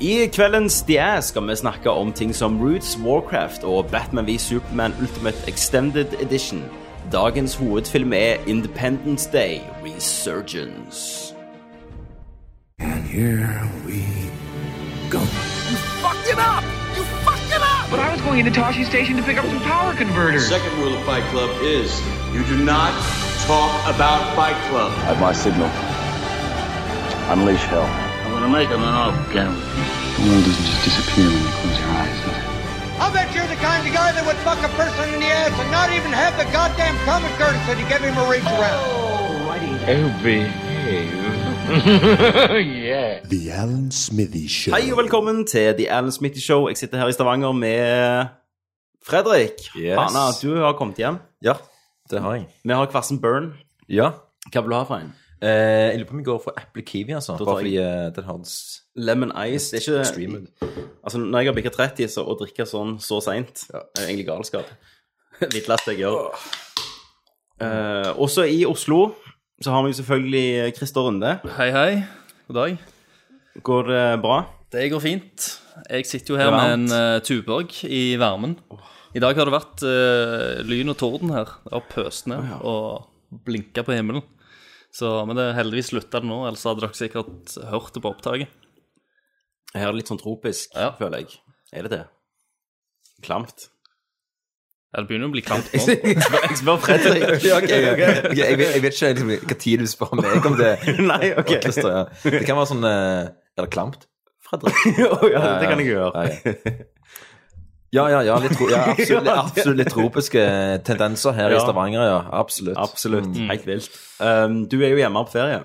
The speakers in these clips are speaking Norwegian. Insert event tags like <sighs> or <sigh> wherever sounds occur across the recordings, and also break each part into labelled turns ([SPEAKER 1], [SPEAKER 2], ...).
[SPEAKER 1] I kveldens DA skal vi snakke om ting som Roots, Warcraft og Batman v Superman Ultimate Extended Edition. Dagens hovedfilm er Independence Day Resurgence.
[SPEAKER 2] And here we go.
[SPEAKER 3] fucked it up! You fucked it up!
[SPEAKER 4] But I was going into Toshi Station to pick up some power converters.
[SPEAKER 5] Second rule of Fight Club is you do not talk about Fight Club.
[SPEAKER 6] At my signal, unleash hell.
[SPEAKER 7] I'm gonna make him an off camera.
[SPEAKER 6] The world doesn't just disappear when you close your eyes, does it?
[SPEAKER 8] I bet you're the kind of guy that would fuck a person in the ass and not even have the goddamn common courtesy to give him a reach around.
[SPEAKER 4] Oh, behave. yeah.
[SPEAKER 2] The Alan Smithy Show.
[SPEAKER 1] Hei og velkommen til The Alan Smitty Show. Jeg sitter her i Stavanger med Fredrik.
[SPEAKER 9] Yes.
[SPEAKER 1] Hanna, du har kommet hjem.
[SPEAKER 9] Ja, det har jeg.
[SPEAKER 1] Vi har hver sin burn.
[SPEAKER 9] Ja.
[SPEAKER 1] Hva vil du ha for en?
[SPEAKER 9] Eh, jeg lurer på om jeg går for Apple Kiwi, altså.
[SPEAKER 1] tar
[SPEAKER 9] Bare
[SPEAKER 1] jeg-
[SPEAKER 9] fordi eh, den har s-
[SPEAKER 1] Lemon ice. Det er ikke
[SPEAKER 9] streamen.
[SPEAKER 1] Altså, når jeg har bikket 30, så å drikke sånn så seint er egentlig galskap. <laughs> Hvitlast jeg gjør. Eh, også i Oslo så har vi jo selvfølgelig Christer Runde.
[SPEAKER 10] Hei, hei. God dag.
[SPEAKER 1] Går det bra?
[SPEAKER 10] Det går fint. Jeg sitter jo her med en
[SPEAKER 1] Varmt.
[SPEAKER 10] eh, tuborg i varmen. I dag har det vært eh, lyn og torden her. Det har pøst ned og blinka på himmelen. Så, men det er heldigvis slutta det nå, ellers hadde dere sikkert hørt det på opptaket.
[SPEAKER 1] Her er det litt sånn tropisk,
[SPEAKER 10] Ja.
[SPEAKER 1] føler jeg. Er det det? Klamt. <laughs>
[SPEAKER 10] Ja, det begynner å bli
[SPEAKER 9] <laughs>
[SPEAKER 10] klamt nå.
[SPEAKER 1] Jeg spør <laughs> Fredrik.
[SPEAKER 9] <laughs> Ja, ok, ok. <laughs> Ok, jeg, vet, jeg vet ikke liksom, hva tid du spør meg om <laughs> det.
[SPEAKER 1] Nei, ok.
[SPEAKER 9] Og Christer, ja. Det kan være sånn eh, Er det klamt? Fredrik?
[SPEAKER 1] <laughs> Å ja, det kan jeg jo gjøre.
[SPEAKER 9] Ja, ja. Ja, ja, ja, litt, <laughs> tro- ja absolutt, absolutt litt tropiske tendenser her i
[SPEAKER 1] Ja.
[SPEAKER 9] Stavanger, ja. Absolutt.
[SPEAKER 1] Absolutt. Helt vilt. Um, du er jo hjemme på ferie.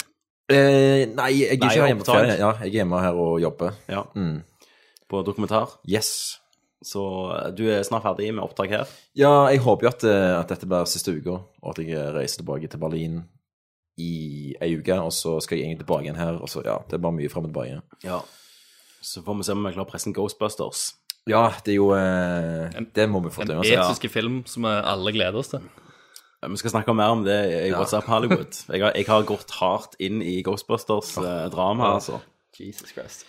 [SPEAKER 9] Eh, nei,
[SPEAKER 1] Nei,
[SPEAKER 9] jeg er ikke her hjemme på
[SPEAKER 1] opptak.
[SPEAKER 9] ferie. Ja, jeg er hjemme her og jobber. Mm.
[SPEAKER 1] Ja. På dokumentar.
[SPEAKER 9] Yes.
[SPEAKER 1] Så eh, du er snart ferdig med opptak her.
[SPEAKER 9] Ja, jeg håper jo at, eh, at dette blir siste uka, og at jeg reiser tilbake til Berlin i ei uke, og så skal jeg egentlig tilbake igjen her, og så ja, det er bare mye fram og tilbake.
[SPEAKER 1] Ja. Så får vi se om vi klarer å presse en Ghostbusters.
[SPEAKER 9] Ja, det er jo eh, Det må vi få
[SPEAKER 10] En
[SPEAKER 9] til uansett.
[SPEAKER 10] etiske film som vi alle gleder oss til.
[SPEAKER 1] Eh, Vi skal snakke mer om det i WhatsApp Hollywood. Jeg har, jeg har gått hardt inn i Ghostbusters-dramaet, altså.
[SPEAKER 10] Jesus Christ.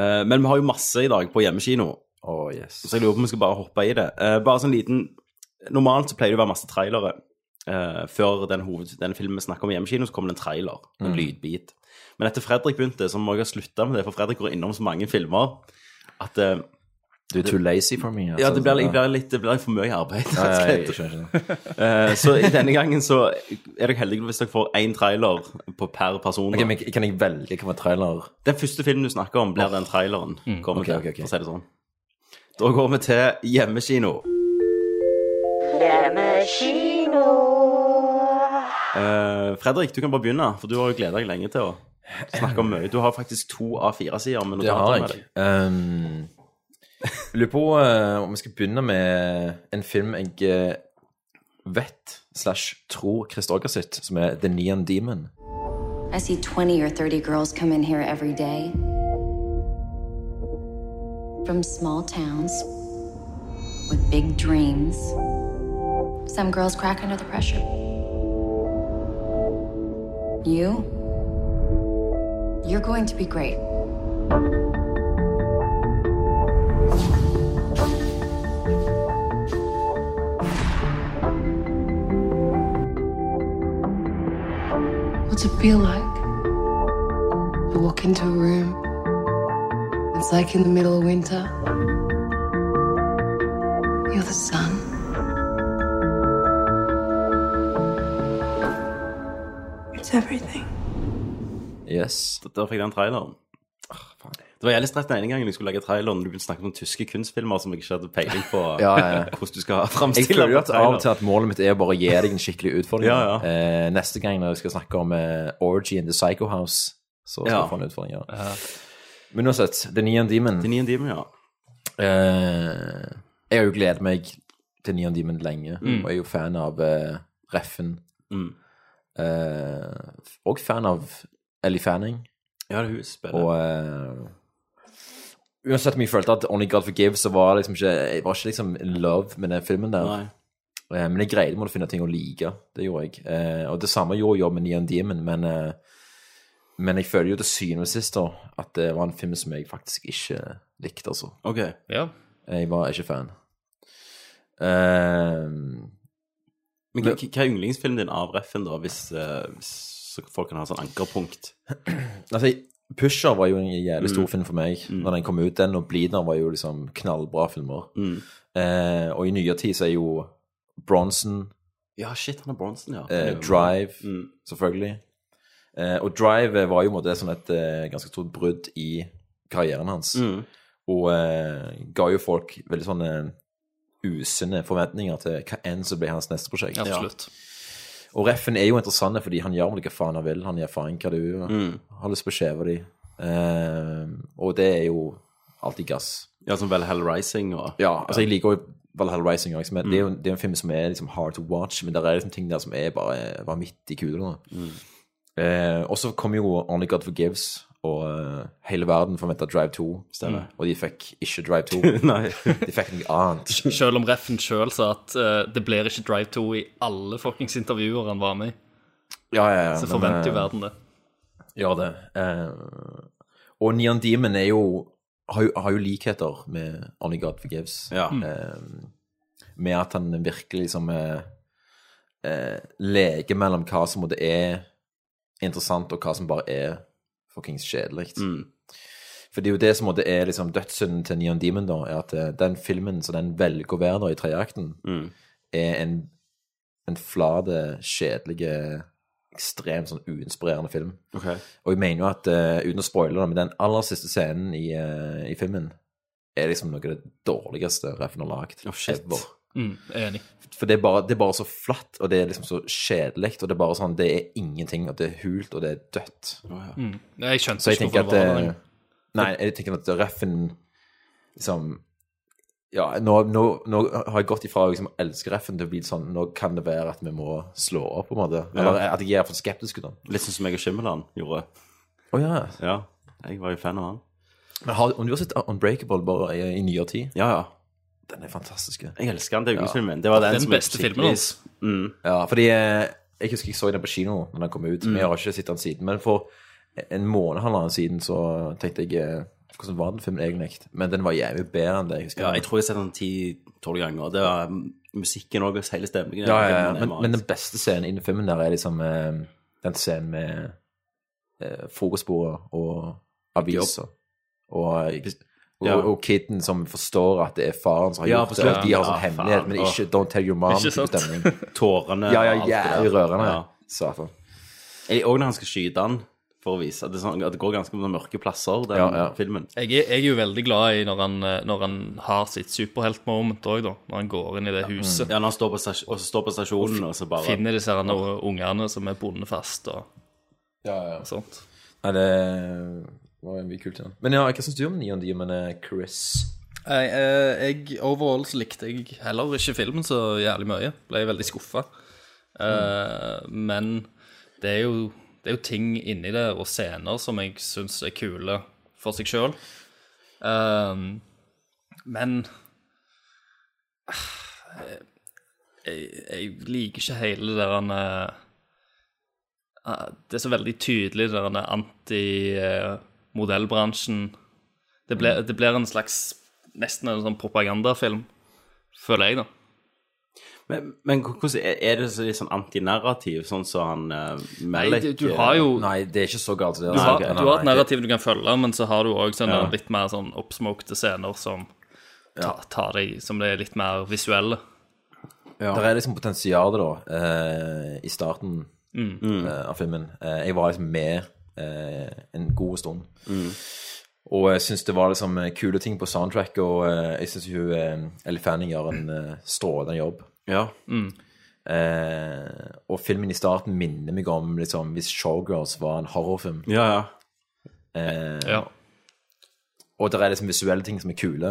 [SPEAKER 1] Eh, men vi har jo masse i dag på hjemmekino,
[SPEAKER 9] Å, yes.
[SPEAKER 1] så jeg lurer på om vi skal bare hoppe i det. Eh, bare sånn liten Normalt så pleier det å være masse trailere. Eh, før den, hoved, den filmen vi snakker om i hjemmekino, så kommer det en trailer. En lydbit. Men etter Fredrik begynte, så må jeg ha slutta med det, for Fredrik går innom så mange filmer at eh,
[SPEAKER 9] Du er too lazy for me. altså.
[SPEAKER 1] Ja, det blir, jeg blir litt, det blir for mye arbeid.
[SPEAKER 9] Nei,
[SPEAKER 1] rett og slett. <laughs>
[SPEAKER 9] jeg skjønner ikke det.
[SPEAKER 1] Eh, Så i denne gangen så er dere heldige hvis dere får én trailer på per person.
[SPEAKER 9] Ok, men Kan jeg velge hvilken trailer
[SPEAKER 1] Den første filmen du snakker om, blir den traileren. Kommer
[SPEAKER 9] ok,
[SPEAKER 1] til,
[SPEAKER 9] ok, ok.
[SPEAKER 1] for å si det sånn. Da går vi til hjemmekino. Eh, Fredrik, du kan bare begynne, for du har jo gleda deg lenge til å <laughs> snakke om mye. Du har faktisk to A4-sider med
[SPEAKER 9] Det har
[SPEAKER 1] notater med
[SPEAKER 9] jeg.
[SPEAKER 1] deg.
[SPEAKER 9] Um, jeg lurer på eh, om vi skal begynne med en film jeg eh, vet slash tror Chris Auger sitt, som er The Neon Demon.
[SPEAKER 11] I see 20 or 30 girls come in here every day from small towns with big dreams. Some girls crack under the pressure. You? You're going to be great.
[SPEAKER 12] What's it feel like? You walk into a room. It's like in the middle of winter. You're the sun.
[SPEAKER 3] It's everything.
[SPEAKER 9] Yes.
[SPEAKER 1] Så Der fikk jeg den traileren. Det var jævlig stress den ene gangen jeg skulle lage traileren. Du begynte å snakke om tyske kunstfilmer som jeg ikke hadde peiling på
[SPEAKER 9] <laughs> Ja, ja, ja.
[SPEAKER 1] hvordan du skal
[SPEAKER 9] Jeg
[SPEAKER 1] framstille
[SPEAKER 9] føler jo at av og til at målet mitt er å bare gi deg en skikkelig utfordring.
[SPEAKER 1] Ja, ja.
[SPEAKER 9] Eh, neste gang når jeg skal snakke om eh, Orgy in the Psycho House, så skal
[SPEAKER 1] Ja.
[SPEAKER 9] jeg få en utfordring. Ja. Men uansett, The Neon Demon
[SPEAKER 1] Til Neon Demon, ja.
[SPEAKER 9] Eh, jeg har jo gledet meg til Neon Demon lenge, og jeg er jo fan av eh, Reffen.
[SPEAKER 1] Mm.
[SPEAKER 9] Eh, og fan av Ellie Fanning.
[SPEAKER 1] Ja, det er hun som spiller.
[SPEAKER 9] Og eh, uansett om jeg følte at Only God Forgives, så var jeg liksom ikke Jeg var ikke liksom in love med den filmen der.
[SPEAKER 1] Nei.
[SPEAKER 9] Eh, men jeg greide med å finne ting å like. Det gjorde jeg. Eh, og det samme gjorde jeg med Neon Demon, men eh, Men jeg føler jo til syvende og sist da, at det var en film som jeg faktisk ikke likte, altså.
[SPEAKER 1] Ok.
[SPEAKER 10] Ja.
[SPEAKER 9] Jeg var ikke fan. Ehm,
[SPEAKER 1] Men hva, hva er yndlingsfilmen din av Reffen, da, hvis, eh, hvis så folk kan ha sånn ankerpunkt?
[SPEAKER 9] altså, Pusher var jo en jævlig stor
[SPEAKER 1] Mm.
[SPEAKER 9] film for meg
[SPEAKER 1] Mm.
[SPEAKER 9] når den kom ut. Den og Bleeder var jo liksom knallbra filmer.
[SPEAKER 1] Mm.
[SPEAKER 9] Eh, og i nyere tid så er jo Bronson,
[SPEAKER 1] Ja, shit, han er Bronson, ja.
[SPEAKER 9] eh,
[SPEAKER 1] Det er jo-
[SPEAKER 9] Drive,
[SPEAKER 1] Mm.
[SPEAKER 9] selvfølgelig. Eh, og Drive var jo på en måte sånn et eh, ganske stort brudd i karrieren hans.
[SPEAKER 1] Mm.
[SPEAKER 9] Og eh, ga jo folk veldig sånne eh, usunne forventninger til hva enn som ble hans neste prosjekt.
[SPEAKER 10] Absolutt.
[SPEAKER 9] Og Reffen er jo interessant fordi han gjør vel hva faen han vil. Han gir faen hva du
[SPEAKER 1] Mm.
[SPEAKER 9] har lyst på å skjeve de. Eh, og det er jo alltid gass.
[SPEAKER 1] Ja, som Valhall Rising og
[SPEAKER 9] Ja, altså jeg liker jo Valhalla Rising også, men det, er jo, det er en film som er liksom hard to watch, men det er liksom ting der som er bare vanvittig kule. da. Eh, og så kom jo Only God Forgives, og eh, hele verden forventa Drive 2.
[SPEAKER 1] Stemmer.
[SPEAKER 9] Og de fikk ikke Drive 2.
[SPEAKER 1] <laughs> Nei.
[SPEAKER 9] De fikk noe annet.
[SPEAKER 10] Selv om Reffen sjøl sa at eh, det blir ikke Drive 2 i alle fuckings intervjuer han var med i,
[SPEAKER 9] Ja, ja, ja.
[SPEAKER 10] så
[SPEAKER 9] men,
[SPEAKER 10] forventer jo
[SPEAKER 9] eh,
[SPEAKER 10] verden det.
[SPEAKER 9] Ja, det. Eh, og Neon Demon er jo har, jo har jo likheter med Only God Forgives.
[SPEAKER 1] Ja.
[SPEAKER 9] Eh, med at han virkelig liksom eh, eh, leker mellom hva som måtte er interessant, og hva som bare er fuckings kjedelig.
[SPEAKER 1] Mm.
[SPEAKER 9] For det er jo det som måtte er liksom dødssynden til Neon Demon, da, er at eh, den filmen som den velger å være da i treakten,
[SPEAKER 1] Mm.
[SPEAKER 9] er en, en flate, kjedelig, ekstremt sånn uinspirerende film.
[SPEAKER 1] Ok.
[SPEAKER 9] Og jeg mener jo at, eh, uten å spoile det, men den aller siste scenen i, eh, i filmen er liksom noe av det dårligste Reffen har lagd.
[SPEAKER 1] Å, shit.
[SPEAKER 10] Mm, enig.
[SPEAKER 9] For det er, bare, det er bare så flatt, og det er liksom så kjedelig, og det er bare sånn, det er ingenting, og det er hult, og det er dødt.
[SPEAKER 10] Mm. Jeg skjønte
[SPEAKER 9] Så jeg
[SPEAKER 10] ikke
[SPEAKER 9] tenker
[SPEAKER 10] hvorfor
[SPEAKER 9] at
[SPEAKER 10] det var der.
[SPEAKER 9] eh, Nei, jeg tenker at Reffen liksom Ja, nå, nå, nå har jeg gått ifra å liksom elske Reffen til å bli sånn Nå kan det være at vi må slå opp, på en måte. Eller at jeg er for skeptisk til den.
[SPEAKER 1] Litt sånn som jeg og Skimmeland gjorde.
[SPEAKER 9] Å ja.
[SPEAKER 1] Ja, jeg var jo fan av han.
[SPEAKER 9] Men har, om du har sett Unbreakable bare i, i nyere tid?
[SPEAKER 1] Ja, ja.
[SPEAKER 9] Den er fantastisk.
[SPEAKER 1] Jeg elsker han, det er yndlingsfilmen. Det var den,
[SPEAKER 10] Den
[SPEAKER 1] som
[SPEAKER 10] beste filmen hans.
[SPEAKER 1] Mm.
[SPEAKER 9] Ja, fordi eh, jeg husker jeg så den på kino når den kom ut,
[SPEAKER 1] Mm.
[SPEAKER 9] men jeg har ikke sett den siden. Men for en måned halvannen siden så tenkte jeg eh, hvordan var den filmen egentlig? Men den var jævlig bedre enn det jeg husker.
[SPEAKER 1] Ja, jeg tror jeg har sett den ti-tolv ganger. Det var mm, musikken òg, hele stemningen. i
[SPEAKER 9] Ja,
[SPEAKER 1] den
[SPEAKER 9] ja, ja.
[SPEAKER 1] filmen er
[SPEAKER 9] Men, men den beste scenen innen filmen der er liksom eh, den scenen med eh, frokostbordet og aviser. Og, og,
[SPEAKER 1] Ja.
[SPEAKER 9] og kiden som forstår at det er faren som har
[SPEAKER 1] Ja, på
[SPEAKER 9] gjort det, og
[SPEAKER 1] slutten.
[SPEAKER 9] de har
[SPEAKER 1] Ja,
[SPEAKER 9] sånn hemmelighet,
[SPEAKER 1] faen,
[SPEAKER 9] men
[SPEAKER 1] åh.
[SPEAKER 9] ikke 'don't tell your
[SPEAKER 10] Ikke sant?
[SPEAKER 9] mom'-stemning.
[SPEAKER 1] magisk. Tårene
[SPEAKER 9] Ja,
[SPEAKER 1] og
[SPEAKER 9] ja,
[SPEAKER 1] alt det der.
[SPEAKER 9] jævlig rørende.
[SPEAKER 1] Ja.
[SPEAKER 9] Satan.
[SPEAKER 1] Jeg- Og når han skal skyte han, for å vise at det, er sånn, at det går ganske mange mørke plasser, den
[SPEAKER 9] Ja, ja.
[SPEAKER 1] filmen.
[SPEAKER 10] Jeg er, jeg er jo veldig glad i når han, eh, når han har sitt superheltmoment òg, da. Når han går inn i det huset.
[SPEAKER 1] Ja, når han står på, stas- og så står på stasjonen, og så bare
[SPEAKER 10] Finner disse her noe- ungene som er bundet fast og sånt.
[SPEAKER 9] Nei, det var mye kult. Ja. Men ja, hva syns du om Neon Demon, eh, Chris?
[SPEAKER 10] Jeg, eh, jeg Overall så likte jeg heller ikke filmen så jævlig mye. Ble jeg veldig skuffa. Men det er, jo, det er jo ting inni der og scener som jeg syns er kule for seg sjøl. men eh, jeg, jeg liker ikke hele det der eh, eh, Det er så veldig tydelig, det der eh, anti-modellbransjen. Det blir, det blir en slags nesten en sånn propagandafilm, føler jeg, da.
[SPEAKER 1] Men, men hvordan er- er det så litt sånn antinarrativ, sånn som han uh,
[SPEAKER 10] Nei,
[SPEAKER 1] Melek
[SPEAKER 10] du, du har jo
[SPEAKER 9] Nei, det er ikke så galt. Det,
[SPEAKER 10] du har,
[SPEAKER 9] Ok, nei,
[SPEAKER 10] du har
[SPEAKER 9] nei,
[SPEAKER 10] et narrativ du kan følge, men så har du òg sånne
[SPEAKER 9] Ja.
[SPEAKER 10] litt mer sånn oppsmokte scener som ta- tar deg Som det er litt mer visuelle.
[SPEAKER 9] Der er liksom potensialet da, eh, i starten
[SPEAKER 10] Mm.
[SPEAKER 9] eh, av filmen. Eh, jeg var liksom med eh, en god stund. Og jeg syns det var liksom eh, kule ting på soundtrack, og eh, jeg syns hun eh, Ellie Fanning gjør en eh, strålende jobb.
[SPEAKER 1] Ja.
[SPEAKER 9] Eh, og filmen i starten minner meg om liksom, hvis Showgirls var en horrorfilm.
[SPEAKER 1] ja, ja.
[SPEAKER 9] Eh,
[SPEAKER 10] Ja.
[SPEAKER 9] Og det er liksom visuelle ting som er kule.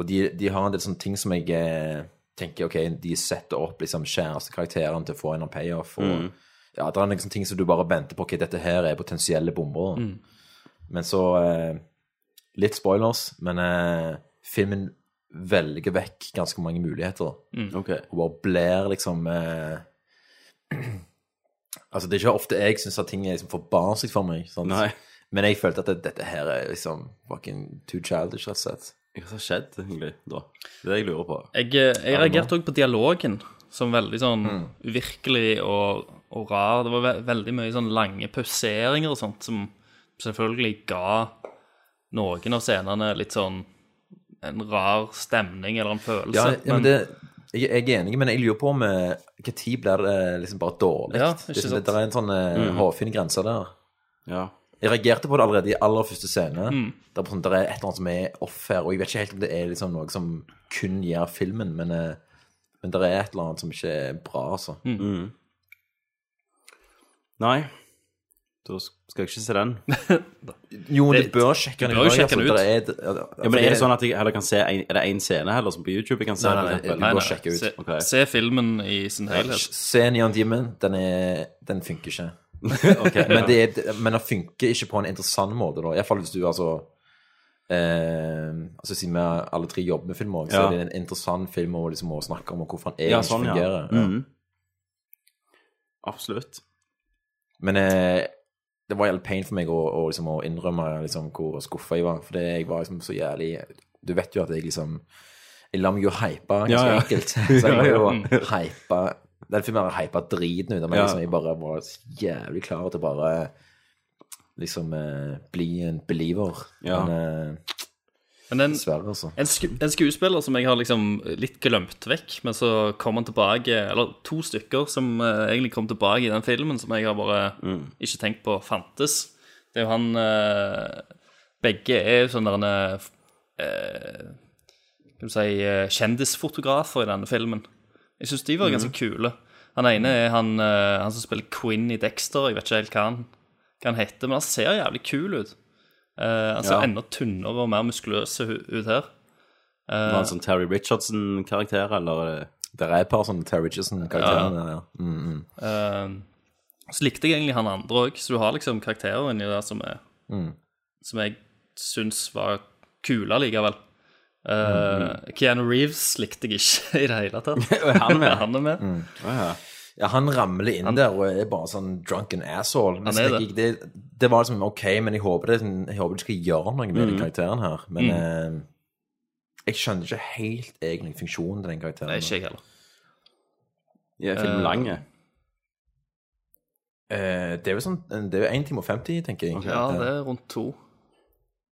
[SPEAKER 9] Og de, de har en del sånne ting som jeg eh, tenker ok, de setter opp liksom kjærestekarakteren til å få en eller annen payoff. Og, ja, det er liksom ting som du bare venter på. Ok, dette her er potensielle bomber. Men så eh, Litt spoilers, men eh, filmen velger vekk ganske mange muligheter.
[SPEAKER 1] Ok.
[SPEAKER 9] Og bare blir liksom eh, Altså, det er ikke ofte jeg syns at ting er liksom for barnslig for meg. Sant?
[SPEAKER 1] Nei.
[SPEAKER 9] Men jeg følte at det, dette her er liksom fucking too childish, rett og slett.
[SPEAKER 1] Hva som har skjedd, egentlig, da? Det er det jeg lurer på.
[SPEAKER 10] Jeg, eh, jeg reagerte òg på dialogen som veldig sånn
[SPEAKER 9] Mm.
[SPEAKER 10] uvirkelig og, og rar. Det var ve veldig mye sånn lange pauseringer og sånt som selvfølgelig ga noen av scenene litt sånn en rar stemning eller en følelse.
[SPEAKER 9] Ja, ja, men det, jeg, jeg er enig, men jeg lurer på om når blir det liksom bare dårlig.
[SPEAKER 10] Ja,
[SPEAKER 9] det,
[SPEAKER 10] ikke
[SPEAKER 9] det,
[SPEAKER 10] sant.
[SPEAKER 9] der er en sånn eh,
[SPEAKER 10] Mm.
[SPEAKER 9] hårfin grense der.
[SPEAKER 1] Ja.
[SPEAKER 9] Jeg reagerte på det allerede i aller første scene.
[SPEAKER 10] Mm.
[SPEAKER 9] Der, på sånn, der er et eller annet som er off her, og jeg vet ikke helt om det er liksom noe som kun gjør filmen, men, eh, men det er et eller annet som ikke er bra, altså.
[SPEAKER 1] Mm. Nei, da s- skal jeg ikke se den.
[SPEAKER 9] Jo, men du bør sjekke den
[SPEAKER 1] Du bør jo
[SPEAKER 9] ut.
[SPEAKER 1] sjekke den ut.
[SPEAKER 9] Altså, der er- altså,
[SPEAKER 1] ja, men er det
[SPEAKER 9] det-
[SPEAKER 1] sånn at jeg heller kan se en, Er det én scene heller som på YouTube jeg kan se?
[SPEAKER 9] Nei,
[SPEAKER 1] for
[SPEAKER 9] nei, nei,
[SPEAKER 1] eksempel?
[SPEAKER 9] du Nei, bør nei, sjekke ut.
[SPEAKER 10] Eh, Se, se filmen i sin helhet.
[SPEAKER 9] Se Neon Demon, den, er, den funker ikke.
[SPEAKER 1] <laughs> Ok, ja.
[SPEAKER 9] men, det er, men den funker ikke på en interessant måte, da. Iallfall hvis du altså eh, altså Siden vi alle tre jobber med film også,
[SPEAKER 1] Ja.
[SPEAKER 9] så er det en interessant film å, liksom, å snakke om, og hvorfor den egentlig
[SPEAKER 1] Ja, sånn, ja.
[SPEAKER 9] fungerer.
[SPEAKER 1] Mhm. Absolutt.
[SPEAKER 9] Men eh, det var jævlig pain for meg å, å, liksom, å innrømme liksom, hvor skuffa jeg var. For det, jeg var liksom så jævlig Du vet jo at jeg liksom Jeg lar meg jo hype ganske
[SPEAKER 1] Ja, ja.
[SPEAKER 9] enkelt. <laughs> Så jeg var jo
[SPEAKER 1] <laughs> Ja, ja.
[SPEAKER 9] hypa Den filmen har hypa driten ut av meg.
[SPEAKER 1] Ja.
[SPEAKER 9] Liksom, jeg bare var så jævlig klar til å bare liksom eh, bli en believer.
[SPEAKER 10] Ja.
[SPEAKER 9] Men eh,
[SPEAKER 10] Men en,
[SPEAKER 9] dessverre, altså.
[SPEAKER 10] en, sku, en skuespiller som jeg har liksom litt glemt vekk, men så kom han tilbake Eller to stykker som eh, egentlig kom tilbake i den filmen, som jeg har bare
[SPEAKER 1] Mm.
[SPEAKER 10] ikke tenkt på fantes. Det er jo han eh, Begge er jo sånne der, eh, Skal du si eh, kjendisfotografer i denne filmen. Jeg syns de
[SPEAKER 1] Mm.
[SPEAKER 10] var ganske kule. Han ene er han, eh, han som spiller Quinn i Dexter. Jeg vet ikke helt hva han, hva han heter, men han ser jævlig kul ut. Eh, han ser
[SPEAKER 1] Ja.
[SPEAKER 10] enda tynnere og mer muskuløs hu- ut her.
[SPEAKER 1] Var
[SPEAKER 10] Eh,
[SPEAKER 1] han sånn Terry Richardson-karakter, eller er det <laughs>
[SPEAKER 9] Det er et par sånne Terry Richardson-karakterer. Ja. Mm, mm.
[SPEAKER 10] eh, så likte jeg egentlig han andre òg, så du har liksom karakterer inni der som er
[SPEAKER 9] Mm.
[SPEAKER 10] som jeg syns var kule likevel. Eh,
[SPEAKER 9] Mm,
[SPEAKER 10] Keanu Reeves likte jeg ikke <laughs> i det hele tatt.
[SPEAKER 9] <laughs>
[SPEAKER 1] han med?
[SPEAKER 10] han er med.
[SPEAKER 9] Mm. Ja, han ramler inn der og er bare sånn drunken asshole. Men
[SPEAKER 10] Han er
[SPEAKER 9] så tenker jeg, det, det var liksom ok, men jeg håper, det, er sånn- jeg håper de skal gjøre noe med den
[SPEAKER 10] Mm.
[SPEAKER 9] karakteren her. Men eh, jeg skjønner ikke helt egentlig funksjonen til den karakteren.
[SPEAKER 10] Nei, ikke jeg heller.
[SPEAKER 1] Ja, er filmen
[SPEAKER 10] Eh,
[SPEAKER 1] lang?
[SPEAKER 9] Eh, det er jo sånn, det er jo 1 time og 50, tenker jeg. Eh,
[SPEAKER 10] Ja, det er rundt to.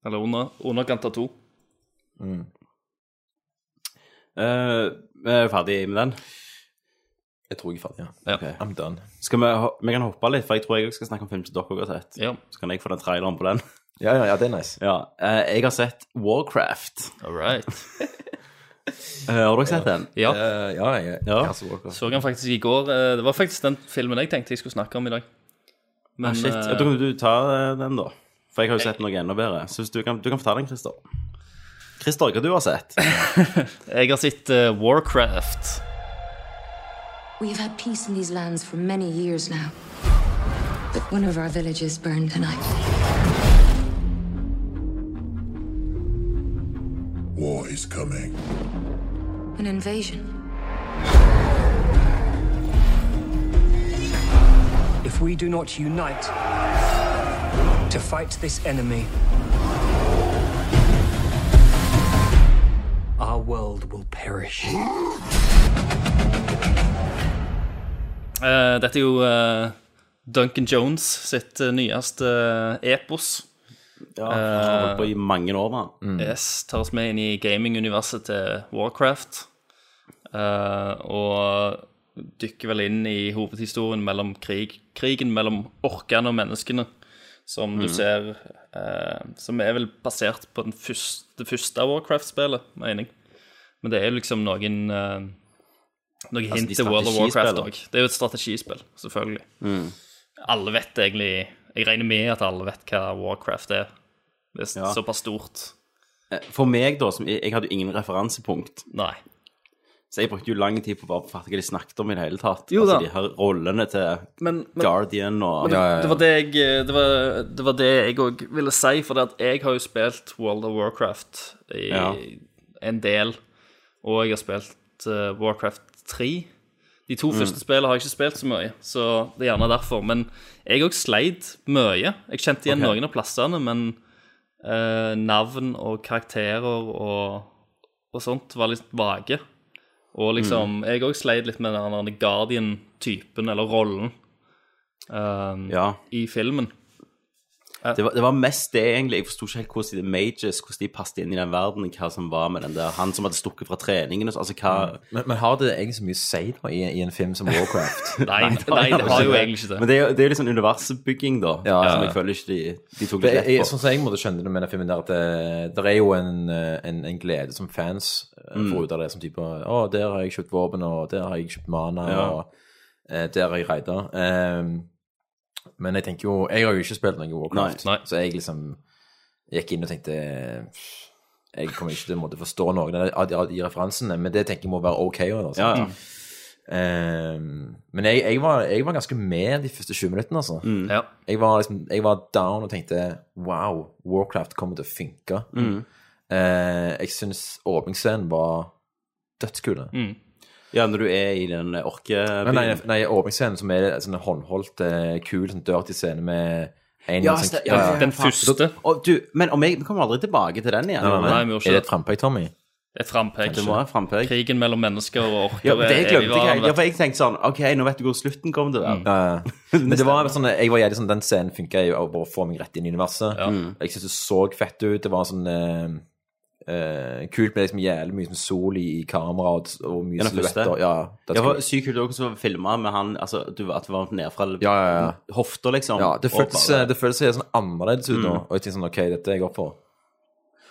[SPEAKER 10] Eller under, underkant av to.
[SPEAKER 9] Mm.
[SPEAKER 1] Eh, Vi er ferdig med den.
[SPEAKER 9] Jeg tror jeg er ferdig, ja.
[SPEAKER 10] Ja.
[SPEAKER 9] I'm done.
[SPEAKER 1] Skal vi, ho- vi kan hoppe litt, for jeg tror jeg også skal snakke om film til dere også har sett.
[SPEAKER 10] Ja.
[SPEAKER 1] Så kan jeg få den traileren på den.
[SPEAKER 9] Ja, ja, ja, det er nice.
[SPEAKER 1] Ja, eh, Jeg har sett Warcraft.
[SPEAKER 10] All right.
[SPEAKER 1] Eh, har dere sett den?
[SPEAKER 10] Ja.
[SPEAKER 9] Eh, ja, jeg, jeg,
[SPEAKER 1] Ja.
[SPEAKER 9] så Walker.
[SPEAKER 10] Så han faktisk i går. eh, Det var faktisk den filmen jeg tenkte jeg skulle snakke om i dag. Men
[SPEAKER 1] Ah, shit.
[SPEAKER 10] eh,
[SPEAKER 1] Ja, da kan du ta eh, den, da. For jeg har jo sett noe enda bedre. Så hvis du kan, du kan få ta den, Christer. Christer, hva du har sett?
[SPEAKER 10] jeg har sett eh, Warcraft.
[SPEAKER 12] We've had peace in these lands for many years now. But one of our villages burned tonight.
[SPEAKER 2] War is coming.
[SPEAKER 12] An invasion.
[SPEAKER 13] If we do not unite to fight this enemy, our world will perish.
[SPEAKER 10] Eh, dette er jo eh, Duncan Jones sitt eh, nyeste eh, epos.
[SPEAKER 1] Ja, jeg har holdt på
[SPEAKER 10] Eh,
[SPEAKER 1] i mange år, mann.
[SPEAKER 10] mm. Yes, tar oss med inn i gaminguniverset til Warcraft. eh, og dykker vel inn i hovedhistorien mellom krig, krigen mellom orkene og menneskene. Som du
[SPEAKER 1] Mhm.
[SPEAKER 10] ser eh, Som er vel basert på den første, det første Warcraft-spillet, mener jeg. Men det er jo liksom noen uh, Noen
[SPEAKER 1] Altså,
[SPEAKER 10] hint
[SPEAKER 1] de
[SPEAKER 10] til World of Warcraft
[SPEAKER 1] strategispillene.
[SPEAKER 10] òg. Det er jo et strategispill, selvfølgelig.
[SPEAKER 1] Mm.
[SPEAKER 10] Alle vet egentlig Jeg regner med at alle vet hva Warcraft er. Det er s-
[SPEAKER 1] Ja.
[SPEAKER 10] såpass stort.
[SPEAKER 1] Eh, For meg, da, som jeg, jeg hadde jo ingen referansepunkt,
[SPEAKER 10] Nei.
[SPEAKER 1] så jeg brukte jo lang tid på å bare fatte hva de snakket om i det hele tatt.
[SPEAKER 10] Jo da.
[SPEAKER 1] Altså de her rollene til
[SPEAKER 10] Men, men,
[SPEAKER 1] Guardian og
[SPEAKER 10] men det, det var det jeg Det var det, var det jeg òg ville si, for det at jeg har jo spilt World of Warcraft i
[SPEAKER 1] Ja.
[SPEAKER 10] en del, og jeg har spilt eh, Warcraft 3. De to
[SPEAKER 14] Mm.
[SPEAKER 10] første spillene har jeg ikke spilt så mye, så det er gjerne derfor. Men jeg òg sleit mye. Jeg kjente igjen
[SPEAKER 14] Ok.
[SPEAKER 10] noen av plassene, men eh, navn og karakterer og, og sånt var litt vage. Og liksom,
[SPEAKER 1] Mm.
[SPEAKER 10] jeg òg sleit litt med den der Guardian-typen, eller rollen, eh,
[SPEAKER 1] <laughs>
[SPEAKER 10] i filmen.
[SPEAKER 1] Det var, det var mest det, egentlig. Jeg forsto ikke helt hvordan de mages hvordan de passet inn i den verden. Hva som var med den der Han som hadde stukket fra treningen og så- Altså,
[SPEAKER 10] Mm.
[SPEAKER 1] hva
[SPEAKER 9] Men, men har det egentlig så mye å si da, i, i en film
[SPEAKER 10] <laughs>
[SPEAKER 9] som Warcraft?
[SPEAKER 10] Nei, nei, det har jo egentlig ikke det.
[SPEAKER 1] Men det er jo, det er jo litt sånn universbygging, da.
[SPEAKER 9] Ja, ja,
[SPEAKER 1] Som
[SPEAKER 9] ja.
[SPEAKER 1] jeg føler ikke de, de tok
[SPEAKER 9] Det
[SPEAKER 1] litt
[SPEAKER 9] er,
[SPEAKER 1] lett på.
[SPEAKER 9] sånn som jeg måtte skjønne det med den filmen der, at det, der er jo en, eh, en, en glede som fans eh,
[SPEAKER 1] Mm.
[SPEAKER 9] får ut av det, som type Å, der har jeg kjøpt våpen, og der har jeg kjøpt mana,
[SPEAKER 1] Ja.
[SPEAKER 9] og eh, der har jeg raida. Eh, men jeg tenker jo Jeg har jo ikke spilt noe Warcraft, så jeg liksom gikk inn og tenkte Jeg kommer ikke til å måtte forstå noen av de, av de, av de referansene, men det tenker jeg må være ok. Også, altså.»
[SPEAKER 1] Ja, ja.
[SPEAKER 9] Ehm, men jeg, jeg, var, jeg var ganske med de første 20 minuttene, altså.
[SPEAKER 1] Mm.
[SPEAKER 9] Jeg, var liksom, jeg var down og tenkte wow, Warcraft kommer til å funke.
[SPEAKER 1] Mm.
[SPEAKER 9] Eh, jeg syns åpningsscenen var dødskule.
[SPEAKER 1] Mm. Ja, når du er i den orkebyen.
[SPEAKER 9] Nei, nei, nei åpningsscenen som er sånn håndholdt, eh, kul, sånn dirty scene med en
[SPEAKER 1] Ja,
[SPEAKER 9] sånn-
[SPEAKER 1] sta- ja, ja, ja, Den faen. første. Og du, men om jeg vi kommer aldri tilbake til den igjen.
[SPEAKER 9] Nei, nei, nei.
[SPEAKER 10] Nei, vi gjorde ikke
[SPEAKER 9] er det
[SPEAKER 10] det.
[SPEAKER 9] et frampek, Tommy?
[SPEAKER 10] Det er frampek.
[SPEAKER 1] Det må være frampek.
[SPEAKER 10] Krigen mellom mennesker og orker
[SPEAKER 1] Ja, men det
[SPEAKER 10] er
[SPEAKER 1] glemte jeg.
[SPEAKER 10] evigvarende.
[SPEAKER 1] Ja, for jeg tenkte sånn OK, nå vet du hvor slutten kommer til å være.
[SPEAKER 9] Ja, ja. Mm. Men det var sånn, jeg var jævlig sånn, den scenen funka jo bare å få meg rett inn i universet. Jeg synes det så fett ut. Det var sånn eh, eh, kult med liksom jævlig mye sånn sol i, i kamera og, og mye
[SPEAKER 1] den første.
[SPEAKER 9] silhuetter. Ja, det
[SPEAKER 1] det
[SPEAKER 9] var
[SPEAKER 1] var sykt kult også å filme med han altså, du, At det var ned fra
[SPEAKER 9] ja.
[SPEAKER 1] hofta, liksom.
[SPEAKER 9] Ja, det
[SPEAKER 1] og
[SPEAKER 9] føltes,
[SPEAKER 1] bare-
[SPEAKER 9] det føltes helt sånn annerledes ut nå.
[SPEAKER 1] Mm.
[SPEAKER 9] Og jeg tenkte sånn, ok, dette er jeg opp for.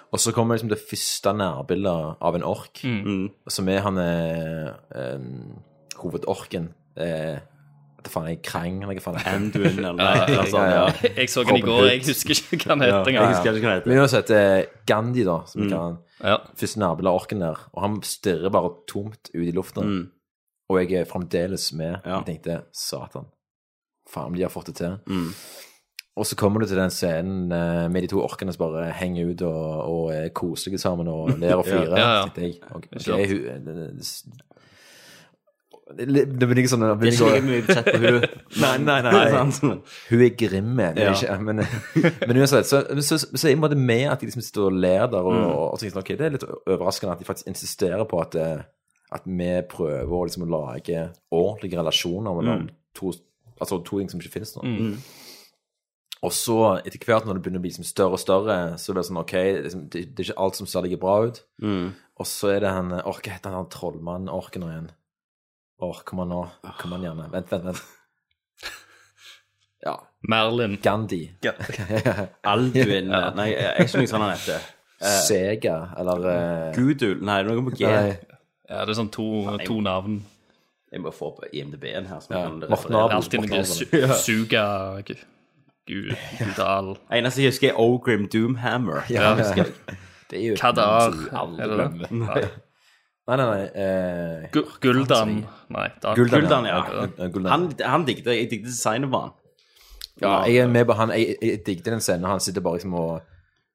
[SPEAKER 9] Og så kommer liksom det første nærbildet av en ork,
[SPEAKER 1] Mm.
[SPEAKER 9] som er han eh, em, hovedorken. Eh, hva faen er Krang, eller hva faen er
[SPEAKER 1] Anduin, eller noe sånt, ja.
[SPEAKER 10] <laughs>
[SPEAKER 1] Jeg så den i
[SPEAKER 9] Robin
[SPEAKER 1] går, jeg
[SPEAKER 9] Hood.
[SPEAKER 1] husker ikke hva han heter engang. Jeg husker ikke hva han heter.
[SPEAKER 9] Men uansett, eh, Gandhi, da, som
[SPEAKER 1] Mm.
[SPEAKER 9] vi kaller han, første nærbilde av orken der, og han stirrer bare tomt ut i luften.
[SPEAKER 1] Mm.
[SPEAKER 9] Og jeg er fremdeles med. Jeg tenkte, satan, faen, de har fått det til.
[SPEAKER 1] Mm.
[SPEAKER 9] Og så kommer du til den scenen eh, med de to orkene som bare henger ut og, og er koselige sammen og
[SPEAKER 1] <laughs>
[SPEAKER 9] ler og
[SPEAKER 1] Ja,
[SPEAKER 9] flirer.
[SPEAKER 1] ja, ja.
[SPEAKER 9] tenkte jeg. ok,
[SPEAKER 1] Ikke
[SPEAKER 9] ok,
[SPEAKER 1] sant?
[SPEAKER 9] hun- det- det- det- det- Det blir ikke sånn
[SPEAKER 1] Det er ikke like mye budsjett på Sånn. hun.
[SPEAKER 9] Nei,
[SPEAKER 1] <laughs>
[SPEAKER 9] nei,
[SPEAKER 1] Det
[SPEAKER 9] nei.
[SPEAKER 1] er sant.
[SPEAKER 9] Hun er grim, men,
[SPEAKER 1] Ja.
[SPEAKER 9] ikke, men, men <laughs> uansett, så, så, så, er jeg på en måte med at de liksom sitter og ler der, og,
[SPEAKER 1] Mm.
[SPEAKER 9] og tenker sånn, ok, det er litt overraskende at de faktisk insisterer på at, eh, at vi prøver å liksom lage ordentlige relasjoner mellom
[SPEAKER 1] Mm.
[SPEAKER 9] to, altså, to ting som ikke finnes nå.
[SPEAKER 1] Mm.
[SPEAKER 9] Og så etter hvert når det begynner å bli liksom større og større, så blir det sånn OK, liksom, det, det er ikke alt som ser like bra ut.
[SPEAKER 1] Mm.
[SPEAKER 9] Og så er det han Å, hva heter han, han trollmannen orken nå igjen? Å, kom an nå. Kom an, gjerne. Vent, vent, vent. Ja.
[SPEAKER 10] Merlin.
[SPEAKER 9] Gandhi.
[SPEAKER 1] <laughs> Alduin Nei, jeg er ikke noe sånn han heter. Eh,
[SPEAKER 9] Sega, eller eh,
[SPEAKER 1] Gudul Nei, det er noe på G.
[SPEAKER 9] Nei.
[SPEAKER 10] Ja, det er sånn to,
[SPEAKER 1] Faen, jeg-
[SPEAKER 10] to navn.
[SPEAKER 1] Jeg må få på IMDb-en her. Som
[SPEAKER 10] Ja,
[SPEAKER 1] jeg kan
[SPEAKER 10] Morten
[SPEAKER 1] referere.
[SPEAKER 10] Abel. Alltid noe
[SPEAKER 1] Ja.
[SPEAKER 10] su suga gu- gu- Gudal.
[SPEAKER 1] Eneste jeg husker, er Ogrim Doomhammer.
[SPEAKER 10] Ja.
[SPEAKER 1] Det husker jeg.
[SPEAKER 9] Det er jo
[SPEAKER 10] Kadar.
[SPEAKER 9] noe som alle
[SPEAKER 10] er det det?
[SPEAKER 9] glemmer.
[SPEAKER 10] Nei.
[SPEAKER 9] Nei, nei, nei. Eh,
[SPEAKER 10] Gu- Guldan. Nei, da-
[SPEAKER 9] Guldan,
[SPEAKER 1] Guldan,
[SPEAKER 9] ja.
[SPEAKER 1] ja.
[SPEAKER 9] Ja, Guldan.
[SPEAKER 1] Han, han digget Jeg digget designet på han.
[SPEAKER 9] ja, jeg er med på han. Jeg, jeg, jeg digget den scenen. Han sitter bare liksom og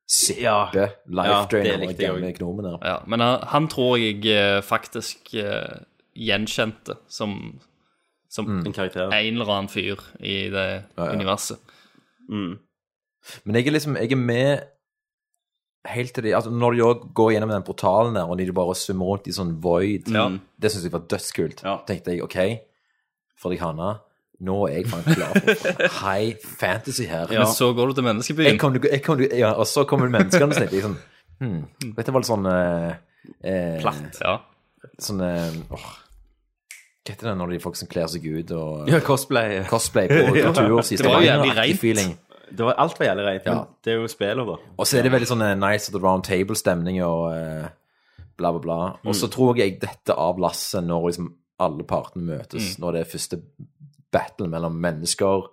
[SPEAKER 9] sipper life drain over den gamle gnomen der.
[SPEAKER 10] Ja, men han, han tror jeg eh, faktisk eh, gjenkjente som, som
[SPEAKER 9] Mm. En
[SPEAKER 10] en, eller annen fyr i det universet.
[SPEAKER 9] Men jeg er liksom, jeg er med helt til de altså Når de òg går gjennom den portalen der, og de bare svømmer rundt i sånn void,
[SPEAKER 10] Ja.
[SPEAKER 9] det syns jeg var dødskult. tenkte jeg OK, Fredrik Hanna, nå er jeg faen klar for
[SPEAKER 1] <laughs>
[SPEAKER 9] high fantasy her.
[SPEAKER 10] Men så går du til menneskebyen.
[SPEAKER 9] jeg kom, til- jeg kom, til- ja, og så kommer menneskene og tenkte jeg sånn hmm, Dette var litt sånn eh, eh,
[SPEAKER 1] Platt.
[SPEAKER 9] Sånn eh, åh, Hva heter det når de folk som kler seg ut og
[SPEAKER 1] Ja, cosplay.
[SPEAKER 9] Cosplay
[SPEAKER 1] <laughs>
[SPEAKER 9] på
[SPEAKER 1] Ja.
[SPEAKER 9] kultur siste
[SPEAKER 1] Det var jo
[SPEAKER 9] dagen,
[SPEAKER 1] jævlig
[SPEAKER 9] aktig
[SPEAKER 1] rent.
[SPEAKER 9] feeling.
[SPEAKER 1] Det var alt var jævlig rent. men
[SPEAKER 9] Ja.
[SPEAKER 1] Det er jo spillet, da.
[SPEAKER 9] Og så er det veldig sånn eh, nice at the round table-stemning og eh, bla, bla, bla. Og så
[SPEAKER 1] Mm.
[SPEAKER 9] tror jeg dette av lasset når liksom alle partene møtes,
[SPEAKER 1] Mm.
[SPEAKER 9] når det er første battle mellom mennesker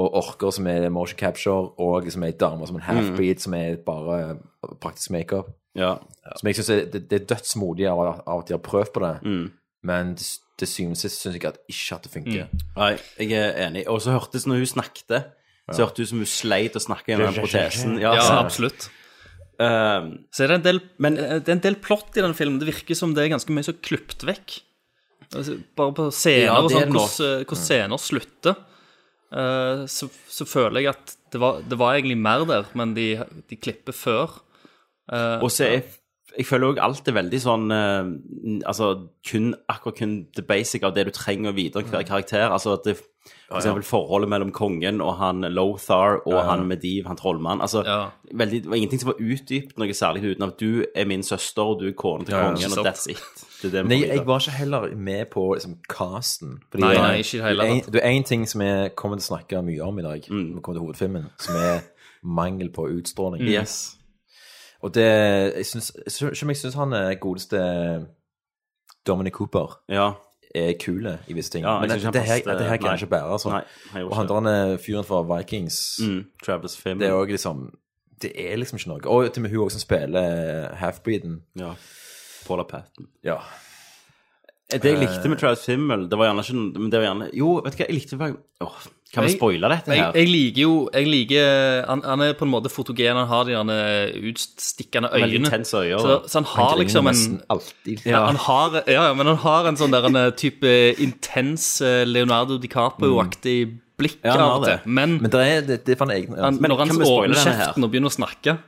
[SPEAKER 9] og orker som er motion capture, og liksom ei dame som er
[SPEAKER 1] Mm.
[SPEAKER 9] en half-breed som er bare praktisk makeup.
[SPEAKER 1] Ja.
[SPEAKER 9] Som jeg syns er, det, det er dødsmodig av, av at de har prøvd på det,
[SPEAKER 1] Mm.
[SPEAKER 9] men til s- til syvende og sist syns jeg at ikke at det funker.
[SPEAKER 1] Nei, jeg er enig. Og så hørtes når hun snakket, så
[SPEAKER 9] Ja.
[SPEAKER 1] hørtes det ut som hun sleit og snakket gjennom den protesen. Eh,
[SPEAKER 10] Ja,
[SPEAKER 1] så-
[SPEAKER 10] absolutt. eh, så er det, en del, men, det er en del plott i den filmen. Det virker som det er ganske mye som er klippet vekk. Altså, Bare på scener
[SPEAKER 1] Ja,
[SPEAKER 10] og
[SPEAKER 1] det er
[SPEAKER 10] sånn,
[SPEAKER 1] det nok.
[SPEAKER 10] hvordan, hvordan scener slutter, eh, så, så føler jeg at det var, det var egentlig mer der, men de, de klipper før. Eh,
[SPEAKER 1] Og så er jeg føler òg alt er veldig sånn eh, Altså kun, akkurat kun the basic av det du trenger å vite om hver karakter. Altså at det, for eksempel forholdet mellom kongen og han Lothar og
[SPEAKER 9] Ja, ja.
[SPEAKER 1] han Mediv, han trollmann. Altså, veldig, det var ingenting som var utdypt noe særlig utenom at du er min søster og du er kona til
[SPEAKER 9] Ja, ja.
[SPEAKER 1] kongen,
[SPEAKER 9] Ikke
[SPEAKER 1] og
[SPEAKER 9] sant.
[SPEAKER 1] that's it. Det er det vi
[SPEAKER 9] Nei,
[SPEAKER 1] får vite.
[SPEAKER 9] jeg var ikke heller med på liksom, casten.
[SPEAKER 1] Nei,
[SPEAKER 9] det er-
[SPEAKER 1] nei, ikke Mm. i det hele
[SPEAKER 9] det er-
[SPEAKER 1] tatt.
[SPEAKER 9] Det er én ting som jeg kommer til å snakke mye om i dag, når vi kommer til hovedfilmen, som
[SPEAKER 1] <laughs>
[SPEAKER 9] er mangel på utstråling.
[SPEAKER 1] Mm. Yes.
[SPEAKER 9] Og det jeg syns, jeg syns- Selv om jeg syns han er godeste Dominic Cooper er kule i visse ting,
[SPEAKER 1] Ja, jeg
[SPEAKER 9] men
[SPEAKER 1] synes
[SPEAKER 9] dette
[SPEAKER 1] han
[SPEAKER 9] det her,
[SPEAKER 1] passer-
[SPEAKER 9] dette her kan
[SPEAKER 1] nei.
[SPEAKER 9] jeg ikke bære. Altså.
[SPEAKER 1] Nei, han gjorde
[SPEAKER 9] og han
[SPEAKER 1] ikke
[SPEAKER 9] der fyren fra Vikings
[SPEAKER 1] Mm, Travis Fimmel.
[SPEAKER 9] Det er òg liksom Det er liksom ikke noe. Og til og med hun også som spiller eh, halfbreeden.
[SPEAKER 1] Ja. Paula Patton. Eh,
[SPEAKER 9] Ja.
[SPEAKER 1] Det jeg likte
[SPEAKER 9] Eh.
[SPEAKER 1] med Travis Fimmel, det var gjerne ikke men det var gjerne, Jo, vet du hva, jeg likte faktisk Åh, Kan vi
[SPEAKER 10] Jeg-
[SPEAKER 1] spoile dette her?
[SPEAKER 10] Jeg, jeg liker jo jeg liker, han, han er på en måte fotogen. Han har de gjerne utstikkende
[SPEAKER 1] Veldig
[SPEAKER 10] øyene.
[SPEAKER 1] intense øyne,
[SPEAKER 10] så,
[SPEAKER 1] da.
[SPEAKER 10] så han
[SPEAKER 1] Han
[SPEAKER 10] har
[SPEAKER 1] griner
[SPEAKER 10] liksom en
[SPEAKER 1] nesten alltid.
[SPEAKER 10] Ja, han har, ja, ja, men han har en sånn der en type intens eh, Leonardo DiCaprio-aktig
[SPEAKER 1] Mm.
[SPEAKER 10] blikk
[SPEAKER 9] Ja, han har
[SPEAKER 10] av og
[SPEAKER 9] det.
[SPEAKER 10] til. Men,
[SPEAKER 9] Men det er, det, det er for en egen altså,
[SPEAKER 10] han, når han åpner kjeften og begynner å snakke,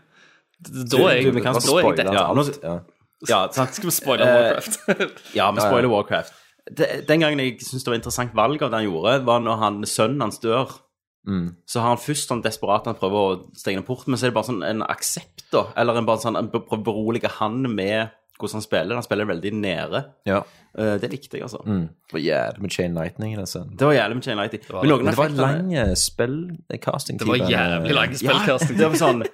[SPEAKER 10] d- da er jeg,
[SPEAKER 1] Du, vi
[SPEAKER 10] da
[SPEAKER 1] kan
[SPEAKER 10] er jeg
[SPEAKER 1] spoile
[SPEAKER 10] dette. <laughs>
[SPEAKER 1] ja, nå- <laughs> ja, sant.
[SPEAKER 10] Skal vi spoile Warcraft?
[SPEAKER 1] Eh, ja, vi spoiler Warcraft. Det- Den gangen jeg syntes det var et interessant valg av det han gjorde, var når han, sønnen hans dør.
[SPEAKER 9] Mm.
[SPEAKER 1] Så har han først sånn desperat han prøver å stenge porten, men så er det bare sånn en aksept, da. Eller en bare sånn, han prøver å berolige han med hvordan han spiller. Han spiller veldig nede.
[SPEAKER 9] Ja.
[SPEAKER 1] Eh, Det likte jeg, altså.
[SPEAKER 9] Mm. Det var jævlig med Chain Lightning i den scenen.
[SPEAKER 1] Det var jævlig med Chain Lighting.
[SPEAKER 9] Men noen Men det var en
[SPEAKER 1] sånn-
[SPEAKER 9] lang eh, spillcasting.
[SPEAKER 1] Det var jævlig lang <laughs> spillcasting.
[SPEAKER 9] Ja, det var sånn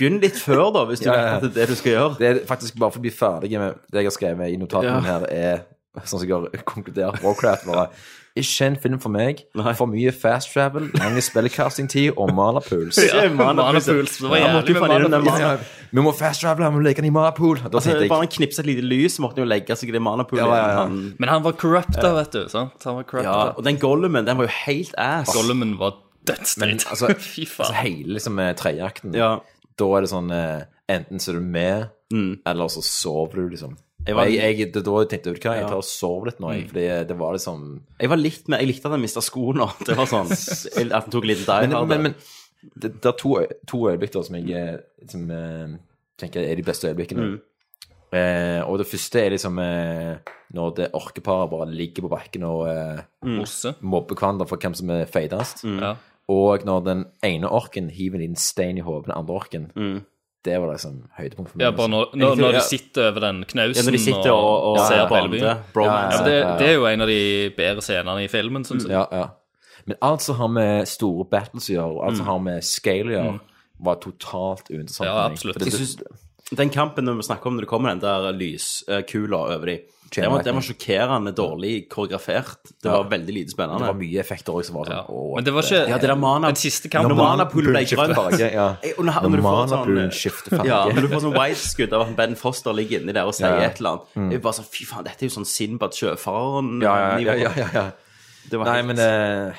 [SPEAKER 1] Begynn litt før, da, hvis du
[SPEAKER 9] Ja, ja.
[SPEAKER 1] vet at det er det du skal gjøre.
[SPEAKER 9] Det er faktisk bare for å bli ferdig med det jeg har skrevet i notatene
[SPEAKER 1] Ja.
[SPEAKER 9] her, er sånn som jeg har <laughs> konkludert Warcraft bare Ikke en film for meg. For mye fast travel, lang spillcasting-tid og malerpuls.
[SPEAKER 1] Ja, Manapuls. Det var
[SPEAKER 9] Ja,
[SPEAKER 1] jævlig
[SPEAKER 9] måtte jo
[SPEAKER 1] med
[SPEAKER 9] faen inn i den
[SPEAKER 1] Manapuls.
[SPEAKER 9] Mana- Vi må fast travele, vi må leke den i malerpool. Da
[SPEAKER 1] Altså,
[SPEAKER 9] tenkte
[SPEAKER 1] bare
[SPEAKER 9] jeg
[SPEAKER 1] han knipset et lite lys, så måtte han jo legge seg i det manapoolet.
[SPEAKER 9] Ja, ja, ja.
[SPEAKER 10] Men han var corrupta, vet du. sant? Han var corrupta.
[SPEAKER 1] Ja, og den Gollumen, den var jo helt ass.
[SPEAKER 10] Gollumen var
[SPEAKER 1] <laughs>
[SPEAKER 10] dødsdritt.
[SPEAKER 9] altså,
[SPEAKER 10] <laughs> Fy
[SPEAKER 9] altså
[SPEAKER 10] faen.
[SPEAKER 9] hele liksom, eh, trejakten, da er det sånn eh, Enten så er du med, eller så sover du, liksom.
[SPEAKER 1] Mm. Jeg
[SPEAKER 9] Jeg
[SPEAKER 1] var-
[SPEAKER 9] jeg, det er da jeg tenkte vet du hva, jeg
[SPEAKER 1] Ja.
[SPEAKER 9] tar og sover litt nå, jeg,
[SPEAKER 1] Mm.
[SPEAKER 9] fordi det var liksom
[SPEAKER 1] Jeg var litt med, jeg likte at han mista skoene. <laughs> Det var sånn, At han tok litt dive.
[SPEAKER 9] Men, men, men det, det er to, øy- to øyeblikk da som jeg eh, som, eh, tenker er de beste øyeblikkene.
[SPEAKER 1] Mm.
[SPEAKER 9] Eh, og det første er liksom eh, når det orkeparet bare ligger på bakken og eh,
[SPEAKER 10] Mm. Mosse.
[SPEAKER 9] mobber hverandre for hvem som er feitest.
[SPEAKER 10] Mm. Ja.
[SPEAKER 9] Og når den ene orken hiver en liten stein i hodet på den andre orken.
[SPEAKER 1] Mm.
[SPEAKER 9] Det var liksom høydepunkt for meg.
[SPEAKER 10] Ja, bare når,
[SPEAKER 9] altså.
[SPEAKER 10] når, når
[SPEAKER 9] Ja.
[SPEAKER 10] de sitter over den knausen
[SPEAKER 9] Ja, når de sitter og- og
[SPEAKER 10] ser
[SPEAKER 9] ser
[SPEAKER 10] på
[SPEAKER 9] på
[SPEAKER 10] hele byen.
[SPEAKER 9] andre. Bromance.
[SPEAKER 10] Ja, men det,
[SPEAKER 9] Ja, ja, ja.
[SPEAKER 10] det er jo en av de bedre scenene i filmen, sånn syns jeg.
[SPEAKER 9] Ja, ja. Men alt som har med store battles å gjøre, og alt som
[SPEAKER 1] Mm.
[SPEAKER 9] har med scale å gjøre,
[SPEAKER 1] Mm.
[SPEAKER 9] var totalt uinteressant.
[SPEAKER 1] Ja,
[SPEAKER 9] for meg.
[SPEAKER 1] absolutt.
[SPEAKER 9] For det-
[SPEAKER 1] Jeg synes den kampen vi snakker om når det kommer den der lyskula over dem, den var, den var sjokkerende dårlig koreografert. Det var
[SPEAKER 9] Ja.
[SPEAKER 1] veldig lite spennende.
[SPEAKER 9] Det var mye effekter òg som var sånn åh,
[SPEAKER 1] Men det var ikke-
[SPEAKER 9] Ja, det der mana,
[SPEAKER 1] den siste kampen-
[SPEAKER 9] Når
[SPEAKER 1] Manapulen ble
[SPEAKER 9] skifter
[SPEAKER 1] grønt.
[SPEAKER 9] <laughs> farge, ja.
[SPEAKER 1] Jeg- og når- når du får sånn-
[SPEAKER 9] Manapulen skifter farge.
[SPEAKER 1] <laughs> Ja, når du får sånn wideskudd av at Ben Foster ligger inni der og sier
[SPEAKER 9] Ja, ja.
[SPEAKER 1] et eller annet.
[SPEAKER 9] Mm.
[SPEAKER 1] Det er bare sånn, fy faen, dette er jo sånn Sinbad sjøfareren-nivå.
[SPEAKER 9] Ja, ja, ja, ja, ja, ja.
[SPEAKER 1] Det var
[SPEAKER 9] Nei,
[SPEAKER 1] helt-
[SPEAKER 9] men eh,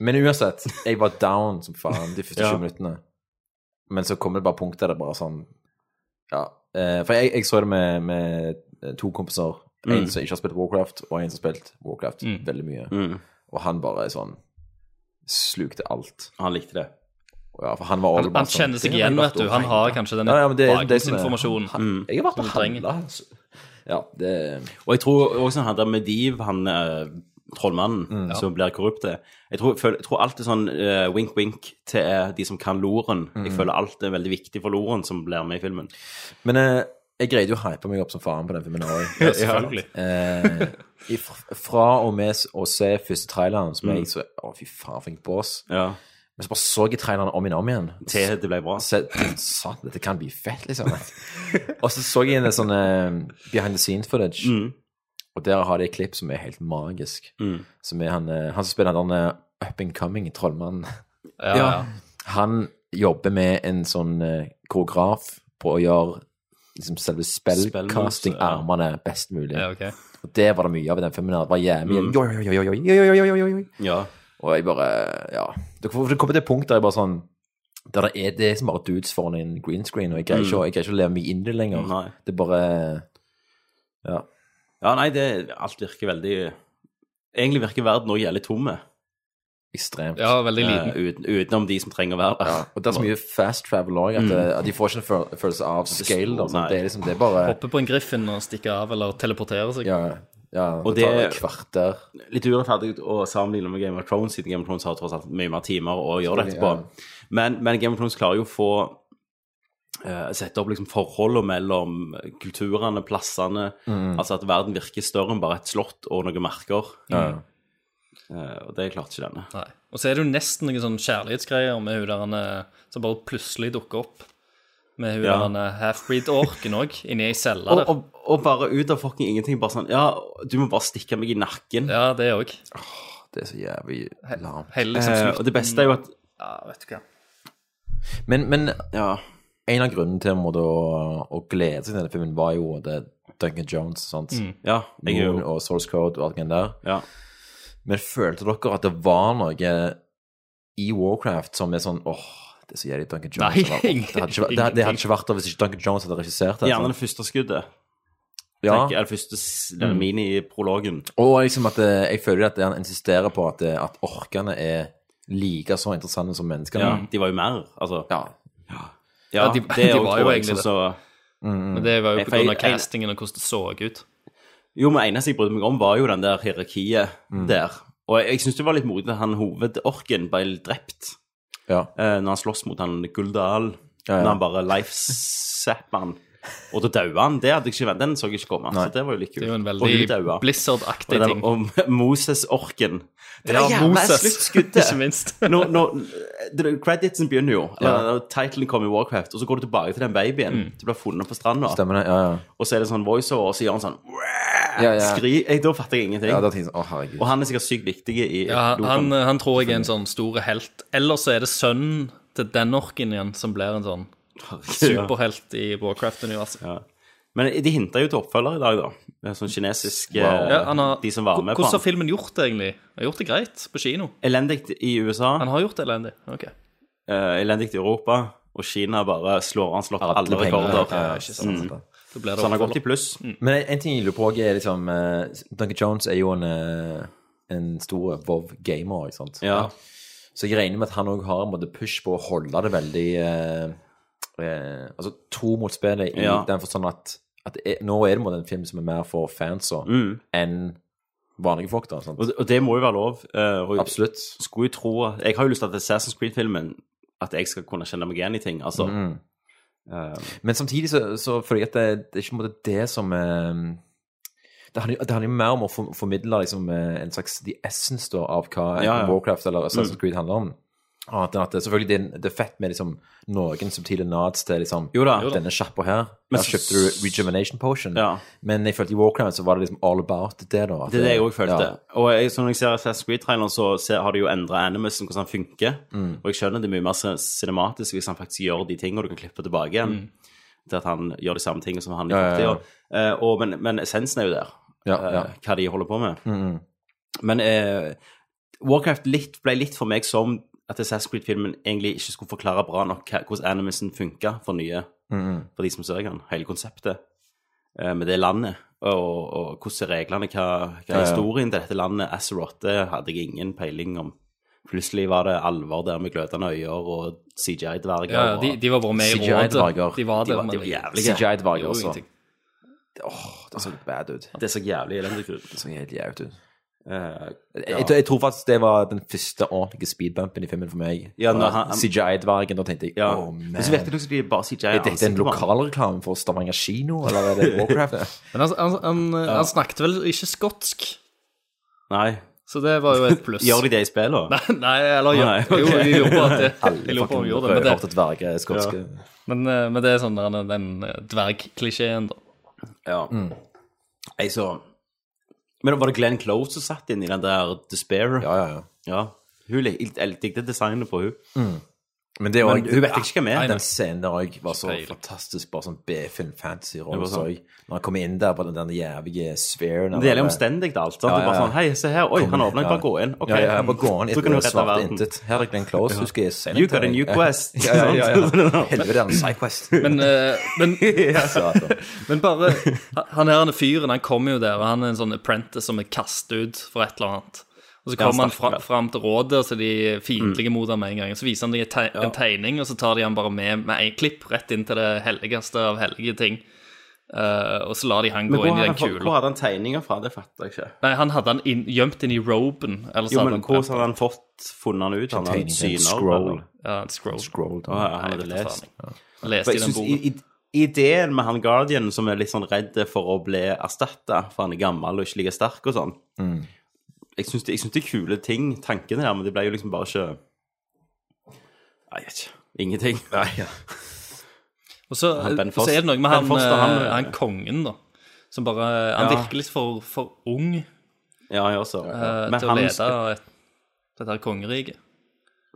[SPEAKER 9] Men uansett, jeg var down som faen de første
[SPEAKER 1] Ja.
[SPEAKER 9] 20 minuttene. Men så kom det bare punkt der det bare sånn Ja. eh, for jeg, jeg så det med, med to kompiser. En
[SPEAKER 1] Mm.
[SPEAKER 9] som ikke har spilt Warcraft, og en som har spilt Warcraft veldig mye.
[SPEAKER 1] Mm.
[SPEAKER 9] Og han bare er sånn Slukte alt.
[SPEAKER 1] Han likte det.
[SPEAKER 9] Ja, for han var
[SPEAKER 10] Han-
[SPEAKER 9] all
[SPEAKER 10] han
[SPEAKER 9] bare sånn,
[SPEAKER 10] kjenner seg
[SPEAKER 9] "Det har
[SPEAKER 10] igjen,
[SPEAKER 9] jeg vært
[SPEAKER 10] vet du.
[SPEAKER 9] og
[SPEAKER 10] Han har
[SPEAKER 9] handlet."
[SPEAKER 10] kanskje den
[SPEAKER 9] Ja, ja, men det- det er sånn- det som er-
[SPEAKER 10] bakgrunnsinformasjonen.
[SPEAKER 9] Han- Jeg har vært og
[SPEAKER 10] trenger.
[SPEAKER 9] handla. Ja, det
[SPEAKER 1] Og jeg tror også han der Mediv, han eh, trollmannen
[SPEAKER 9] Mm.
[SPEAKER 1] som blir korrupt, eh, jeg tror, føl- jeg tror alt er sånn wink-wink til eh, de som kan loren.
[SPEAKER 9] Mm.
[SPEAKER 1] Jeg føler alt er veldig viktig for loren som blir med i filmen.
[SPEAKER 9] Men eh, jeg greide jo å hype meg opp som faen på den filmen òg.
[SPEAKER 1] <laughs> Ja, selvfølgelig.
[SPEAKER 9] <laughs> Eh, i fr- fra og med s- å se første traileren, som
[SPEAKER 1] Mm.
[SPEAKER 9] jeg så Å, fy faen, for en bås.
[SPEAKER 1] Ja.
[SPEAKER 9] Men så bare så jeg traileren om igjen og om igjen.
[SPEAKER 1] Til det ble bra.
[SPEAKER 9] Så, satan, dette kan bli fett, liksom. og så så jeg en sånn eh, behind the scenes footage.
[SPEAKER 10] Mm.
[SPEAKER 9] Og der har de et klipp som er helt magisk.
[SPEAKER 1] Mm.
[SPEAKER 9] Som er han, eh, han som spiller den der up and coming trollmannen.
[SPEAKER 10] Ja, ja.
[SPEAKER 9] Han jobber med en sånn eh, koreograf på å gjøre liksom, selve spellcasting-armene best mulig.
[SPEAKER 10] Ja, ok.
[SPEAKER 9] Og det var det mye av i den filmen. her. Det var jævlig
[SPEAKER 10] Mm.
[SPEAKER 9] jo, jo, jo, jo, jo, jo, jo, jo, jo.
[SPEAKER 1] Ja.
[SPEAKER 9] Og jeg bare Ja. Det kom- det kommer til et punkt der jeg bare sånn der det er det er som bare dudes foran en
[SPEAKER 1] Mm.
[SPEAKER 9] green screen, og jeg greier ikke, å- jeg greier ikke å leve meg inn i det lenger.
[SPEAKER 1] Nei.
[SPEAKER 9] Det er bare Ja.
[SPEAKER 1] Ja, nei, det, alt virker veldig Egentlig virker verden også jævlig tomme.
[SPEAKER 9] Ekstremt.
[SPEAKER 10] Ja, veldig liten.
[SPEAKER 1] Eh, uten, utenom de som trenger å være der.
[SPEAKER 9] Og det er så mye fast travel òg, at,
[SPEAKER 1] Mm.
[SPEAKER 9] det- at de får ikke en føl- følelse av scale. Da, sånn.
[SPEAKER 1] Nei.
[SPEAKER 9] det, er liksom, det er bare
[SPEAKER 10] Hoppe på en griffin og stikke av, eller teleportere seg.
[SPEAKER 9] Ja, ja
[SPEAKER 1] Og
[SPEAKER 9] det tar
[SPEAKER 1] det-
[SPEAKER 9] et kvarter.
[SPEAKER 1] litt urettferdig å sammenligne med Game of Thrones, siden Game of Thrones har tross alt mye mer timer å gjøre det
[SPEAKER 9] Selvfølgelig,
[SPEAKER 1] etterpå. Men, men Game of Thrones klarer jo å få eh, sette opp liksom forholdene mellom kulturene, plassene.
[SPEAKER 9] Mm.
[SPEAKER 1] Altså at verden virker større enn bare et slott og noen merker.
[SPEAKER 9] Ja.
[SPEAKER 1] Eh, og det klarte ikke denne.
[SPEAKER 10] Nei. Og så er det jo nesten noen sånne kjærlighetsgreier med hun der han, eh, som bare plutselig dukker opp. Med hun
[SPEAKER 1] Ja.
[SPEAKER 10] der han, eh, half-breed-orken òg, inni ei celle
[SPEAKER 1] Og,
[SPEAKER 10] der.
[SPEAKER 1] og, og bare ut av fucking ingenting. Bare sånn Ja, du må bare stikke meg i nakken.
[SPEAKER 10] Ja, det òg.
[SPEAKER 9] Det er så jævlig lamt.
[SPEAKER 10] Hele liksom
[SPEAKER 9] Eh.
[SPEAKER 10] slutten.
[SPEAKER 1] Eh, og det beste er jo at
[SPEAKER 10] Ja, vet du hva.
[SPEAKER 9] Men, men en av grunnene til en måte å, å glede seg til denne filmen, var jo det Duncan Jones sant?
[SPEAKER 1] Mm. Ja, jeg er jo-
[SPEAKER 9] Moon og Source Code og alt det der.
[SPEAKER 1] Ja.
[SPEAKER 9] Men følte dere at det var noe i Warcraft som er sånn åh, det er så jævlig Duncan Jones.
[SPEAKER 1] Nei,
[SPEAKER 9] Eller, «Åh, det, hadde ikke, vært- det, det hadde ikke vært der hvis ikke Duncan Jones hadde regissert det.
[SPEAKER 1] Gjerne
[SPEAKER 9] sant?»
[SPEAKER 1] det første skuddet.
[SPEAKER 9] Ja.
[SPEAKER 1] Tenker, eller første s- denne
[SPEAKER 9] Mm.
[SPEAKER 1] mini-prologen.
[SPEAKER 9] Og liksom at eh, jeg føler at han insisterer på at, eh, at orkene er like så interessante som menneskene.
[SPEAKER 1] Ja, de var jo mer, altså.
[SPEAKER 9] Ja,
[SPEAKER 1] ja,
[SPEAKER 10] Ja, de-
[SPEAKER 1] det
[SPEAKER 10] de
[SPEAKER 1] er jo-
[SPEAKER 10] var jo
[SPEAKER 1] tror jeg,
[SPEAKER 10] egentlig
[SPEAKER 1] sånn
[SPEAKER 10] det.
[SPEAKER 1] så-
[SPEAKER 10] Men det var jo
[SPEAKER 9] Mm.
[SPEAKER 1] For jeg-
[SPEAKER 10] pga. castingen og hvordan det så ut.
[SPEAKER 1] Jo, men eneste jeg brydde meg om, var jo den der hierarkiet
[SPEAKER 10] Mm.
[SPEAKER 1] der. Og jeg, jeg syns det var litt modig at han hovedorken ble drept
[SPEAKER 9] Ja.
[SPEAKER 1] eh, når han slåss mot han Guldal.
[SPEAKER 9] Ja, ja.
[SPEAKER 1] Når han bare lifesapper han. Og da daua han. Det hadde jeg ikke ventet. Den så jeg ikke komme.
[SPEAKER 9] Nei.
[SPEAKER 1] Så det var jo litt kult.
[SPEAKER 10] Det er jo en veldig
[SPEAKER 1] Og hun daua.
[SPEAKER 10] Blizzard-aktig
[SPEAKER 1] Og den-
[SPEAKER 10] ting.
[SPEAKER 1] Og Moses-orken. Det
[SPEAKER 10] Ja,
[SPEAKER 1] var jævla
[SPEAKER 10] Moses,
[SPEAKER 1] sluttskuddet.
[SPEAKER 10] <laughs> ikke minst.
[SPEAKER 1] når, når, det- creditsen begynner jo.
[SPEAKER 9] Ja. Mm.
[SPEAKER 1] Eller, Titlen kommer i Warcraft, og så går du tilbake til den babyen. Du blir funnet på stranda.
[SPEAKER 9] Stemmer det? Ja, ja.
[SPEAKER 1] Og så er det sånn voiceover, og så gjør han sånn
[SPEAKER 9] Ja, ja.
[SPEAKER 1] Skri, jeg, Da fatter jeg ingenting.
[SPEAKER 9] ja da tenkte jeg sånn, å herregud.
[SPEAKER 1] og han er sikkert sykt viktig i
[SPEAKER 10] Ja, han,
[SPEAKER 1] Logan. <laughs>
[SPEAKER 10] han tror jeg er en sånn store helt. Eller så er det sønnen til den orken igjen som blir en sånn superhelt i Warcraft-universet.
[SPEAKER 1] Ja. Men de hinta jo til oppfølger i dag, da. Sånn kinesisk eh,
[SPEAKER 10] Ja, han har,
[SPEAKER 1] De som var med på
[SPEAKER 10] hvordan har
[SPEAKER 1] han.
[SPEAKER 10] filmen gjort det, egentlig? Han har gjort det greit på kino.
[SPEAKER 1] Elendig i USA,
[SPEAKER 10] Han har gjort det elendig. Ok.
[SPEAKER 1] eh, elendig i Europa, og Kina bare slår han slår alle
[SPEAKER 9] penger,
[SPEAKER 1] rekorder. Mm.
[SPEAKER 9] ja, ikke sant, sant, sant.
[SPEAKER 10] Da blir det
[SPEAKER 1] Så han har
[SPEAKER 10] oppfølger.
[SPEAKER 1] gått i pluss.
[SPEAKER 10] Mm.
[SPEAKER 9] Men en- en ting jeg lurer på også er liksom eh, Duncan Jones er jo en, eh, en stor Vov-gamer, ikke sant?
[SPEAKER 1] Ja.
[SPEAKER 9] Så jeg regner med at han òg har en måte push på å holde det veldig eh, eh, Altså tro mot spillet i
[SPEAKER 1] Ja.
[SPEAKER 9] den forstand at, at det er, nå er det på en måte en film som er mer for fans og,
[SPEAKER 1] Mm.
[SPEAKER 9] enn vanlige folk, da. Sant?
[SPEAKER 1] Og, og det må jo være lov. eh, og
[SPEAKER 9] Absolutt.
[SPEAKER 1] Skulle jo tro Jeg har jo lyst til at Assassin's Creed-filmen At jeg skal kunne kjenne meg igjen i ting. Altså.
[SPEAKER 9] Mm.
[SPEAKER 1] eh,
[SPEAKER 9] Men samtidig så, så føler jeg at det, det er ikke på en måte det som eh, det handler, det handler jo mer om å for- formidle liksom, eh, en slags the essence da, av hva enten
[SPEAKER 1] Ja, ja.
[SPEAKER 9] Warcraft eller Assassin's
[SPEAKER 1] Mm.
[SPEAKER 9] Creed handler om. Og At, at det, selvfølgelig det, er- det er fett med liksom, noen subtile nods til liksom,
[SPEAKER 1] Jo da. Jo da.
[SPEAKER 9] denne sjappa her.
[SPEAKER 1] Men
[SPEAKER 9] Her
[SPEAKER 1] så-
[SPEAKER 9] kjøpte du Rejuvenation Potion.
[SPEAKER 1] Ja.
[SPEAKER 9] Men jeg følte i Warcraft så var det liksom all about det. da. At
[SPEAKER 1] Det er det jeg òg følte.
[SPEAKER 9] Ja.
[SPEAKER 1] Og jeg, så når jeg ser Assassin's Creed-traileren, så ser, har de jo endra animusen, hvordan han funker.
[SPEAKER 9] Mm.
[SPEAKER 1] Og jeg skjønner det er mye mer cin- cinematisk hvis han faktisk gjør de tingene, og du kan klippe tilbake igjen til at han gjør de samme tingene som han i
[SPEAKER 9] Mm. Ja, ja, ja.
[SPEAKER 1] fortida. Eh, og- Men, men essensen er jo der,
[SPEAKER 9] Ja, ja.
[SPEAKER 1] eh, hva de holder på med.
[SPEAKER 9] Mm,
[SPEAKER 1] Men eh, Warcraft litt, ble litt for meg som at Assassin's Creed-filmen egentlig ikke skulle forklare bra nok hva, hvordan animusen funka for nye,
[SPEAKER 9] mm, mm.
[SPEAKER 1] for de som ser den, hele konseptet eh, med det landet. Og, og hvordan er reglene, hva, hva
[SPEAKER 9] Ja, ja.
[SPEAKER 1] er historien til dette landet? Azeroth det hadde jeg ingen peiling om. Plutselig var det alvor der med glødende øyer og CGI-dverger.
[SPEAKER 10] Ja, ja, de, de var bare med i rådet.
[SPEAKER 9] CGI-dverger.
[SPEAKER 10] De var
[SPEAKER 1] De var-
[SPEAKER 10] der,
[SPEAKER 1] de var jævlige.
[SPEAKER 9] CGI-dverger
[SPEAKER 10] Det gjorde
[SPEAKER 9] også.
[SPEAKER 10] ingenting.
[SPEAKER 9] Åh, det så bad ut.
[SPEAKER 1] Det så jævlig elendig ut.
[SPEAKER 9] Det så helt jævlig ut.
[SPEAKER 1] Eh,
[SPEAKER 9] Jeg, jeg tror faktisk det var den første ordentlige speedbumpen i filmen for meg.
[SPEAKER 1] Ja, når
[SPEAKER 9] Når
[SPEAKER 1] han-
[SPEAKER 9] CGI-dvergen. Da tenkte jeg
[SPEAKER 1] ja.
[SPEAKER 9] oh man.
[SPEAKER 1] Men så virket det som de bare CGI
[SPEAKER 9] Er dette en
[SPEAKER 1] ansiktet på han.
[SPEAKER 9] lokalreklame for Stavanger kino, eller er det
[SPEAKER 1] <laughs>
[SPEAKER 9] Warcraft?
[SPEAKER 10] Men han, han, han, han snakket vel ikke skotsk,
[SPEAKER 1] Nei.
[SPEAKER 10] så det var
[SPEAKER 1] <laughs>
[SPEAKER 10] jo et pluss.
[SPEAKER 1] Gjør de det i spillet?
[SPEAKER 10] <laughs> Nei, eller
[SPEAKER 1] Nei,
[SPEAKER 10] jo,
[SPEAKER 1] ok.
[SPEAKER 10] jeg lurer på at
[SPEAKER 1] <laughs>
[SPEAKER 10] det, jeg
[SPEAKER 9] Alle
[SPEAKER 10] lurer på om
[SPEAKER 9] fucking
[SPEAKER 10] vi gjorde det, men det
[SPEAKER 9] rødhårte dverger er eh, skotske.
[SPEAKER 10] Men, eh, men det er sånn den, den eh, dvergklisjeen, da.
[SPEAKER 1] Ja.
[SPEAKER 9] Mm.
[SPEAKER 1] Jeg så Men var det Glenn Close som satt inn i den der Despair?
[SPEAKER 9] Ja, ja, ja.
[SPEAKER 1] Ja. Hun lik- jeg likte designet på hun.
[SPEAKER 9] Men det er også-
[SPEAKER 1] Men hun vet ikke hvem jeg er.
[SPEAKER 9] Den scenen der òg var så
[SPEAKER 1] Peiling.
[SPEAKER 9] fantastisk, bare sånn B-film fantasy
[SPEAKER 1] Det var
[SPEAKER 9] rolle.
[SPEAKER 1] sånn-
[SPEAKER 9] Sånn. Når han kommer inn der på den, den jævlige sfæren
[SPEAKER 1] Det gjelder omstendig alt. sant? Det er bare sånn, hei, se her, oi, han åpner, bare gå inn. Ok.
[SPEAKER 9] Ja, ja, bare gå inn i
[SPEAKER 1] Så kan du
[SPEAKER 9] et
[SPEAKER 1] redde
[SPEAKER 9] svart
[SPEAKER 1] verden.
[SPEAKER 9] intet. Her er Glenn Close, husker jeg sendte
[SPEAKER 1] You got a
[SPEAKER 9] deg.
[SPEAKER 1] new
[SPEAKER 9] Ja.
[SPEAKER 1] quest.
[SPEAKER 9] Ja, ja,
[SPEAKER 1] <laughs>
[SPEAKER 9] ja, ja.
[SPEAKER 1] Sant?
[SPEAKER 9] Helvete, den
[SPEAKER 1] <laughs>
[SPEAKER 9] sidequest.
[SPEAKER 10] Men, eh, men,
[SPEAKER 9] Satan.
[SPEAKER 10] men bare Han her han er fyren, han kommer jo der, og han er en sånn apprentice som er kastet ut for et eller annet. Og så
[SPEAKER 1] Ja, han
[SPEAKER 10] kommer han
[SPEAKER 1] snakker
[SPEAKER 10] fra,
[SPEAKER 1] vel.
[SPEAKER 10] fram til rådet, og så er de fiendtlige mot ham med en gang. Så viser han dem en te en tegning, og så tar de han bare med med en klipp rett inn til det helligste av hellige ting. Eh, og så lar de han
[SPEAKER 1] Men
[SPEAKER 10] gå
[SPEAKER 1] hvor
[SPEAKER 10] inn i
[SPEAKER 1] hadde
[SPEAKER 10] den
[SPEAKER 1] han fått- hvor
[SPEAKER 10] kula.
[SPEAKER 1] hadde han tegninger fra? Det fatter jeg ikke.
[SPEAKER 10] Nei, han hadde han inn, gjemt inn i roben. Eller så
[SPEAKER 1] Jo,
[SPEAKER 10] hadde
[SPEAKER 1] men
[SPEAKER 10] han-
[SPEAKER 1] hvordan hadde han fått funnet han ut? Han hadde
[SPEAKER 9] tegning,
[SPEAKER 1] syner.
[SPEAKER 9] en scroll.
[SPEAKER 1] eller?
[SPEAKER 10] Ja, en scroll.
[SPEAKER 1] Å, ja, han hadde
[SPEAKER 10] Nei, jeg vet
[SPEAKER 1] lest.
[SPEAKER 10] faen.
[SPEAKER 1] Ja.
[SPEAKER 10] Leste
[SPEAKER 1] For jeg
[SPEAKER 10] i den
[SPEAKER 1] synes i- i- Ideen med han Guardian som er litt sånn redd for å bli erstatta, for han er gammel og ikke like sterk og sånn
[SPEAKER 9] Mm.
[SPEAKER 1] Jeg syns det, jeg synes det er kule ting, tankene der, men det ble jo liksom bare ikke Nei, jeg vet ikke. Ingenting. Nei, ja.
[SPEAKER 10] Og så,
[SPEAKER 1] Han Ben
[SPEAKER 10] så
[SPEAKER 1] Foster-
[SPEAKER 10] er det noe med
[SPEAKER 1] Ben
[SPEAKER 10] han,
[SPEAKER 1] Foster, han-
[SPEAKER 10] eh, han kongen, da. Som bare Han
[SPEAKER 1] Ja.
[SPEAKER 10] virker litt for, for ung
[SPEAKER 1] Ja, jeg også.
[SPEAKER 10] eh,
[SPEAKER 1] Men
[SPEAKER 10] til å
[SPEAKER 1] han-
[SPEAKER 10] lede et, dette her kongeriket.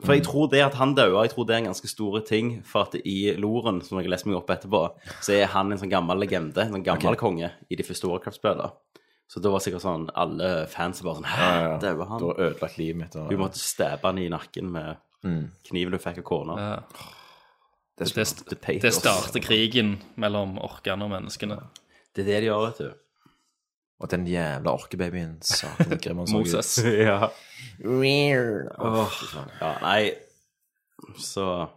[SPEAKER 1] For jeg tror det at han døde, jeg tror det er en ganske stor ting. For at i Loren, som jeg har lest meg opp etterpå, så er han en sånn gammel legende, en sånn gammel
[SPEAKER 9] Ok.
[SPEAKER 1] konge, i de første Warcraft-spillene. Så da var sikkert sånn alle fans bare sånn Hæ,
[SPEAKER 9] Ja, ja.
[SPEAKER 1] døde
[SPEAKER 9] Du
[SPEAKER 1] han?
[SPEAKER 9] har ødelagt livet mitt. og-
[SPEAKER 1] Du måtte stabbe han i nakken med
[SPEAKER 9] Mm.
[SPEAKER 1] kniven du fikk av kona.
[SPEAKER 10] Det,
[SPEAKER 1] Det,
[SPEAKER 10] st-
[SPEAKER 1] det pathos.
[SPEAKER 10] det starter krigen mellom orkene og menneskene.
[SPEAKER 1] Det er det de gjør, vet du.
[SPEAKER 9] Og den jævla
[SPEAKER 1] <laughs>
[SPEAKER 9] orkebabyen. Satan, grim han så ut.
[SPEAKER 10] Moses.
[SPEAKER 1] ja.
[SPEAKER 9] Rear. Åh,
[SPEAKER 1] Åh, ja, nei Så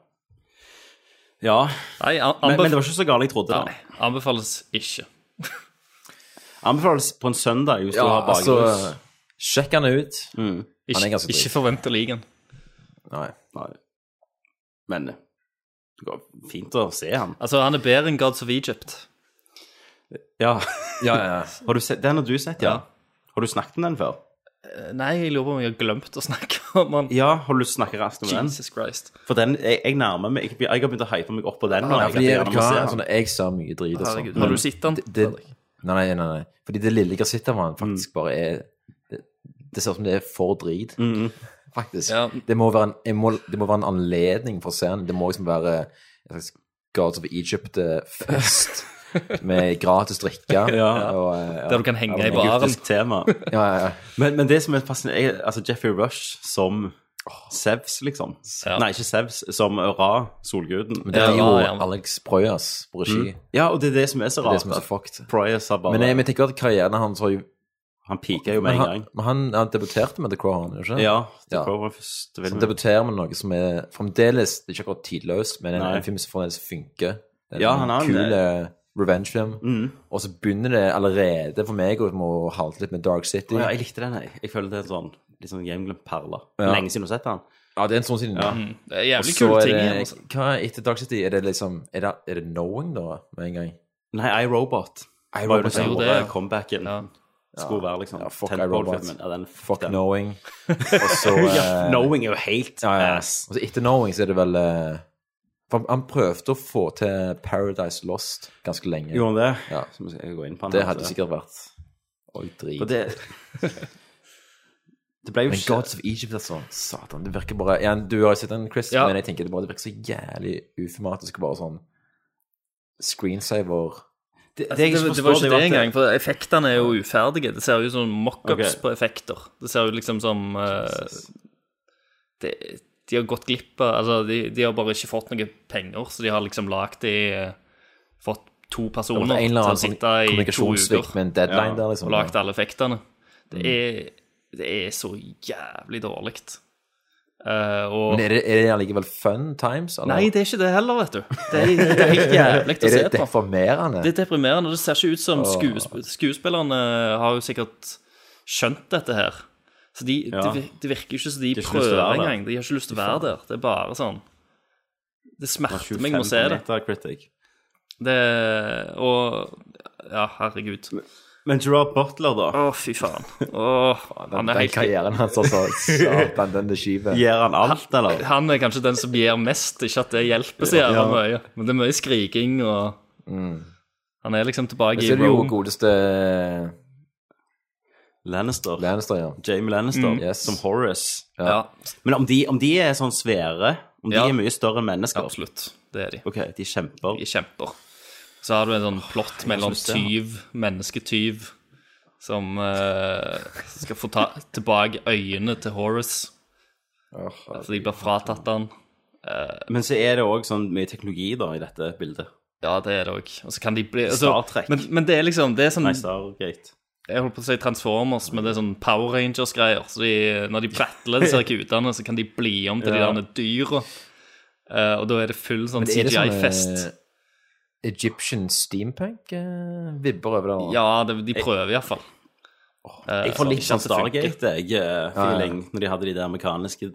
[SPEAKER 1] Ja.
[SPEAKER 10] Nei, an-
[SPEAKER 1] Men, men
[SPEAKER 10] anbef-
[SPEAKER 1] det var ikke så galt jeg trodde.
[SPEAKER 10] Nei,
[SPEAKER 1] det.
[SPEAKER 10] anbefales ikke.
[SPEAKER 1] Anbefales på en søndag hvis
[SPEAKER 9] Ja,
[SPEAKER 1] du har
[SPEAKER 9] altså,
[SPEAKER 1] bakrus.
[SPEAKER 9] sjekk han ut.
[SPEAKER 1] Mm.
[SPEAKER 9] Han
[SPEAKER 10] Ikke,
[SPEAKER 9] er ganske drit.
[SPEAKER 10] ikke forvent å like den.
[SPEAKER 9] Nei.
[SPEAKER 1] Nei. Men eh, det går fint å se han.
[SPEAKER 10] Altså, han er bedre enn Gods of Egypt.
[SPEAKER 1] Ja.
[SPEAKER 9] Ja, ja, ja.
[SPEAKER 1] <laughs> Har du sett, den har du sett, ja. Har du snakket om den før?
[SPEAKER 10] Eh, Nei, jeg lurer på om jeg har glemt å snakke <laughs> om han.
[SPEAKER 1] Ja, har du lyst til å snakke raskt om den?
[SPEAKER 10] Jesus Christ.
[SPEAKER 1] For den, jeg, jeg nærmer meg Jeg, jeg har begynt å hype meg opp på den. nå.
[SPEAKER 9] Ja,
[SPEAKER 1] Jeg
[SPEAKER 9] fordi,
[SPEAKER 1] vil
[SPEAKER 9] jeg,
[SPEAKER 1] gjerne må se
[SPEAKER 9] jeg,
[SPEAKER 1] han.
[SPEAKER 9] sånn, jeg ser mye drit og sånn.
[SPEAKER 10] Herregud. Har du sett den?
[SPEAKER 9] Det, det, nei, nei, nei, nei. Fordi det lille jeg har sett av han,
[SPEAKER 1] Mm.
[SPEAKER 9] faktisk bare er det, det ser ut som det er for drit,
[SPEAKER 1] mm.
[SPEAKER 9] faktisk.
[SPEAKER 10] Ja.
[SPEAKER 9] Det, må være en, jeg må, det må være en anledning for å se han. Det må liksom være en slags Gods of
[SPEAKER 1] <laughs>
[SPEAKER 9] Egypt-fest med gratis drikke.
[SPEAKER 1] Ja.
[SPEAKER 9] og, eh,
[SPEAKER 10] Der du kan henge i
[SPEAKER 9] men-
[SPEAKER 10] baren.
[SPEAKER 1] Egyptisk
[SPEAKER 9] <laughs>
[SPEAKER 1] tema.
[SPEAKER 9] Ja, ja, ja.
[SPEAKER 1] Men, men det som er fascinerende jeg- Altså, Jeffrey Rush som Sevs, liksom.
[SPEAKER 10] Ja.
[SPEAKER 1] Nei, ikke Sevs, som Ra, solguden.
[SPEAKER 9] Men det er
[SPEAKER 10] Ja,
[SPEAKER 9] jo
[SPEAKER 10] ja.
[SPEAKER 9] Alex Brøyas på regi.
[SPEAKER 1] Ja, og det er det som er så
[SPEAKER 9] Det er
[SPEAKER 1] rart.
[SPEAKER 9] det som er så
[SPEAKER 1] at
[SPEAKER 9] fucked.
[SPEAKER 1] Prius har bare
[SPEAKER 9] Men jeg, men jeg tenker at karrieren hans har jo
[SPEAKER 1] Han piker jo med
[SPEAKER 9] Men
[SPEAKER 1] en
[SPEAKER 9] han,
[SPEAKER 1] gang.
[SPEAKER 9] men han, han debuterte med The Crow, han, gjorde ikke det?
[SPEAKER 1] Ja. Det
[SPEAKER 9] Ja.
[SPEAKER 1] ja. var første
[SPEAKER 9] Så
[SPEAKER 1] filmen.
[SPEAKER 9] debuterer med noe som er fremdeles det er ikke akkurat tidløst, men en,
[SPEAKER 1] Nei.
[SPEAKER 9] en film som fremdeles funker. Det er
[SPEAKER 1] Ja,
[SPEAKER 9] en
[SPEAKER 1] han har en- Mm.
[SPEAKER 9] kul eh, revenge-film. Og så begynner det allerede for meg å må halte litt med Dark
[SPEAKER 1] Å
[SPEAKER 9] City.
[SPEAKER 1] ja,
[SPEAKER 9] Ja,
[SPEAKER 1] jeg likte den, jeg. Jeg føler det er en sånn litt sånn gjenglemt perle.
[SPEAKER 9] Ja.
[SPEAKER 1] Lenge siden du har sett den.
[SPEAKER 9] det er en sånn siden. Ja.
[SPEAKER 1] Mm.
[SPEAKER 10] Det er
[SPEAKER 9] Og
[SPEAKER 10] jævlig
[SPEAKER 9] så
[SPEAKER 10] kule
[SPEAKER 9] er
[SPEAKER 10] ting.
[SPEAKER 9] det
[SPEAKER 10] igjen, altså.
[SPEAKER 9] Hva er etter Dark City? Er det liksom Er det, er det Knowing, da, med en gang?
[SPEAKER 1] Nei, iRobot.
[SPEAKER 9] I,
[SPEAKER 1] Var jo
[SPEAKER 9] Robot,
[SPEAKER 1] den
[SPEAKER 10] jo
[SPEAKER 1] store
[SPEAKER 10] det, ja.
[SPEAKER 1] comebacken.
[SPEAKER 10] Ja.
[SPEAKER 1] Skulle være liksom
[SPEAKER 9] Ja, fuck
[SPEAKER 1] tentpole
[SPEAKER 9] iRobot.
[SPEAKER 1] filmen. Ja, den,
[SPEAKER 9] Fuck
[SPEAKER 1] den. <laughs>
[SPEAKER 9] Knowing. Og så eh,
[SPEAKER 1] Knowing er jo helt
[SPEAKER 9] Ja, ja.
[SPEAKER 1] ass.
[SPEAKER 9] Og så etter Knowing så er det vel eh, for Han prøvde å få til Paradise Lost ganske lenge.
[SPEAKER 1] Gjorde han det?
[SPEAKER 9] Ja.
[SPEAKER 1] Så må jeg gå inn på den.
[SPEAKER 9] det
[SPEAKER 1] her,
[SPEAKER 9] hadde
[SPEAKER 1] så-
[SPEAKER 9] sikkert vært Oi, drit.
[SPEAKER 1] For det Det ble jo
[SPEAKER 9] Men
[SPEAKER 1] ikke
[SPEAKER 9] Gods of Egypt, altså. Satan, det virker bare ja, Du har jo sett den, Chris,
[SPEAKER 10] Ja.
[SPEAKER 9] men jeg tenker det, bare, det virker så jævlig uformatisk. Bare sånn screensaver
[SPEAKER 1] Det,
[SPEAKER 10] Altså, Det,
[SPEAKER 1] jeg ikke
[SPEAKER 10] det,
[SPEAKER 1] forstår,
[SPEAKER 10] var ikke
[SPEAKER 1] jo
[SPEAKER 10] det
[SPEAKER 1] at
[SPEAKER 10] engang, for effektene er jo uferdige. Det ser jo ut som mockups
[SPEAKER 1] Ok.
[SPEAKER 10] på effekter. Det ser jo liksom som eh, det, De har gått glipp av Altså, de, de har bare ikke fått noe penger, så de har liksom lagd de eh, Fått to
[SPEAKER 9] Det var
[SPEAKER 10] personer
[SPEAKER 9] en
[SPEAKER 10] til
[SPEAKER 9] eller
[SPEAKER 10] å
[SPEAKER 9] annen sånn
[SPEAKER 10] sitte i to uker
[SPEAKER 9] kommunikasjonssvikt med en Mm. deadline
[SPEAKER 1] Ja,
[SPEAKER 9] der,
[SPEAKER 10] og
[SPEAKER 9] liksom.
[SPEAKER 10] lagd alle effektene. Det er, det er så jævlig dårlig. Eh, og
[SPEAKER 9] Men er det, er det allikevel fun times? Eller?
[SPEAKER 10] Nei, det er ikke det heller, vet du. Det er, det er
[SPEAKER 9] <laughs>
[SPEAKER 10] helt jævlig å
[SPEAKER 9] er
[SPEAKER 10] se
[SPEAKER 9] det
[SPEAKER 10] på.
[SPEAKER 9] deformerende?
[SPEAKER 10] Det er deprimerende. Det ser ikke ut som skuesp skuespillerne har jo sikkert skjønt dette her. Så de,
[SPEAKER 1] Ja.
[SPEAKER 10] det, vir- det virker jo ikke som de,
[SPEAKER 1] har ikke lyst til å
[SPEAKER 10] prøver
[SPEAKER 1] være der.
[SPEAKER 10] engang. De har ikke lyst til å være der. Det er bare sånn Det smerter meg å se det.
[SPEAKER 1] 25 Metacritic.
[SPEAKER 10] det. Og Ja, herregud. Å,
[SPEAKER 1] Men Gerard Butler, da,
[SPEAKER 10] fy faen.
[SPEAKER 1] <laughs>
[SPEAKER 10] Åh, han er
[SPEAKER 9] den
[SPEAKER 10] helt
[SPEAKER 9] karrieren hans, altså. Satan, den det
[SPEAKER 10] <laughs>
[SPEAKER 9] skyver.
[SPEAKER 1] gjør han alt, eller?
[SPEAKER 10] Han er kanskje den som gir mest, ikke at det hjelper så jævla mye. Men det er mye skriking og
[SPEAKER 1] Mm.
[SPEAKER 10] Han er liksom tilbake
[SPEAKER 9] Men
[SPEAKER 10] i
[SPEAKER 9] så er det jo
[SPEAKER 10] Rome.
[SPEAKER 9] godeste eh,
[SPEAKER 1] Lannister.
[SPEAKER 9] Lannister, ja.
[SPEAKER 1] Jamie Lannister
[SPEAKER 9] Mm. Yes.
[SPEAKER 1] som Horace.
[SPEAKER 10] Ja.
[SPEAKER 1] Men om de, om de er sånn svære Om de er mye større enn mennesker?
[SPEAKER 10] Absolutt, det er de.
[SPEAKER 1] Ok, de kjemper.
[SPEAKER 10] De kjemper. Så har du en sånn plott mellom
[SPEAKER 1] lyst til det.
[SPEAKER 10] tyv, mennesketyv, som eh, skal få ta tilbake øynene til Horace. Så de blir fratatt han.
[SPEAKER 1] Men så er det òg sånn mye teknologi da i dette bildet.
[SPEAKER 10] Ja, det er det òg. Og så kan de bli altså,
[SPEAKER 1] Star Trek.
[SPEAKER 10] Men, men det er liksom det er sånn,
[SPEAKER 1] Nei, Stargate.
[SPEAKER 10] Jeg holdt på å si Transformers, men det er sånn Power Rangers-greier. Så de, når de battler disse kutene, så kan de bli om til
[SPEAKER 9] Ja.
[SPEAKER 10] de der dyra. Eh, og da er det full sånn
[SPEAKER 9] Men er det
[SPEAKER 10] CGI-fest.
[SPEAKER 9] sånn, eh, Egyptian steampunk eh, vibber over det. og-
[SPEAKER 10] Ja, det, de prøver iallfall.
[SPEAKER 1] Jeg
[SPEAKER 10] Eh,
[SPEAKER 1] får litt sånn Stargate-feeling når de hadde de der amerikanske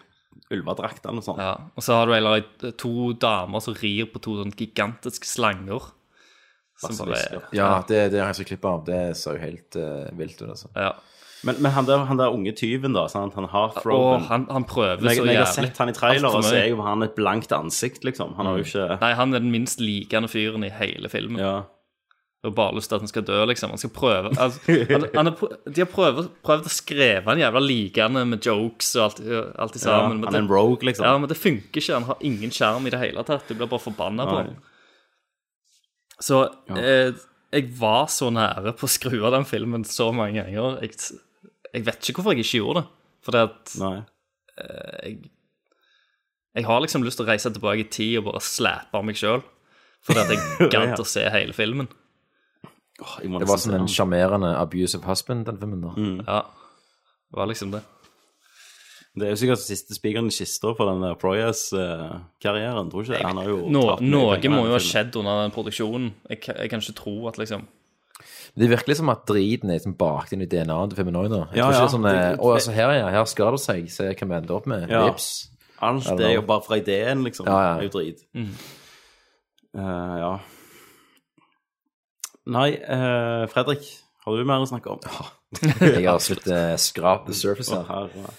[SPEAKER 1] ulvedraktene og sånn.
[SPEAKER 10] Ja, og så har du eller, annet- to damer som rir på to sånne gigantiske slanger. Som bare,
[SPEAKER 9] Ja, det, det har jeg så klippet av. Det ser jo helt eh, vilt ut, altså.
[SPEAKER 1] Men, men han, der, han der unge tyven, da, sant? han har
[SPEAKER 10] og
[SPEAKER 1] Froben.
[SPEAKER 10] han, han prøver
[SPEAKER 1] når jeg,
[SPEAKER 10] så
[SPEAKER 1] når jeg har
[SPEAKER 10] jævlig.
[SPEAKER 1] sett han i
[SPEAKER 10] Alt
[SPEAKER 1] traileren,
[SPEAKER 10] for
[SPEAKER 1] så er
[SPEAKER 10] mye. Mm.
[SPEAKER 1] jo han et blankt ansikt, liksom. Han har jo ikke
[SPEAKER 10] Nei, han er den minst likende fyren i hele filmen.
[SPEAKER 1] Ja.
[SPEAKER 10] Og bare lyst til at han skal dø, liksom. Han skal prøve altså, han, han har prø- De har prøvd, prøvd å skreve en jævla likende med jokes og alt, alt i sammen. men
[SPEAKER 1] han
[SPEAKER 10] det-
[SPEAKER 1] er en rogue, liksom.
[SPEAKER 10] Ja, men det funker ikke. Han har ingen skjerm i det hele tatt. Du blir bare forbanna på
[SPEAKER 1] Nei.
[SPEAKER 10] han. Så eh, jeg var så nære på å skru av den filmen så mange ganger. Jeg, jeg vet ikke hvorfor jeg ikke gjorde det. Fordi at eh, jeg, jeg har liksom lyst til å reise tilbake i tid og bare slappe av meg sjøl. Fordi at
[SPEAKER 1] <laughs>
[SPEAKER 10] jeg gadd å se hele filmen.
[SPEAKER 9] Det var som en sjarmerende abusive husband, den filmen. da.
[SPEAKER 1] Mm.
[SPEAKER 10] Ja, det var liksom det.
[SPEAKER 1] Det er jo sikkert siste spikeren i kista for den der Proyas-karrieren, tror jeg ikke. Han har jo
[SPEAKER 10] Nå,
[SPEAKER 1] tapt mye
[SPEAKER 10] noe
[SPEAKER 1] penger med
[SPEAKER 10] må jo
[SPEAKER 1] den
[SPEAKER 10] ha
[SPEAKER 1] filmen.
[SPEAKER 10] skjedd under den produksjonen. Jeg, kan- jeg kan ikke tro at liksom
[SPEAKER 9] Men Det virker litt som at driten er liksom bakt inn i DNA-en til filmen òg, da. Jeg
[SPEAKER 1] Ja,
[SPEAKER 9] tror
[SPEAKER 1] ja.
[SPEAKER 9] ikke det er sånn eh,
[SPEAKER 1] Det-
[SPEAKER 9] Å, altså, her, ja, her skal det seg. Se hva vi ender opp med.
[SPEAKER 1] Ja.
[SPEAKER 9] Vips.
[SPEAKER 1] Alt
[SPEAKER 9] Eller
[SPEAKER 1] er jo
[SPEAKER 9] noe.
[SPEAKER 1] bare fra ideen, liksom.
[SPEAKER 9] Ja, ja.
[SPEAKER 1] Det er jo drit.
[SPEAKER 10] Mm.
[SPEAKER 1] Eh, ja. Nei, eh, Fredrik, har du mer å snakke om?
[SPEAKER 9] Jeg har slutt eh, skrap the surface
[SPEAKER 1] Å, <laughs>
[SPEAKER 9] her.
[SPEAKER 1] herre.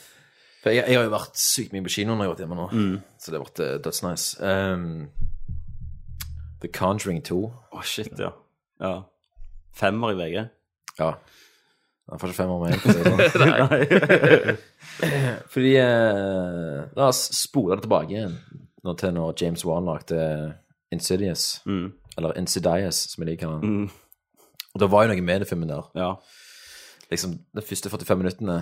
[SPEAKER 9] For jeg, jeg har jo vært sykt mye på kino når jeg har vært hjemme nå,
[SPEAKER 1] Mm.
[SPEAKER 9] så det har vært uh, dødsnice. Um, The Conjuring 2.
[SPEAKER 1] Å, shit, ja. ja. Femmer i VG.
[SPEAKER 9] Ja. Den får ikke fem år med for å si det sånn. <laughs>
[SPEAKER 1] Nei.
[SPEAKER 9] Fordi eh, La oss spole det tilbake igjen nå til når James Wan lagde Insidious. Eller Insidious, som jeg liker den. Og det var jo noe med den filmen der. Liksom de første 45 minuttene,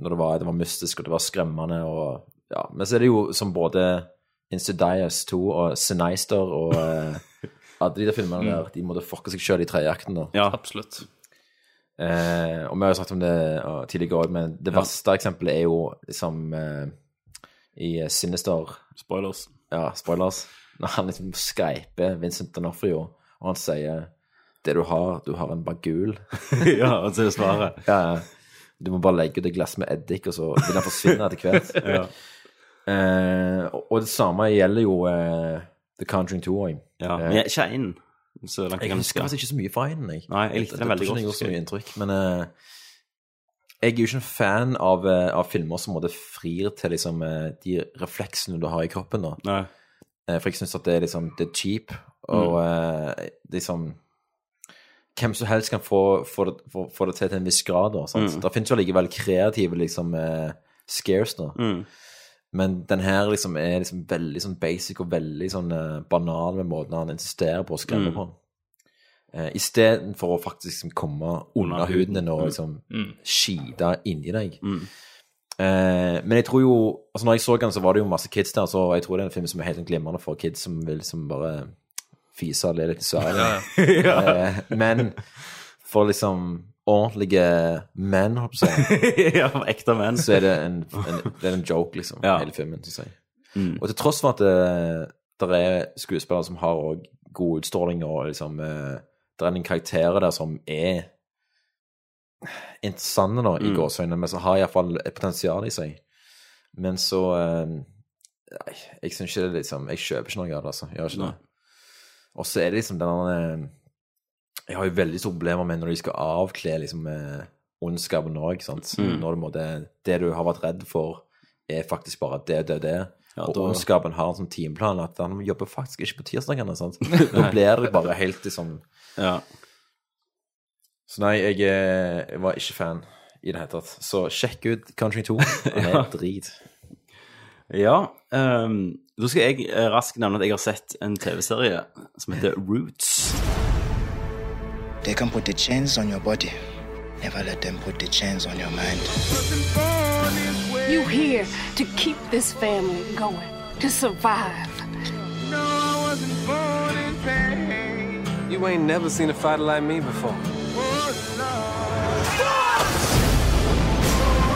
[SPEAKER 9] når det var, det var mystisk og det var skremmende og ja. Men så er det jo som både Insidious 2 og Sinister og eh, alle de der filmene der, de måtte fucke seg sjøl i treakten. da.
[SPEAKER 10] <laughs> Absolutt.
[SPEAKER 9] Eh, og vi har jo snakket om det eh, tidligere òg, men det
[SPEAKER 1] Ja.
[SPEAKER 9] verste eksempelet er jo liksom eh, i Sinister
[SPEAKER 1] Spoilers.
[SPEAKER 9] Ja, spoilers. Når han liksom skyper Vincent D'Onofrio, og han sier 'Det du har, du har en bagul'.
[SPEAKER 1] <laughs> ja, og så er det svaret.
[SPEAKER 9] ja, ja. du må bare legge ut et glass med eddik, og så vil han forsvinne etter hvert.
[SPEAKER 1] <laughs> Ja.
[SPEAKER 9] eh, og, og det samme gjelder jo eh, The Conjuring 2 òg.
[SPEAKER 1] Ja, men jeg, ikke én. Så langt jeg
[SPEAKER 9] Jeg
[SPEAKER 1] kan
[SPEAKER 9] husker
[SPEAKER 1] huske.
[SPEAKER 9] faktisk ikke så mye fra den. Jeg.
[SPEAKER 1] Nei, jeg likte den veldig godt,
[SPEAKER 9] Jeg tror ikke den gjorde så mye inntrykk, men eh, jeg er jo ikke en fan av, eh, av filmer som måtte frir til liksom, eh, de refleksene du har i kroppen. da.
[SPEAKER 1] Nei. <laughs>
[SPEAKER 9] Eh, for jeg syns at det er liksom, det er cheap, og eh, liksom Hvem som helst kan få, få, det, få, få det til til en viss grad. da, sant?
[SPEAKER 1] Mm.
[SPEAKER 9] Det finnes jo allikevel kreative liksom, eh, scares. da.
[SPEAKER 1] Mm.
[SPEAKER 9] Men den her liksom er liksom veldig sånn basic og veldig sånn eh, banal med måten han insisterer på å skremme
[SPEAKER 1] Mm.
[SPEAKER 9] på. Uh, Istedenfor å faktisk liksom, komme
[SPEAKER 1] Under
[SPEAKER 9] under huden din og
[SPEAKER 1] huden.
[SPEAKER 9] liksom
[SPEAKER 10] Mm.
[SPEAKER 9] skite inni deg.
[SPEAKER 1] Mm.
[SPEAKER 9] Eh, men jeg tror jo altså Når jeg så den, så var det jo masse kids der, så jeg tror det er en film som er helt sånn glimrende for kids som vil liksom bare fise og le litt i sverige. Eh, men for liksom ordentlige menn, holdt jeg på å si
[SPEAKER 1] ja, for ekte menn.
[SPEAKER 9] så er det
[SPEAKER 1] <laughs>
[SPEAKER 9] en, en, det er en joke, liksom,
[SPEAKER 1] Ja.
[SPEAKER 9] hele filmen. Synes jeg.
[SPEAKER 1] Mm.
[SPEAKER 9] Og til tross for at det, der er skuespillere som har også god utstråling, og liksom, eh, det er en karakterer der som er interessante da, i
[SPEAKER 1] Mm.
[SPEAKER 9] gåseøynene, men som har iallfall et potensial i seg. Men så eh, Nei, jeg syns ikke det liksom Jeg kjøper ikke noe av det, altså. Jeg gjør ikke
[SPEAKER 1] Nei.
[SPEAKER 9] det. Og så er det liksom den der, eh, Jeg har jo veldig store problemer med når de skal avkle liksom eh, ondskapen òg, sant.
[SPEAKER 1] Mm.
[SPEAKER 9] Når du må det, det du har vært redd for, er faktisk bare det, det, det.
[SPEAKER 1] Ja,
[SPEAKER 9] og
[SPEAKER 1] da-
[SPEAKER 9] ondskapen har en sånn timeplan at han jobber faktisk ikke på
[SPEAKER 1] <laughs>
[SPEAKER 9] tirsdagene, sant. Da blir det bare helt liksom
[SPEAKER 1] Ja.
[SPEAKER 9] Så nei, jeg, eh, jeg var ikke fan i det hele tatt.
[SPEAKER 1] <laughs>
[SPEAKER 9] Så sjekk ut Country 2. Han er
[SPEAKER 1] Ja.
[SPEAKER 9] drit.
[SPEAKER 1] ja ehm, Da skal jeg eh, raskt nevne at jeg har sett en TV-serie som heter Roots.
[SPEAKER 14] They can put the chains on your body. Never let them put the chains on your mind.
[SPEAKER 12] You here to keep this family going, to survive.
[SPEAKER 13] You ain't never seen a fighter like me before.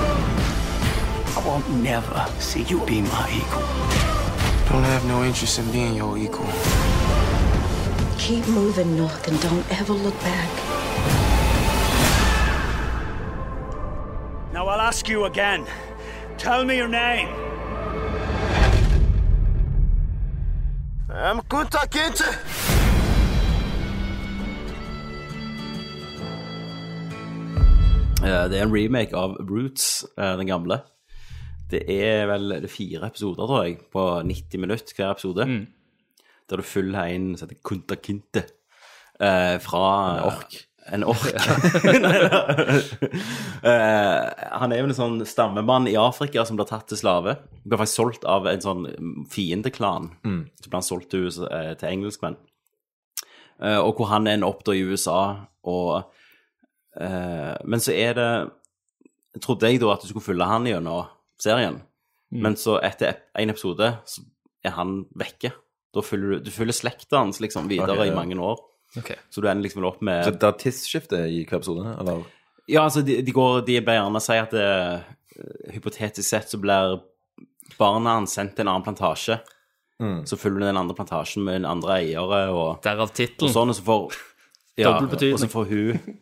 [SPEAKER 15] I won't never see you be my equal.
[SPEAKER 13] Don't have no interest in being your equal.
[SPEAKER 12] Keep moving, Nook, and don't ever look back.
[SPEAKER 15] Now I'll ask you again. Tell me your name. I'm Kunta Kinte.
[SPEAKER 1] Eh, Det er en remake av Roots, eh, den gamle. Det er vel det er fire episoder, tror jeg, på 90 minutter hver episode. Der du følger en som heter Kunta Kinte eh, fra En ork. En ork. <laughs> Nei, da. Eh, han er vel en sånn stammemann i Afrika som blir tatt til slave. Blir faktisk solgt av en sånn fiendeklan.
[SPEAKER 9] Mm.
[SPEAKER 1] Så ble han solgt til, US- eh, til engelskmenn. Eh, og hvor han ender opp da i USA, og eh, Men så er det Trodde jeg da at du skulle følge han gjennom serien,
[SPEAKER 10] Mm.
[SPEAKER 1] men så etter ep- en episode så er han vekke. Da følger du, du følger slekta hans liksom videre
[SPEAKER 9] Ok, ja.
[SPEAKER 1] i mange år.
[SPEAKER 10] Ok.
[SPEAKER 1] Så du ender liksom opp med
[SPEAKER 9] Så det er tidsskifte i hver episode, eller?
[SPEAKER 1] ja, altså, de, de, går, de ber gjerne si at det, eh, hypotetisk sett så blir barna hans sendt til en annen plantasje.
[SPEAKER 9] Mm.
[SPEAKER 1] Så følger du den andre plantasjen med den andre eiere og
[SPEAKER 10] Derav tittelen.
[SPEAKER 1] Og sånn, og så får <laughs> ja,
[SPEAKER 10] Dobbel betydning.
[SPEAKER 1] Og så får hun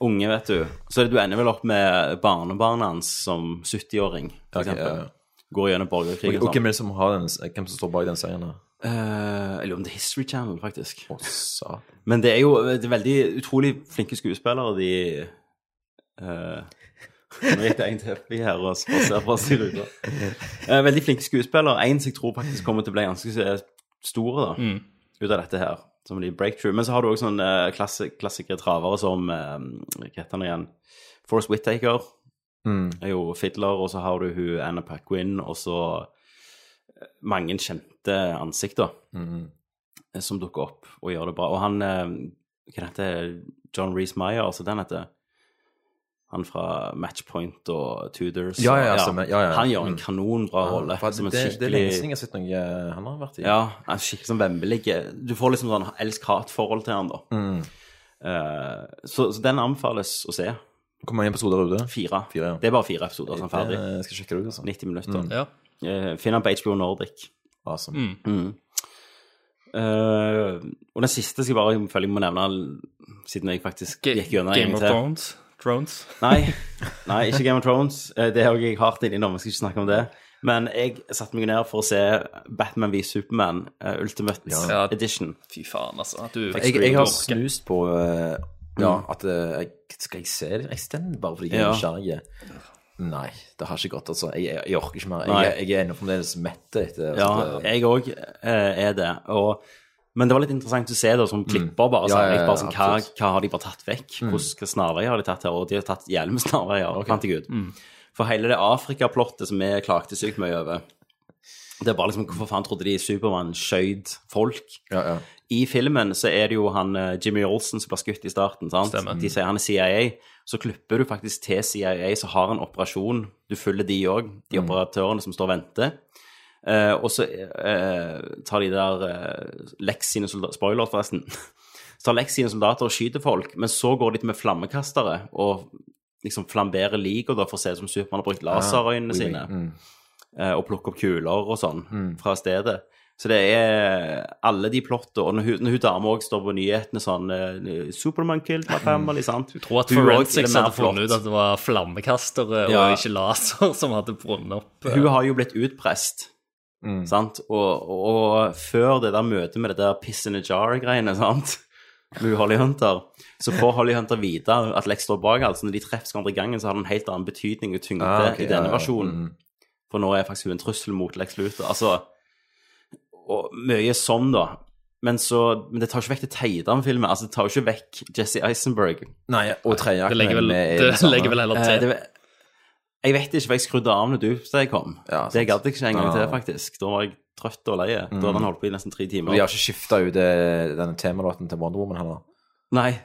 [SPEAKER 1] unge, vet du. Så du ender vel opp med barnebarnet hans som 70-åring, for
[SPEAKER 9] Ok,
[SPEAKER 1] eksempel.
[SPEAKER 9] ja, ja.
[SPEAKER 1] Går gjennom
[SPEAKER 9] Og,
[SPEAKER 1] borgerkrig
[SPEAKER 9] og
[SPEAKER 1] og
[SPEAKER 9] hvem
[SPEAKER 1] sånn.
[SPEAKER 9] er det som, har den, hvem som står bak den serien? da?
[SPEAKER 1] Eh, Eller om det er History Channel, faktisk.
[SPEAKER 9] Sa-
[SPEAKER 1] Men det er jo det er veldig utrolig flinke skuespillere, de eh, Nå gikk det en til oppi her og spaserer på oss i ruta. Eh, veldig flinke skuespillere. En som jeg tror faktisk kommer til å bli ganske eh, s- stor da,
[SPEAKER 10] Mm.
[SPEAKER 1] ut av dette her. Som blir breakthrough. Men så har du også sånne eh, klassi klassikere travere som eh, Hva heter han igjen? Forrest Whittaker
[SPEAKER 9] Mm.
[SPEAKER 1] er jo Fiddler, og så har du hun Anna Paquin, og så eh, mange kjente ansikter
[SPEAKER 9] Mm.
[SPEAKER 1] eh, som dukker opp og gjør det bra. Og han eh, Hva heter det? John Reece-Meyer, altså den heter han fra Matchpoint og Tudors.
[SPEAKER 9] Ja, ja,
[SPEAKER 1] og-
[SPEAKER 9] stemmer. Ja, ja, ja.
[SPEAKER 1] Han gjør en
[SPEAKER 9] Mm.
[SPEAKER 1] kanonbra
[SPEAKER 9] Ja,
[SPEAKER 1] rolle.
[SPEAKER 9] for
[SPEAKER 1] som en
[SPEAKER 9] det, det er lenge siden
[SPEAKER 1] skikkelig
[SPEAKER 9] jeg har sett noe eh, han har vært i.
[SPEAKER 1] Ja, en skikkelig sånn vemmelig Du får liksom sånn elsk-hat-forhold til han, da.
[SPEAKER 9] Mm.
[SPEAKER 1] Eh, så, så den anbefales å se.
[SPEAKER 9] Hvor mange episoder er det?
[SPEAKER 1] Fire.
[SPEAKER 9] Fire ja.
[SPEAKER 1] Det er bare fire episoder som er
[SPEAKER 9] Det,
[SPEAKER 1] ferdig.
[SPEAKER 9] eh, skal jeg sjekke det ut, altså.
[SPEAKER 1] 90 minutter.
[SPEAKER 9] Mm.
[SPEAKER 10] Ja.
[SPEAKER 1] Eh, Finn den på HBO Nordic.
[SPEAKER 9] Awesome.
[SPEAKER 10] Mm.
[SPEAKER 1] Mm. Eh, og den siste skal jeg bare følge jeg må nevne, siden jeg faktisk gikk gjennom en
[SPEAKER 10] Game of
[SPEAKER 1] til.
[SPEAKER 10] Thrones. Thrones. <laughs>
[SPEAKER 1] Nei, nei, ikke Game of Thrones. Eh, Det har jeg hardt inni nå, vi skal ikke snakke om det. Men jeg satte meg ned for å se Batman v Superman eh, Ultimate
[SPEAKER 10] Ja.
[SPEAKER 1] Edition.
[SPEAKER 10] Fy faen, altså. At du
[SPEAKER 9] Jeg, jeg har
[SPEAKER 10] orker.
[SPEAKER 9] snust på eh, ja, at eh, jeg, Skal jeg se det? Jeg stemmer bare fordi jeg er
[SPEAKER 1] Ja.
[SPEAKER 9] nysgjerrig. Nei, det har ikke gått, altså. Jeg, jeg, jeg orker ikke mer.
[SPEAKER 1] Nei.
[SPEAKER 9] Jeg, jeg er ennå fremdeles mett etter
[SPEAKER 1] Ja,
[SPEAKER 9] altså, det-
[SPEAKER 1] jeg òg er det. Og, men det var litt interessant å se det som klipper, bare.
[SPEAKER 9] Mm. Ja,
[SPEAKER 1] sånn,
[SPEAKER 9] ja, ja,
[SPEAKER 1] bare sånn, hva,
[SPEAKER 9] absolutt.
[SPEAKER 1] hva har de bare tatt vekk?
[SPEAKER 9] Mm.
[SPEAKER 1] Hvilke snarveier har de tatt her? Og de har tatt hjelm snarveier, fant jeg ut.
[SPEAKER 9] Mm.
[SPEAKER 1] For hele det Afrika-plottet som vi klagde sykt mye over Det er bare liksom Hvorfor faen trodde de Supermann skjøt folk? I filmen så er det jo han eh, Jimmy Olsen som ble skutt i starten. sant?
[SPEAKER 10] Stemmer.
[SPEAKER 1] De sier han er CIA. Så klipper du faktisk til CIA, så har han operasjon. Du følger de òg, de
[SPEAKER 9] Mm.
[SPEAKER 1] operatørene som står og venter. Eh, og så eh, tar de der eh, Lex sine soldater Spoiler, forresten. <laughs> så tar Lex sine soldater og skyter folk, men så går de til med flammekastere og liksom flamberer liket da, for å se ut som Supermann har brukt laserøynene
[SPEAKER 9] Ah, oui,
[SPEAKER 1] sine
[SPEAKER 9] oui. Mm.
[SPEAKER 1] eh, og plukke opp kuler og sånn
[SPEAKER 10] Mm.
[SPEAKER 1] fra stedet. Så det er alle de plottene. Og når hun, når hun dama òg står på nyhetene sånn eh, 'Superman killed
[SPEAKER 10] <laughs>
[SPEAKER 1] my family', sant? Du
[SPEAKER 10] tror at Forensics hadde funnet ut at det var flammekastere
[SPEAKER 1] Ja.
[SPEAKER 10] og ikke laser som hadde brunnet opp.
[SPEAKER 1] Hun har jo blitt utprest,
[SPEAKER 9] Mm.
[SPEAKER 1] sant? Og, og før det der møtet med det der piss in a jar-greiene, sant? Med Holly Hunter, så får Holly Hunter vite at Lex står bak alt. Så når de treffes hverandre i gangen, så har det en helt annen betydning og tyngde
[SPEAKER 9] Ah, ok,
[SPEAKER 1] i denne
[SPEAKER 9] ja, ja.
[SPEAKER 1] versjonen. For nå er faktisk hun en trussel mot Lex Luthor. Altså, og mye sånn, da. Men, så, men det tar ikke vekk det teite med filmen. Altså, det tar jo ikke vekk Jesse Eisenberg.
[SPEAKER 9] Nei, og tredje
[SPEAKER 10] Det <laughs> legger vel-
[SPEAKER 9] med-
[SPEAKER 10] det legger vel heller til.
[SPEAKER 1] Eh, det- Eh, Jeg vet ikke, for jeg skrudde av når du sa jeg kom.
[SPEAKER 9] Ja,
[SPEAKER 1] det
[SPEAKER 9] sant.
[SPEAKER 1] gadd jeg ikke en gang til,
[SPEAKER 9] Ja. Mm.
[SPEAKER 1] faktisk. Da var jeg trøtt og lei. Da hadde han holdt på i nesten tre timer.
[SPEAKER 9] Vi har ikke skifta ut eh, denne temalåten til Wonder Woman heller.
[SPEAKER 1] Nei.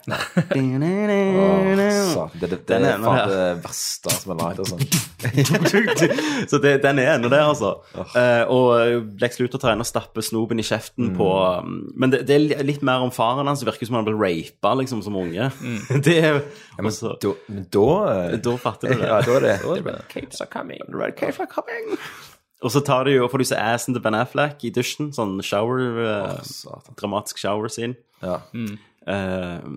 [SPEAKER 9] Åh, satan. det, det, det
[SPEAKER 1] Den
[SPEAKER 9] er
[SPEAKER 1] ene
[SPEAKER 9] faen
[SPEAKER 1] der.
[SPEAKER 9] det verste som er laget, altså.
[SPEAKER 1] Så det, den er ennå der, altså. Eh, og Lex Luthor trener å stappe snopen i kjeften på
[SPEAKER 9] Mm.
[SPEAKER 1] um, Men det, det er li- litt mer om faren hans. Det virker som han ble rapet liksom, som unge. <laughs> Det er
[SPEAKER 9] Mm. men da, men da eh,
[SPEAKER 1] Altså, Da fatter du det.
[SPEAKER 9] Ja, da er det.
[SPEAKER 1] Capes are coming. Red capes are coming. Og så tar de jo, får de se assen til Ben Affleck i dusjen. Sånn shower eh, Dramatisk shower scene.
[SPEAKER 9] Ja.
[SPEAKER 1] Eh,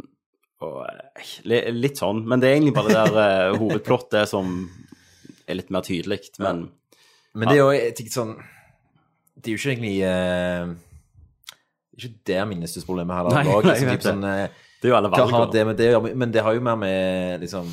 [SPEAKER 1] og, eh, li- litt sånn. Men det er egentlig bare det der eh, hovedplottet som er litt mer tydelig. Men
[SPEAKER 9] Men det er jo jeg tenker sånn Det er jo ikke egentlig eh, det er ikke der minnestusproblemet heller
[SPEAKER 1] Nei,
[SPEAKER 9] lå.
[SPEAKER 1] nei, jeg
[SPEAKER 9] liksom, typ
[SPEAKER 1] vet det.
[SPEAKER 9] sånn, eh,
[SPEAKER 1] Det er jo alle
[SPEAKER 9] hva har
[SPEAKER 1] valgene.
[SPEAKER 9] det med det å gjøre? Men det har jo mer med liksom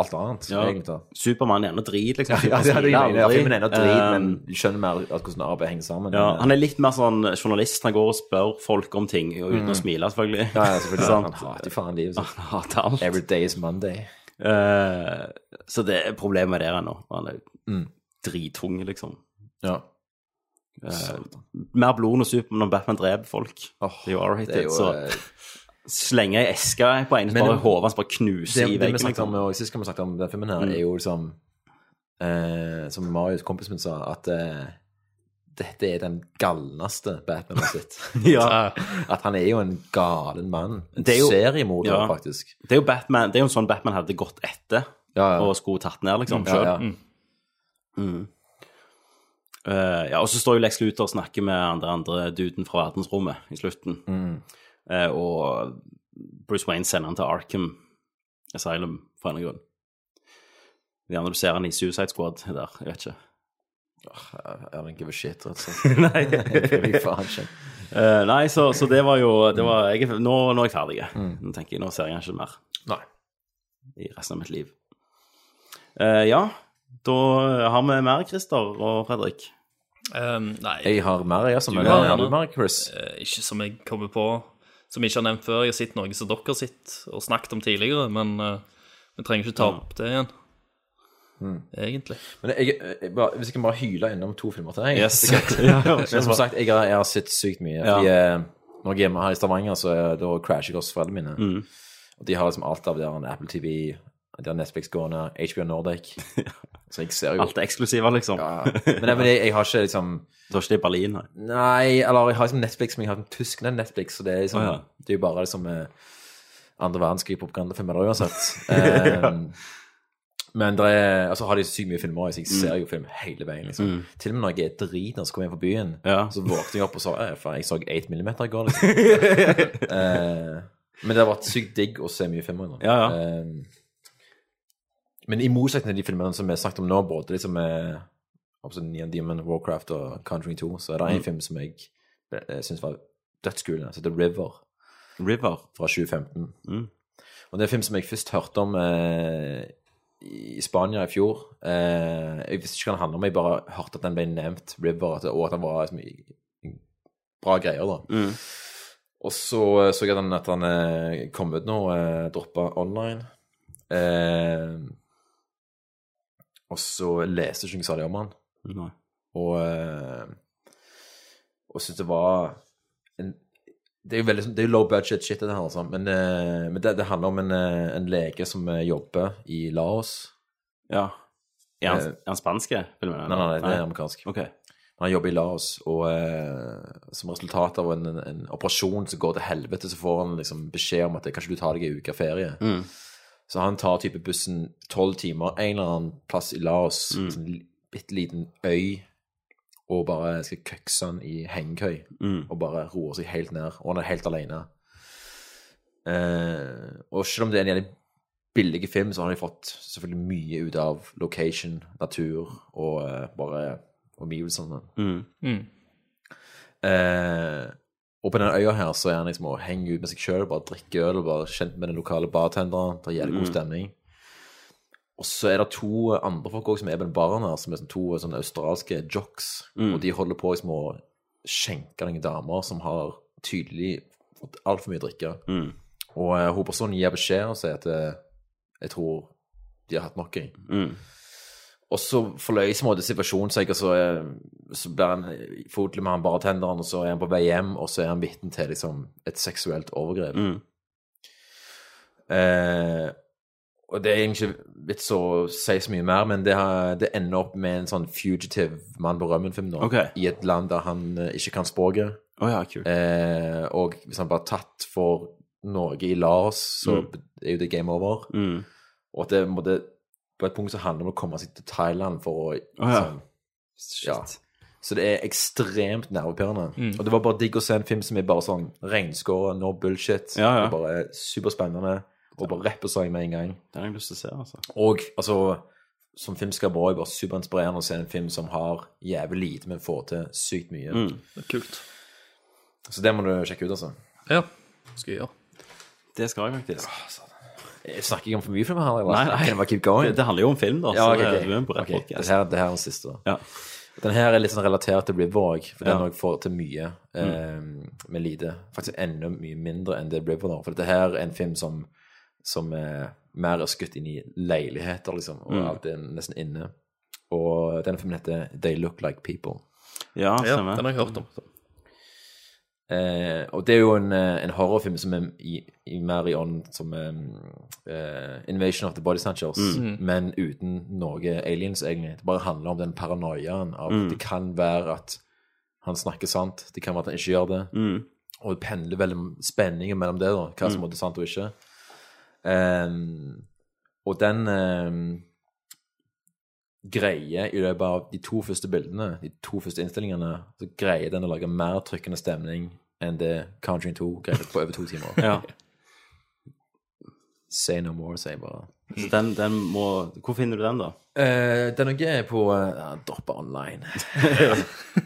[SPEAKER 9] alt annet,
[SPEAKER 1] Ja,
[SPEAKER 9] egentlig. da.
[SPEAKER 1] Supermann er ennå drit, liksom.
[SPEAKER 9] <laughs> Ja, det hadde jeg
[SPEAKER 1] Superman
[SPEAKER 9] menet. Ja,
[SPEAKER 1] aldri.
[SPEAKER 9] filmen er ennå drit,
[SPEAKER 1] Eh,
[SPEAKER 9] men du skjønner mer at hvordan arbeidet henger sammen.
[SPEAKER 1] ja, han er litt mer sånn journalist. Han går og spør folk om ting og uten
[SPEAKER 9] Mm.
[SPEAKER 1] å smile, selvfølgelig.
[SPEAKER 9] ja, ja, selvfølgelig.
[SPEAKER 1] Sant?
[SPEAKER 9] Han hater jo faen livet sitt.
[SPEAKER 1] <laughs> Han hater alt.
[SPEAKER 9] Every day is Monday.
[SPEAKER 1] Eh, så det er problemet der ennå. Han er
[SPEAKER 9] Mm.
[SPEAKER 1] dritung, liksom.
[SPEAKER 9] Ja.
[SPEAKER 1] Eh, mer blod når Supermann og Batman dreper folk. det er jo
[SPEAKER 9] det er
[SPEAKER 1] R-rated.
[SPEAKER 9] jo,
[SPEAKER 1] Så
[SPEAKER 9] eh,
[SPEAKER 1] slenger jeg eska på en,
[SPEAKER 9] Men-
[SPEAKER 1] bare hodet hans bare knuser
[SPEAKER 9] det,
[SPEAKER 1] i
[SPEAKER 9] det vi
[SPEAKER 1] veggen.
[SPEAKER 9] snakket om
[SPEAKER 1] Liksom.
[SPEAKER 9] og Sist gang vi snakket om den filmen her,
[SPEAKER 1] Mm.
[SPEAKER 9] er jo liksom eh, Som Marius, kompisen min, sa, at eh, dette er den galneste Batman har sett.
[SPEAKER 1] <laughs>
[SPEAKER 9] <laughs>
[SPEAKER 1] Ja.
[SPEAKER 9] At han er jo en galen mann. En
[SPEAKER 1] Det er jo-
[SPEAKER 9] seriemorder,
[SPEAKER 1] ja.
[SPEAKER 9] faktisk.
[SPEAKER 1] Det er jo Batman, det er jo en sånn Batman hadde gått etter
[SPEAKER 9] Ja, ja.
[SPEAKER 1] og skulle tatt ned, liksom.
[SPEAKER 9] Mm, ja,
[SPEAKER 1] selv.
[SPEAKER 9] ja.
[SPEAKER 1] Mm. Mm. Eh, ja, og så står jo Lex Luthor og snakker med han der andre duden fra verdensrommet i slutten.
[SPEAKER 9] Mm.
[SPEAKER 1] Eh, og Bruce Wayne sender han til Arkham Asylum for en eller annen grunn. Gjerne du ser han i Suicide Squad der, jeg vet ikke.
[SPEAKER 9] I don't give a shit, rett og
[SPEAKER 1] <laughs>
[SPEAKER 9] slett.
[SPEAKER 1] Nei.
[SPEAKER 9] Jeg bryr meg faen ikke.
[SPEAKER 1] Eh, nei, så, så det var jo det var, jeg, er- nå, nå er jeg ferdig.
[SPEAKER 9] Mm.
[SPEAKER 1] Nå tenker jeg, nå ser jeg ikke mer
[SPEAKER 9] Nei.
[SPEAKER 1] i resten av mitt liv. Eh, ja, da har vi mer, Christer og Fredrik.
[SPEAKER 10] Um, nei.
[SPEAKER 9] Jeg har mer, jeg, som
[SPEAKER 10] Du
[SPEAKER 9] jeg
[SPEAKER 10] har
[SPEAKER 9] har
[SPEAKER 10] gjerne.
[SPEAKER 9] mer, Chris.
[SPEAKER 10] Eh, ikke som jeg kommer på, som jeg ikke har nevnt før. Jeg har sett noe som dere har sett og snakket om tidligere, men eh, vi trenger ikke ta opp det igjen,
[SPEAKER 9] Mm.
[SPEAKER 10] egentlig.
[SPEAKER 9] Men jeg, jeg bare, hvis jeg kan bare hyle innom to filmer til deg
[SPEAKER 1] Yes.
[SPEAKER 9] det er greit.
[SPEAKER 1] Ja, ja,
[SPEAKER 9] Men
[SPEAKER 1] kjør
[SPEAKER 9] som
[SPEAKER 1] på.
[SPEAKER 9] sagt, jeg har, jeg har sett sykt mye.
[SPEAKER 1] Ja.
[SPEAKER 9] Fordi, eh, når jeg er hjemme her i Stavanger, så eh, da crasher jeg hos foreldrene mine.
[SPEAKER 1] Mm.
[SPEAKER 9] Og de har liksom alt av det der en Apple TV, det der Netflix gående, HBO
[SPEAKER 1] <laughs>
[SPEAKER 9] Nordic. Så jeg ser jo
[SPEAKER 1] Alt er eksklusiver, liksom. <laughs>
[SPEAKER 9] Men, nei, men jeg, jeg har ikke liksom
[SPEAKER 1] Du har ikke det i Berlin, nei?
[SPEAKER 9] Nei, eller jeg har liksom Netflix, men jeg har den tyske Netflix, så det er, liksom,
[SPEAKER 1] Å, ja.
[SPEAKER 9] det er jo bare liksom eh, andre verdenskrig propagandafilmer der uansett.
[SPEAKER 1] <laughs>
[SPEAKER 9] Ehm, Men det er, altså har de sykt mye filmer, også, så jeg ser jo film hele veien. liksom.
[SPEAKER 1] Mm.
[SPEAKER 9] Til og med når jeg er driten og så kommer jeg hjem på byen,
[SPEAKER 1] Ja.
[SPEAKER 9] så våkner jeg opp og så eh, faen, jeg så 8 mm i går. liksom. Eh, men det har vært sykt digg å se mye filmer. nå.
[SPEAKER 1] Ja, ja.
[SPEAKER 9] Ehm, men i motsetning til de filmene som vi har snakket om nå, både liksom eh, altså Neon Demon, Warcraft og Conjuring 2, så er det en
[SPEAKER 1] Mm.
[SPEAKER 9] film som jeg eh, syns var dødskulende, som heter River,
[SPEAKER 1] River.
[SPEAKER 9] fra 2015.
[SPEAKER 1] Mm.
[SPEAKER 9] Og det er en film som jeg først hørte om eh, i Spania i fjor. Eh, jeg visste ikke hva den handlet om, jeg bare hørte at den ble nevnt, River, at, og at den var liksom, i- i- bra greier, da.
[SPEAKER 1] Mm.
[SPEAKER 9] Og så eh, så jeg at den, at den eh, kom ut nå, eh, droppa online. Eh, og så leste jeg ikke noe særlig om han.
[SPEAKER 1] Nei.
[SPEAKER 9] Og, eh, og syntes det var en, Det er jo veldig sånn- det er jo low budget shit, dette her, altså. Men, eh, men det, det handler om en, eh, en lege som eh, jobber i Laos.
[SPEAKER 1] Ja. Er han,
[SPEAKER 9] Eh,
[SPEAKER 1] er han spanske? filmen,
[SPEAKER 9] Nei,
[SPEAKER 1] eller?
[SPEAKER 9] nei, nei, det er amerikansk.
[SPEAKER 1] Ok.
[SPEAKER 9] Han jobber i Laos, og eh, som resultat av en, en, en operasjon som går til helvete, så får han liksom beskjed om at eh, kanskje du tar deg en uke ferie.
[SPEAKER 1] Mm.
[SPEAKER 9] Så han tar type bussen tolv timer, en eller annen plass i Laos,
[SPEAKER 1] Mm.
[SPEAKER 9] en sånn li- bitte liten øy, og bare skal køkse han i hengekøy,
[SPEAKER 1] Mm.
[SPEAKER 9] og bare roer seg helt ned, og han er helt alene. Eh, og selv om det er en jævlig billig film, så har de fått selvfølgelig mye ut av location, natur, og eh, bare omgivelsene.
[SPEAKER 1] Mm.
[SPEAKER 10] Mm.
[SPEAKER 9] Eh, og på denne øya her så er han liksom å henge ut med seg sjøl, bare drikke øl, og bare kjent med den lokale bartenderen. Det er jævlig god
[SPEAKER 1] Mm.
[SPEAKER 9] stemning. Og så er det to andre folk også som er på den baren her, som er sånn to sånne australske jocks.
[SPEAKER 1] Mm.
[SPEAKER 9] Og de holder på liksom å skjenke noen damer som har tydelig fått altfor mye drikke.
[SPEAKER 1] Mm.
[SPEAKER 9] sånn Og eh, hun personen gir beskjed og sier at eh, jeg tror de har hatt nok. Jeg.
[SPEAKER 1] Mm.
[SPEAKER 9] Og så forløser på en måte situasjonen seg, og så, er- så blir han fotlig med han bare tenderen, og så er han på vei hjem, og så er han vitne til liksom et seksuelt overgrep.
[SPEAKER 1] Mm.
[SPEAKER 9] Eh, og det er egentlig ikke vits å si så mye mer, men det, har, det ender opp med en sånn fugitive mann på rømmen-film nå,
[SPEAKER 1] Ok.
[SPEAKER 9] i et land der han eh, ikke kan språket.
[SPEAKER 1] Å ja, kult.
[SPEAKER 9] Eh, og hvis han blir tatt for Norge i Laos, så
[SPEAKER 1] Mm.
[SPEAKER 9] er jo det game over.
[SPEAKER 1] Mm.
[SPEAKER 9] Og at det på en måte- på et punkt så handler det om å komme seg til Thailand for å
[SPEAKER 1] ja.
[SPEAKER 9] sånn, ja. Så det er ekstremt nervepirrende.
[SPEAKER 1] Mm.
[SPEAKER 9] Og det var bare digg å se en film som er bare sånn regnskåra, no bullshit.
[SPEAKER 1] Ja, ja.
[SPEAKER 9] Det er bare superspennende. Og bare rappesang med en gang.
[SPEAKER 1] Den har jeg lyst til å se, altså.
[SPEAKER 9] Og altså, som filmskaper også, bare superinspirerende å se en film som har jævlig lite, men får til sykt mye.
[SPEAKER 1] Mm.
[SPEAKER 10] Kult.
[SPEAKER 9] Så det må du sjekke ut, altså.
[SPEAKER 10] Ja, skal jeg gjøre.
[SPEAKER 1] Det skal jeg faktisk.
[SPEAKER 9] Jeg Eh, snakker ikke om for mye film her. Eller?
[SPEAKER 1] Nei, nei.
[SPEAKER 9] Can I keep going?
[SPEAKER 1] Det- det handler jo om film, da,
[SPEAKER 9] Ja,
[SPEAKER 1] så
[SPEAKER 9] ok,
[SPEAKER 1] det-
[SPEAKER 9] ok.
[SPEAKER 1] du er på rett
[SPEAKER 9] Ok,
[SPEAKER 1] podcast.
[SPEAKER 9] Det her, det her er den siste. da. Den her er litt sånn relatert til River òg, for den
[SPEAKER 1] Ja. Mm.
[SPEAKER 9] òg får til mye eh, med lite. Faktisk enda mye mindre enn det River gjør. For dette her er en film som, som er mer er skutt inn i leiligheter, liksom. Og
[SPEAKER 1] Mm.
[SPEAKER 9] alt er nesten inne. Og denne filmen heter They Look Like People.
[SPEAKER 1] Ja,
[SPEAKER 10] Ja,
[SPEAKER 1] stemmer.
[SPEAKER 10] den har jeg hørt om.
[SPEAKER 9] Eh, og det er jo en, eh, en horrorfilm som er i, i mer i ånd som eh, eh, Invasion of the Body Snatchers,
[SPEAKER 1] Mm.
[SPEAKER 9] men uten noe aliens, egentlig. Det bare handler om den paranoiaen av
[SPEAKER 1] Mm.
[SPEAKER 9] det kan være at han snakker sant, det kan være at han ikke gjør det.
[SPEAKER 1] Mm.
[SPEAKER 9] Og det pendler veldig spenningen mellom det, da, hva som
[SPEAKER 1] Mm.
[SPEAKER 9] er sant og ikke. Ehm, og den ehm, greier i løpet av de to første bildene, de to første innstillingene, så greier den å lage mer trykkende stemning enn det Country 2 greide på over to <laughs> timer. Say no more, sier jeg bare.
[SPEAKER 1] Så den, den må Hvor finner du den, da?
[SPEAKER 9] Eh, den er jeg på uh, Droppa <laughs> online.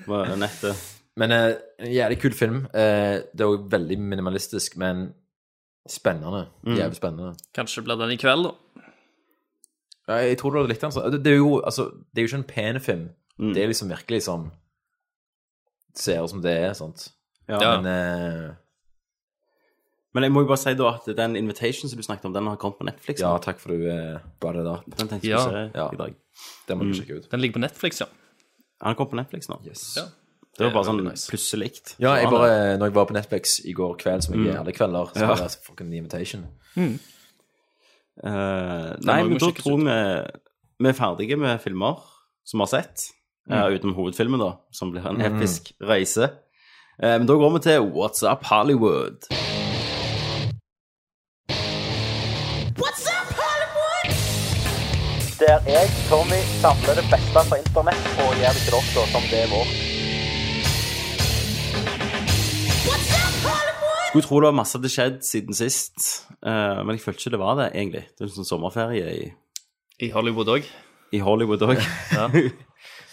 [SPEAKER 1] Hva er nettet?
[SPEAKER 9] Men eh, en jævlig kul film. Eh, det er jo veldig minimalistisk, men spennende.
[SPEAKER 10] Mm.
[SPEAKER 9] Jævlig spennende.
[SPEAKER 10] Kanskje blir den i kveld, da.
[SPEAKER 9] Ja, jeg tror du hadde likt den. Så. Det, det, er jo, altså, det er jo ikke en pen film.
[SPEAKER 1] Mm.
[SPEAKER 9] Det er liksom virkelig sånn Ser ut som det er, sant.
[SPEAKER 1] Ja.
[SPEAKER 9] Men eh,
[SPEAKER 1] Men jeg må jo bare si da at den invitation som du snakket om, den har kommet på Netflix.
[SPEAKER 9] ja, takk for du eh, brought it up.
[SPEAKER 1] Den tenkte jeg
[SPEAKER 10] Ja.
[SPEAKER 1] skulle se i dag.
[SPEAKER 9] Den må
[SPEAKER 1] Mm.
[SPEAKER 9] du sjekke ut.
[SPEAKER 10] Den ligger på Netflix, ja.
[SPEAKER 1] Han kom på Netflix nå.
[SPEAKER 10] Ja.
[SPEAKER 1] Det var
[SPEAKER 10] Det er
[SPEAKER 1] bare sånn
[SPEAKER 10] veldig
[SPEAKER 1] plutselig.
[SPEAKER 9] Ja, jeg
[SPEAKER 1] Så var det-
[SPEAKER 9] bare, når jeg var på Netflix i går kveld, som jeg
[SPEAKER 1] Mm.
[SPEAKER 9] gjør alle kvelder, så
[SPEAKER 1] Ja.
[SPEAKER 9] var det altså fucking The Invitation.
[SPEAKER 10] Mm.
[SPEAKER 1] Eh,
[SPEAKER 9] Den
[SPEAKER 1] Nei,
[SPEAKER 9] må
[SPEAKER 1] men
[SPEAKER 9] jo
[SPEAKER 1] da
[SPEAKER 9] sjekkes
[SPEAKER 1] tror vi vi er ferdige med filmer som vi har sett, eh,
[SPEAKER 9] Mm.
[SPEAKER 1] utenom hovedfilmen, da, som blir en
[SPEAKER 9] Mm.
[SPEAKER 1] episk reise. Eh, Men da går vi til What's Up Hollywood.
[SPEAKER 3] What's up, Hollywood?
[SPEAKER 16] Der jeg, Tommy, samler det beste fra internett og gjør det til dere som det er vårt.
[SPEAKER 1] Skulle tro det var masse det skjedd siden sist, eh, men jeg følte ikke det var det, egentlig. Det er en sånn sommerferie i
[SPEAKER 10] I Hollywood òg.
[SPEAKER 1] I Hollywood òg. <laughs>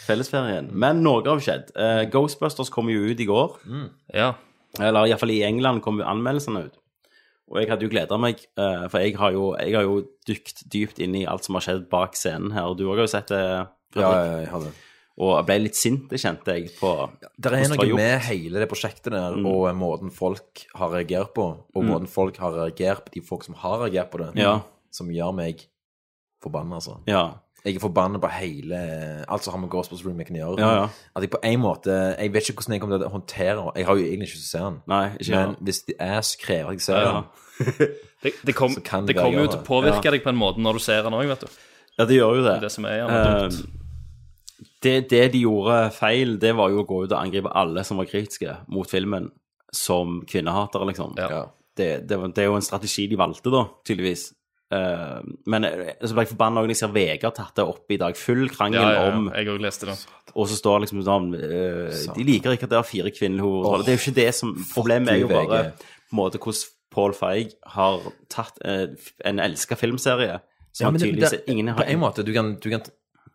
[SPEAKER 1] Fellesferien. Men noe har skjedd. Eh, Ghostbusters kom jo ut i går.
[SPEAKER 10] Ja.
[SPEAKER 1] Eller iallfall i England kom jo anmeldelsene ut. Og jeg hadde jo gleda meg, eh, for jeg har jo, jeg har jo dykt dypt inn i alt som har skjedd bak scenen her. Og du òg har jo sett det, Fredrik.
[SPEAKER 9] Ja, ja, jeg har det.
[SPEAKER 1] Og jeg ble litt sint, det kjente jeg, på
[SPEAKER 9] Det er noe med hele det prosjektet der,
[SPEAKER 1] Mm.
[SPEAKER 9] og eh, måten folk har reagert på, og
[SPEAKER 1] Mm.
[SPEAKER 9] måten folk har reagert på, de folk som har reagert på det,
[SPEAKER 1] Ja.
[SPEAKER 9] som gjør meg forbanna, altså.
[SPEAKER 1] Ja.
[SPEAKER 9] Jeg er forbanna på hele eh, alt som har med Ghostbusters Remaken å gjøre.
[SPEAKER 1] Ja, ja.
[SPEAKER 9] At jeg på en måte Jeg vet ikke hvordan jeg kommer til å håndtere Jeg har jo egentlig ikke lyst til å se den,
[SPEAKER 1] Nei, ikke
[SPEAKER 9] men
[SPEAKER 1] jeg.
[SPEAKER 9] hvis The Ass krever at jeg ser
[SPEAKER 1] Ja, ja.
[SPEAKER 9] den <laughs>
[SPEAKER 10] Det, det kom-
[SPEAKER 9] Så kan
[SPEAKER 10] Det
[SPEAKER 9] være
[SPEAKER 10] kommer jo
[SPEAKER 9] gjøre
[SPEAKER 10] til å
[SPEAKER 9] det.
[SPEAKER 10] påvirke
[SPEAKER 9] Ja.
[SPEAKER 10] deg på en måte når du ser den òg, vet du.
[SPEAKER 1] Ja, det gjør jo det.
[SPEAKER 10] Det som er gjerne dumt.
[SPEAKER 1] Eh, det, det de gjorde feil, det var jo å gå ut og angripe alle som var kritiske mot filmen, som kvinnehatere, liksom. Det, det, var- det er jo en strategi de valgte, da, tydeligvis. Eh, men eh, så ble jeg forbanna når jeg ser Vegard tatt det opp i dag. Full krangel
[SPEAKER 10] Ja, ja, ja.
[SPEAKER 1] om
[SPEAKER 10] Jeg òg leste det.
[SPEAKER 1] Og så står liksom sånn eh, De liker ikke at det er fire kvinnelige hovedroller. det er jo ikke det som Problemet er jo
[SPEAKER 9] du,
[SPEAKER 1] bare
[SPEAKER 9] VG.
[SPEAKER 1] på en måte hvordan Paul Feig har tatt eh, en elska filmserie som
[SPEAKER 9] Ja,
[SPEAKER 1] han
[SPEAKER 9] men det-
[SPEAKER 1] tydeligvis
[SPEAKER 9] det-
[SPEAKER 1] ingen
[SPEAKER 9] På en måte, du kan, du kan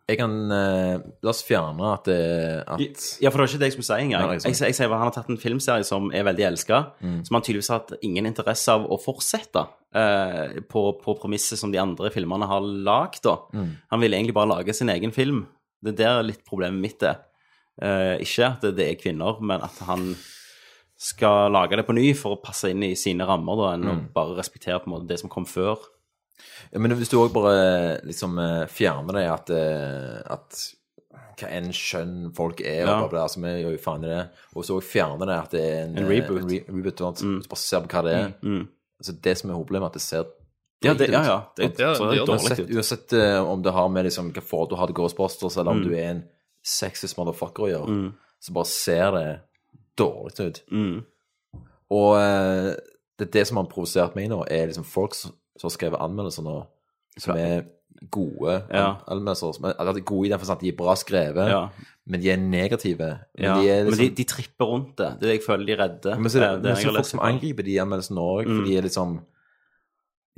[SPEAKER 9] Jeg kan eh, La oss fjerne at, det- at
[SPEAKER 1] Ja, for det var ikke det jeg skulle si engang.
[SPEAKER 9] Nei,
[SPEAKER 1] Jeg,
[SPEAKER 9] liksom.
[SPEAKER 1] jeg, sier- jeg sier bare han har tatt en filmserie som er veldig elska,
[SPEAKER 9] Mm.
[SPEAKER 1] som han tydeligvis har hatt ingen interesse av å fortsette eh, på, på premisset som de andre filmene har lagd, da.
[SPEAKER 9] Mm.
[SPEAKER 1] Han ville egentlig bare lage sin egen film. Det der er litt problemet mitt, det. Eh, ikke at det er kvinner, men at han skal lage det på ny for å passe inn i sine rammer, da, enn å
[SPEAKER 9] Mm.
[SPEAKER 1] bare respektere på en måte det som kom før.
[SPEAKER 9] Ja, men hvis du òg bare liksom eh, fjerner det at, eh, at hva enn kjønn folk er,
[SPEAKER 1] Ja.
[SPEAKER 9] og bla, bla, så vi gjør jo faen i det. Og så også fjerner det at det er en, eh,
[SPEAKER 1] En reboot. Mm.
[SPEAKER 9] En re reboot og at du bare ser på hva det er. Så det som er hovedproblemet, er at det ser
[SPEAKER 1] Ja, det-
[SPEAKER 9] drit ut.
[SPEAKER 1] ja, ja. Det-
[SPEAKER 9] Og-
[SPEAKER 1] det- så det gjør det.
[SPEAKER 9] uansett, uansett eh, om det har med liksom, hva forhold du har til Ghostbusters, eller om
[SPEAKER 1] Mm.
[SPEAKER 9] du er en sexist motherfucker å gjøre,
[SPEAKER 1] Mm.
[SPEAKER 9] så bare ser det dårlig ut. Og eh, det er det som har provosert meg nå, er liksom folk som som har skrevet anmeldelser nå, som er gode
[SPEAKER 1] Ja.
[SPEAKER 9] an- anmeldelser. Som er, eller de er gode i den forstand at de er bra skrevet,
[SPEAKER 1] Ja.
[SPEAKER 9] men de er negative. Men
[SPEAKER 1] Ja,
[SPEAKER 9] de er
[SPEAKER 1] men
[SPEAKER 9] liksom
[SPEAKER 1] de, de tripper rundt det. Det er det jeg føler de redder.
[SPEAKER 9] men så er
[SPEAKER 1] Eh,
[SPEAKER 9] det, men
[SPEAKER 1] jeg har
[SPEAKER 9] så er det folk
[SPEAKER 1] lest
[SPEAKER 9] som
[SPEAKER 1] på.
[SPEAKER 9] angriper de anmeldelsene òg, for de er liksom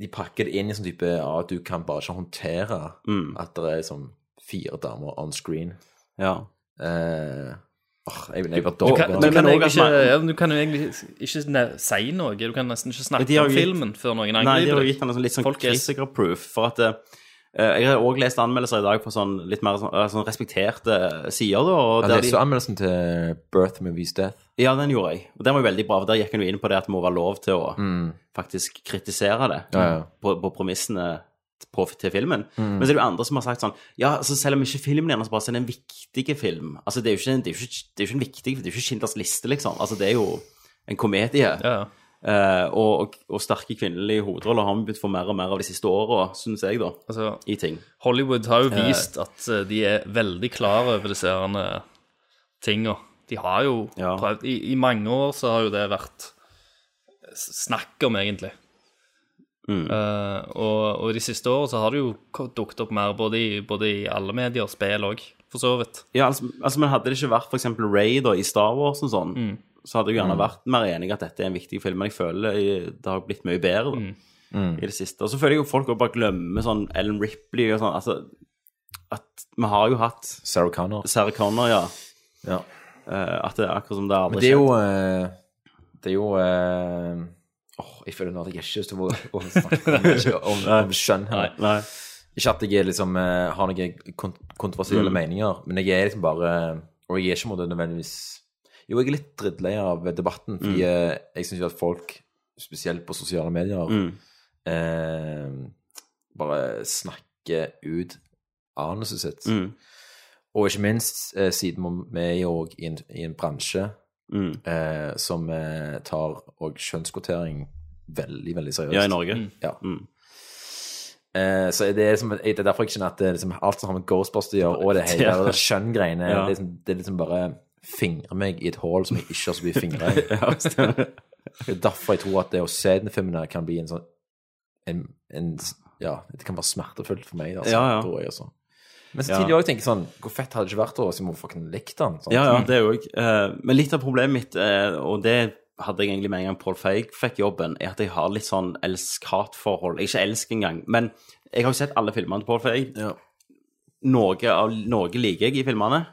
[SPEAKER 9] De pakker det inn i sånn type ja, at du kan bare ikke håndtere
[SPEAKER 1] Mm.
[SPEAKER 9] at det er liksom fire damer on screen.
[SPEAKER 1] Ja.
[SPEAKER 9] Eh, åh, jeg ville vært
[SPEAKER 10] Du
[SPEAKER 9] dårlig
[SPEAKER 10] kan,
[SPEAKER 9] på
[SPEAKER 10] du,
[SPEAKER 9] det.
[SPEAKER 10] kan
[SPEAKER 1] også
[SPEAKER 10] egentlig
[SPEAKER 1] at
[SPEAKER 10] ikke,
[SPEAKER 1] man-
[SPEAKER 10] ja, men du kan jo egentlig ikke ne- si noe. Du kan nesten ikke snakke
[SPEAKER 1] De har
[SPEAKER 10] om
[SPEAKER 1] jo gitt-
[SPEAKER 10] filmen før noen
[SPEAKER 1] Nei, de har
[SPEAKER 10] angriper
[SPEAKER 1] jo gitt
[SPEAKER 10] deg.
[SPEAKER 1] han en sånn litt sånn
[SPEAKER 10] Folk er-
[SPEAKER 1] kritikerproof. For at eh, Jeg har òg lest anmeldelser i dag på sånn litt mer sånn, eh, sånn respekterte sider, da. Og
[SPEAKER 9] Ja,
[SPEAKER 1] der
[SPEAKER 9] det er
[SPEAKER 1] de-
[SPEAKER 9] så anmeldelsen til Birth Movies Death.
[SPEAKER 1] Ja, den gjorde jeg. Og den var jo veldig bra, for der gikk han jo inn på det at det må være lov til å
[SPEAKER 9] Mm.
[SPEAKER 1] faktisk kritisere det
[SPEAKER 9] Ja, ja.
[SPEAKER 1] På, på premissene på, til filmen.
[SPEAKER 9] Mm.
[SPEAKER 1] Men så er det jo andre som har sagt sånn Ja, altså selv om ikke filmen gjerne så bare så er det en viktig film. Altså det er jo ikke, en- det er jo ikke, det er jo ikke en viktig Det er jo ikke Schindlers liste, liksom. Altså det er jo en komedie. Eh, og, og, og sterke kvinnelige hovedroller har vi begynt å få mer og mer av de siste åra, syns jeg, da.
[SPEAKER 10] Altså,
[SPEAKER 1] I ting.
[SPEAKER 10] Hollywood har jo vist at eh, de er veldig klar over disse herne tinga. De har jo prøvd i, I mange år så har jo det vært s- snakk om, egentlig. Eh, og, og i de siste årene så har det jo dukket opp mer både i, både i alle medier, spill òg, for så vidt.
[SPEAKER 1] Ja, altså, altså men hadde det ikke vært for eksempel Ray da, i Star Wars og sånn, så hadde jeg gjerne
[SPEAKER 10] Mm.
[SPEAKER 1] vært mer enig i at dette er en viktig film, men jeg føler i- det har blitt mye bedre da,
[SPEAKER 9] Mm.
[SPEAKER 1] i det siste. Og så føler jeg jo folk også bare glemmer sånn Ellen Ripley og sånn, altså, at vi har jo hatt
[SPEAKER 9] Sarah Connor.
[SPEAKER 1] Sarah Connor, ja.
[SPEAKER 9] Ja.
[SPEAKER 1] Eh, at det er akkurat som det aldri
[SPEAKER 9] Men det er jo
[SPEAKER 1] skjedde.
[SPEAKER 9] eh, Det er jo eh, Åh, jeg føler nå at jeg ikke har lyst til å- å snakke om, om, om skjønn her. Ikke at jeg er liksom, eh, har noen kont kontroversielle
[SPEAKER 1] Mm.
[SPEAKER 9] meninger, men jeg er liksom bare Og jeg er ikke på en måte nødvendigvis Jo, jeg er litt drittlei av debatten, fordi
[SPEAKER 1] Mm.
[SPEAKER 9] eh, jeg syns jo at folk, spesielt på sosiale medier,
[SPEAKER 1] Mm.
[SPEAKER 9] eh, bare snakker ut anuset sitt.
[SPEAKER 1] Mm.
[SPEAKER 9] Og ikke minst, eh, siden vi er jo også i en, i en bransje
[SPEAKER 1] Mm.
[SPEAKER 9] eh, som eh, tar og kjønnskvotering veldig, veldig seriøst.
[SPEAKER 1] Ja, i Norge. Mm.
[SPEAKER 9] Ja. Eh, så det er, liksom, det er derfor jeg kjenner at det er liksom, alt som har med Ghostbusters å gjøre,
[SPEAKER 1] <laughs>
[SPEAKER 9] og det hele det skjønngreiene,
[SPEAKER 1] Ja.
[SPEAKER 9] det, er liksom, det er liksom bare fingre meg i et hull som jeg ikke har så mye
[SPEAKER 1] <laughs>
[SPEAKER 9] fingre i.
[SPEAKER 1] <laughs> Ja, stemmer.
[SPEAKER 9] det er derfor jeg tror at det å se den filmen her kan bli en sånn en, en, Ja, det kan være smertefullt for meg, altså,
[SPEAKER 1] Ja, ja.
[SPEAKER 9] tror jeg. Altså.
[SPEAKER 1] Ja.
[SPEAKER 9] Men samtidig òg tenker jeg sånn Hvor fett hadde det ikke vært å si hvorfor kunne likt den? sånn? sant? Mm.
[SPEAKER 1] Ja, ja, det òg. Eh, Men litt av problemet mitt, eh, og det hadde jeg egentlig med en gang Paul Feig fikk jobben, er at jeg har litt sånn elsk-hat-forhold. Jeg Ikke elsk engang, men jeg har jo sett alle filmene til Paul Feig. Noe, av, noe liker jeg i filmene,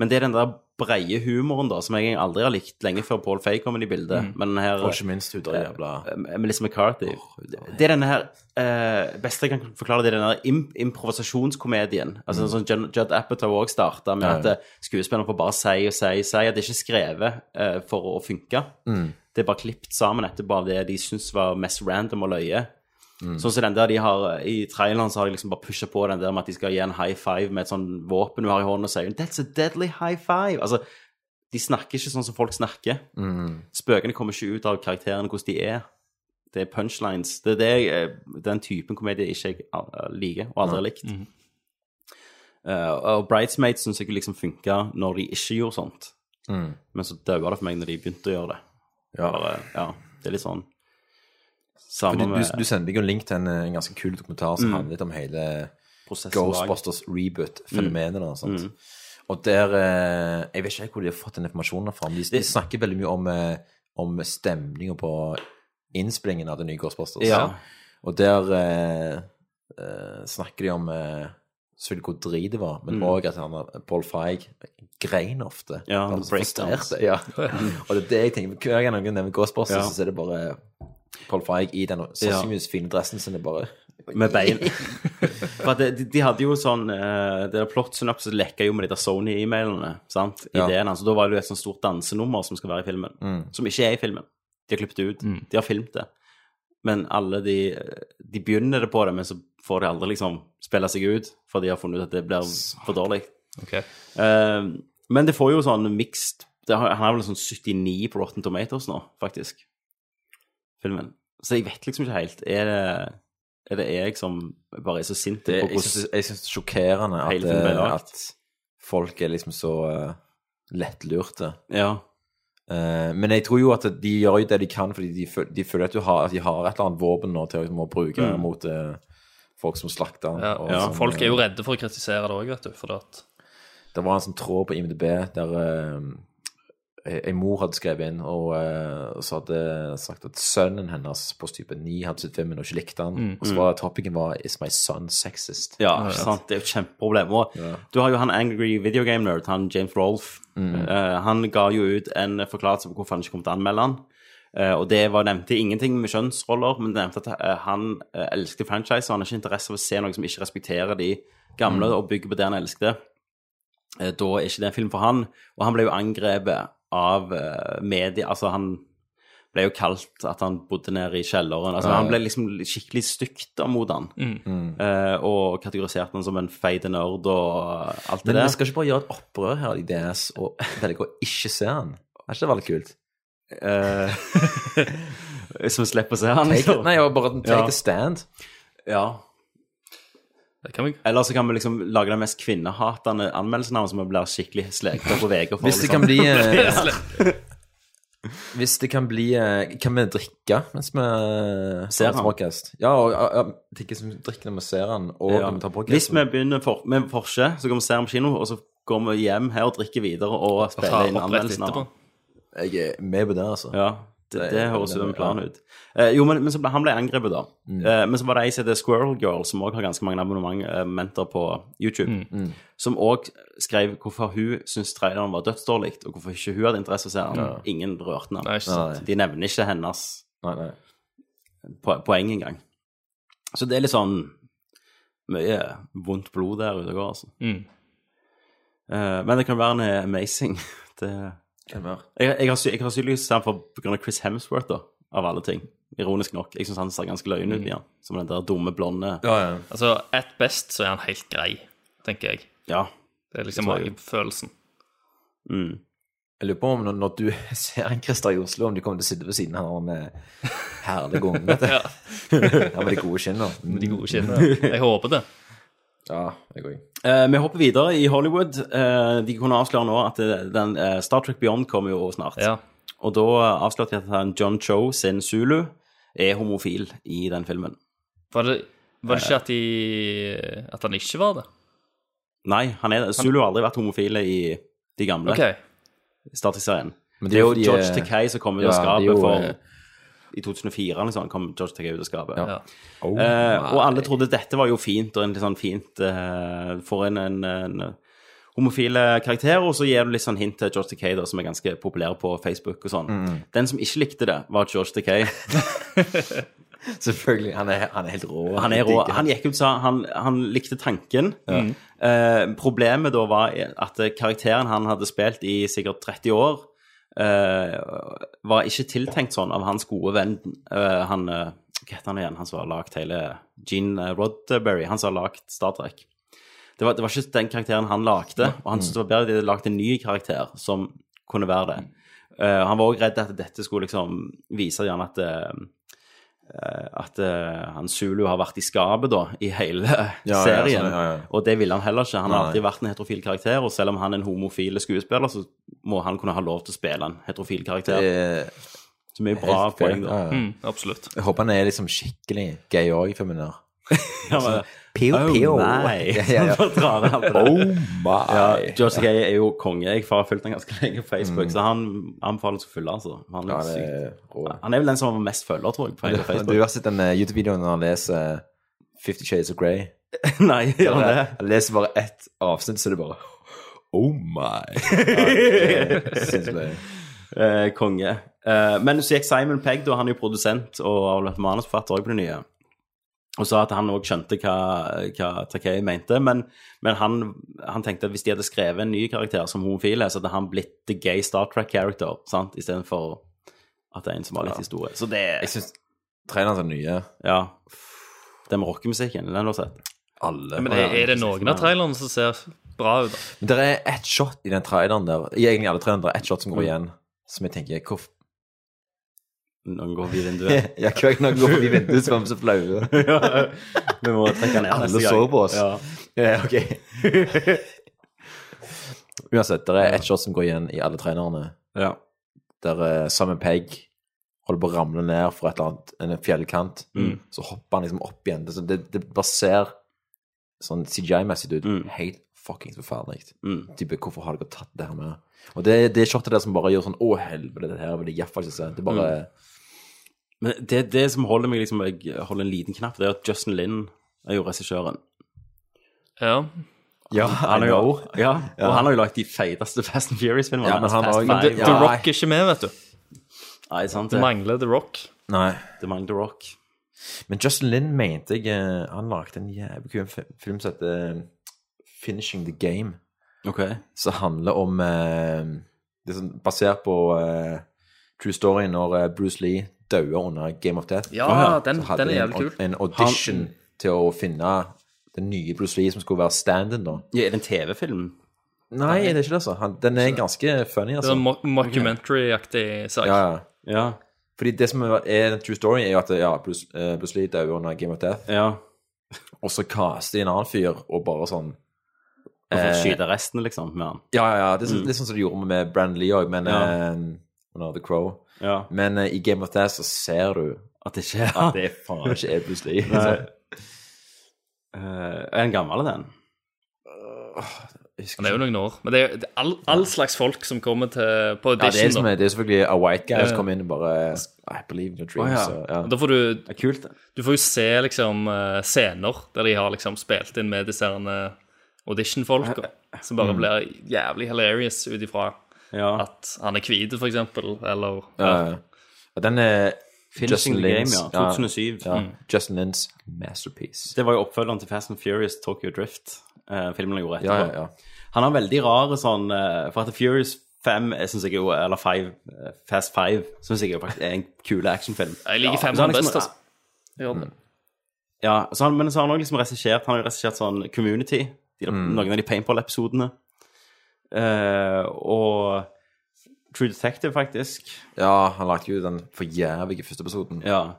[SPEAKER 1] men det er den der breie humoren da, som jeg aldri har likt lenge før Paul Feig kom inn i bildet.
[SPEAKER 9] Mm.
[SPEAKER 1] Men den her,
[SPEAKER 9] Og ikke minst hun der jævla-
[SPEAKER 1] eh, Melissa McCarthy. det er denne her eh, beste jeg kan forklare, det er denne imp improvisasjonskomedien. Altså
[SPEAKER 9] Mm.
[SPEAKER 1] sånn Jud Judd Apatow også starta med
[SPEAKER 9] Ja, ja.
[SPEAKER 1] at eh, skuespillerne får bare si og si og si. At det ikke er skrevet eh, for å funke.
[SPEAKER 9] Mm.
[SPEAKER 1] Det er bare klippet sammen etterpå av det de syns var mest random og løye.
[SPEAKER 9] Mm.
[SPEAKER 1] Sånn som den der de har I traileren så har de liksom bare pusha på den der med at de skal gi en high five med et sånn våpen du har i hånden, og sier 'That's a deadly high five'. Altså, de snakker ikke sånn som folk snakker.
[SPEAKER 9] Mm.
[SPEAKER 1] Spøkene kommer ikke ut av karakterene hvordan de er. Det er punchlines. Det er det, jeg, eh, den typen komedie ikke jeg eh, liker, og aldri har
[SPEAKER 9] Nei. Mhm.
[SPEAKER 1] likt. Eh, og Bridesmaids syns jeg liksom funka når de ikke gjorde sånt,
[SPEAKER 9] Mm.
[SPEAKER 1] men så daua det for meg når de begynte å gjøre det.
[SPEAKER 9] Ja.
[SPEAKER 1] Bare, ja det er litt sånn
[SPEAKER 9] For
[SPEAKER 1] Samme
[SPEAKER 9] du, du, du sendte meg jo en link til en, eh, en ganske kul dokumentar som
[SPEAKER 1] Mm.
[SPEAKER 9] handler litt om hele
[SPEAKER 1] Prosessen bak.
[SPEAKER 9] Ghostbusters reboot-fenomenet. da, sant?
[SPEAKER 1] Mm.
[SPEAKER 9] Og der eh, Jeg vet ikke helt hvor de har fått den informasjonen fra, men de, de snakker veldig mye om, eh, om stemninga på innspillingen av det nye Ghostbusters.
[SPEAKER 1] Ja.
[SPEAKER 9] Og der eh, eh, snakker de om eh, selvfølgelig hvor drit det var, men
[SPEAKER 1] Mm.
[SPEAKER 9] òg at han, eh, Paul Feig grein ofte.
[SPEAKER 1] Ja,
[SPEAKER 9] Han var
[SPEAKER 1] the
[SPEAKER 9] så
[SPEAKER 1] breakdowns. <laughs>
[SPEAKER 9] frustrert. Ja. <laughs> Og det er det jeg tenker Hver gang noen nevner Ghostbusters,
[SPEAKER 1] Mm. Ja.
[SPEAKER 9] så er det bare Paul Feig i den sannsynligvis fine dressen sin er bare
[SPEAKER 1] Med bein. For at det- de, de hadde jo sånn eh, Det der plot-synopsis lekka jo med de der Sony-emailene. sant?
[SPEAKER 9] Ja.
[SPEAKER 1] Ideen hans. Og Da var det jo et sånt stort dansenummer som skal være i filmen.
[SPEAKER 9] Mm.
[SPEAKER 1] Som ikke er i filmen. De har klippet det ut. De har filmt det. Men alle de eh, De begynner det på det, men så får de aldri liksom spille seg ut, for de har funnet ut at det blir for dårlig.
[SPEAKER 10] Ok.
[SPEAKER 1] Eh, men det får jo sånn mixed det har, Han har vel sånn 79 på Rotten Tomatoes nå, faktisk. Filmen. Så jeg vet liksom ikke helt. Er det, er det jeg som bare er så sint
[SPEAKER 9] Det,
[SPEAKER 1] på
[SPEAKER 9] jeg synes- jeg syns det er sjokkerende at,
[SPEAKER 1] hele filmen ble
[SPEAKER 9] eh,
[SPEAKER 1] lagd?
[SPEAKER 9] at folk er liksom så eh, lettlurte.
[SPEAKER 1] Ja.
[SPEAKER 9] Eh, men jeg tror jo at de gjør jo det de kan, fordi de, føl de føler at, du har, at de har et eller annet våpen nå til å liksom, å bruke
[SPEAKER 10] Mm.
[SPEAKER 9] mot eh, folk som slakter den.
[SPEAKER 10] Ja,
[SPEAKER 9] og
[SPEAKER 10] så
[SPEAKER 9] som,
[SPEAKER 10] Folk er jo
[SPEAKER 9] eh,
[SPEAKER 10] redde for å kritisere det òg, vet du. For at
[SPEAKER 9] Det var en sånn tråd på IMDb der eh, ei ei mor hadde skrevet inn og, eh, og så hadde sagt at sønnen hennes på type 9 hadde sett filmen og ikke likte den.
[SPEAKER 1] Mm.
[SPEAKER 9] Og så var topicen var 'Is my son sexist?'
[SPEAKER 1] Ja, ikke sant? det er jo et kjempeproblem. Og Du har jo han angry video game nerd, han James Rolfe.
[SPEAKER 9] Mm.
[SPEAKER 1] Eh, han ga jo ut en forklarelse på hvorfor han ikke kom til å anmelde han. Eh, og det var, nevnte ingenting med kjønnsroller, men det nevnte at eh, han uh, elsket franchise, og han har ikke interesse av å se noe som ikke respekterer de gamle
[SPEAKER 9] Mm.
[SPEAKER 1] og bygger på det han elsket. Eh, da er ikke det en film for han. Og han ble jo angrepet av eh, media, altså han ble jo kalt at han bodde nede i kjelleren. Altså,
[SPEAKER 9] Ja, ja.
[SPEAKER 1] Han ble liksom skikkelig stygt da mot han.
[SPEAKER 10] Mm.
[SPEAKER 9] Mm.
[SPEAKER 1] Eh, og kategoriserte han som en feite nerd og alt det
[SPEAKER 9] Men
[SPEAKER 1] der.
[SPEAKER 9] vi skal ikke bare gjøre et opprør her i DS og <laughs> velge å ikke se den. Er ikke det veldig kult?
[SPEAKER 1] Som slipper å se han,
[SPEAKER 9] <laughs> Take,
[SPEAKER 1] liksom.
[SPEAKER 9] nei, jeg var bare take
[SPEAKER 1] Ja.
[SPEAKER 9] a stand.
[SPEAKER 1] <laughs> Ja.
[SPEAKER 10] Det kan vi.
[SPEAKER 1] Eller så kan vi liksom lage den mest kvinnehatende anmeldelsen av han, som vi blir skikkelig slekt på VG for.
[SPEAKER 9] Hvis <laughs>
[SPEAKER 1] liksom.
[SPEAKER 9] det kan bli eh,
[SPEAKER 1] Ja.
[SPEAKER 9] <laughs> Hvis det kan bli eh, Kan vi drikke mens vi
[SPEAKER 1] Ser
[SPEAKER 9] tar
[SPEAKER 1] han.
[SPEAKER 9] podcast? Ja, og ja, ja, drikke som vi drikker når vi ser han, og
[SPEAKER 1] Ja.
[SPEAKER 9] når vi tar podcast.
[SPEAKER 1] Hvis vi begynner for, med Porsche, så går vi og ser ham på kino, og så går vi hjem her og drikker videre og
[SPEAKER 9] tar
[SPEAKER 1] spiller inn
[SPEAKER 9] opp rett
[SPEAKER 1] anmeldelsen av
[SPEAKER 9] etterpå.
[SPEAKER 1] han.
[SPEAKER 9] Jeg er med på det, altså.
[SPEAKER 1] Ja, det, det høres ut som en plan
[SPEAKER 9] Ja.
[SPEAKER 1] ut. Eh, jo, men, men så ble, han ble angrepet, da. Eh, men så var det ei som heter Squirrel Girl, som òg har ganske mange abonnementer på YouTube,
[SPEAKER 9] mm.
[SPEAKER 1] som òg skrev hvorfor hun syntes traileren var dødsdårlig, og hvorfor ikke hun hadde interesse av å se den.
[SPEAKER 9] Ja.
[SPEAKER 1] Ingen rørte den.
[SPEAKER 10] Nei, ikke sant.
[SPEAKER 1] De nevner ikke hennes
[SPEAKER 9] Nei, nei.
[SPEAKER 1] po poeng engang. Så det er litt sånn mye vondt blod der ute og går, altså.
[SPEAKER 10] Mm.
[SPEAKER 1] Eh, men det kan være han er amazing. <laughs> Det
[SPEAKER 9] Hvem er?
[SPEAKER 1] jeg, jeg har, sy- jeg har synligvis sett han for på grunn av Chris Hemsworth, da, av alle ting. Ironisk nok. Jeg syns han ser ganske løyen ut
[SPEAKER 10] Mm.
[SPEAKER 1] igjen. Som den der dumme, blonde
[SPEAKER 10] Altså, at best så er han helt grei, tenker jeg.
[SPEAKER 1] Ja.
[SPEAKER 10] Det er liksom
[SPEAKER 9] Det tror jeg.
[SPEAKER 10] magefølelsen.
[SPEAKER 1] Mm.
[SPEAKER 9] Jeg lurer på om når, når du <laughs> ser en Christer i Oslo, om du kommer til å sitte ved siden av han med herlige ungen. vet du.
[SPEAKER 10] Ja.
[SPEAKER 9] <laughs> ja, med de gode skinnene. Mm.
[SPEAKER 10] Med de gode skinnene. <laughs> Jeg håper det.
[SPEAKER 9] Ja, jeg òg.
[SPEAKER 1] Eh, vi hopper videre i Hollywood. Eh, de kunne avsløre nå at eh, den, eh, Star Trek Beyond kommer jo snart. Og da eh, avslørte de at han John Cho sin Zulu er homofil i den filmen.
[SPEAKER 10] Var det, var
[SPEAKER 9] Eh.
[SPEAKER 10] det ikke at, de, at han ikke var det?
[SPEAKER 1] Nei, han er, Zulu har aldri vært homofile i de gamle
[SPEAKER 10] Ok.
[SPEAKER 1] Star Trek-serien.
[SPEAKER 9] Men
[SPEAKER 1] Det,
[SPEAKER 9] det
[SPEAKER 1] er
[SPEAKER 9] er
[SPEAKER 1] jo
[SPEAKER 9] fordi,
[SPEAKER 1] George
[SPEAKER 9] eh,
[SPEAKER 1] Takei som kom ut av
[SPEAKER 9] ja, det er
[SPEAKER 1] skapet
[SPEAKER 9] jo, eh,
[SPEAKER 1] for I 2004 eller sånn, kom George Takei ut av skapet.
[SPEAKER 9] Ja.
[SPEAKER 1] Eh,
[SPEAKER 9] Oh,
[SPEAKER 1] og
[SPEAKER 9] nei.
[SPEAKER 1] alle trodde dette var jo fint, og en litt sånn fint eh, for en, en, en homofile karakter, og så gir du litt sånn hint til George Takei, da, som er ganske populær på Facebook og sånn.
[SPEAKER 9] Mm.
[SPEAKER 1] Den som ikke likte det, var George Takei.
[SPEAKER 9] Selvfølgelig. Han er, han er helt rå.
[SPEAKER 1] Han
[SPEAKER 9] <laughs>
[SPEAKER 1] er rå. Han gikk ut og sa han, han likte tanken.
[SPEAKER 9] Ja.
[SPEAKER 1] Eh, problemet da var at karakteren han hadde spilt i sikkert 30 år, eh, var ikke tiltenkt sånn av hans gode venn eh, Han eh, Hva heter han igjen? Han som har lagd hele Gene Rodberry. Han som har lagd Star Trek. Det var, det var ikke den karakteren han lagde, og han syntes det var bedre at de hadde lagd en ny karakter som kunne være det. Eh, han var òg redd at dette skulle liksom vise gjerne at eh, eh, at eh, han Zulu har vært i skapet da, i hele
[SPEAKER 9] ja,
[SPEAKER 1] serien.
[SPEAKER 9] sånn, ja, ja.
[SPEAKER 1] Og det ville han heller ikke. Han har
[SPEAKER 9] Nei.
[SPEAKER 1] alltid vært en heterofil karakter, og selv om han er en homofil skuespiller, så må han kunne ha lov til å spille en heterofil karakter. Så mye eh, bra
[SPEAKER 9] Eh, helt
[SPEAKER 1] poeng,
[SPEAKER 9] greit,
[SPEAKER 1] da.
[SPEAKER 9] ja, ja.
[SPEAKER 10] Mm, absolutt.
[SPEAKER 9] Jeg håper han er liksom skikkelig gay òg i filmen der.
[SPEAKER 1] Ja, men-
[SPEAKER 9] Pew,
[SPEAKER 1] oh,
[SPEAKER 9] pew.
[SPEAKER 1] Nei.
[SPEAKER 9] Ja, ja, ja.
[SPEAKER 1] <laughs> Bare drar alt det der.
[SPEAKER 9] Oh my. <laughs>
[SPEAKER 1] Ja, George Takei er jo konge. Jeg har fulgt han ganske lenge på Facebook, så han anbefales å følge, altså. Han er,
[SPEAKER 9] Mm. Ja, det er
[SPEAKER 1] sykt.
[SPEAKER 9] rå.
[SPEAKER 1] han er vel den som har mest følgere, tror jeg, på hele
[SPEAKER 9] Du
[SPEAKER 1] Facebook.
[SPEAKER 9] har sett den eh, YouTube-videoen når han leser eh, Fifty Shades of Grey.
[SPEAKER 1] <laughs> Nei, gjør han det?
[SPEAKER 9] Han leser bare ett avsnitt, så det er bare Oh
[SPEAKER 1] <laughs>
[SPEAKER 9] my. Sinnssykt.
[SPEAKER 1] Eh, konge. Eh, men så gikk Simon Pegg, da, han er jo produsent og har vært manusforfatter også på det nye, og sa at han òg skjønte hva, hva Takei mente, men, men han, han tenkte at hvis de hadde skrevet en ny karakter som homofile, så hadde han blitt the gay Star Trek character, sant, istedenfor at det er en som har litt
[SPEAKER 9] Ja.
[SPEAKER 1] historie. Så det
[SPEAKER 9] Jeg syns Traileren til den nye.
[SPEAKER 1] Ja. Den med rockemusikken, den har du sett?
[SPEAKER 9] Alle.
[SPEAKER 10] Men er, er det noen av trailerne som ser bra ut? da?
[SPEAKER 9] Men det er ett shot i den traileren der I egentlig alle trailerne der er ett shot
[SPEAKER 1] Mm.
[SPEAKER 9] som går igjen, som jeg tenker hvorf-
[SPEAKER 1] Noen går forbi <laughs> vinduet.
[SPEAKER 9] <laughs> Ja, hver gang noen går forbi vinduet, så er vi så flaue.
[SPEAKER 1] <laughs> Ja, Vi må trekke den ned
[SPEAKER 9] Alle
[SPEAKER 1] neste gang.
[SPEAKER 9] så på oss.
[SPEAKER 1] Ja.
[SPEAKER 9] Ja, ok. <laughs> Uansett, det er ett shot som går igjen i alle trailerne.
[SPEAKER 1] Ja.
[SPEAKER 9] Der eh, Simon Pegg holder på å ramle ned fra et eller annet, en fjellkant.
[SPEAKER 1] Mm.
[SPEAKER 9] Så hopper han liksom opp igjen. Det, så det, det bare ser sånn CGI-messig ut. Helt fuckings forferdelig.
[SPEAKER 1] Mm.
[SPEAKER 9] Type, hvorfor har dere tatt det her med? Og det, det shotet der som bare gjør sånn Å, helvete, det her vil jeg iallfall ikke se. Det er bare
[SPEAKER 1] Mm. Men det, det som holder meg liksom, Jeg holder en liten knapp, det er at Justin Lin er jo regissøren.
[SPEAKER 10] Ja.
[SPEAKER 9] Ja,
[SPEAKER 1] Han har
[SPEAKER 9] I
[SPEAKER 1] jo,
[SPEAKER 9] know.
[SPEAKER 1] ja,
[SPEAKER 9] Ja.
[SPEAKER 1] og han har jo lagt de feiteste <laughs> Fast and Furious-filmene.
[SPEAKER 9] Ja, men han
[SPEAKER 1] Fast
[SPEAKER 9] har jo-
[SPEAKER 1] Five
[SPEAKER 10] The,
[SPEAKER 9] Ja.
[SPEAKER 10] The Rock er ikke med, vet du.
[SPEAKER 1] og- Nei, sant
[SPEAKER 10] Det
[SPEAKER 1] det.
[SPEAKER 10] mangler The Rock.
[SPEAKER 9] Nei.
[SPEAKER 1] Det mangler The Rock.
[SPEAKER 9] Men Justin Lin mente jeg eh, Han lagde en jævlig kul fi- film som heter eh, 'Finishing the Game'.
[SPEAKER 1] Ok.
[SPEAKER 9] Som handler om eh, Det er sånn basert på eh, true story når eh, Bruce Lee døde under Game of Death.
[SPEAKER 10] Ja, den-
[SPEAKER 9] Så hadde
[SPEAKER 10] den
[SPEAKER 9] de
[SPEAKER 10] er
[SPEAKER 9] en
[SPEAKER 10] jævlig
[SPEAKER 9] au-
[SPEAKER 10] kul.
[SPEAKER 9] En audition til å finne den nye Bruce Lee som skulle være stand-in, da.
[SPEAKER 1] Ja, er det en TV-film?
[SPEAKER 9] Nei, det er ikke det, altså. Han, den er ganske funny,
[SPEAKER 10] Det er
[SPEAKER 9] altså.
[SPEAKER 10] en mo- mockumentary-aktig sak.
[SPEAKER 9] Ja, ja.
[SPEAKER 1] Ja.
[SPEAKER 9] Fordi det som er er true story, er jo at ja, Bruce, eh, Bruce Lee døde under Game of Death.
[SPEAKER 1] Ja.
[SPEAKER 9] Og så kaster de en annen fyr og bare sånn
[SPEAKER 1] Og får
[SPEAKER 9] eh,
[SPEAKER 1] skyte resten, liksom, med han.
[SPEAKER 9] Ja, ja, ja. Det er sånn-
[SPEAKER 1] Mm.
[SPEAKER 9] litt sånn som de gjorde med Brand Lee òg, men
[SPEAKER 1] Ja.
[SPEAKER 9] eh, under The Crow.
[SPEAKER 1] Ja.
[SPEAKER 9] Men eh, i Game of Death så ser du
[SPEAKER 1] At det ikke er
[SPEAKER 9] at det er faen ikke er Bruce Lee.
[SPEAKER 1] <laughs> Nei. Eh, Er den gammel, den?
[SPEAKER 10] Han er jo noen år. Men det er, det er all, all slags folk som kommer til, på
[SPEAKER 9] Ja, det er,
[SPEAKER 10] audition.
[SPEAKER 9] som, er- det er selvfølgelig a white guy
[SPEAKER 10] Ja,
[SPEAKER 9] som
[SPEAKER 10] ja.
[SPEAKER 9] kommer inn og bare eh, I believe in your
[SPEAKER 1] Å,
[SPEAKER 9] dreams.
[SPEAKER 1] ja.
[SPEAKER 9] så, ja.
[SPEAKER 10] da. da får du
[SPEAKER 1] Det er kult, det.
[SPEAKER 10] Du får jo se liksom eh, scener der de har liksom spilt inn med disse herne auditionfolka,
[SPEAKER 9] <laughs>
[SPEAKER 10] som
[SPEAKER 9] Mm.
[SPEAKER 10] bare blir jævlig hilarious ut ifra
[SPEAKER 1] Ja.
[SPEAKER 10] at han er hvit, for eksempel, eller
[SPEAKER 9] Ja, ja. Og den er
[SPEAKER 1] Finishing
[SPEAKER 9] Justin
[SPEAKER 1] the Game,
[SPEAKER 9] Lins-
[SPEAKER 1] ja. 2007.
[SPEAKER 9] Ja,
[SPEAKER 1] Mm.
[SPEAKER 9] Justin Lins masterpiece.
[SPEAKER 1] Det var jo oppfølgeren til Fast and Furious Tokyo Drift, eh, filmen han gjorde etterpå.
[SPEAKER 9] Ja, ja, ja.
[SPEAKER 1] Han har veldig rare sånn eh, For at Furious 5 eh, synes jeg jo, eller 5, eh, Fast 5 syns jeg jo faktisk er en kul actionfilm.
[SPEAKER 10] Jeg liker
[SPEAKER 1] Ja,
[SPEAKER 10] fem
[SPEAKER 1] så han
[SPEAKER 10] best,
[SPEAKER 1] liksom-
[SPEAKER 10] altså. Ja,
[SPEAKER 1] Ja, så han, men så har han òg liksom regissert Han har jo regissert sånn Community, de,
[SPEAKER 9] Mm.
[SPEAKER 1] noen av de paintball-episodene. Eh, og True Detective, faktisk.
[SPEAKER 9] Ja, han lagde jo den forjævlige første episoden.
[SPEAKER 1] Ja.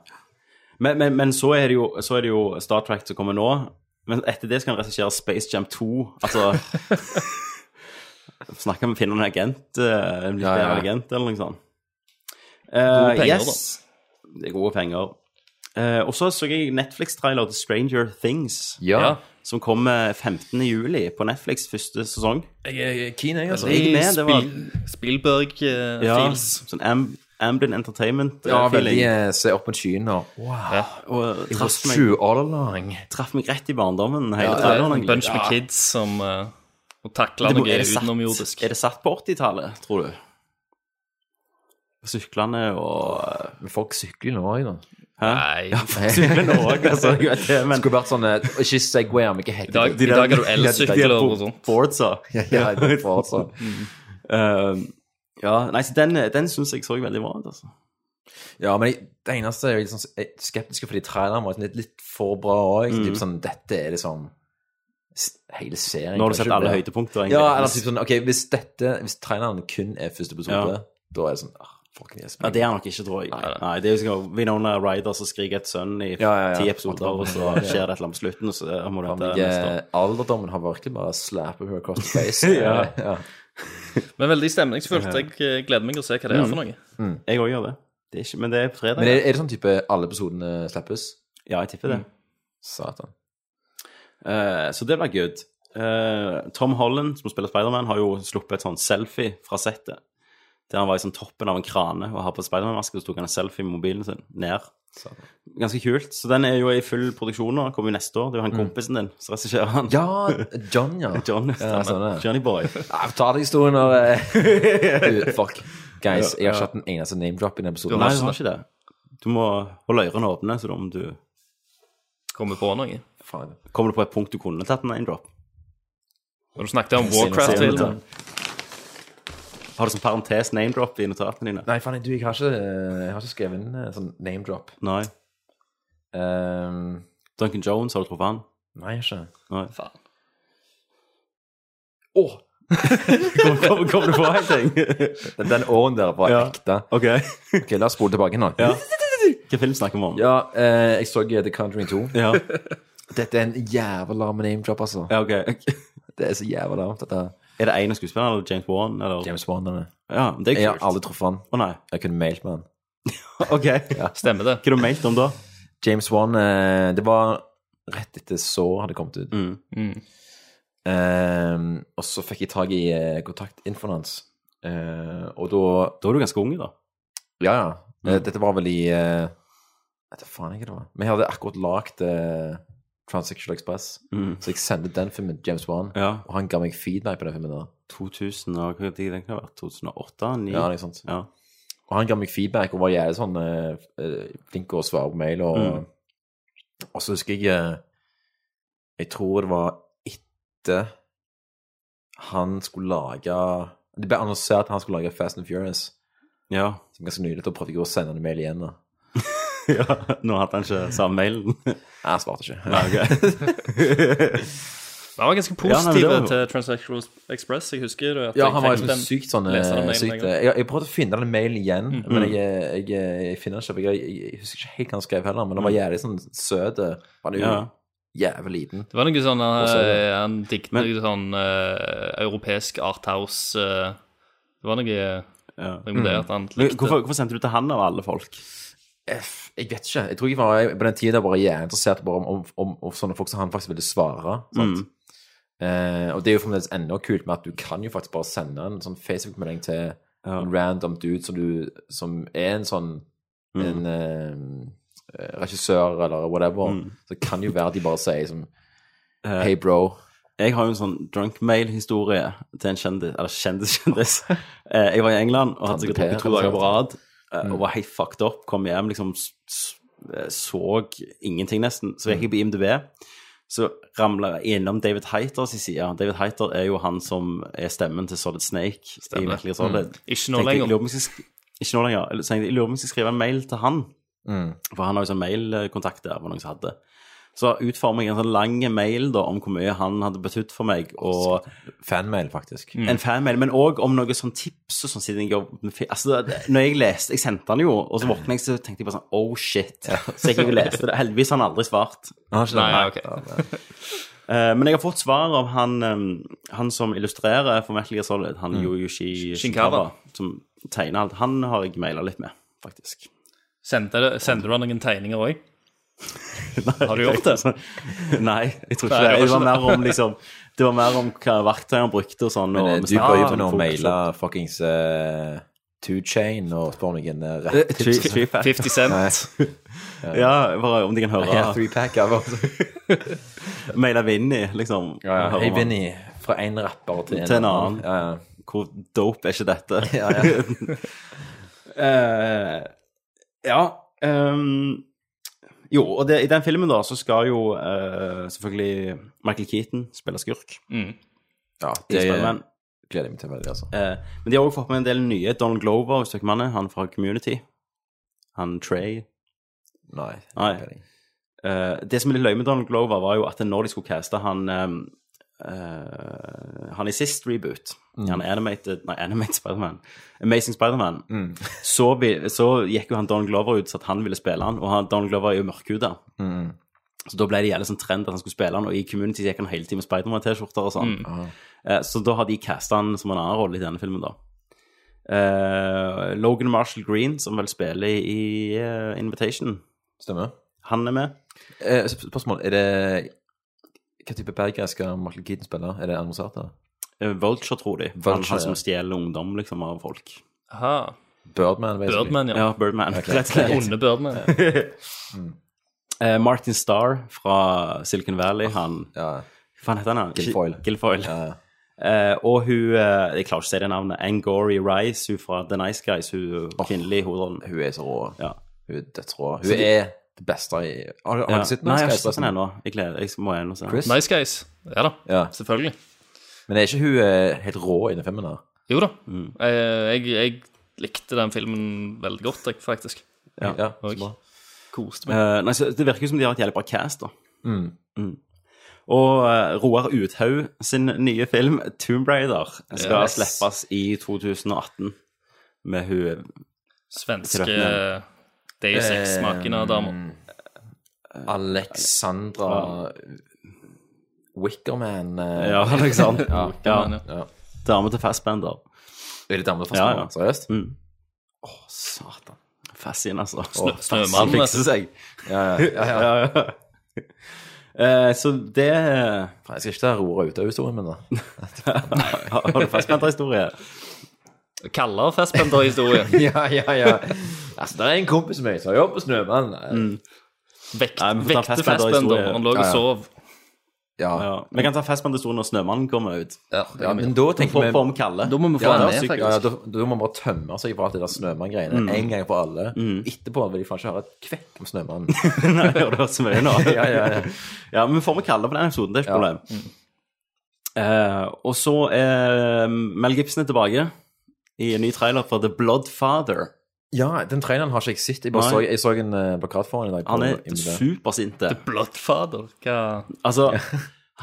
[SPEAKER 1] Men, men, men så, er det jo, så er det jo Star Trek som kommer nå. Men etter det skal han regissere Space Jam 2.
[SPEAKER 9] <laughs>
[SPEAKER 1] Altså Snakke med finne en agent, eh, en litt
[SPEAKER 9] Ja, ja.
[SPEAKER 1] bedre agent, eller noe sånt.
[SPEAKER 10] Gode
[SPEAKER 1] Eh,
[SPEAKER 10] penger,
[SPEAKER 1] yes. Det er gode penger. Eh, og så så jeg Netflix-trailer til Stranger Things,
[SPEAKER 9] Ja.
[SPEAKER 10] Ja.
[SPEAKER 1] som kommer 15. juli på Netflix første sesong.
[SPEAKER 9] Jeg er keen, jeg, altså.
[SPEAKER 1] Jeg med, det var-
[SPEAKER 10] Spiel- Spielberg-feels.
[SPEAKER 1] Sånn Am Amblin Entertainment. eh,
[SPEAKER 9] Ja,
[SPEAKER 1] feeling.
[SPEAKER 9] veldig eh, se opp mot skyen og Wow.
[SPEAKER 1] Og
[SPEAKER 9] It was
[SPEAKER 1] traff meg,
[SPEAKER 9] true all along.
[SPEAKER 1] traff meg rett i barndommen. Hele
[SPEAKER 10] det er
[SPEAKER 1] traileren,
[SPEAKER 10] en
[SPEAKER 1] egentlig.
[SPEAKER 10] bunch med kids som eh, og takler
[SPEAKER 1] Det må-
[SPEAKER 10] noe
[SPEAKER 1] satt-
[SPEAKER 10] utenomjordisk.
[SPEAKER 1] er det satt på 80-tallet, tror du? På syklene og eh,
[SPEAKER 9] Men folk sykler nå òg, da.
[SPEAKER 1] <laughs>
[SPEAKER 10] Nei.
[SPEAKER 1] Syklene òg, altså. Jeg vet det, men
[SPEAKER 9] Skulle vært sånn eh, Ikke Segway, men hva heter
[SPEAKER 10] I dag, i
[SPEAKER 9] <laughs>
[SPEAKER 10] dag er du elsykler og
[SPEAKER 1] bo-
[SPEAKER 10] sånt.
[SPEAKER 1] boardsa.
[SPEAKER 9] Ja, det var altså.
[SPEAKER 1] <laughs> Um, ja, nei, så den, den syns jeg så veldig bra ut, altså.
[SPEAKER 9] Ja, men jeg- det eneste jeg er litt sånn jeg er skeptisk fordi traileren var litt, litt for bra òg. Typ sånn Dette er liksom s- hele serien.
[SPEAKER 1] Mm. Nå har du
[SPEAKER 9] kanskje
[SPEAKER 1] sett alle
[SPEAKER 9] blir-
[SPEAKER 1] høydepunkter, egentlig.
[SPEAKER 9] Ja, eller typ sånn Ok, hvis dette Hvis traileren kun er første episode,
[SPEAKER 1] Ja.
[SPEAKER 9] da er det sånn ah, Fucking yes.
[SPEAKER 1] Ja, Det er han nok ikke, tror jeg. Nei, det er jo sånn Winona Ryder som skriker et sønn i ti
[SPEAKER 9] Ja, ja, ja.
[SPEAKER 1] episoder, og så skjer det et eller annet på slutten, og så må du
[SPEAKER 9] Han
[SPEAKER 1] vente neste år.
[SPEAKER 9] ligger- eh, Alderdommen har virkelig bare slappet henne across the
[SPEAKER 1] <laughs>
[SPEAKER 9] face. Eh,
[SPEAKER 1] Ja.
[SPEAKER 9] ja.
[SPEAKER 10] Men veldig stemningsfullt. Jeg eh, gleder meg å se hva det er
[SPEAKER 1] Mm.
[SPEAKER 10] for noe.
[SPEAKER 1] Jeg òg gjør det. det er ikke, men det er på fredag.
[SPEAKER 9] Men er, er det sånn type alle episodene slippes?
[SPEAKER 1] Ja, jeg tipper det.
[SPEAKER 9] Satan.
[SPEAKER 1] Eh, så det var good. Eh, Tom Holland, som spiller Spiderman, har jo sluppet et sånn selfie fra settet. Der han var i sånn toppen av en krane og har på Spiderman-maske, og så tok han en selfie med mobilen sin ned.
[SPEAKER 9] Satan.
[SPEAKER 1] Ganske kult. Så den er jo i full produksjon nå. Kommer jo neste år. Det er jo han kompisen din som regisserer han.
[SPEAKER 9] Mm. Ja, John, ja.
[SPEAKER 1] <laughs> John,
[SPEAKER 9] ja
[SPEAKER 1] stemmer.
[SPEAKER 9] sånn er det.
[SPEAKER 1] Johnny
[SPEAKER 9] <laughs>
[SPEAKER 1] Boy.
[SPEAKER 9] Ja, Ta deg historien når <laughs> eh, Fuck. Guys, jeg har ikke hatt en eneste name-drop i den episoden.
[SPEAKER 1] Nei, du har ikke det. Du må holde ørene åpne, så da om du
[SPEAKER 10] Kommer på noe.
[SPEAKER 9] Faen.
[SPEAKER 1] Kommer du på et punkt du kunne tatt en name-drop?
[SPEAKER 10] Når du snakket om
[SPEAKER 9] Warcraft, til
[SPEAKER 10] Warcraft
[SPEAKER 9] og
[SPEAKER 10] tidligere.
[SPEAKER 9] med.
[SPEAKER 1] Har du sånn parentes name-drop i notatene dine?
[SPEAKER 9] eh, Nei, faen, du, jeg har ikke, jeg har ikke skrevet inn eh, sånn name-drop.
[SPEAKER 1] Nei. Duncan Jones, har du truffet han?
[SPEAKER 9] Ehm, Nei, ikke.
[SPEAKER 1] Nei.
[SPEAKER 10] Faen.
[SPEAKER 9] <laughs> Å!
[SPEAKER 1] kom, kom, kom du på en ting?
[SPEAKER 9] <laughs> Den, den åren der var ekte.
[SPEAKER 1] Ok. <laughs>
[SPEAKER 9] ok, La oss spole tilbake nå.
[SPEAKER 1] Ja. Hvilken film snakker vi om?
[SPEAKER 9] Ja, eh, jeg så The Conjuring 2.
[SPEAKER 1] Ja.
[SPEAKER 9] Dette er en jævla name-drop, altså.
[SPEAKER 1] Ja, ok.
[SPEAKER 9] Det er så jævla larmt, dette.
[SPEAKER 1] <laughs> Er det en av skuespillerne, eller James Wan? Eller?
[SPEAKER 9] James Bond. denne.
[SPEAKER 1] Ja, men det er kult.
[SPEAKER 9] Jeg har aldri truffet han.
[SPEAKER 1] Å nei.
[SPEAKER 9] Jeg kunne mailt med han.
[SPEAKER 1] <laughs> Ok.
[SPEAKER 10] Stemmer det.
[SPEAKER 1] Hva har du mailt om da?
[SPEAKER 9] James Wan eh, Det var rett etter så hadde kommet ut.
[SPEAKER 1] Mm.
[SPEAKER 9] Eh, og så fikk jeg tak i eh, kontaktinfoen hans. Eh, og da
[SPEAKER 1] Da var du ganske ung, da.
[SPEAKER 9] Ja, ja.
[SPEAKER 1] Mm.
[SPEAKER 9] Eh, Dette var vel i eh, Vet da faen ikke hva det var. Vi hadde akkurat lagd eh, Transsexual Express.
[SPEAKER 1] Mm.
[SPEAKER 9] Så jeg sendte den filmen til James Wan,
[SPEAKER 1] Ja.
[SPEAKER 9] og han ga meg feedback på den filmen. der
[SPEAKER 1] 2000 og hva tid den kan ha vært? 2008? 2009?
[SPEAKER 9] Ja, noe sånt.
[SPEAKER 1] Ja.
[SPEAKER 9] Og han ga meg feedback og var jævlig sånn eh, eh, flink til å svare på mail. Og,
[SPEAKER 10] Mm.
[SPEAKER 9] og så husker jeg eh, Jeg tror det var etter han skulle lage Det ble annonsert at han skulle lage Fast and Furious.
[SPEAKER 1] Ja.
[SPEAKER 9] Så ganske nylig. Da prøvde jeg å sende han en mail igjen. da.
[SPEAKER 1] <laughs> ja. Nå hadde han ikke samme <laughs> mailen.
[SPEAKER 9] Jeg svarte ikke.
[SPEAKER 1] Nei, <laughs> ok.
[SPEAKER 10] Han var ganske
[SPEAKER 1] Ja, nei, men
[SPEAKER 10] positiv
[SPEAKER 1] det var-
[SPEAKER 10] til Transsexual Express. Jeg husker at
[SPEAKER 9] Ja,
[SPEAKER 10] jeg
[SPEAKER 9] han var
[SPEAKER 10] tenkte
[SPEAKER 9] liksom
[SPEAKER 10] den-
[SPEAKER 9] sykt sånn
[SPEAKER 10] leste
[SPEAKER 1] eh,
[SPEAKER 10] den mailen
[SPEAKER 9] sykt,
[SPEAKER 10] en gang.
[SPEAKER 9] jeg, jeg prøvde å finne den mailen igjen,
[SPEAKER 10] Mm.
[SPEAKER 9] men jeg, eh, jeg, jeg finner den ikke. for Jeg, jeg, jeg husker ikke helt hva han skrev heller, men han
[SPEAKER 10] Mm.
[SPEAKER 9] var jævlig sånn søt. Han er jo
[SPEAKER 1] Ja.
[SPEAKER 9] jævlig liten.
[SPEAKER 10] Det var noe sånn
[SPEAKER 9] Og så er det-
[SPEAKER 10] eh, Han digget noe sånn eh, europeisk arthouse eh, Det var noe
[SPEAKER 1] Ja.
[SPEAKER 10] noe med det at han
[SPEAKER 1] Mm. Men
[SPEAKER 10] likte
[SPEAKER 1] Hvorfor, hvorfor sendte du til han av alle folk?
[SPEAKER 9] F, jeg vet ikke. Jeg tror jeg var på den tida bare jævlig interessert bare om, om, om, om sånne folk som han faktisk ville svare. Sant?
[SPEAKER 1] Mm.
[SPEAKER 9] Eh, og det er jo fremdeles enda kult med at du kan jo faktisk bare sende en sånn Facebook-melding til en random dude som, du, som er en sånn en eh, regissør eller whatever. Så kan jo være de bare sier som Hey, bro.
[SPEAKER 1] Jeg har jo en sånn drunk mail-historie til en kjendis, <laughs> eller kjendis-kjendis. Eh, Jeg var i England og hadde sikkert
[SPEAKER 9] Tante Per,
[SPEAKER 1] drukket to dager på rad eh,
[SPEAKER 9] Mm.
[SPEAKER 1] og var helt fucked up. Kom hjem, liksom s- s- eh, så ingenting nesten. Så
[SPEAKER 9] Mm.
[SPEAKER 1] gikk jeg på IMDb, så ramla jeg innom David Heiter sin side. David Heiter er jo han som er stemmen til Solid Snake. i
[SPEAKER 10] Stemmer.
[SPEAKER 1] Metal Gear Solid.
[SPEAKER 10] Mm. Ikke nå
[SPEAKER 1] Tenkte jeg,
[SPEAKER 10] lenger.
[SPEAKER 1] lurer på om jeg skal sk- Ikke nå lenger. Så tenkte Jeg jeg lurer på om jeg skal skrive en mail til han.
[SPEAKER 9] Mm.
[SPEAKER 1] For han har jo sånn mailkontakt der, var noen som hadde. Så utformer jeg en sånn lang mail da, om hvor mye han hadde betydd for meg, og
[SPEAKER 9] Fanmail, faktisk.
[SPEAKER 1] en fanmail, men òg om noe sånn tips og sånn siden jeg jobbet med film. Altså, det- når jeg leste Jeg sendte han jo, og så våkna jeg så tenkte jeg bare sånn Oh shit. Så jeg gikk og leste det. Heldigvis har han aldri svart.
[SPEAKER 9] Han har ikke
[SPEAKER 10] Nei,
[SPEAKER 9] det.
[SPEAKER 10] ok.
[SPEAKER 1] Eh, men jeg har fått svar av han, eh, han som illustrerer for Metal Gear Solid, han Yoyoshi
[SPEAKER 10] Mm. Shinkawa.
[SPEAKER 1] Shinkawa, som tegner alt. Han har jeg maila litt med, faktisk. <laughs>
[SPEAKER 10] Sendte, det- sendte du han noen tegninger òg?
[SPEAKER 1] Har
[SPEAKER 10] du gjort det?
[SPEAKER 1] <laughs> Nei, jeg tror ikke det. Det
[SPEAKER 10] Nei, det var
[SPEAKER 1] var
[SPEAKER 10] ikke
[SPEAKER 1] mer om liksom Det var mer om hva verktøy han brukte og sånn.
[SPEAKER 9] Men eh,
[SPEAKER 1] og
[SPEAKER 9] du bør jo
[SPEAKER 1] Ah,
[SPEAKER 9] for nå
[SPEAKER 1] folk-
[SPEAKER 9] maile <laughs> fuckings eh, Two Chain og spørre om jeg en eh,
[SPEAKER 1] Eh,
[SPEAKER 9] rett
[SPEAKER 1] three- three pack.
[SPEAKER 10] 50 Cent.
[SPEAKER 9] Nei.
[SPEAKER 1] <laughs> Ja, bare om de kan
[SPEAKER 9] Ja,
[SPEAKER 1] høre.
[SPEAKER 9] three pack, ja. bare så-
[SPEAKER 1] Maile Vinni, liksom.
[SPEAKER 9] Ja, ja.
[SPEAKER 1] Høre
[SPEAKER 9] Hei,
[SPEAKER 1] om han.
[SPEAKER 9] Vinny. Fra en rapper til en,
[SPEAKER 1] Til en annen.
[SPEAKER 9] Ja, ja.
[SPEAKER 1] Hvor dope er ikke dette?
[SPEAKER 9] <laughs> Ja, ja.
[SPEAKER 1] <laughs> Eh, ja ehm, Jo, og det, i den filmen, da, så skal jo eh, selvfølgelig Michael Keaton spille skurk.
[SPEAKER 10] Mm.
[SPEAKER 9] ja
[SPEAKER 1] i
[SPEAKER 9] det
[SPEAKER 1] Spider-Man.
[SPEAKER 9] gleder jeg meg til veldig, altså.
[SPEAKER 1] Eh, men de har også fått med en del nye. Donald Glover, hvis dere manner, han fra Community. Han Trey.
[SPEAKER 9] Nei.
[SPEAKER 1] Nei. Eh, det som er litt løye med Donald Glover, var jo at når de skulle caste han eh, eh, Han i sist reboot, han animated, nei, animated Spiderman, Amazing Spiderman,
[SPEAKER 9] Mm.
[SPEAKER 1] så, vi- så gikk jo han Donald Glover ut så at han ville spille han, og han, Donald Glover er jo mørkhuda.
[SPEAKER 9] Mm.
[SPEAKER 1] Så da ble det jævlig sånn trend at han skulle spille han, og i Community gikk han hele tiden med Spiderman-T-skjorter og sånn.
[SPEAKER 9] Ah.
[SPEAKER 1] Eh, Så da har de casta han som en annen rolle i denne filmen, da. Eh, Logan Marshall Green, som vel spiller i eh, Invitation,
[SPEAKER 9] Stemmer.
[SPEAKER 1] han er med.
[SPEAKER 9] Eh, sp- spørsmål. Er det Hva type berger skal Michael Keaton spille? Er det annonsert, eller?
[SPEAKER 1] Eh, Vulture, tror de. han,
[SPEAKER 9] Vulture,
[SPEAKER 1] han
[SPEAKER 9] ja.
[SPEAKER 1] som stjeler ungdom liksom, av folk.
[SPEAKER 10] Aha.
[SPEAKER 9] Birdman, basically.
[SPEAKER 10] Birdman, ja.
[SPEAKER 1] Ja, Birdman. <laughs>
[SPEAKER 9] Ok. Mm.
[SPEAKER 1] Rett og slett.
[SPEAKER 9] <laughs>
[SPEAKER 10] <laughs> Onde Birdman.
[SPEAKER 1] Eh, Martin Starr fra Silicon Valley, han
[SPEAKER 9] Ah, Ja.
[SPEAKER 1] Hva faen heter han? da?
[SPEAKER 9] Gilfoyle.
[SPEAKER 1] Gilfoyle.
[SPEAKER 9] Ja, ja.
[SPEAKER 1] Eh, og hun eh, Jeg klarer ikke å si det navnet. Angori Rice, hun fra The Nice Guys, hun kvinnelige hovedrollen.
[SPEAKER 9] Hun er så rå.
[SPEAKER 1] Ja.
[SPEAKER 9] Hun er dødsrå. Hun
[SPEAKER 1] Så de-
[SPEAKER 9] er det beste i Har har du
[SPEAKER 1] Ja.
[SPEAKER 9] ikke sett
[SPEAKER 1] Nei, jeg har ikke
[SPEAKER 9] Nice Guys,
[SPEAKER 1] sett den
[SPEAKER 9] forresten?
[SPEAKER 1] ennå. Jeg, gleder- jeg må igjen og se den.
[SPEAKER 9] Chris?
[SPEAKER 10] Nice Guys. Ja da,
[SPEAKER 9] Ja.
[SPEAKER 10] selvfølgelig.
[SPEAKER 9] Men er ikke hun eh, helt rå i den filmen? her?
[SPEAKER 10] Jo da. Jeg, jeg, jeg likte den filmen veldig godt, jeg, faktisk.
[SPEAKER 9] Ja, så
[SPEAKER 10] Og-
[SPEAKER 9] bra.
[SPEAKER 10] Koste meg.
[SPEAKER 1] Eh, nei, så det virker jo som de har et jævlig bra cast, da.
[SPEAKER 9] Mm.
[SPEAKER 1] Mm. Og eh, Roar Uthaug sin nye film, Tomb Raider, skal
[SPEAKER 10] Yes.
[SPEAKER 1] slippes i 2018 med hun
[SPEAKER 10] Svenske Deus
[SPEAKER 9] Eh,
[SPEAKER 10] Ex-maken av damer.
[SPEAKER 9] Alexandra Wickerman. eh.
[SPEAKER 1] <laughs> Ja, liksom.
[SPEAKER 9] <laughs> ja,
[SPEAKER 1] ja. Dame til Fassbender.
[SPEAKER 9] Er det dame til
[SPEAKER 1] Ja,
[SPEAKER 9] Fastland?
[SPEAKER 1] ja.
[SPEAKER 9] Seriøst?
[SPEAKER 1] Mm. Å, satan. Fassin, altså.
[SPEAKER 9] Snø-
[SPEAKER 1] Å,
[SPEAKER 9] snømann,
[SPEAKER 1] Fassin
[SPEAKER 9] vet
[SPEAKER 1] fikser
[SPEAKER 9] du.
[SPEAKER 1] seg.
[SPEAKER 9] Ja, ja, ja,
[SPEAKER 1] <laughs> ja. Eh, så det eh,
[SPEAKER 9] Jeg skal ikke ta roret ut av historien min, da.
[SPEAKER 1] <laughs> Har har du Fassbender-historie?
[SPEAKER 10] Kaller
[SPEAKER 9] <laughs>
[SPEAKER 10] festbenderhistorie.
[SPEAKER 9] <laughs> ja, ja, ja. Altså, det er en kompis av meg som har jobb på Snømann.
[SPEAKER 1] Mm.
[SPEAKER 10] Vekt,
[SPEAKER 1] Nei, vi får ta
[SPEAKER 10] vekte
[SPEAKER 1] Fassbender-historie.
[SPEAKER 10] festbender. Han lå
[SPEAKER 9] Ja,
[SPEAKER 10] og
[SPEAKER 9] ja.
[SPEAKER 10] sov.
[SPEAKER 9] Ja.
[SPEAKER 1] Ja. Vi kan ta Fassbender-historien når Snømannen kommer ut.
[SPEAKER 9] Ja, men da tenker vi
[SPEAKER 1] på om Kalle.
[SPEAKER 10] Da må vi få
[SPEAKER 9] ja,
[SPEAKER 10] han
[SPEAKER 9] ja,
[SPEAKER 10] ned,
[SPEAKER 9] sykt-
[SPEAKER 10] faktisk.
[SPEAKER 9] ja, ja, da, da må man bare tømme seg fra alt det der snømanngreiene
[SPEAKER 1] Mm.
[SPEAKER 9] en gang for alle. Etterpå vil de faen ikke høre et kvekk om <laughs> snømannen.
[SPEAKER 1] Nei, jeg har hørt så mye nå.
[SPEAKER 9] <laughs> Ja, ja, ja.
[SPEAKER 1] Ja, men vi får vi kalle på den episoden, det er ikke
[SPEAKER 9] Ja.
[SPEAKER 1] problem. Eh, og så er eh, Mel Gibson er tilbake i en ny trailer fra The Bloodfather.
[SPEAKER 9] ja, den traileren har ikke jeg sett. Jeg, bare
[SPEAKER 1] Nei.
[SPEAKER 9] så, jeg så en eh, plakat for han i dag.
[SPEAKER 1] Han er
[SPEAKER 9] IMDb.
[SPEAKER 1] supersinte.
[SPEAKER 10] Bloodfather. Hva
[SPEAKER 1] Altså,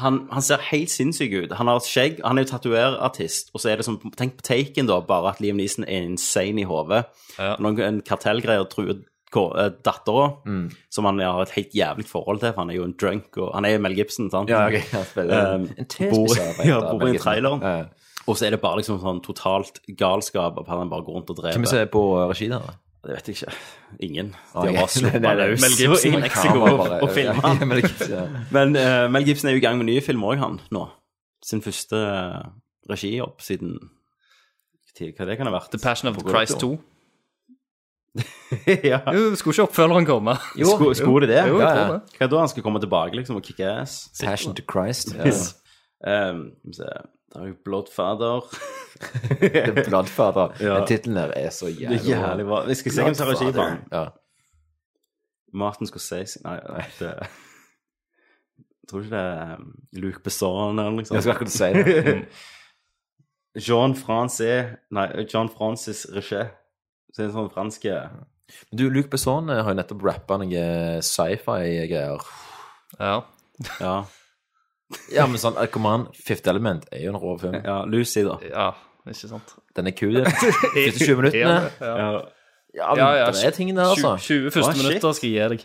[SPEAKER 1] <laughs> han, han ser helt sinnssyk ut. Han har et skjegg, han er jo tatoverartist, og så er det som Tenk på Taken, da, bare at Liam Neeson er insane i hodet.
[SPEAKER 10] Ja.
[SPEAKER 1] Noen en kartellgreier truer ko- eh, dattera,
[SPEAKER 9] Mm.
[SPEAKER 1] som han har et helt jævlig forhold til, for han er jo en drunk, og han er Mel Gibson, sant?
[SPEAKER 9] Ja, ok, han spiller en-
[SPEAKER 1] Eh,
[SPEAKER 9] en tespiss,
[SPEAKER 1] bor,
[SPEAKER 9] jeg <laughs> vet,
[SPEAKER 1] ja,
[SPEAKER 9] da,
[SPEAKER 1] bor
[SPEAKER 9] Mel
[SPEAKER 1] i en
[SPEAKER 9] Gibson.
[SPEAKER 1] trailer.
[SPEAKER 9] Ja, ja.
[SPEAKER 1] Og så er det bare liksom sånn totalt galskap av at han bare går rundt og dreper.
[SPEAKER 9] Hvem ser på eh, regi der? da?
[SPEAKER 1] Det vet jeg ikke. Ingen.
[SPEAKER 9] Ah,
[SPEAKER 1] De
[SPEAKER 9] ok.
[SPEAKER 10] <laughs>
[SPEAKER 1] har bare sluppet
[SPEAKER 9] Nei, nei,
[SPEAKER 1] løs
[SPEAKER 9] Mel Gibson
[SPEAKER 1] i
[SPEAKER 9] med
[SPEAKER 1] Mexico
[SPEAKER 9] kamera
[SPEAKER 1] og,
[SPEAKER 9] bare.
[SPEAKER 1] og filmet
[SPEAKER 9] Ja, Mel Gibson,
[SPEAKER 1] <laughs>
[SPEAKER 9] ja.
[SPEAKER 1] han. Men eh, Mel Gibson er jo i gang med nye filmer òg, han, nå. Sin første eh, regijobb siden tid- Hva det kan ha vært?
[SPEAKER 10] The Passion of
[SPEAKER 1] På
[SPEAKER 10] Christ
[SPEAKER 1] Gordo.
[SPEAKER 10] 2.
[SPEAKER 1] <laughs> ja.
[SPEAKER 10] Jo, skulle ikke oppfølgeren komme?
[SPEAKER 1] Sko, skulle det det?
[SPEAKER 10] Jo, jeg
[SPEAKER 1] Ja, ja.
[SPEAKER 10] tror det.
[SPEAKER 1] Hva da han skal komme tilbake liksom og kicke ass?
[SPEAKER 9] Passion to Christ. Ja. <laughs>
[SPEAKER 1] Yes. Um, skal vi se. Da har vi Bloodfather.
[SPEAKER 9] <laughs> The Bloodfather.
[SPEAKER 1] Ja.
[SPEAKER 9] Den tittelen her er så
[SPEAKER 1] Det er
[SPEAKER 9] jævlig
[SPEAKER 1] jævlig bra. Vi skal se hvem som har regi på den.
[SPEAKER 9] Ja.
[SPEAKER 1] Martin Scorsese Nei, det, jeg tror ikke det er um, Luc Besson eller noe sånt.
[SPEAKER 9] Jeg skal akkurat si
[SPEAKER 1] <laughs>
[SPEAKER 9] det.
[SPEAKER 1] Jean Francis Nei, Jean Francis Richet. Så det er en sånn franske
[SPEAKER 9] Men Du, Luc Besson eh, har jo nettopp rappa noe sci-fi-greier.
[SPEAKER 10] Ja.
[SPEAKER 1] Ja.
[SPEAKER 9] Ja, men sånn, eh, kom an, Fifth Element er jo en rå film.
[SPEAKER 1] ja Lucy, da.
[SPEAKER 10] ja, ikke sant.
[SPEAKER 9] Den er
[SPEAKER 1] <laughs>
[SPEAKER 9] kul. den. Første 20 minuttene.
[SPEAKER 10] Ja,
[SPEAKER 1] Ja.
[SPEAKER 9] Ja, men
[SPEAKER 10] ja, ja.
[SPEAKER 9] det er ting der, altså.
[SPEAKER 10] 20 første
[SPEAKER 1] Å, shit.
[SPEAKER 10] minutter skal jeg gi deg.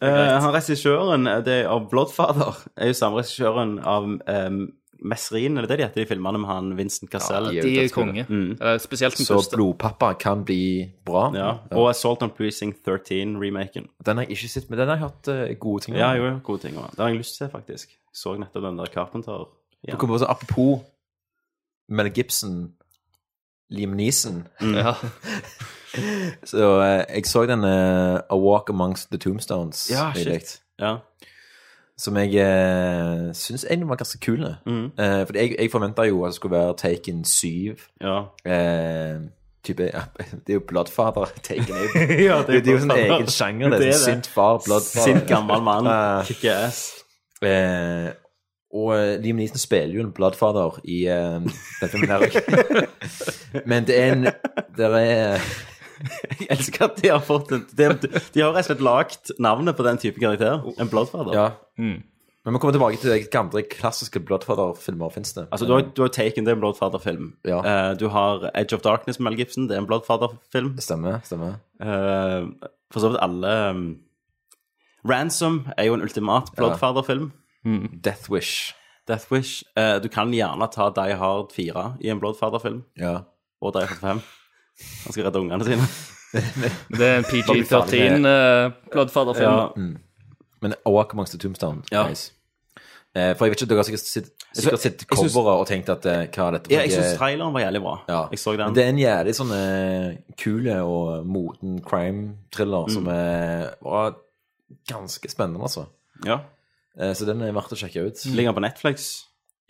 [SPEAKER 1] Eh, han regissøren eh, det, er av Bloodfather <laughs> er jo samme regissøren av um, Messerin, eller det de heter i filmene med han Vincent Cassell.
[SPEAKER 10] De er konge. Eh, Spesielt den
[SPEAKER 9] Mm. Så
[SPEAKER 10] første.
[SPEAKER 9] blodpappa kan bli bra.
[SPEAKER 1] Ja, Og Assault on Precinct 13-remaken.
[SPEAKER 9] Den har jeg ikke sett, men den har jeg hørt eh, gode ting om.
[SPEAKER 1] Ja, jo, gode ting. om den. Det har jeg lyst til, faktisk. Jeg så nettopp den der Carpenter.
[SPEAKER 9] Du kommer også, apropos Mel Gibson, Liam Neeson
[SPEAKER 10] Ja.
[SPEAKER 9] <laughs> Så eh, jeg så den eh, A Walk Amongst the Tombstones
[SPEAKER 1] Ja, shit.
[SPEAKER 9] nylig,
[SPEAKER 1] Ja.
[SPEAKER 9] Som jeg eh, syns egentlig var ganske kul.
[SPEAKER 1] Mhm.
[SPEAKER 9] Eh, fordi jeg, jeg forventa jo at det skulle være Taken 7.
[SPEAKER 1] ja.
[SPEAKER 9] Eh, type, ja, <laughs> det er jo Bloodfather <laughs> Taken er jo-
[SPEAKER 1] Ja,
[SPEAKER 9] det, er jo en egen sjanger. Det er sånn sint far, Bloodfather.
[SPEAKER 1] Sint gammel mann.
[SPEAKER 9] Ja.
[SPEAKER 1] Kicker ass.
[SPEAKER 9] Eh, og eh, Liam Neeson spiller jo en Bloodfather i eh, den filmen her òg. Men det er en Det er
[SPEAKER 1] Jeg elsker at de har fått en De, de har rett og slett lagd navnet på den type karakter. En Bloodfather.
[SPEAKER 9] Ja.
[SPEAKER 1] Mm.
[SPEAKER 9] Men vi kommer tilbake til hvilke andre klassiske Bloodfather-filmer fins det.
[SPEAKER 1] Altså, du har, du har Taken, det er en Bloodfather-film.
[SPEAKER 9] Ja.
[SPEAKER 1] Eh, du har Edge of Darkness med Mel Gibson, det er en Bloodfather-film.
[SPEAKER 9] Stemmer. stemmer.
[SPEAKER 1] Eh, for så vidt alle um, Ransom er jo en ultimat Bloodfather-film.
[SPEAKER 9] Death Wish.
[SPEAKER 1] Death Wish. Eh, du kan gjerne ta Die Hard 4 i en Bloodfather-film.
[SPEAKER 9] Ja.
[SPEAKER 1] Og Die Hard 5. Han skal redde ungene sine.
[SPEAKER 10] Det er en PG-13 uh, Bloodfather-film.
[SPEAKER 1] Ja.
[SPEAKER 9] Mm. Men A Walk Amongst the Tombstone.
[SPEAKER 1] Ja.
[SPEAKER 9] Nice. Eh, for jeg vet ikke, dere har sikkert sett, sikkert sett
[SPEAKER 1] jeg synes-
[SPEAKER 9] coveret og tenkt at eh, hva er dette for
[SPEAKER 1] Ja, jeg
[SPEAKER 9] noe?
[SPEAKER 1] syns traileren var jævlig bra.
[SPEAKER 9] Ja.
[SPEAKER 1] Jeg så den.
[SPEAKER 9] Men Det er en jævlig sånn eh, kule og moden crime-thriller
[SPEAKER 1] Mm.
[SPEAKER 9] som eh, var ganske spennende, altså.
[SPEAKER 1] Ja.
[SPEAKER 9] Eh, så den er verdt å sjekke ut.
[SPEAKER 1] Ligger på Netflix.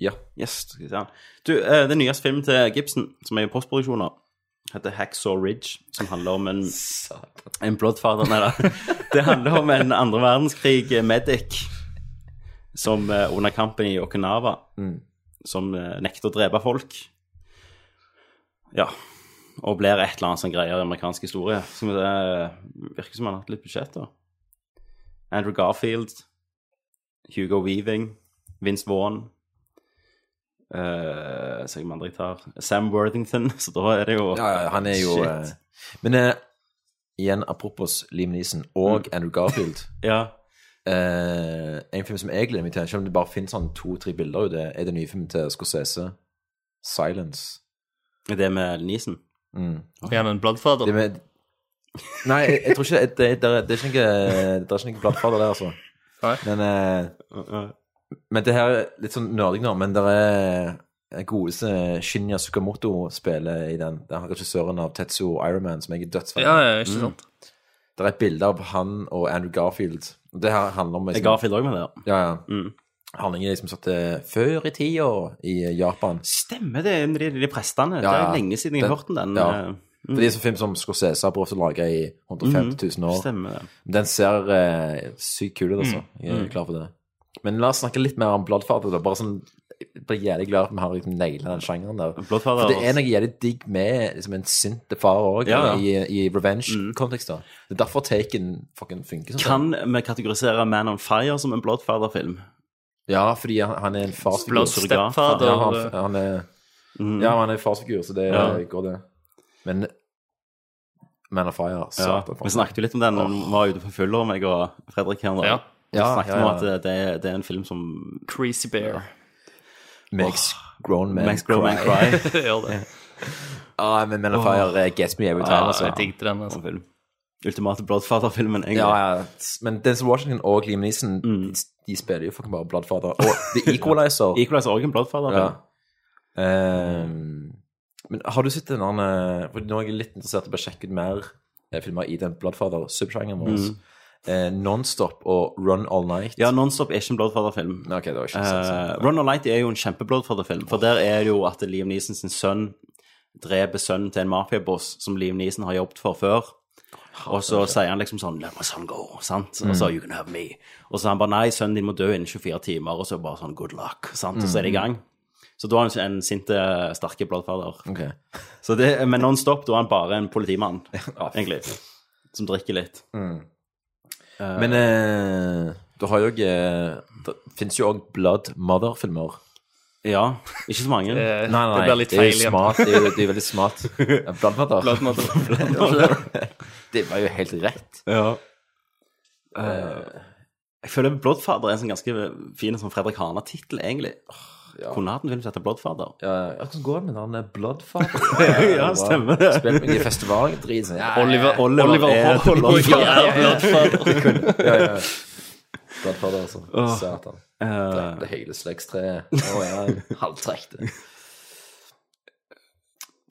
[SPEAKER 9] Ja.
[SPEAKER 1] Yes, skal vi se den. Du, eh, den nyeste filmen til Gibson, som er i postproduksjoner, heter Hacksaw Ridge, som handler om en, en bloodfather. Nei da. Det handler om en andre verdenskrig-medic som eh, under kampen i Okinawa
[SPEAKER 9] Mm.
[SPEAKER 1] som eh, nekter å drepe folk. Ja. eh, Og blir et eller annet sånn greier i amerikansk historie. Som det virker som han har hatt litt budsjett, da. Andrew Garfield, Hugo Weaving, Vince Vaughn eh, Så jeg med andre jeg tar Sam Worthington, <laughs> så da er det jo
[SPEAKER 9] Ja, ja, han er jo
[SPEAKER 1] Shit.
[SPEAKER 9] eh, Men eh, igjen, apropos Liam Neeson og
[SPEAKER 1] Mm.
[SPEAKER 9] Andrew
[SPEAKER 1] <laughs>
[SPEAKER 9] Garfield
[SPEAKER 1] Ja.
[SPEAKER 9] eh, En film som jeg gleder meg til, selv om det bare finnes sånn to-tre bilder ute, er den nye filmen til Scorsese, Silence.
[SPEAKER 1] Er det med Neeson?
[SPEAKER 9] Mm.
[SPEAKER 10] Er han en bloodfather?
[SPEAKER 9] Det med, nei, jeg, jeg tror ikke det, det, det, er- det er ikke noe Det er ikke noe blattfader der, altså. Men, eh, men det her er litt sånn nerding nå, men det er godeste Shinya Sukamoto spiller i den. Det er han regissøren av Tetsuo Ironman, som jeg er dødsfan
[SPEAKER 10] Ja, ja,
[SPEAKER 9] Mm.
[SPEAKER 10] ikke sant.
[SPEAKER 9] Det er et bilde av han og Andrew Garfield. Og Det her handler om liksom-
[SPEAKER 1] Er Garfield også med der?
[SPEAKER 9] Ja, ja. Handlingen er liksom satt eh, før i tida i Japan.
[SPEAKER 1] Stemmer det, de, de prestene. Det er lenge siden jeg har hørt om den.
[SPEAKER 9] Ja.
[SPEAKER 1] eh, mm.
[SPEAKER 9] For det er sånn film som Scorsese har prøvd å lage i 150 000 år.
[SPEAKER 1] Stemmer det.
[SPEAKER 9] Den ser eh, sykt kul ut, altså. Jeg
[SPEAKER 1] Mm.
[SPEAKER 9] er klar for det. Men la oss snakke litt mer om Bloodfather. Da. Bare sånn, jeg blir jævlig glad at vi har liksom naila den sjangeren der.
[SPEAKER 1] Bloodfather,
[SPEAKER 9] for det er noe jævlig digg med liksom, en sinte far òg,
[SPEAKER 1] Ja, Mm. ja.
[SPEAKER 9] i, i revenge-kontekster. Det er derfor Taken fucking funker sånn.
[SPEAKER 1] Kan vi kategorisere Man on Fire som en Bloodfather-film?
[SPEAKER 9] Ja, fordi han, han er en farsfigur.
[SPEAKER 1] Blood stepfather.
[SPEAKER 9] Ja, han, han er, ja, han er en farsfigur, så det
[SPEAKER 1] Mm. Ja.
[SPEAKER 9] går, det. Men Man of Fire,
[SPEAKER 1] Ja,
[SPEAKER 9] satan.
[SPEAKER 1] vi snakket jo litt om den når vi var ute på Fuller, meg og Fredrik her nå.
[SPEAKER 9] Ja.
[SPEAKER 1] Vi
[SPEAKER 9] Ja,
[SPEAKER 1] snakket
[SPEAKER 9] ja, ja.
[SPEAKER 1] om at eh, det, det, er, det er en film som
[SPEAKER 10] Creasy Bear.
[SPEAKER 9] Makes grown men
[SPEAKER 1] Makes grown men
[SPEAKER 9] <laughs>
[SPEAKER 1] cry.
[SPEAKER 10] Gjør <laughs> det.
[SPEAKER 9] Ja, men Man of
[SPEAKER 1] Åh.
[SPEAKER 9] Fire eh, gets me every time,
[SPEAKER 1] Ja,
[SPEAKER 9] altså.
[SPEAKER 1] jeg
[SPEAKER 10] digget den, altså.
[SPEAKER 1] Film. Ultimate Bloodfather-filmen, egentlig.
[SPEAKER 9] Ja, ja. Men Denzil Washington og Liam Neeson,
[SPEAKER 1] Mm.
[SPEAKER 9] de, de spiller jo fucking bare Bloodfather. Og
[SPEAKER 1] <laughs>
[SPEAKER 9] The Equalizer.
[SPEAKER 1] Equalizer er også en Bloodfather-film.
[SPEAKER 9] Ja. Ehm, men har du sett den andre For nå er jeg litt interessert i å bare sjekke ut mer eh, filmer i den Bloodfather-subsjangeren vår.
[SPEAKER 1] Mm.
[SPEAKER 9] Eh, Nonstop og Run All Night.
[SPEAKER 1] Ja, Nonstop er ikke en Bloodfather-film.
[SPEAKER 9] Okay, det var ikke sånn, sånn.
[SPEAKER 1] Uh, Run Light er jo en kjempe-Bloodfather-film, for der er det jo at Liam Neeson sin sønn dreper sønnen til en mafiaboss som Liam Neeson har jobbet for før. Og så sier han liksom sånn 'Let my son go', sant? Og så
[SPEAKER 9] Mm.
[SPEAKER 1] you can have me. Og så han bare 'Nei, sønnen din må dø innen 24 timer', og så bare sånn 'good luck', sant? Og så er
[SPEAKER 9] Mm.
[SPEAKER 1] det i gang. Så da er han en sinte, sterke bloodfather.
[SPEAKER 9] Ok.
[SPEAKER 1] Så det, men nonstop, da er han bare en
[SPEAKER 9] <laughs>
[SPEAKER 1] politimann, egentlig, som drikker litt. Eh,
[SPEAKER 9] Men eh, du har jo eh, Det fins jo òg Blood Mother-filmer.
[SPEAKER 1] Ja. Ikke så mange.
[SPEAKER 9] nei, nei,
[SPEAKER 1] det
[SPEAKER 9] det
[SPEAKER 1] blir litt
[SPEAKER 9] er jo
[SPEAKER 1] feil igjen.
[SPEAKER 9] smart. Det er jo, det er jo veldig smart. Ja, Blood Mother.
[SPEAKER 1] Blood
[SPEAKER 9] <laughs>
[SPEAKER 1] Mother.
[SPEAKER 9] det var jo helt rett.
[SPEAKER 1] Ja. jeg føler Bloodfather er en sånn ganske fin sånn Fredrik Hana-tittel, egentlig.
[SPEAKER 9] ja.
[SPEAKER 1] Kunne hatt en film som heter Bloodfather.
[SPEAKER 9] Ja, ja, hvordan går det med den der Bloodfather?
[SPEAKER 1] Ja, stemmer det.
[SPEAKER 9] Spilt meg i festivalen, drit sånn. Ja, ja, ja.
[SPEAKER 10] Oliver- Oliver er- Oliver er Bloodfather.
[SPEAKER 9] Det kunne- Ja, ja, ja. Bloodfather, altså.
[SPEAKER 1] Åh.
[SPEAKER 9] Satan.
[SPEAKER 1] Eh.
[SPEAKER 9] Drepte hele slektstreet. Å ja, halvtrekte.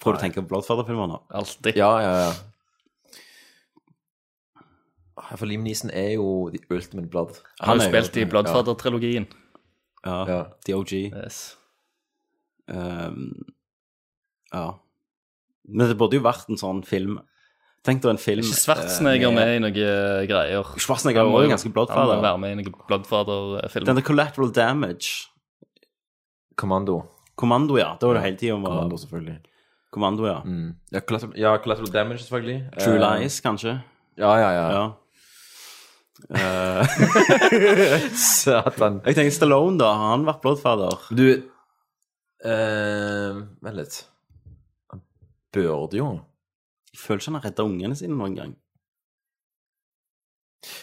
[SPEAKER 1] Prøv å tenke på Bloodfather-filmer nå.
[SPEAKER 10] Alltid.
[SPEAKER 9] Ja, ja, ja. Ja, For Liam Neeson er jo the ultimate blood.
[SPEAKER 10] Han har jo spilt i Bloodfather-trilogien.
[SPEAKER 1] Ja.
[SPEAKER 9] Ja.
[SPEAKER 1] DOG.
[SPEAKER 10] Yes.
[SPEAKER 1] Ehm, ja. Men det burde jo vært en sånn film. Tenk deg en film
[SPEAKER 10] Er
[SPEAKER 9] Mm.
[SPEAKER 10] ikke Schwarzenegger
[SPEAKER 1] eh,
[SPEAKER 10] med i noen greier?
[SPEAKER 1] Schwarzenegger
[SPEAKER 10] Han
[SPEAKER 1] er
[SPEAKER 10] må
[SPEAKER 1] også
[SPEAKER 10] jo-
[SPEAKER 1] ganske Bloodfather.
[SPEAKER 10] Han må være med i noen Bloodfather-film.
[SPEAKER 1] Den der Collateral Damage.
[SPEAKER 9] Kommando.
[SPEAKER 1] Kommando, ja. Da var det hele tiden om å
[SPEAKER 9] Kommando, Mm. selvfølgelig.
[SPEAKER 1] Kommando, ja.
[SPEAKER 9] Ja, collateral, ja, collateral damage, selvfølgelig.
[SPEAKER 1] True
[SPEAKER 9] Eh,
[SPEAKER 1] Lies, kanskje.
[SPEAKER 9] Ja, ja, ja.
[SPEAKER 1] Ja. Eh,
[SPEAKER 9] Satan.
[SPEAKER 1] jeg tenker Stallone, da. Har han vært Bloodfather?
[SPEAKER 9] Du eh, Vent litt. Han burde jo
[SPEAKER 1] Jeg føler ikke han har redda ungene sine noen gang.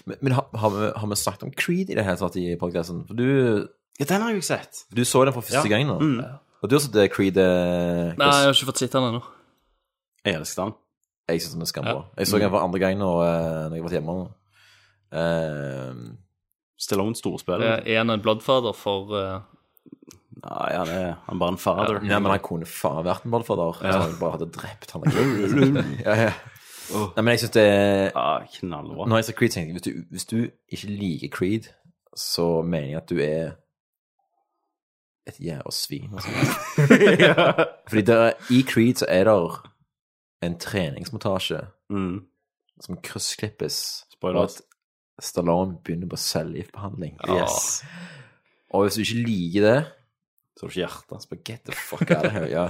[SPEAKER 9] Men, men har, har, vi, har vi snakket om Creed i det hele tatt i podcasten? For du
[SPEAKER 1] Ja, den har jeg jo ikke sett.
[SPEAKER 9] Du så den for første
[SPEAKER 1] Ja.
[SPEAKER 9] gang nå.
[SPEAKER 1] Mm.
[SPEAKER 9] Og du har sett eh, Creed eh,
[SPEAKER 10] Nei, jeg har ikke fått sett den ennå.
[SPEAKER 1] Jeg elsker den.
[SPEAKER 9] Jeg syns den er skambra.
[SPEAKER 10] Ja.
[SPEAKER 9] Jeg så den for andre gang nå, eh, når jeg var hjemme. nå. Eh,
[SPEAKER 1] Stallone storspiller.
[SPEAKER 10] Eh, Er han en Bloodfather for eh,
[SPEAKER 1] Nei, han er, han er bare en father.
[SPEAKER 9] ja, men han kunne faen vært en motherfather.
[SPEAKER 1] Ja.
[SPEAKER 9] Ja. Han bare hadde drept han. <laughs> ja, ja. Nei, men jeg syns det
[SPEAKER 1] Ja, Ah, knallbra.
[SPEAKER 9] Når jeg sa Creed, tenkte jeg hvis du, hvis du ikke liker Creed, så mener jeg at du er et jævla svin. Altså. <laughs>
[SPEAKER 1] <laughs>
[SPEAKER 9] Fordi der, i Creed så er det en treningsmontasje
[SPEAKER 1] Mm.
[SPEAKER 9] som kryssklippes.
[SPEAKER 1] Spoilers.
[SPEAKER 9] og at Stallone begynner på cellegiftbehandling.
[SPEAKER 1] Yes.
[SPEAKER 9] Og hvis du ikke liker det
[SPEAKER 1] Så har du ikke hjerte.
[SPEAKER 9] så bare Get the fuck out of here. Ja.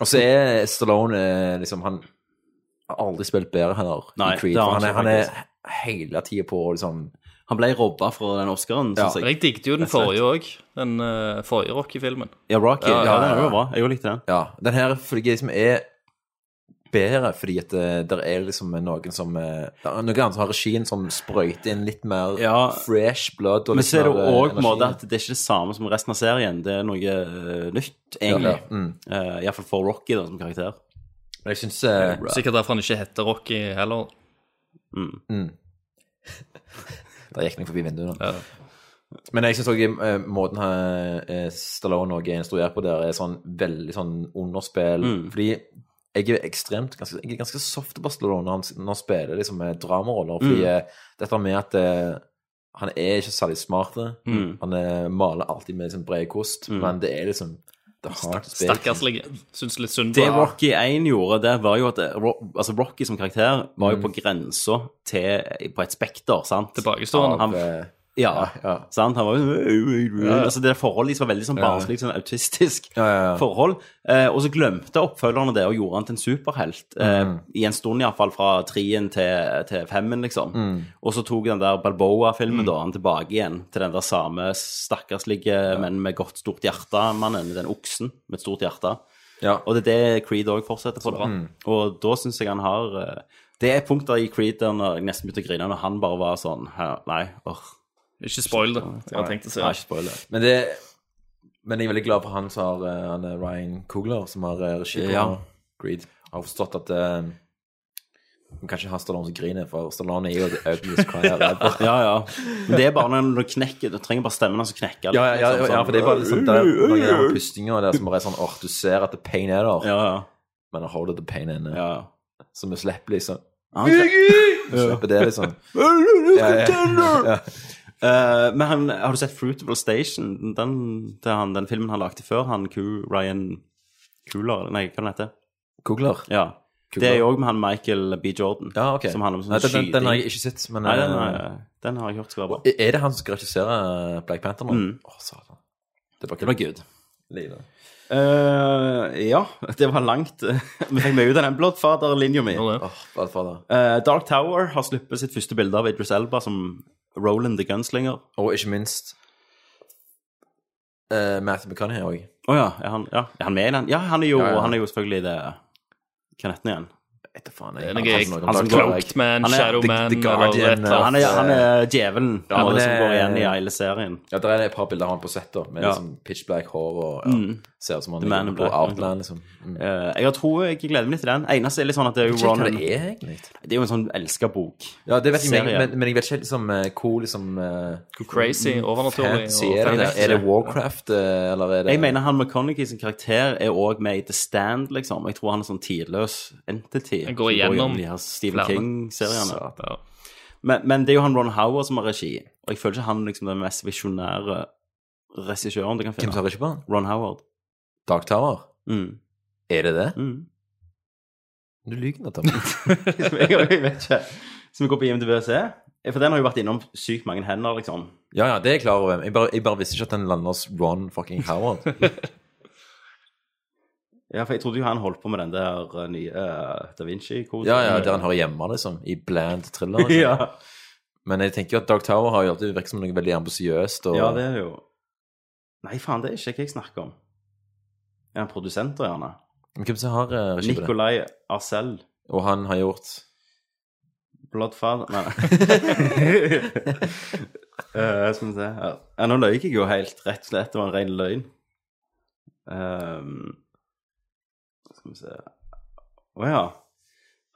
[SPEAKER 9] Og så er Stallone eh, liksom Han har aldri spilt bedre heller
[SPEAKER 1] Nei,
[SPEAKER 9] i Creed.
[SPEAKER 1] det har
[SPEAKER 9] for
[SPEAKER 1] han
[SPEAKER 9] han, er,
[SPEAKER 1] ikke,
[SPEAKER 9] han er hele tida på å liksom
[SPEAKER 1] Han ble robba fra den Oscaren,
[SPEAKER 10] Ja.
[SPEAKER 1] synes
[SPEAKER 10] Men jeg digget jo den forrige òg. Den eh, forrige Rocky-filmen.
[SPEAKER 1] Ja, Rocky. Ja, den er jo bra. Jeg likte den.
[SPEAKER 9] Ja, den her fordi jeg liksom er bedre, fordi at det der er liksom noen som eh, der er Noen andre som har regien som sprøyter inn litt mer fresh blood og
[SPEAKER 1] Men
[SPEAKER 9] litt
[SPEAKER 1] så er det
[SPEAKER 9] mer,
[SPEAKER 1] jo
[SPEAKER 9] eh,
[SPEAKER 1] òg på en måte
[SPEAKER 9] energi.
[SPEAKER 1] at det er ikke det samme som resten av serien. Det er noe eh, nytt, egentlig.
[SPEAKER 9] Ja, ja. Mm.
[SPEAKER 1] Eh, i hvert fall for Rocky da, som karakter.
[SPEAKER 9] Men jeg eh, syns
[SPEAKER 10] Sikkert derfor han ikke heter Rocky heller.
[SPEAKER 9] Mm. Der gikk den forbi vinduet. da. Men jeg syns òg måten her, eh, Stallone også er instruert på der, er sånn veldig sånn underspill.
[SPEAKER 1] Mm.
[SPEAKER 9] Fordi jeg er ekstremt ganske, jeg er ganske soft på Stallone når han, når han spiller liksom eh, dramaroller. Fordi
[SPEAKER 1] Mm.
[SPEAKER 9] eh, dette med at eh, han er ikke særlig smart.
[SPEAKER 1] Mm.
[SPEAKER 9] Han eh, maler alltid med liksom bred kost,
[SPEAKER 1] Mm.
[SPEAKER 9] men det er liksom det har ikke spilt.
[SPEAKER 10] Stakkarslig. Syns litt synd
[SPEAKER 1] Det
[SPEAKER 10] på ham.
[SPEAKER 1] Rocky 1 gjorde, det var jo at eh, Ro- altså Rocky som karakter var jo
[SPEAKER 10] Mm.
[SPEAKER 1] på grensa til På et spekter, sant?
[SPEAKER 10] Tilbakestående.
[SPEAKER 1] Han-
[SPEAKER 9] Han,
[SPEAKER 1] ja, sant? Han var jo sånn,
[SPEAKER 10] Ja.
[SPEAKER 1] Altså Det forholdet liksom var veldig sånn
[SPEAKER 10] Ja.
[SPEAKER 1] barnslig, sånn autistisk
[SPEAKER 9] ja, ja.
[SPEAKER 1] forhold. Eh, og så glemte oppfølgerne det og gjorde han til en superhelt. Eh,
[SPEAKER 9] Mm.
[SPEAKER 1] I en stund, iallfall, fra trien til, til femmen, liksom.
[SPEAKER 9] Mm.
[SPEAKER 1] Og så tok den der Balboa-filmen da, han tilbake igjen til den der samme stakkarslige, men med godt stort hjerte-mannen. Den oksen med et stort hjerte. Og det er det Creed òg fortsetter på. da.
[SPEAKER 9] Mm.
[SPEAKER 1] Og da syns jeg han har eh, Det er punkter i Creed der når jeg nesten begynte å grine, når han bare var sånn «Hæ, Nei, åh.
[SPEAKER 10] Ikke spoil det. Jeg har tenkt å si
[SPEAKER 1] Nei, ikke spoil det.
[SPEAKER 9] Men, det, men jeg er veldig glad for han som har eh, han er Ryan Coogler, som har eh, regi på
[SPEAKER 1] Ja.
[SPEAKER 9] Greed. Jeg har forstått at eh, man kan ikke ha Stallone som griner, for Stallone er jo the <laughs> ugliest crier ever.
[SPEAKER 1] ja, ja. Men det er bare når du knekker Du trenger bare stemmen hans å knekke. litt,
[SPEAKER 9] Ja, ja, ja,
[SPEAKER 1] liksom,
[SPEAKER 9] ja,
[SPEAKER 1] sånn.
[SPEAKER 9] for det er bare liksom der, noen av de pustingene der som bare er sånn åh, du ser at the pain er der,
[SPEAKER 1] ja, ja.
[SPEAKER 9] men hold the pain in.
[SPEAKER 1] Ja.
[SPEAKER 9] Så vi slipper liksom
[SPEAKER 1] Han kne-
[SPEAKER 9] Vi slipper det, <laughs> liksom.
[SPEAKER 1] Ja, ja.
[SPEAKER 9] contender!
[SPEAKER 1] Ja. Eh, men han, har du sett Fruitable Station? Den, det er han, den filmen han lagde før, han Q, Ryan Cooler Nei, hva den heter
[SPEAKER 9] Coogler?
[SPEAKER 1] Ja.
[SPEAKER 9] Coogler.
[SPEAKER 1] Det er jo òg med han Michael B. Jordan.
[SPEAKER 9] Ja, ok.
[SPEAKER 1] Som handler om sånn
[SPEAKER 9] Nei, den- den-
[SPEAKER 1] skyting.
[SPEAKER 9] den har jeg ikke sett, men,
[SPEAKER 1] Nei, den,
[SPEAKER 9] eh,
[SPEAKER 1] har, den har jeg hørt skal være bra.
[SPEAKER 9] Er det han som skal regissere eh, Black Panther nå?
[SPEAKER 1] Mm.
[SPEAKER 9] Åh, satan. Det var
[SPEAKER 1] Det var good.
[SPEAKER 9] Livet.
[SPEAKER 1] Eh, ja, det var langt. Vi fikk mye ut av den Bloodfather-linja mi.
[SPEAKER 9] Åh, Godfather.
[SPEAKER 1] Eh, Dark Tower har sluppet sitt første bilde av Idris Elba som Roland the Gunslinger.
[SPEAKER 9] Og ikke minst uh, Matthew McConaughey òg.
[SPEAKER 1] Å ja, er han, ja, er han med i den? Ja, han er jo,
[SPEAKER 9] Ja, ja.
[SPEAKER 1] Han er jo selvfølgelig det Kanetten igjen.
[SPEAKER 9] Etter faen,
[SPEAKER 10] Det er noe jeg- han som Cloaked Man,
[SPEAKER 1] han er-
[SPEAKER 10] Shadow
[SPEAKER 1] The-
[SPEAKER 10] Man,
[SPEAKER 1] The Guardian,
[SPEAKER 10] eller et eller
[SPEAKER 1] han, er,
[SPEAKER 10] annet.
[SPEAKER 1] han er djevelen på en
[SPEAKER 9] men
[SPEAKER 1] måte, som
[SPEAKER 9] det-
[SPEAKER 1] går igjen i hele serien.
[SPEAKER 9] Ja, der er det et par bilder av han på sett, da, med
[SPEAKER 1] Ja.
[SPEAKER 9] liksom pitch black hår og ja,
[SPEAKER 1] Mm.
[SPEAKER 9] Ser ut som han
[SPEAKER 1] The Man in
[SPEAKER 9] er på
[SPEAKER 1] Black,
[SPEAKER 9] Outland, liksom. Mm.
[SPEAKER 1] Eh, jeg tror jeg gleder meg litt til den. Eneste er litt sånn at det er jo
[SPEAKER 9] Jeg vet ikke hva
[SPEAKER 1] Ronan
[SPEAKER 9] det er, egentlig.
[SPEAKER 1] Det er jo en sånn elska bok.
[SPEAKER 9] Ja, det vet jeg, men,
[SPEAKER 1] Serie.
[SPEAKER 9] men, men jeg vet ikke helt liksom, eh, hvor liksom eh,
[SPEAKER 10] Hvor crazy,
[SPEAKER 9] mm,
[SPEAKER 10] overnaturlig og
[SPEAKER 9] fancy er det.
[SPEAKER 10] fantasy.
[SPEAKER 9] Er det Warcraft, eh, eller er det
[SPEAKER 1] Jeg mener han McConaughey sin karakter er òg med i The Stand, liksom. Jeg tror han er sånn tidløs entity.
[SPEAKER 10] Han
[SPEAKER 1] som
[SPEAKER 10] går igjennom
[SPEAKER 1] de her Stephen
[SPEAKER 10] flere.
[SPEAKER 1] King-seriene.
[SPEAKER 10] Satan. Ja.
[SPEAKER 1] Men, men det er jo han Ron Howard som har regi, og jeg føler ikke han liksom den mest visjonære regissøren du kan finne.
[SPEAKER 9] Hvem som har regi på den?
[SPEAKER 1] Ron Howard.
[SPEAKER 9] Dark Tower? <laughs>
[SPEAKER 1] Mm. <laughs>
[SPEAKER 9] Er det det?
[SPEAKER 1] Mm.
[SPEAKER 9] Du lyver nå,
[SPEAKER 1] <laughs>
[SPEAKER 9] Tom.
[SPEAKER 1] jeg, jeg vet ikke. Skal vi gå på IMDb og se? For den har jo vært innom sykt mange hender, liksom.
[SPEAKER 9] Ja, ja, det er jeg klar over. Jeg bare, jeg bare visste ikke at den lander hos Ron fucking
[SPEAKER 1] <laughs>
[SPEAKER 9] Howard.
[SPEAKER 1] Ja, for jeg trodde jo han holdt på med den der eh, nye eh, Da Vinci-koden.
[SPEAKER 9] Ja, ja, der han hører hjemme, liksom. I bland thriller. Liksom.
[SPEAKER 1] eh, <laughs> Ja.
[SPEAKER 9] Men jeg tenker jo at Dark Tower har jo alltid virket som noe veldig ambisiøst. Og...
[SPEAKER 1] Ja, det er det jo. Nei, faen, det er ikke hva jeg snakker om. Er han produsent, da, gjerne?
[SPEAKER 9] Men hvem som har eh, regi på det?
[SPEAKER 1] Nicolay Arcel.
[SPEAKER 9] Og han har gjort
[SPEAKER 1] Bloodfather
[SPEAKER 9] <laughs>
[SPEAKER 1] Nei. <laughs> Eh, skal vi se her ja, Nå løy jeg jo helt, rett og slett. Det var en ren løgn. Ehm, skal vi se Å ja.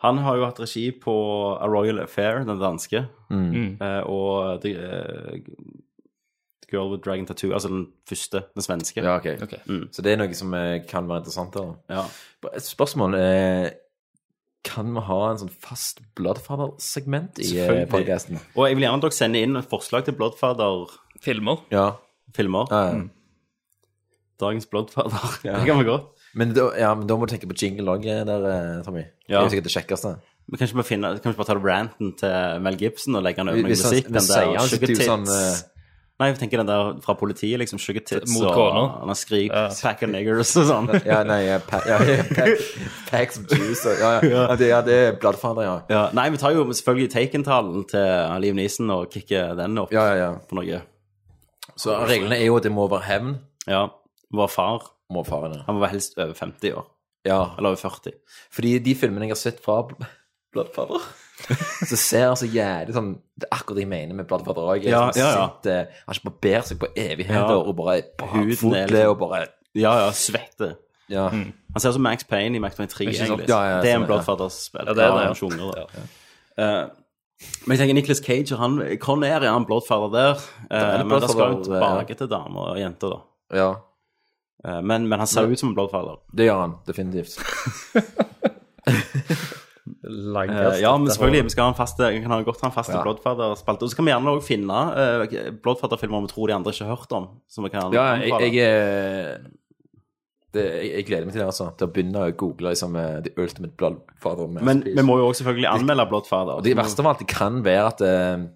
[SPEAKER 1] Han har jo hatt regi på A Royal Affair, den danske,
[SPEAKER 9] Mm.
[SPEAKER 1] eh, og The, eh, The Girl with Dragon Tattoo, altså den første, den svenske.
[SPEAKER 9] Ja, ok.
[SPEAKER 10] Ok.
[SPEAKER 1] Mm.
[SPEAKER 9] Så det er noe som eh, kan være interessant. Da.
[SPEAKER 1] Ja.
[SPEAKER 9] Bare Et spørsmål er Kan vi ha en sånn fast Bloodfather-segment i eh,
[SPEAKER 1] Selvfølgelig.
[SPEAKER 9] podcasten?
[SPEAKER 1] Og jeg vil gjerne at dere sender inn et forslag til Bloodfather-filmer.
[SPEAKER 9] Ja.
[SPEAKER 1] Filmer.
[SPEAKER 9] Ja, ja.
[SPEAKER 1] Dagens Bloodfather. <laughs> Det kan vi godt.
[SPEAKER 9] Men da, ja, men da må du tenke på jingle òg, der, eh, Tommy. Det
[SPEAKER 1] Ja.
[SPEAKER 9] er jo sikkert det kjekkeste.
[SPEAKER 1] Men kanskje vi finner, kanskje bare ta ranten til Mel Gibson og legge den over noe
[SPEAKER 9] Hvis han-
[SPEAKER 1] musikk?
[SPEAKER 9] men
[SPEAKER 1] Den
[SPEAKER 9] sier
[SPEAKER 1] der Sugar
[SPEAKER 9] han sitter jo
[SPEAKER 1] Tits.
[SPEAKER 9] sånn, eh,
[SPEAKER 1] Nei, jeg tenker den der fra politiet, liksom. Sugar tits
[SPEAKER 10] Mot
[SPEAKER 1] og
[SPEAKER 10] kona.
[SPEAKER 1] han har skrik, pack of niggers og sånn.
[SPEAKER 9] Ja, nei, ja, pa, <laughs> ja, ja, pack, packs of juice og ja, ja. ja. Det, ja, det er bladfader, ja.
[SPEAKER 1] <laughs> Ja, nei, vi tar jo selvfølgelig Taken-talen til Liam Neeson og kicker den opp på noe.
[SPEAKER 9] Så reglene er jo at det må være hevn.
[SPEAKER 1] Ja. Vår far.
[SPEAKER 9] Må faren, ja.
[SPEAKER 1] Han var helst over 50 år.
[SPEAKER 9] ja.
[SPEAKER 1] Eller over 40.
[SPEAKER 9] Fordi de filmene jeg har sett fra Bl- Bladfader, så ser han så jævlig sånn Det er akkurat det jeg mener med Bladfader òg.
[SPEAKER 1] Ja,
[SPEAKER 9] sånn,
[SPEAKER 1] ja, ja.
[SPEAKER 9] sint, eh, Han har ikke barbert seg på evigheter
[SPEAKER 1] Ja.
[SPEAKER 9] og bare
[SPEAKER 1] Huden er
[SPEAKER 9] fotle
[SPEAKER 1] liksom- Mm.
[SPEAKER 9] og bare
[SPEAKER 1] Ja, ja, svette.
[SPEAKER 9] Ja.
[SPEAKER 1] Han ser ut som Max Payne i Max Payne 3,
[SPEAKER 9] Ikke sant?
[SPEAKER 1] egentlig.
[SPEAKER 9] Ja, ja,
[SPEAKER 1] det er
[SPEAKER 9] sånn,
[SPEAKER 1] en
[SPEAKER 9] ja.
[SPEAKER 1] Bloodfathers-spill.
[SPEAKER 10] Ja, det er det, ja.
[SPEAKER 1] Han sjunger, da. Eh, men jeg tenker Nicholas Cage og han Hvor nær er han Bloodfather der? Eh,
[SPEAKER 9] er litt
[SPEAKER 1] men da skal han
[SPEAKER 9] Bloodfather, ja.
[SPEAKER 1] tilbake til damer og jenter, da.
[SPEAKER 9] Ja.
[SPEAKER 1] Eh, men, men han ser
[SPEAKER 9] Men-
[SPEAKER 1] ut som en Bloodfather.
[SPEAKER 9] Det gjør han definitivt.
[SPEAKER 1] Eh, ja, men selvfølgelig. Vi skal ha en fast, vi kan ha godt ha en fast
[SPEAKER 9] Ja.
[SPEAKER 1] Bloodfather-spalte. Og så kan vi gjerne også finne uh, Bloodfather-filmer vi tror de andre ikke har hørt om. Som vi kan
[SPEAKER 9] Ja, jeg,
[SPEAKER 1] anbefale.
[SPEAKER 9] jeg, er- det, jeg, jeg gleder meg til det, altså. Til å begynne å google liksom, eh, The Ultimate Bloodfather.
[SPEAKER 1] Men vi må jo også selvfølgelig anmelde Bloodfather.
[SPEAKER 9] Og det
[SPEAKER 1] <laughs>
[SPEAKER 9] verste av alt det kan være at eh,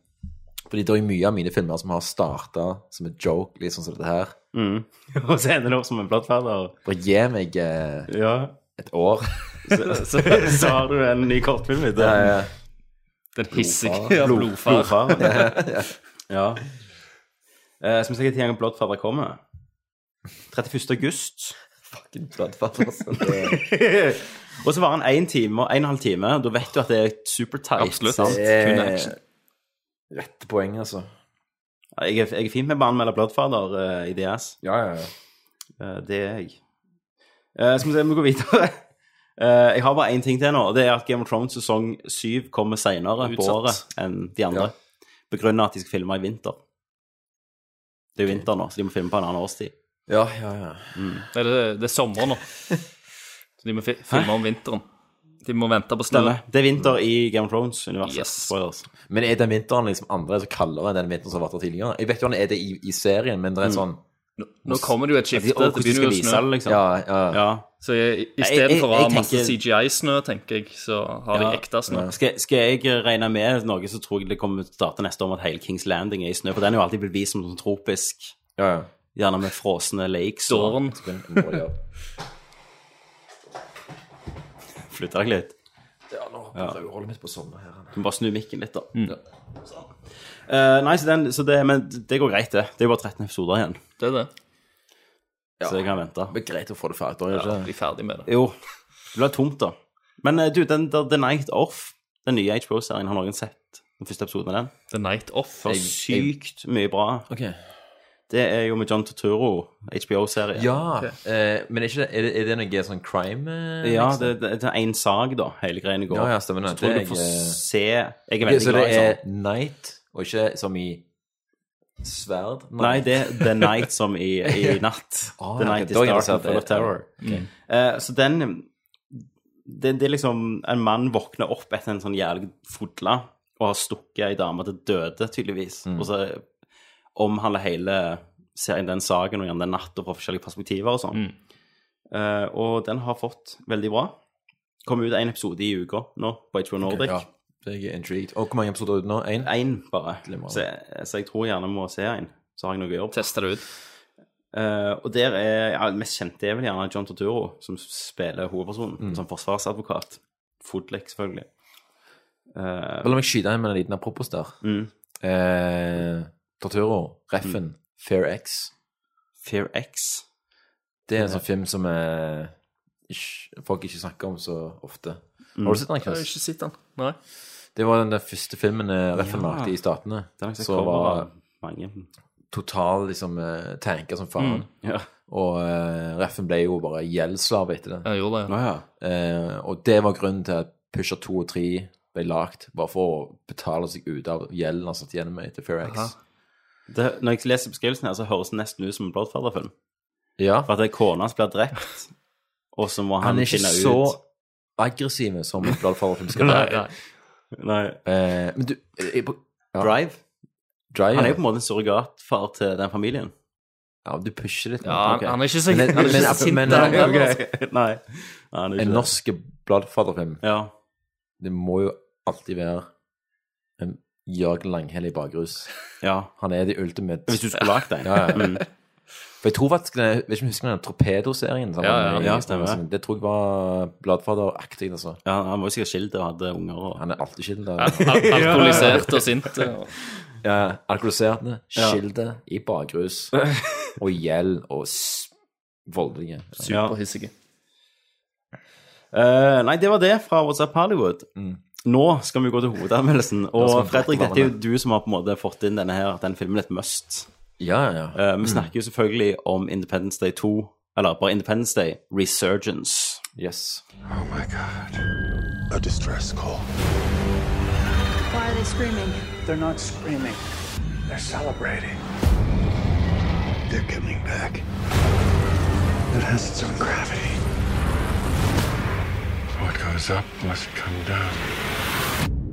[SPEAKER 9] Fordi det er jo mye av mine filmer som har starta som en joke, litt sånn som dette her.
[SPEAKER 1] Mm. Og så ender det opp som en Bloodfather.
[SPEAKER 9] Bare gi meg eh,
[SPEAKER 1] Ja.
[SPEAKER 9] et år.
[SPEAKER 1] <laughs> Så, så, så har du en ny kortfilm. vet du.
[SPEAKER 9] Ja, <laughs> ja.
[SPEAKER 10] Den
[SPEAKER 1] Blodfar.
[SPEAKER 10] hissige
[SPEAKER 1] Blod-
[SPEAKER 10] blodfar. <laughs>
[SPEAKER 1] Blodfaren. ja. Eh, Som sikkert tjener Bloodfather kommer. 31.
[SPEAKER 10] <laughs>
[SPEAKER 1] august.
[SPEAKER 9] Fucking Bloodfather, altså. Det,
[SPEAKER 1] og så var han én time og en halv time. Da vet du at det er super tight.
[SPEAKER 10] Absolutt.
[SPEAKER 1] sant?
[SPEAKER 9] det
[SPEAKER 10] Kun
[SPEAKER 9] er
[SPEAKER 10] action.
[SPEAKER 9] rette poeng, altså.
[SPEAKER 1] Ja, Jeg er, jeg er fint med banen mellom Bloodfather eh, i DS.
[SPEAKER 9] Ja, ja, ja.
[SPEAKER 1] Eh, det er jeg. Eh, skal vi se om vi går videre. <laughs> Eh, jeg har bare én ting til nå, og det er at Game of Thrones sesong 7 kommer seinere på
[SPEAKER 10] Utsatt.
[SPEAKER 1] året enn de andre. Begrunnet at de skal filme i vinter. Det er jo vinter nå, så de må filme på en annen årstid.
[SPEAKER 9] Ja, ja, ja.
[SPEAKER 10] Det er, det er sommer nå. Så de må fi filme om vinteren. De må vente på snø.
[SPEAKER 1] Stemmer. Det er vinter i Game of Thrones-universet. altså.
[SPEAKER 10] Yes.
[SPEAKER 1] Spoilers.
[SPEAKER 9] Men er den vinteren liksom annerledes og kaldere enn den vinteren som har vært der tidligere? Jeg vet jo han er det i, i serien, men det er en sånn
[SPEAKER 10] Nå kommer det jo et skifte.
[SPEAKER 1] Og
[SPEAKER 10] det
[SPEAKER 1] hvordan de
[SPEAKER 10] begynner
[SPEAKER 1] skal
[SPEAKER 10] jo å
[SPEAKER 1] vise
[SPEAKER 10] snø.
[SPEAKER 1] det, liksom.
[SPEAKER 9] Ja, ja.
[SPEAKER 1] Ja.
[SPEAKER 10] Så
[SPEAKER 1] Jeg- jeg-
[SPEAKER 10] istedenfor å ha
[SPEAKER 1] jeg
[SPEAKER 10] masse
[SPEAKER 1] tenker-
[SPEAKER 10] CGI-snø, tenker jeg, så har de
[SPEAKER 1] Ja.
[SPEAKER 10] ekte snø.
[SPEAKER 1] Skal, skal jeg regne med noe, så tror jeg det kommer til å starte neste år med at hele Kings Landing er i snø. For den er jo alltid blitt vist som sånn tropisk,
[SPEAKER 9] Ja, ja.
[SPEAKER 1] gjerne med frosne lakes. og-
[SPEAKER 10] Dåren.
[SPEAKER 9] Men, nå må jeg gjøre-
[SPEAKER 1] Flytter jeg litt.
[SPEAKER 9] Ja, nå prøver jeg å holde mitt på sommer her.
[SPEAKER 1] Du må bare snu mikken litt, da.
[SPEAKER 9] Mm.
[SPEAKER 1] Sånn. Eh, nei, så, den, så det, men det går greit, det. Det er jo bare 13 episoder igjen,
[SPEAKER 10] Det er det.
[SPEAKER 1] så jeg kan vente.
[SPEAKER 9] Det er greit å få det ferdig, da, er
[SPEAKER 10] Ja,
[SPEAKER 9] det ikke?
[SPEAKER 10] de er ferdig med det.
[SPEAKER 1] Jo, det blir tomt, da. Men eh, du, den der The Night Off, den nye HBO-serien, har noen sett den første episoden av den?
[SPEAKER 10] The Night Off.
[SPEAKER 1] For sykt mye bra.
[SPEAKER 9] Ok.
[SPEAKER 1] Det er jo med John Turturro, HBO-serie.
[SPEAKER 9] Ja, eh, men er, ikke, det- er, det, er det noe sånn crime? eh,
[SPEAKER 1] Ja,
[SPEAKER 9] liksom?
[SPEAKER 1] det, det, det er én sag, da, hele greia går.
[SPEAKER 9] Ja, ja, stemmer det.
[SPEAKER 1] Så tror jeg du
[SPEAKER 9] Det
[SPEAKER 1] får
[SPEAKER 9] er jeg, eh,
[SPEAKER 1] se Jeg er
[SPEAKER 9] Ok,
[SPEAKER 1] veldig
[SPEAKER 9] så det
[SPEAKER 1] glad i
[SPEAKER 9] er
[SPEAKER 1] sånn.
[SPEAKER 9] night, og ikke som i sverd?
[SPEAKER 1] Nei, det er The Night som
[SPEAKER 9] <laughs>
[SPEAKER 1] i, i natt.
[SPEAKER 9] Ah,
[SPEAKER 1] the
[SPEAKER 9] ja,
[SPEAKER 1] Night is
[SPEAKER 9] ok, da er jeg
[SPEAKER 1] dark
[SPEAKER 9] interessert
[SPEAKER 1] and full
[SPEAKER 9] i
[SPEAKER 1] of
[SPEAKER 9] det.
[SPEAKER 1] terror.
[SPEAKER 9] Ok.
[SPEAKER 1] Eh, så den det, det er liksom En mann våkner opp etter en sånn jævlig fodla og har stukket ei dame til døde, tydeligvis.
[SPEAKER 9] Mm.
[SPEAKER 1] Og så omhandler hele serien den saken og gjerne den natta fra forskjellige perspektiver og sånn.
[SPEAKER 9] Mm.
[SPEAKER 1] Eh, og den har fått veldig bra. Kommer ut én episode i uka nå på HBO Nordic.
[SPEAKER 9] Ja, så jeg er intrigued. Og hvor mange episoder er det nå? Én?
[SPEAKER 1] Én bare.
[SPEAKER 9] Glimrende.
[SPEAKER 1] Så, så jeg tror gjerne må se en. Så har jeg noe å gjøre.
[SPEAKER 10] Tester det ut.
[SPEAKER 1] Eh, og der er ja, det mest kjente er vel gjerne John Turturro, som spiller hovedpersonen
[SPEAKER 9] Mm.
[SPEAKER 1] som forsvarsadvokat. Fodlek, selvfølgelig.
[SPEAKER 9] Bare La meg skyte inn med en liten apropos der.
[SPEAKER 1] Mm.
[SPEAKER 9] Eh, Torturo, Reffen, Fair X.
[SPEAKER 1] Fear X.
[SPEAKER 9] Det er en sånn film som eh, ikke, folk ikke snakker om så ofte.
[SPEAKER 1] Mm.
[SPEAKER 9] Har du sett den,
[SPEAKER 10] Jeg har
[SPEAKER 9] Chris?
[SPEAKER 10] ikke sett den. Nei.
[SPEAKER 9] Det var den der første filmen eh, Reffen
[SPEAKER 1] Ja.
[SPEAKER 9] lagde i Statene.
[SPEAKER 1] Den har jeg sett
[SPEAKER 9] Så
[SPEAKER 1] cover
[SPEAKER 9] var
[SPEAKER 1] av mange.
[SPEAKER 9] total liksom eh, tanker som faen.
[SPEAKER 10] Mm,
[SPEAKER 1] Ja.
[SPEAKER 9] Og eh, Reffen ble jo bare gjeldsslave etter det.
[SPEAKER 10] Jeg gjorde det.
[SPEAKER 1] Å ja.
[SPEAKER 9] Eh, og det var grunnen til at Pusher 2 og 3 ble lagt, bare for å betale seg ut av gjelden han satt igjen med etter Fair X.
[SPEAKER 1] Det, når jeg leser beskrivelsen her, så høres det nesten ut som en Bloodfather-film.
[SPEAKER 9] Ja.
[SPEAKER 1] For at det er kona som blir
[SPEAKER 9] <laughs>
[SPEAKER 1] drept, og så må han,
[SPEAKER 9] Han er ikke
[SPEAKER 1] finne
[SPEAKER 9] så
[SPEAKER 1] ut
[SPEAKER 9] aggressiv som en bladfarverfilm skal
[SPEAKER 10] <laughs> Nei,
[SPEAKER 9] være.
[SPEAKER 10] nei.
[SPEAKER 1] Nei.
[SPEAKER 9] Eh, men du jeg, ja.
[SPEAKER 1] Drive.
[SPEAKER 9] Drive,
[SPEAKER 1] Han er jo på en måte en surrogatfar til den
[SPEAKER 9] <laughs>
[SPEAKER 1] familien.
[SPEAKER 9] Ja, du pusher litt. nå.
[SPEAKER 10] Ja, han,
[SPEAKER 9] Ok.
[SPEAKER 10] han er ikke så
[SPEAKER 9] Men-
[SPEAKER 10] han er
[SPEAKER 9] men-
[SPEAKER 10] ikke så sint.
[SPEAKER 9] men-
[SPEAKER 10] der,
[SPEAKER 9] men-
[SPEAKER 10] heller, altså.
[SPEAKER 1] <laughs> Nei. Nei, han er ikke
[SPEAKER 9] En
[SPEAKER 1] det.
[SPEAKER 9] norsk bladfarverfilm,
[SPEAKER 1] Ja.
[SPEAKER 9] det må jo alltid være en Jørg Langhelle i bakrus.
[SPEAKER 1] Ja.
[SPEAKER 9] Han er the ultimate
[SPEAKER 1] Hvis du skulle lagd en.
[SPEAKER 9] Ja, ja.
[SPEAKER 1] Mm.
[SPEAKER 9] For jeg tror faktisk den- Jeg vet ikke om jeg husker den Torpedoserien. sammen
[SPEAKER 1] Ja, ja,
[SPEAKER 9] med
[SPEAKER 1] ja,
[SPEAKER 9] Ingestrøm
[SPEAKER 1] stemmer.
[SPEAKER 9] og sånn. Det tror jeg var Bladfader-aktig, altså.
[SPEAKER 1] Ja, han var jo sikkert skilt og hadde unger. Og...
[SPEAKER 9] Han er alltid skilt. <laughs>
[SPEAKER 10] Al- al- alkoholisert og sint, eh, og-
[SPEAKER 9] Ja, Eh, alkoholiserte,
[SPEAKER 10] Ja.
[SPEAKER 9] skilde, i
[SPEAKER 1] <laughs>
[SPEAKER 9] bakrus, og gjeld, og s- voldelige.
[SPEAKER 10] Superhissige.
[SPEAKER 1] Eh, nei, det var det fra WhatsApp Hollywood. Nå skal vi gå til hovedanmeldelsen. Og
[SPEAKER 9] Mm. skal vi
[SPEAKER 1] Fredrik,
[SPEAKER 9] prate om
[SPEAKER 1] dette er jo du som har på en måte fått inn denne her, den filmen er et must. Eh,
[SPEAKER 9] Mm.
[SPEAKER 1] vi snakker jo selvfølgelig om Independence Day 2, eller bare Independence Day Resurgence.
[SPEAKER 9] Yes.
[SPEAKER 2] Oh my god. A distress call.
[SPEAKER 3] Why are they screaming?
[SPEAKER 15] They're not screaming.
[SPEAKER 2] They're celebrating. They're coming back. It has its own gravity. What goes up must come down.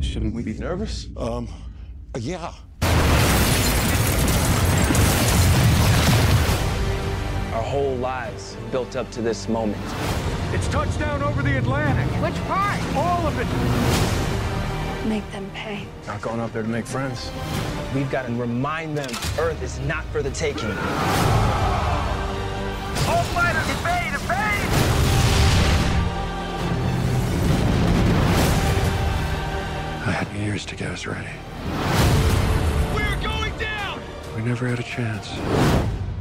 [SPEAKER 17] Shouldn't we be nervous? Um, yeah.
[SPEAKER 18] Our whole lives built up to this moment.
[SPEAKER 15] It's touchdown over the Atlantic. Which part? All of it.
[SPEAKER 12] Make them pay.
[SPEAKER 17] Not going up there to make friends.
[SPEAKER 18] We've got to remind them Earth is not for the taking.
[SPEAKER 15] All fighters invade, invade!
[SPEAKER 2] I had years to get us ready. We're going down! We never had a chance.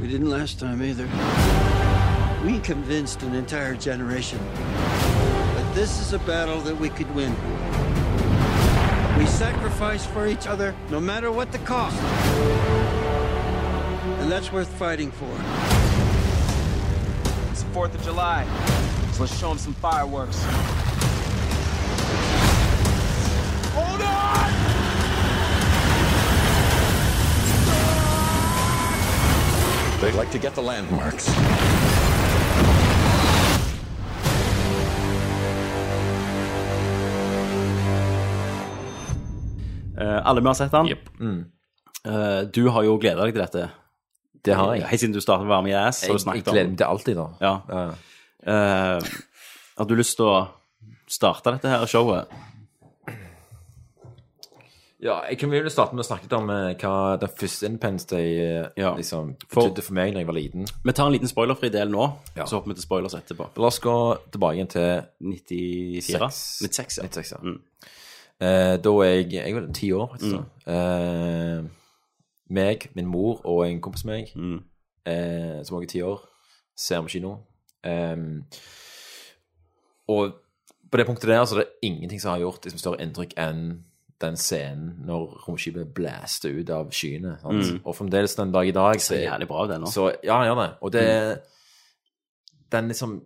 [SPEAKER 19] We didn't last time either. We convinced an entire generation that this is a battle that we could win. We sacrifice for each other, no matter what the cost. And that's worth fighting for.
[SPEAKER 18] It's the 4th of July, so let's show them some fireworks.
[SPEAKER 15] Hold on!
[SPEAKER 17] They like to get the landmarks.
[SPEAKER 1] Eh, alle vi har sett den.
[SPEAKER 9] Mm.
[SPEAKER 1] Eh, du har jo gleda deg til dette.
[SPEAKER 9] Det har jeg.
[SPEAKER 1] Helt siden du startet å være med i Ass. har du
[SPEAKER 9] Jeg, jeg
[SPEAKER 1] snakket om-
[SPEAKER 9] gleder meg til alltid, da.
[SPEAKER 1] Ja. Eh, har du lyst til å starte dette her showet?
[SPEAKER 9] Ja, jeg kan vi vil starte med å snakke litt om eh, hva den første Independence Day eh, liksom, betydde for meg da jeg var liten.
[SPEAKER 1] Vi tar en liten spoilerfri del nå, så hopper vi til spoilers etterpå.
[SPEAKER 9] La oss gå tilbake igjen til
[SPEAKER 1] 94?
[SPEAKER 9] 96, ja. 96, ja.
[SPEAKER 1] Mm.
[SPEAKER 9] Eh, da er jeg Jeg var ti år, faktisk. da. Eh, meg, min mor og en kompis av meg,
[SPEAKER 1] Mm.
[SPEAKER 9] eh, som også er ti år, ser på kino. Em, Eh, og på det punktet der så er det ingenting som har gjort liksom, større inntrykk enn den scenen når romskipet blaster ut av skyene. Sant?
[SPEAKER 1] Mm.
[SPEAKER 9] Og fremdeles den dag i dag
[SPEAKER 1] Ser jævlig bra ut ennå.
[SPEAKER 9] Så, ja, han gjør det. Og det Den liksom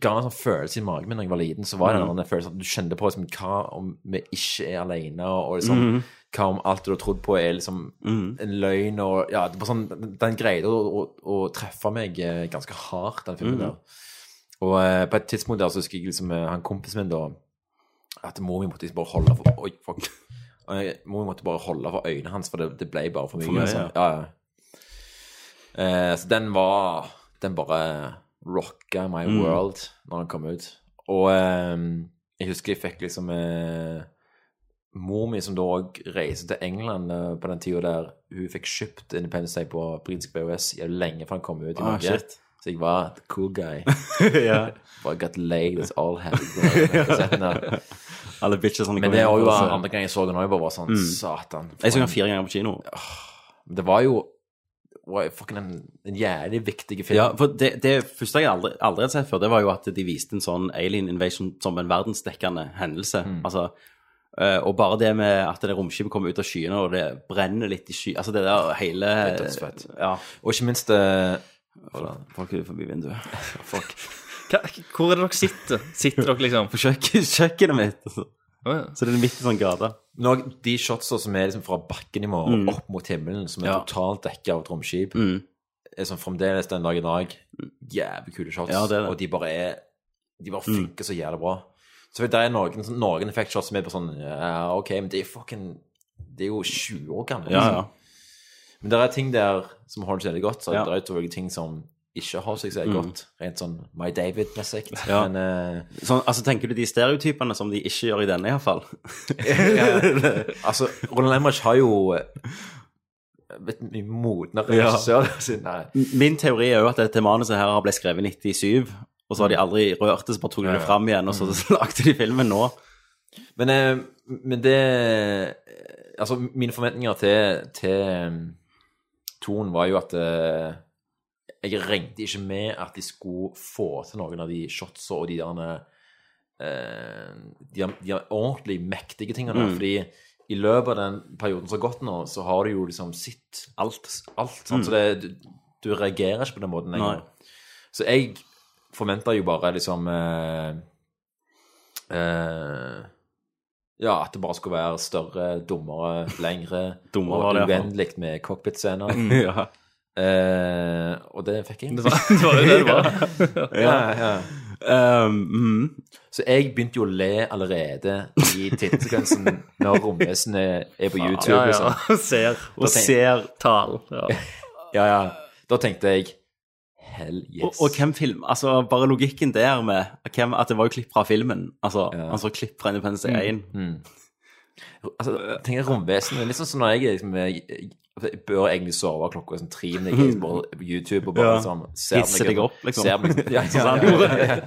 [SPEAKER 9] ga meg en sånn følelse i magen min da jeg var liten. Så var det
[SPEAKER 1] Mhm.
[SPEAKER 9] den følelsen at du kjente på liksom, hva om vi ikke er alene, og liksom,
[SPEAKER 1] Mhm.
[SPEAKER 9] hva om alt du har trodd på, er liksom
[SPEAKER 1] Mhm.
[SPEAKER 9] en løgn, og ja, det var sånn, den- den greide å, å, å treffe meg eh, ganske hardt, den filmen
[SPEAKER 1] Mhm.
[SPEAKER 9] der. Og eh, på et tidspunkt der så husker jeg liksom eh, han kompisen min da at mor min måtte liksom bare holde for Oi, fuck. Eh, Mor min måtte bare holde for øynene hans, for det, det ble bare for mye.
[SPEAKER 1] For mye,
[SPEAKER 9] altså. ja. ja. Eh, så den var Den bare rocka my
[SPEAKER 1] Mm.
[SPEAKER 9] world når den kom ut. Og eh, jeg husker jeg fikk liksom eh, Mor mi, som da òg reiste til England eh, på den tida der, hun fikk kjøpt Independence Day på britisk BOS jævlig lenge før den kom ut i
[SPEAKER 1] Ah,
[SPEAKER 9] Norge.
[SPEAKER 1] shit.
[SPEAKER 9] så jeg var the cool guy. <laughs>
[SPEAKER 1] Ja.
[SPEAKER 9] But I got laid, it's all happy. bro. Kassetten der.
[SPEAKER 1] Alle bitches han
[SPEAKER 9] Men
[SPEAKER 1] kom
[SPEAKER 9] det
[SPEAKER 1] inn
[SPEAKER 9] var jo
[SPEAKER 1] for å se.
[SPEAKER 9] andre gang jeg så den òg, bare var sånn
[SPEAKER 1] Mm.
[SPEAKER 9] Satan.
[SPEAKER 1] Jeg så den fire ganger på kino.
[SPEAKER 9] Det var jo var jo fucking en, en jævlig viktig film.
[SPEAKER 1] Ja, for det, det første jeg aldri, aldri hadde sett før, det var jo at de viste en sånn alien invasion som en verdensdekkende hendelse. Altså, eh, og bare det med at det romskipet kommer ut av skyene, og det brenner litt i sky Altså det der hele
[SPEAKER 9] Det er dødsfett.
[SPEAKER 1] Ja.
[SPEAKER 9] Og ikke minst eh,
[SPEAKER 1] Folk, folk er forbi vinduet.
[SPEAKER 9] Fuck.
[SPEAKER 10] Hva, hvor er det dere sitter? Sitter dere liksom
[SPEAKER 1] <laughs>
[SPEAKER 10] <laughs>
[SPEAKER 1] På kjøkken, kjøkkenet mitt. altså. Så det er midt i sånn gate.
[SPEAKER 9] Når de shotsa som er liksom fra bakkenivå
[SPEAKER 1] Mm.
[SPEAKER 9] opp mot himmelen, som er
[SPEAKER 1] Ja.
[SPEAKER 9] totalt dekka av et romskip,
[SPEAKER 1] Mm.
[SPEAKER 9] er som fremdeles den dag i dag jævlig kule shots.
[SPEAKER 1] Ja, det er det. Mm.
[SPEAKER 9] Og de bare er De bare funker så jævlig bra. Så det er noen, noen effektshots som er på sånn Ja, OK, men det er fucking Det er jo 20 år gammelt.
[SPEAKER 1] Ja,
[SPEAKER 9] liksom. Men det er ting der som holder seg veldig godt. Så
[SPEAKER 1] Ja. Mm.
[SPEAKER 9] det er utrolig ting som ikke holder seg så godt, rent sånn My David-messig.
[SPEAKER 1] Ja.
[SPEAKER 9] Men eh,
[SPEAKER 1] Sånn, altså, tenker du de stereotypene som de ikke gjør i denne, iallfall?
[SPEAKER 9] altså, Roland Emmerich har jo eh, et mye modnere
[SPEAKER 1] Ja.
[SPEAKER 9] regissør. siden- Nei.
[SPEAKER 1] Min teori er jo at dette manuset her ble skrevet i 97, og så har de aldri rørt det, så bare tok de det fram igjen, og så
[SPEAKER 9] Mm.
[SPEAKER 1] <laughs> lagde de filmen nå.
[SPEAKER 9] Men, eh, men det Altså, mine forventninger til, til um, Ton var jo at eh, Jeg regnet ikke med at de skulle få til noen av de shotsa og de der eh, de, der- de der ordentlig mektige tingene.
[SPEAKER 1] Mm.
[SPEAKER 9] Fordi i løpet av den perioden som har gått nå, så har du jo liksom sett alt. alt sant?
[SPEAKER 1] Mm.
[SPEAKER 9] Så det, du, du reagerer ikke på den måten
[SPEAKER 1] Nei.
[SPEAKER 9] lenger. Så jeg forventa jo bare liksom eh, eh, Ja, at det bare skulle være større, dummere, lengre
[SPEAKER 1] <laughs> Dummere var
[SPEAKER 9] og
[SPEAKER 1] det, ja. Mm.
[SPEAKER 9] uvennlig med cockpit-scener.
[SPEAKER 1] Ja.
[SPEAKER 9] Eh, og det fikk jeg.
[SPEAKER 10] Det var- det var jo det det var.
[SPEAKER 9] ja, ja.
[SPEAKER 1] Ehm, mhm.
[SPEAKER 9] Så jeg begynte jo å le allerede i tittelsekvensen når romvesenet er på YouTube.
[SPEAKER 10] Ja, <laughs> ja.
[SPEAKER 9] liksom.
[SPEAKER 10] Ser.
[SPEAKER 9] Da
[SPEAKER 10] Og ser tall, ja.
[SPEAKER 9] ja, ja. Da tenkte jeg Hell yes.
[SPEAKER 1] Og, og hvem film, altså bare logikken der med hvem, at det var jo klipp fra filmen, altså, altså klipp fra Independence
[SPEAKER 9] Mm.
[SPEAKER 1] Day 1.
[SPEAKER 9] Altså, tenk deg romvesenet. Litt sånn som når jeg er liksom jeg, jeg, jeg bør egentlig sove klokka sånn tre, men jeg er liksom bare på YouTube og bare
[SPEAKER 1] Mm. Ja.
[SPEAKER 9] liksom
[SPEAKER 1] Hisser deg opp, liksom.
[SPEAKER 9] Ser meg,
[SPEAKER 1] <laughs>
[SPEAKER 9] ja,
[SPEAKER 1] Sånn som han gjorde.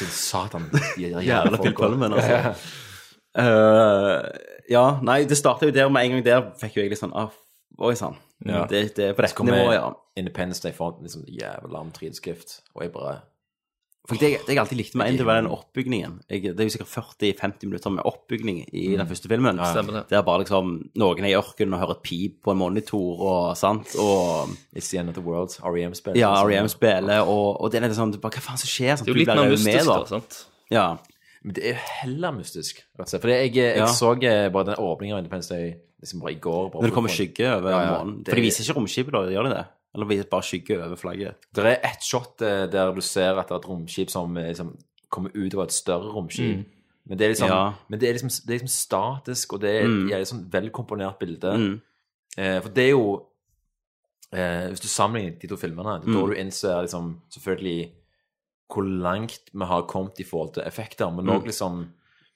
[SPEAKER 9] Din satan. de er
[SPEAKER 1] Jævla
[SPEAKER 9] folk,
[SPEAKER 1] Phil Pullman,
[SPEAKER 9] og-
[SPEAKER 1] altså. Eh, ja, nei, det starta jo der med en gang der fikk jo jeg litt sånn ah, Oi sann.
[SPEAKER 9] Ja.
[SPEAKER 1] Det, det er på
[SPEAKER 9] Så
[SPEAKER 1] dette
[SPEAKER 9] kommer
[SPEAKER 1] nivået, ja.
[SPEAKER 9] Independence Day foran liksom jævla lam trinskrift, og jeg bare
[SPEAKER 1] For det, det jeg alltid likte med en, det var den oppbygningen. Jeg, det er jo sikkert 40-50 minutter med oppbygning i
[SPEAKER 9] Mm.
[SPEAKER 1] den første filmen.
[SPEAKER 9] Ja, ja. Stemmer det.
[SPEAKER 1] Der bare liksom noen er i ørkenen og hører et pip på en monitor og sant, og
[SPEAKER 9] It's the end of the world. REM spiller.
[SPEAKER 1] Ja, E REM spiller, og, og det er litt sånn du bare, Hva faen som skjer? Sånn,
[SPEAKER 10] Det er jo
[SPEAKER 1] du
[SPEAKER 10] litt
[SPEAKER 1] blir
[SPEAKER 10] mer
[SPEAKER 1] revet med,
[SPEAKER 10] mystisk, da.
[SPEAKER 9] altså.
[SPEAKER 10] sant?
[SPEAKER 1] Ja.
[SPEAKER 9] Men det er jo heller mystisk, rett og slett. For jeg, jeg
[SPEAKER 1] Ja.
[SPEAKER 9] så eh, bare den åpningen av Independence Day liksom bare i går. Bare
[SPEAKER 1] Når det kommer skygge over
[SPEAKER 9] Ja, ja.
[SPEAKER 1] månen. For
[SPEAKER 9] Det-
[SPEAKER 1] de viser ikke romskipet, da? Gjør de det? Eller viser bare skygge over flagget?
[SPEAKER 9] Det er ett shot eh, der du ser at det er et romskip som eh, liksom, kommer ut av et større romskip.
[SPEAKER 1] Mm.
[SPEAKER 9] Men, det er liksom,
[SPEAKER 1] Ja.
[SPEAKER 9] men det, er liksom, det er liksom statisk, og det er
[SPEAKER 1] Mm.
[SPEAKER 9] ja, det er liksom velkomponert bilde.
[SPEAKER 1] Mm.
[SPEAKER 9] Eh, for det er jo eh, Hvis du sammenligner de to filmene, det er da
[SPEAKER 1] Mm.
[SPEAKER 9] du innser liksom, selvfølgelig hvor langt vi har kommet i forhold til effekter, men òg
[SPEAKER 1] Mm.
[SPEAKER 9] liksom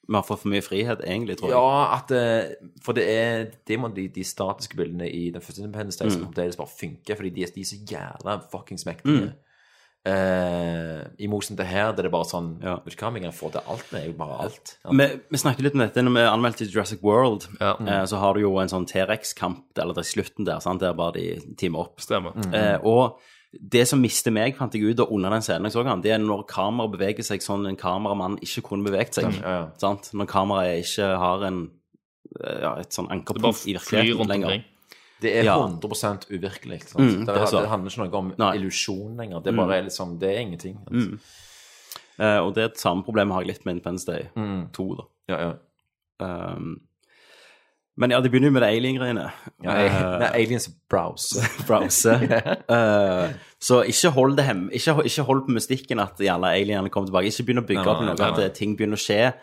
[SPEAKER 1] Vi har fått for mye frihet, egentlig, tror jeg.
[SPEAKER 9] Ja, at eh, For det er det må de, de statiske bildene i den første Independence Day som
[SPEAKER 1] Mm.
[SPEAKER 9] fremdeles bare funker, fordi de, er- de er så jævla fuckings mektige. Eh, I motsetning til her, der det er bare sånn Vet du hva, vi kan få til alt. Det er jo bare alt. Ja.
[SPEAKER 1] Vi, vi snakket litt om dette når vi anmeldte Jurassic World. Eh, så har du jo en sånn T-rex-kamp eller det er slutten der, sant? der bare de timer opp.
[SPEAKER 10] Stemmer. Mhm.
[SPEAKER 1] Eh, og det som mister meg, fant jeg ut og under den scenen jeg så han, det er når kameraet beveger seg sånn en kameramann ikke kunne beveget seg.
[SPEAKER 9] Stemmer, ja, ja.
[SPEAKER 1] Sant? Når kameraet ikke har en, eh, ja, et sånn
[SPEAKER 10] Det bare
[SPEAKER 1] ankerpunkt i
[SPEAKER 10] flyr rundt
[SPEAKER 1] virkeligheten lenger.
[SPEAKER 10] omkring.
[SPEAKER 9] Det er
[SPEAKER 1] Ja.
[SPEAKER 9] 100 uvirkelig. ikke Sant?
[SPEAKER 1] Mm,
[SPEAKER 9] det,
[SPEAKER 1] det er så.
[SPEAKER 9] det handler ikke noe om
[SPEAKER 1] Nei.
[SPEAKER 9] illusjon lenger. Det er
[SPEAKER 1] Mm.
[SPEAKER 9] bare liksom Det er ingenting. sant?
[SPEAKER 1] Mm. Eh, og det er et samme problem har jeg litt med Independence Day
[SPEAKER 9] Mm.
[SPEAKER 1] 2, da.
[SPEAKER 9] Ja, ja.
[SPEAKER 1] Um, men ja, det begynner jo med det alien-greiene.
[SPEAKER 9] Ja, jeg,
[SPEAKER 1] Eh,
[SPEAKER 9] nei, aliens browse.
[SPEAKER 10] <laughs>
[SPEAKER 1] browse. Eh, så ikke hold det hem. Ikke, ikke hold på mystikken at gjerne alienene kommer tilbake. Ikke begynn å bygge
[SPEAKER 9] Nei,
[SPEAKER 1] opp
[SPEAKER 9] nei,
[SPEAKER 1] noe,
[SPEAKER 9] nei,
[SPEAKER 1] at
[SPEAKER 9] nei.
[SPEAKER 1] eh, ting begynner å skje.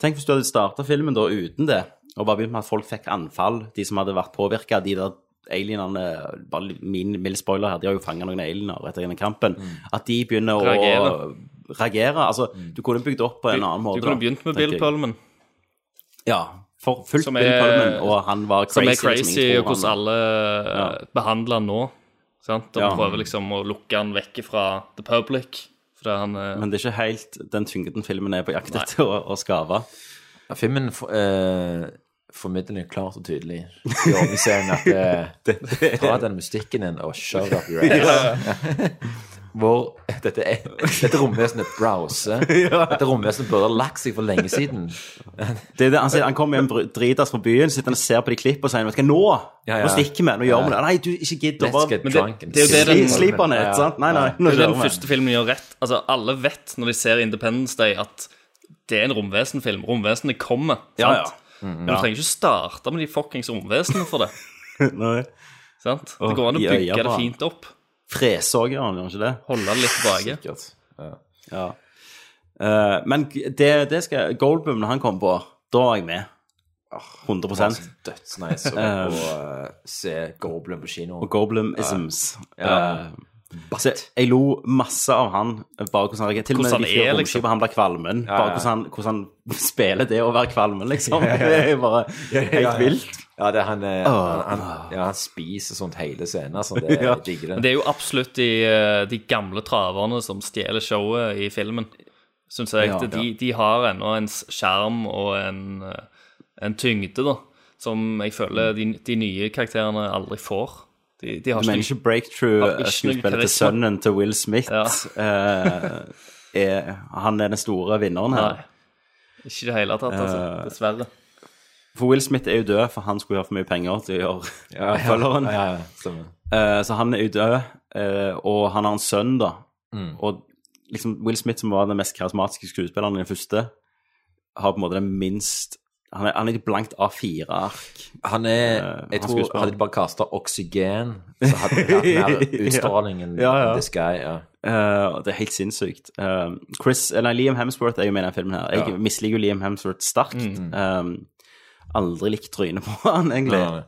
[SPEAKER 1] Tenk hvis du hadde starta filmen da uten det, og bare begynt med at folk fikk anfall, de som hadde vært påvirka, de der alienene bare litt- Min mild spoiler her, de har jo fanga noen aliener etter denne kampen. At de begynner
[SPEAKER 10] Mm. Reagere. Mm.
[SPEAKER 1] å reagere. Altså, du kunne bygd opp på en annen
[SPEAKER 10] Du
[SPEAKER 1] måte.
[SPEAKER 10] kunne
[SPEAKER 1] da,
[SPEAKER 10] begynt
[SPEAKER 1] tenker
[SPEAKER 10] med Bill
[SPEAKER 1] jeg.
[SPEAKER 10] Pullman,
[SPEAKER 1] Ja. For fullt
[SPEAKER 10] som
[SPEAKER 1] Bill Pullman,
[SPEAKER 10] er,
[SPEAKER 1] og han var crazy.
[SPEAKER 10] som er
[SPEAKER 1] liksom, ingen
[SPEAKER 10] crazy
[SPEAKER 1] tror
[SPEAKER 10] og
[SPEAKER 1] han-
[SPEAKER 10] hvordan alle eh, behandler han nå. Sant? Og
[SPEAKER 1] Ja.
[SPEAKER 10] prøver liksom å lukke han vekk fra the public. Fordi han eh,
[SPEAKER 1] Men det er ikke helt den tyngden filmen er på jakt etter å, å skave.
[SPEAKER 9] Ja, filmen for, eh, formidler jo klart og tydelig i overserien at eh,
[SPEAKER 10] <laughs>
[SPEAKER 9] ta den mystikken din og shove it up your ass. <laughs> Hvor dette, er- dette romvesenet
[SPEAKER 10] <laughs>
[SPEAKER 9] browser. Dette romvesenet burde ha lagt seg for lenge siden.
[SPEAKER 1] Det er det, han, sier, han kommer hjem br- dritas fra byen, sitter han og ser på de klipp og sier vet du hva, nå,
[SPEAKER 9] Ja, ja.
[SPEAKER 1] nå stikker vi, nå gjør vi det. Nei, du, ikke gidd.
[SPEAKER 9] Let's
[SPEAKER 1] Bare...
[SPEAKER 9] get
[SPEAKER 10] Men det-
[SPEAKER 9] drunk and
[SPEAKER 10] det er jo det
[SPEAKER 9] sleep.
[SPEAKER 10] den-
[SPEAKER 1] Sleep on it, sant? Nei, nei, nå
[SPEAKER 10] Det er
[SPEAKER 1] kjører
[SPEAKER 10] den
[SPEAKER 1] vi.
[SPEAKER 10] første filmen gjør rett. Altså, alle vet når de ser Independence Day, at det er en romvesenfilm. Romvesenet kommer. sant?
[SPEAKER 1] Ja, ja. Mm, mm.
[SPEAKER 10] Men du trenger ikke starte med de fuckings romvesenene for det. <laughs>
[SPEAKER 1] <laughs> Nei.
[SPEAKER 10] sant?
[SPEAKER 1] Åh,
[SPEAKER 10] Det går an å
[SPEAKER 1] i øya
[SPEAKER 10] bygge
[SPEAKER 1] på
[SPEAKER 10] det
[SPEAKER 1] han.
[SPEAKER 10] fint opp.
[SPEAKER 1] Frese også, gjør han, gjør han ikke det?
[SPEAKER 10] Holde det litt tilbake.
[SPEAKER 9] Sikkert. Ja.
[SPEAKER 1] Ja. Eh, men det, det skal Goldblum, når han kom på, da var jeg med. 100
[SPEAKER 9] Det var så
[SPEAKER 10] <laughs>
[SPEAKER 9] Dødsnice å å, eh, se Goblin på kino.
[SPEAKER 1] Og Goldblumisms.
[SPEAKER 9] Ja.
[SPEAKER 1] Eh, Så jeg lo masse av han, bare hvordan han reagerer. Til og med
[SPEAKER 10] Hvordan
[SPEAKER 1] de
[SPEAKER 10] han
[SPEAKER 1] kjører
[SPEAKER 10] er,
[SPEAKER 1] romskip,
[SPEAKER 10] liksom.
[SPEAKER 1] og han blir kvalmen.
[SPEAKER 10] Ja,
[SPEAKER 1] Bare
[SPEAKER 10] ja.
[SPEAKER 1] hvordan han, hvordan han spiller det å være kvalmen, <laughs> liksom.
[SPEAKER 9] Ja, ja, ja.
[SPEAKER 1] Det er bare helt vilt.
[SPEAKER 9] Ja, det, er han, eh,
[SPEAKER 1] Åh.
[SPEAKER 9] han, han, ja, han spiser sånt hele scenen. Altså, det,
[SPEAKER 10] Ja.
[SPEAKER 9] jeg digger
[SPEAKER 10] Men det er jo absolutt de, eh, de gamle traverne som stjeler showet i filmen, syns jeg.
[SPEAKER 9] Ja,
[SPEAKER 10] de, de har ennå en s- skjerm og en, eh, en tyngde, da, som jeg føler de, de nye karakterene aldri får. De, de har
[SPEAKER 1] Mm. Du mener ikke breakthrough
[SPEAKER 10] har ikke noe
[SPEAKER 1] skuespillet til
[SPEAKER 10] karisma.
[SPEAKER 1] sønnen til Will Smith eh, er, Han er den store vinneren her.
[SPEAKER 10] Nei. Ikke i det hele tatt, altså.
[SPEAKER 1] Eh,
[SPEAKER 10] Dessverre.
[SPEAKER 1] For Will Smith er jo død, for han skulle jo ha for mye penger til å gjøre <laughs>
[SPEAKER 9] Ja, ja.
[SPEAKER 1] følgeren.
[SPEAKER 9] Ja, ja, stemmer.
[SPEAKER 1] Eh, så han er jo død, eh, og han har en sønn, da.
[SPEAKER 9] Mm.
[SPEAKER 1] Og liksom Will Smith, som var den mest karismatiske skuespilleren i den første, har på en måte den minst Han er, han er et blankt A4-ark.
[SPEAKER 9] Han
[SPEAKER 1] Eh,
[SPEAKER 9] er Jeg tror hadde de bare kasta oksygen, så hadde det vært
[SPEAKER 1] <laughs>
[SPEAKER 9] mer utstråling enn
[SPEAKER 1] Ja, ja.
[SPEAKER 9] enn this guy. Ja.
[SPEAKER 1] Eh, og det er helt sinnssykt. Eh, Chris, eller Liam Hemsworth er jo med i denne filmen. her Jeg
[SPEAKER 9] Ja.
[SPEAKER 1] misliker jo Liam Hemsworth sterkt.
[SPEAKER 9] Mm.
[SPEAKER 1] Eh, aldri likt trynet på han, egentlig.
[SPEAKER 9] Nei,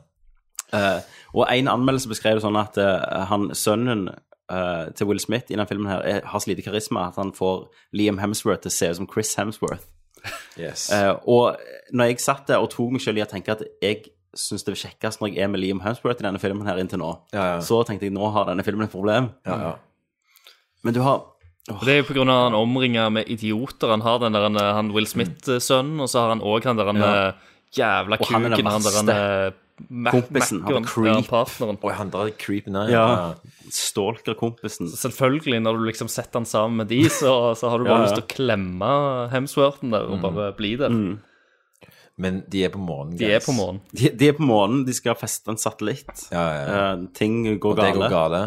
[SPEAKER 9] nei.
[SPEAKER 1] Eh, og en anmeldelse beskrev det sånn at eh, han, sønnen eh, til Will Smith i denne filmen her er, har så lite karisma at han får Liam Hemsworth til å se ut som Chris Hemsworth.
[SPEAKER 9] Yes.
[SPEAKER 1] Eh, og når jeg satt der og tok meg selv i å tenke at jeg syns det er kjekkest når jeg er med Liam Hemsworth i denne filmen her inntil nå,
[SPEAKER 9] Ja, ja.
[SPEAKER 1] så tenkte jeg nå har denne filmen et problem.
[SPEAKER 9] ja.
[SPEAKER 1] Men du har
[SPEAKER 10] Og Det er jo pga. han omringer med idioter. Han har den der han, eh, han Will Smith-sønnen, og så har han òg han der han,
[SPEAKER 1] Ja.
[SPEAKER 10] eh, jævla
[SPEAKER 1] Og han er
[SPEAKER 10] kuken,
[SPEAKER 1] den
[SPEAKER 10] han der han
[SPEAKER 1] verste.
[SPEAKER 10] eh, Mac-
[SPEAKER 1] Kompisen, han er
[SPEAKER 10] Mac-en,
[SPEAKER 1] creep.
[SPEAKER 10] ja, partneren.
[SPEAKER 9] Og han der creepen der.
[SPEAKER 1] Ja. Stalker-kompisen.
[SPEAKER 10] Selvfølgelig, når du liksom setter han sammen med de, så, så har du bare
[SPEAKER 1] Ja, ja. Mm.
[SPEAKER 10] lyst til å klemme Hemsworthen der og bare bli der.
[SPEAKER 9] Men de er på månen.
[SPEAKER 10] De er på månen.
[SPEAKER 1] De, de er på månen, de skal feste en satellitt. Eh, ting går
[SPEAKER 9] Og det
[SPEAKER 1] gale.
[SPEAKER 9] går gale.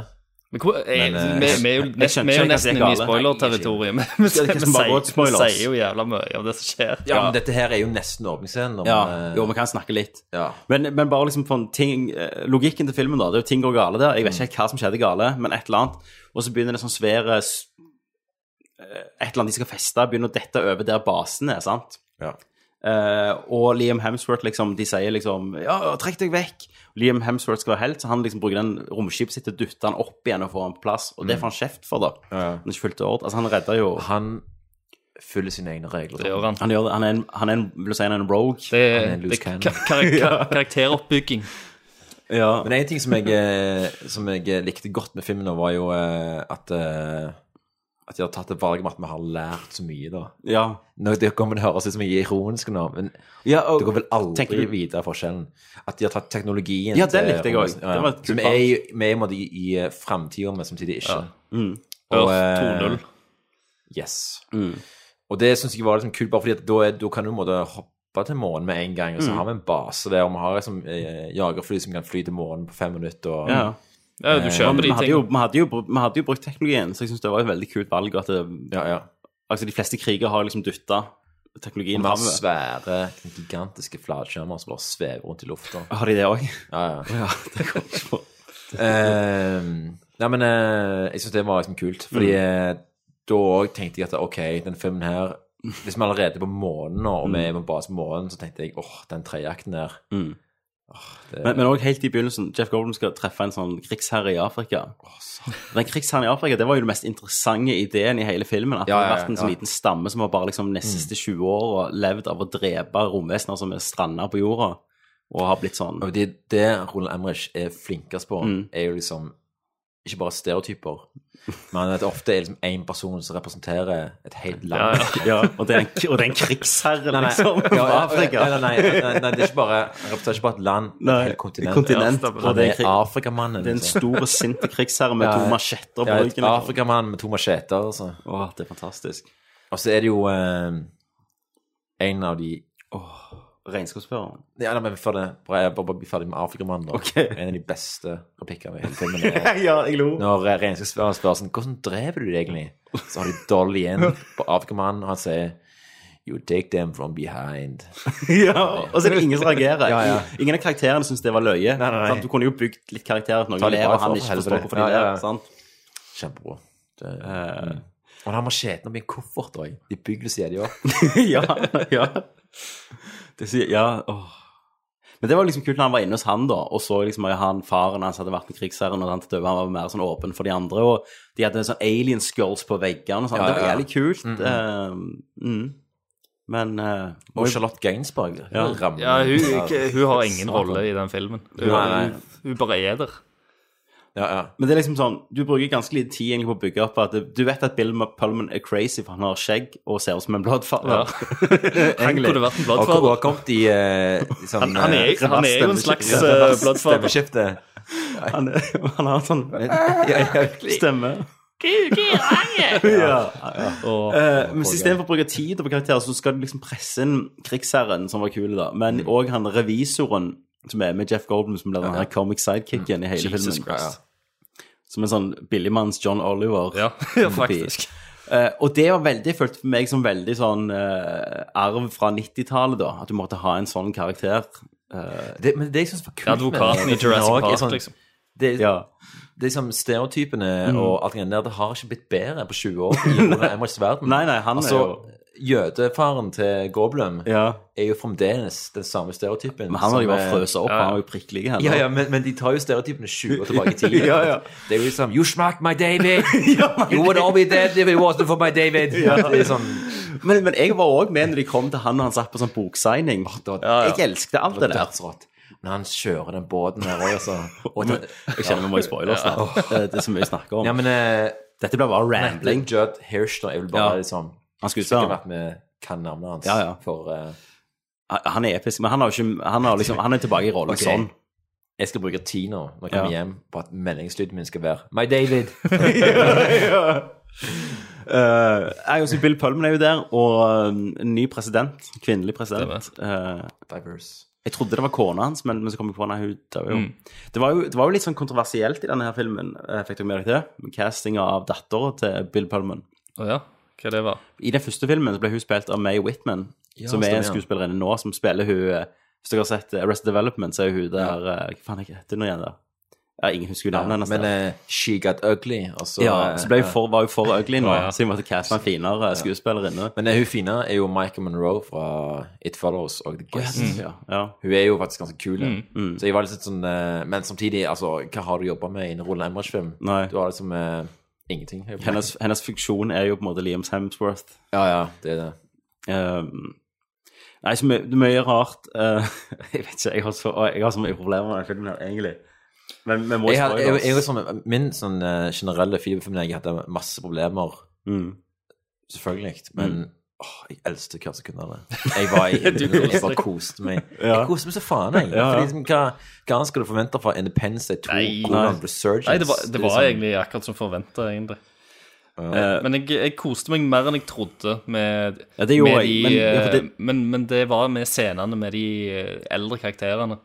[SPEAKER 10] Men hvor, jeg,
[SPEAKER 1] Men, eh,
[SPEAKER 10] vi- vi er jo
[SPEAKER 1] jeg
[SPEAKER 10] nest-
[SPEAKER 1] skjønte
[SPEAKER 10] vi er jo
[SPEAKER 1] ikke at det er
[SPEAKER 10] nesten inne i
[SPEAKER 1] gale.
[SPEAKER 10] spoiler-territoriet.
[SPEAKER 1] Nei,
[SPEAKER 10] men
[SPEAKER 1] jeg
[SPEAKER 10] Vi,
[SPEAKER 1] skjønte ikke. Det er liksom bare
[SPEAKER 10] sier- <laughs> vi
[SPEAKER 1] spoilers.
[SPEAKER 10] sier jo jævla mye av det som skjer.
[SPEAKER 9] Ja, men dette her er jo nesten åpningsscenen. om,
[SPEAKER 1] Ja,
[SPEAKER 9] eh,
[SPEAKER 1] jo, vi kan snakke litt.
[SPEAKER 9] Ja.
[SPEAKER 1] Men, men bare liksom for en ting, eh, logikken til filmen, da. Det er jo ting går gale der. Jeg
[SPEAKER 9] Mm.
[SPEAKER 1] vet ikke helt hva som skjedde gale, men et eller annet. Og så begynner det sånn svære s- eh, Et eller annet de skal feste, begynner å dette over der basen er, sant?
[SPEAKER 9] Ja.
[SPEAKER 1] Eh, og Liam Hemsworth, liksom, de sier liksom Ja, trekk deg vekk! Liam Hemsworth skal være helt, så han liksom bruker den romskipet sitt til å dytte han opp igjen og få han på plass. Og det får han kjeft for, da. Han har ikke fulgt ord. Altså, han redder jo
[SPEAKER 9] Han følger sine egne regler.
[SPEAKER 10] Det gjør han.
[SPEAKER 1] Han, gjør det. han er en, han er en, vil du si han er en rogue?
[SPEAKER 10] Det
[SPEAKER 9] Han er
[SPEAKER 10] er,
[SPEAKER 9] en loose
[SPEAKER 10] det er
[SPEAKER 9] cannon.
[SPEAKER 10] ka-
[SPEAKER 1] <laughs>
[SPEAKER 10] kar kar karakteroppbygging.
[SPEAKER 1] Ja.
[SPEAKER 9] Men en ting som jeg, eh, som jeg likte godt med filmen, nå var jo eh, at eh, at de har tatt det valget med at vi har lært så mye, da.
[SPEAKER 1] ja.
[SPEAKER 9] Nå, det kommer til å høres ut som jeg er ironisk nå, men
[SPEAKER 1] Ja, og-
[SPEAKER 9] dere vil aldri
[SPEAKER 1] Tenker du-
[SPEAKER 9] vite forskjellen. At de har tatt teknologien
[SPEAKER 1] Ja, den likte jeg også.
[SPEAKER 9] Ja,
[SPEAKER 1] Det var et
[SPEAKER 9] Så vi
[SPEAKER 1] kult
[SPEAKER 9] er jo vi er i en måte i, i framtida, men samtidig ikke.
[SPEAKER 1] Mm.
[SPEAKER 9] Og,
[SPEAKER 10] Earth
[SPEAKER 9] eh,
[SPEAKER 10] 2.0.
[SPEAKER 9] Yes. Og det syns jeg var liksom kult, bare fordi at da, er, da kan du på en måte hoppe til månen med en gang, og så
[SPEAKER 10] Mm.
[SPEAKER 9] har vi en base der, og vi har liksom eh, jagerfly som kan fly til månen på fem minutter, og
[SPEAKER 1] Ja.
[SPEAKER 10] Ja, du
[SPEAKER 9] Eh,
[SPEAKER 10] kjøper
[SPEAKER 1] Vi
[SPEAKER 10] de
[SPEAKER 1] hadde, jo,
[SPEAKER 10] tingene.
[SPEAKER 1] vi, hadde jo, br- vi hadde jo brukt teknologien, så jeg syns det var et veldig kult valg. At det,
[SPEAKER 9] ja, ja.
[SPEAKER 1] altså, de fleste kriger har liksom dytta
[SPEAKER 9] Og
[SPEAKER 1] teknologien
[SPEAKER 9] vi har
[SPEAKER 1] framover.
[SPEAKER 9] svære, gigantiske flatskjermer som bare svever rundt i lufta.
[SPEAKER 1] Har de det òg? <laughs>
[SPEAKER 9] Ja, ja.
[SPEAKER 1] Ja, det kom jeg ikke på.
[SPEAKER 9] Eh, nei, men eh, jeg syns det var liksom kult. Fordi
[SPEAKER 1] Mm.
[SPEAKER 9] eh, da òg tenkte jeg at ok, den filmen her Hvis vi allerede er på månen nå, og vi er på base på månen, så tenkte jeg åh, den trejakten der
[SPEAKER 1] Mm.
[SPEAKER 9] åh, det,
[SPEAKER 1] Men men òg helt i begynnelsen, Jeff Goldman skal treffe en sånn krigsherre i Afrika. Den krigsherren i Afrika det var jo den mest interessante ideen i hele filmen. At
[SPEAKER 9] Ja,
[SPEAKER 1] det
[SPEAKER 9] ja,
[SPEAKER 1] har vært en sånn
[SPEAKER 9] ja. Mm.
[SPEAKER 1] liten stamme som har bare liksom de siste 20 åra levd av å drepe romvesener som er stranda på jorda, og har blitt sånn.
[SPEAKER 9] Og det, det Roland Emmerich er flinkest på,
[SPEAKER 1] Mm.
[SPEAKER 9] er jo liksom ikke bare stereotyper, men at det ofte er liksom én person som representerer et helt land.
[SPEAKER 1] Ja, og det er en, og det er en krigsherre,
[SPEAKER 9] <laughs> Nei, nei.
[SPEAKER 1] liksom,
[SPEAKER 9] <laughs> Ja,
[SPEAKER 1] fra
[SPEAKER 9] ja,
[SPEAKER 1] Afrika.
[SPEAKER 9] Nei, nei, nei, nei, nei, det er ikke bare, jeg representerer ikke bare et land, men
[SPEAKER 1] Nei,
[SPEAKER 9] et helt kontinent.
[SPEAKER 1] kontinent,
[SPEAKER 9] Ja,
[SPEAKER 1] og
[SPEAKER 9] Han
[SPEAKER 1] det er
[SPEAKER 9] er
[SPEAKER 1] krig-
[SPEAKER 9] Afrikamannen.
[SPEAKER 1] Det er en
[SPEAKER 9] liksom.
[SPEAKER 1] stor, sint krigsherre med
[SPEAKER 9] Ja,
[SPEAKER 1] to
[SPEAKER 9] ja.
[SPEAKER 1] machetter på
[SPEAKER 9] Ja, et
[SPEAKER 1] ryggen. liksom.
[SPEAKER 9] Afrikamann med to macheter, altså.
[SPEAKER 1] Åh, det er fantastisk.
[SPEAKER 9] Og så er det jo eh, en av de <laughs>
[SPEAKER 1] Regnskapsføreren.
[SPEAKER 9] Ja, nei, men før det, bare, jeg bare, bare bli ferdig med Afrikamannen. da.
[SPEAKER 1] Ok.
[SPEAKER 9] En av de beste replikkene i hele filmen. er
[SPEAKER 1] ja, jeg lo.
[SPEAKER 9] Når eh, regnskapsføreren spør sånn Hvordan drev du det egentlig? Så har de Dolly igjen på Afrikamannen, og han sier You take them from behind.
[SPEAKER 1] <laughs> ja, og så er det ingen som reagerer.
[SPEAKER 9] Ja, ja.
[SPEAKER 1] Ingen av karakterene syns det var løye.
[SPEAKER 9] Nei, nei, nei.
[SPEAKER 1] Sant? Du kunne jo bygd litt karakterer at
[SPEAKER 9] Ta
[SPEAKER 1] noen
[SPEAKER 9] litt
[SPEAKER 1] ler, og
[SPEAKER 9] bra
[SPEAKER 1] han
[SPEAKER 9] for
[SPEAKER 1] ikke
[SPEAKER 9] helvete.
[SPEAKER 1] forstår hvorfor
[SPEAKER 9] Ja,
[SPEAKER 1] de ler.
[SPEAKER 9] ja, ja.
[SPEAKER 1] sant?
[SPEAKER 9] Kjempebra.
[SPEAKER 10] Eh.
[SPEAKER 9] Det, mm. Og han har macheten oppi en koffert òg. De
[SPEAKER 10] <laughs>
[SPEAKER 1] <laughs>
[SPEAKER 9] bygger seg de opp.
[SPEAKER 1] ja, ja. Det sier Ja, åh. Men det var liksom kult når han var inne hos han, da, og så liksom at han, faren hans hadde vært med krigsherren, og han til døde, han var mer sånn åpen for de andre, og de hadde sånn alien skulls på veggene og sånn.
[SPEAKER 9] Ja,
[SPEAKER 1] Det var
[SPEAKER 9] ja, ja.
[SPEAKER 1] jævlig kult.
[SPEAKER 9] Mm,
[SPEAKER 1] eh, mm. Men eh,
[SPEAKER 9] Og Charlotte Gainsbourg.
[SPEAKER 1] Ja.
[SPEAKER 9] rammer-
[SPEAKER 10] Ja, hun, ikke, hun har ingen rolle i den filmen. Hun,
[SPEAKER 9] Nei.
[SPEAKER 10] hun, hun bare er der.
[SPEAKER 1] Men det er liksom sånn, du bruker ganske lite tid egentlig på å bygge opp at du vet at Bill Pullman er crazy, for han har skjegg og ser ut som en blodfader.
[SPEAKER 10] Han
[SPEAKER 9] Og
[SPEAKER 10] kunne vært en
[SPEAKER 9] hvor
[SPEAKER 10] bloodfather.
[SPEAKER 9] har kommet i eh, i sånn,
[SPEAKER 10] Han- han er-
[SPEAKER 9] eh,
[SPEAKER 10] han er jo en slags,
[SPEAKER 9] stemmeskifte-
[SPEAKER 10] eh, bloodfather.
[SPEAKER 9] Stemmeskifte.
[SPEAKER 1] <laughs> Han, er- han har sånn stemme. <laughs> ja.
[SPEAKER 10] Og,
[SPEAKER 1] Eh, men istedenfor å bruke tid på karakterer, så skal du liksom presse inn krigsherren, som var kul, da. Men òg han revisoren, som er med Jeff Goldman, som blir den her comic sidekicken i hele
[SPEAKER 10] Jesus
[SPEAKER 1] filmen.
[SPEAKER 10] Christ.
[SPEAKER 1] Som en sånn billigmanns John Oliver.
[SPEAKER 10] Ja, ja, faktisk.
[SPEAKER 1] Eh, og det var veldig, følte for meg som veldig sånn eh, arv fra 90-tallet, da. At du måtte ha en sånn karakter. Eh,
[SPEAKER 9] Det, men det jeg synes var kult med
[SPEAKER 10] Advokaten
[SPEAKER 9] det,
[SPEAKER 10] i Jurassic
[SPEAKER 9] også er
[SPEAKER 10] Park,
[SPEAKER 9] sånn-
[SPEAKER 10] liksom.
[SPEAKER 9] Det,
[SPEAKER 1] Ja.
[SPEAKER 9] det er som stereotypene
[SPEAKER 1] Mm.
[SPEAKER 9] og alt det greiene der, det har ikke blitt bedre på 20
[SPEAKER 10] <laughs>
[SPEAKER 9] år i Ole Emmerys verden.
[SPEAKER 1] Nei, nei, han er
[SPEAKER 9] altså,
[SPEAKER 1] jo-
[SPEAKER 9] Jødefaren til Goblum
[SPEAKER 1] ja.
[SPEAKER 9] er jo fremdeles den samme stereotypen.
[SPEAKER 1] Men han har
[SPEAKER 9] som
[SPEAKER 1] jo bare
[SPEAKER 9] er-
[SPEAKER 1] frøset opp,
[SPEAKER 9] Ja,
[SPEAKER 1] han har jo prikkelige hender.
[SPEAKER 9] Ja, ja, men, men de tar jo stereotypene 20 år
[SPEAKER 1] <laughs>
[SPEAKER 9] tilbake i tid.
[SPEAKER 1] Ja, ja.
[SPEAKER 9] Det er jo liksom You smacked
[SPEAKER 1] <laughs>
[SPEAKER 9] my David! you would all be dead if it wasn't for my David!
[SPEAKER 1] Ja.
[SPEAKER 9] Det er sånn
[SPEAKER 1] Men, men jeg var òg med når de kom til han og han satt på sånn boksigning. Jeg elsket alt det der.
[SPEAKER 9] dødsrått. Men han kjører den båten her òg, altså. Og den-
[SPEAKER 1] Jeg <laughs> kjenner vi må i spoiler
[SPEAKER 9] Ja.
[SPEAKER 1] snart. Det, det er så mye å snakke om.
[SPEAKER 9] Ja, men eh,
[SPEAKER 1] Dette ble bare
[SPEAKER 9] Natalie
[SPEAKER 1] rambling.
[SPEAKER 9] Judd Hirsch, da. Jeg vil bare
[SPEAKER 1] Ja.
[SPEAKER 9] liksom
[SPEAKER 1] Han skulle
[SPEAKER 9] Sikkert
[SPEAKER 1] spørre.
[SPEAKER 9] vært med hva navnet hans
[SPEAKER 1] Ja, ja.
[SPEAKER 9] for eh,
[SPEAKER 1] Han er episk, men han, har jo ikke, han, har liksom, han er tilbake i rollen
[SPEAKER 9] Ok.
[SPEAKER 1] <laughs> sånn.
[SPEAKER 9] Jeg skal bruke tid nå når jeg kommer
[SPEAKER 1] Ja.
[SPEAKER 9] hjem på at meldingslyden min skal være My
[SPEAKER 1] <laughs>
[SPEAKER 9] David!
[SPEAKER 1] Eh, jeg også, Bill Pullman er jo der, og eh, en ny president. Kvinnelig president. Eh,
[SPEAKER 9] Diverse.
[SPEAKER 1] jeg trodde det var kona hans, men, men så kom jeg på nei, hun døde jo.
[SPEAKER 10] Mm.
[SPEAKER 1] Det, var jo. det var jo litt sånn kontroversielt i denne her filmen, eh, fikk dere med dere det? Castinga av dattera til Bill Pullman.
[SPEAKER 10] Å ja, hva det var.
[SPEAKER 1] I den første filmen så ble hun spilt av Mae Whitman,
[SPEAKER 9] Ja,
[SPEAKER 1] som er en
[SPEAKER 9] stemmer, ja.
[SPEAKER 1] skuespillerinne nå, som spiller hun eh, Hvis dere har sett eh, Arrested Development, så er hun der eh, Hva faen er det hun heter hun igjen, da? Ja, ingen husker jo navnet hennes.
[SPEAKER 9] Men
[SPEAKER 1] der.
[SPEAKER 9] eh, She Got Ugly, og så
[SPEAKER 1] ja,
[SPEAKER 9] eh,
[SPEAKER 1] så ble hun
[SPEAKER 9] eh,
[SPEAKER 1] for, var hun for ugly nå,
[SPEAKER 10] Ja, ja.
[SPEAKER 1] så de måtte caste en finere skuespillerinne.
[SPEAKER 9] Men eh, hun fine er jo Michael Monroe fra It Follows og The Guest.
[SPEAKER 1] Mm. Ja, Mm, ja.
[SPEAKER 9] Hun er jo faktisk ganske kul. Så jeg var litt sånn eh, Men samtidig, altså, hva har du jobba med i en Roland Emmerich-film?
[SPEAKER 1] Nei.
[SPEAKER 9] Du har liksom eh, ingenting. å jobbe med.
[SPEAKER 1] Hennes, hennes funksjon er jo på en måte Liam Hemsworth.
[SPEAKER 9] Ja, ja, det er det.
[SPEAKER 1] Um, nei, så mye, mye rart. eh, <laughs> jeg vet ikke, jeg har så, jeg har så mye problemer med den filmen her, egentlig. Men vi må
[SPEAKER 9] Jeg, har-
[SPEAKER 1] spoile
[SPEAKER 9] jeg,
[SPEAKER 1] oss.
[SPEAKER 9] jeg, er sånn, min sånn eh, generelle feelfilm Jeg hadde masse problemer,
[SPEAKER 1] Mm.
[SPEAKER 9] selvfølgelig, men
[SPEAKER 10] Mm.
[SPEAKER 9] åh, jeg elsket hver sekund av det. Jeg
[SPEAKER 10] <laughs>
[SPEAKER 9] var i
[SPEAKER 1] Du
[SPEAKER 9] jeg
[SPEAKER 1] koste
[SPEAKER 9] bare
[SPEAKER 1] deg.
[SPEAKER 9] koste meg.
[SPEAKER 1] Ja.
[SPEAKER 9] Jeg koste meg så faen, jeg.
[SPEAKER 1] Ja, ja.
[SPEAKER 9] Fordi, liksom, hva, hva annet skal du forvente fra Independence Day 2?
[SPEAKER 10] Nei.
[SPEAKER 9] Hvordan Resurgence?
[SPEAKER 10] Nei, det var, det var
[SPEAKER 9] liksom-
[SPEAKER 10] egentlig akkurat som forventa, egentlig.
[SPEAKER 1] Eh,
[SPEAKER 10] Men jeg, jeg koste meg mer enn jeg trodde med,
[SPEAKER 1] Ja, det gjorde
[SPEAKER 10] med
[SPEAKER 1] jeg,
[SPEAKER 10] de
[SPEAKER 1] men- ja, for
[SPEAKER 10] eh,
[SPEAKER 1] det-
[SPEAKER 10] men, men det var med scenene med de eh, eldre karakterene.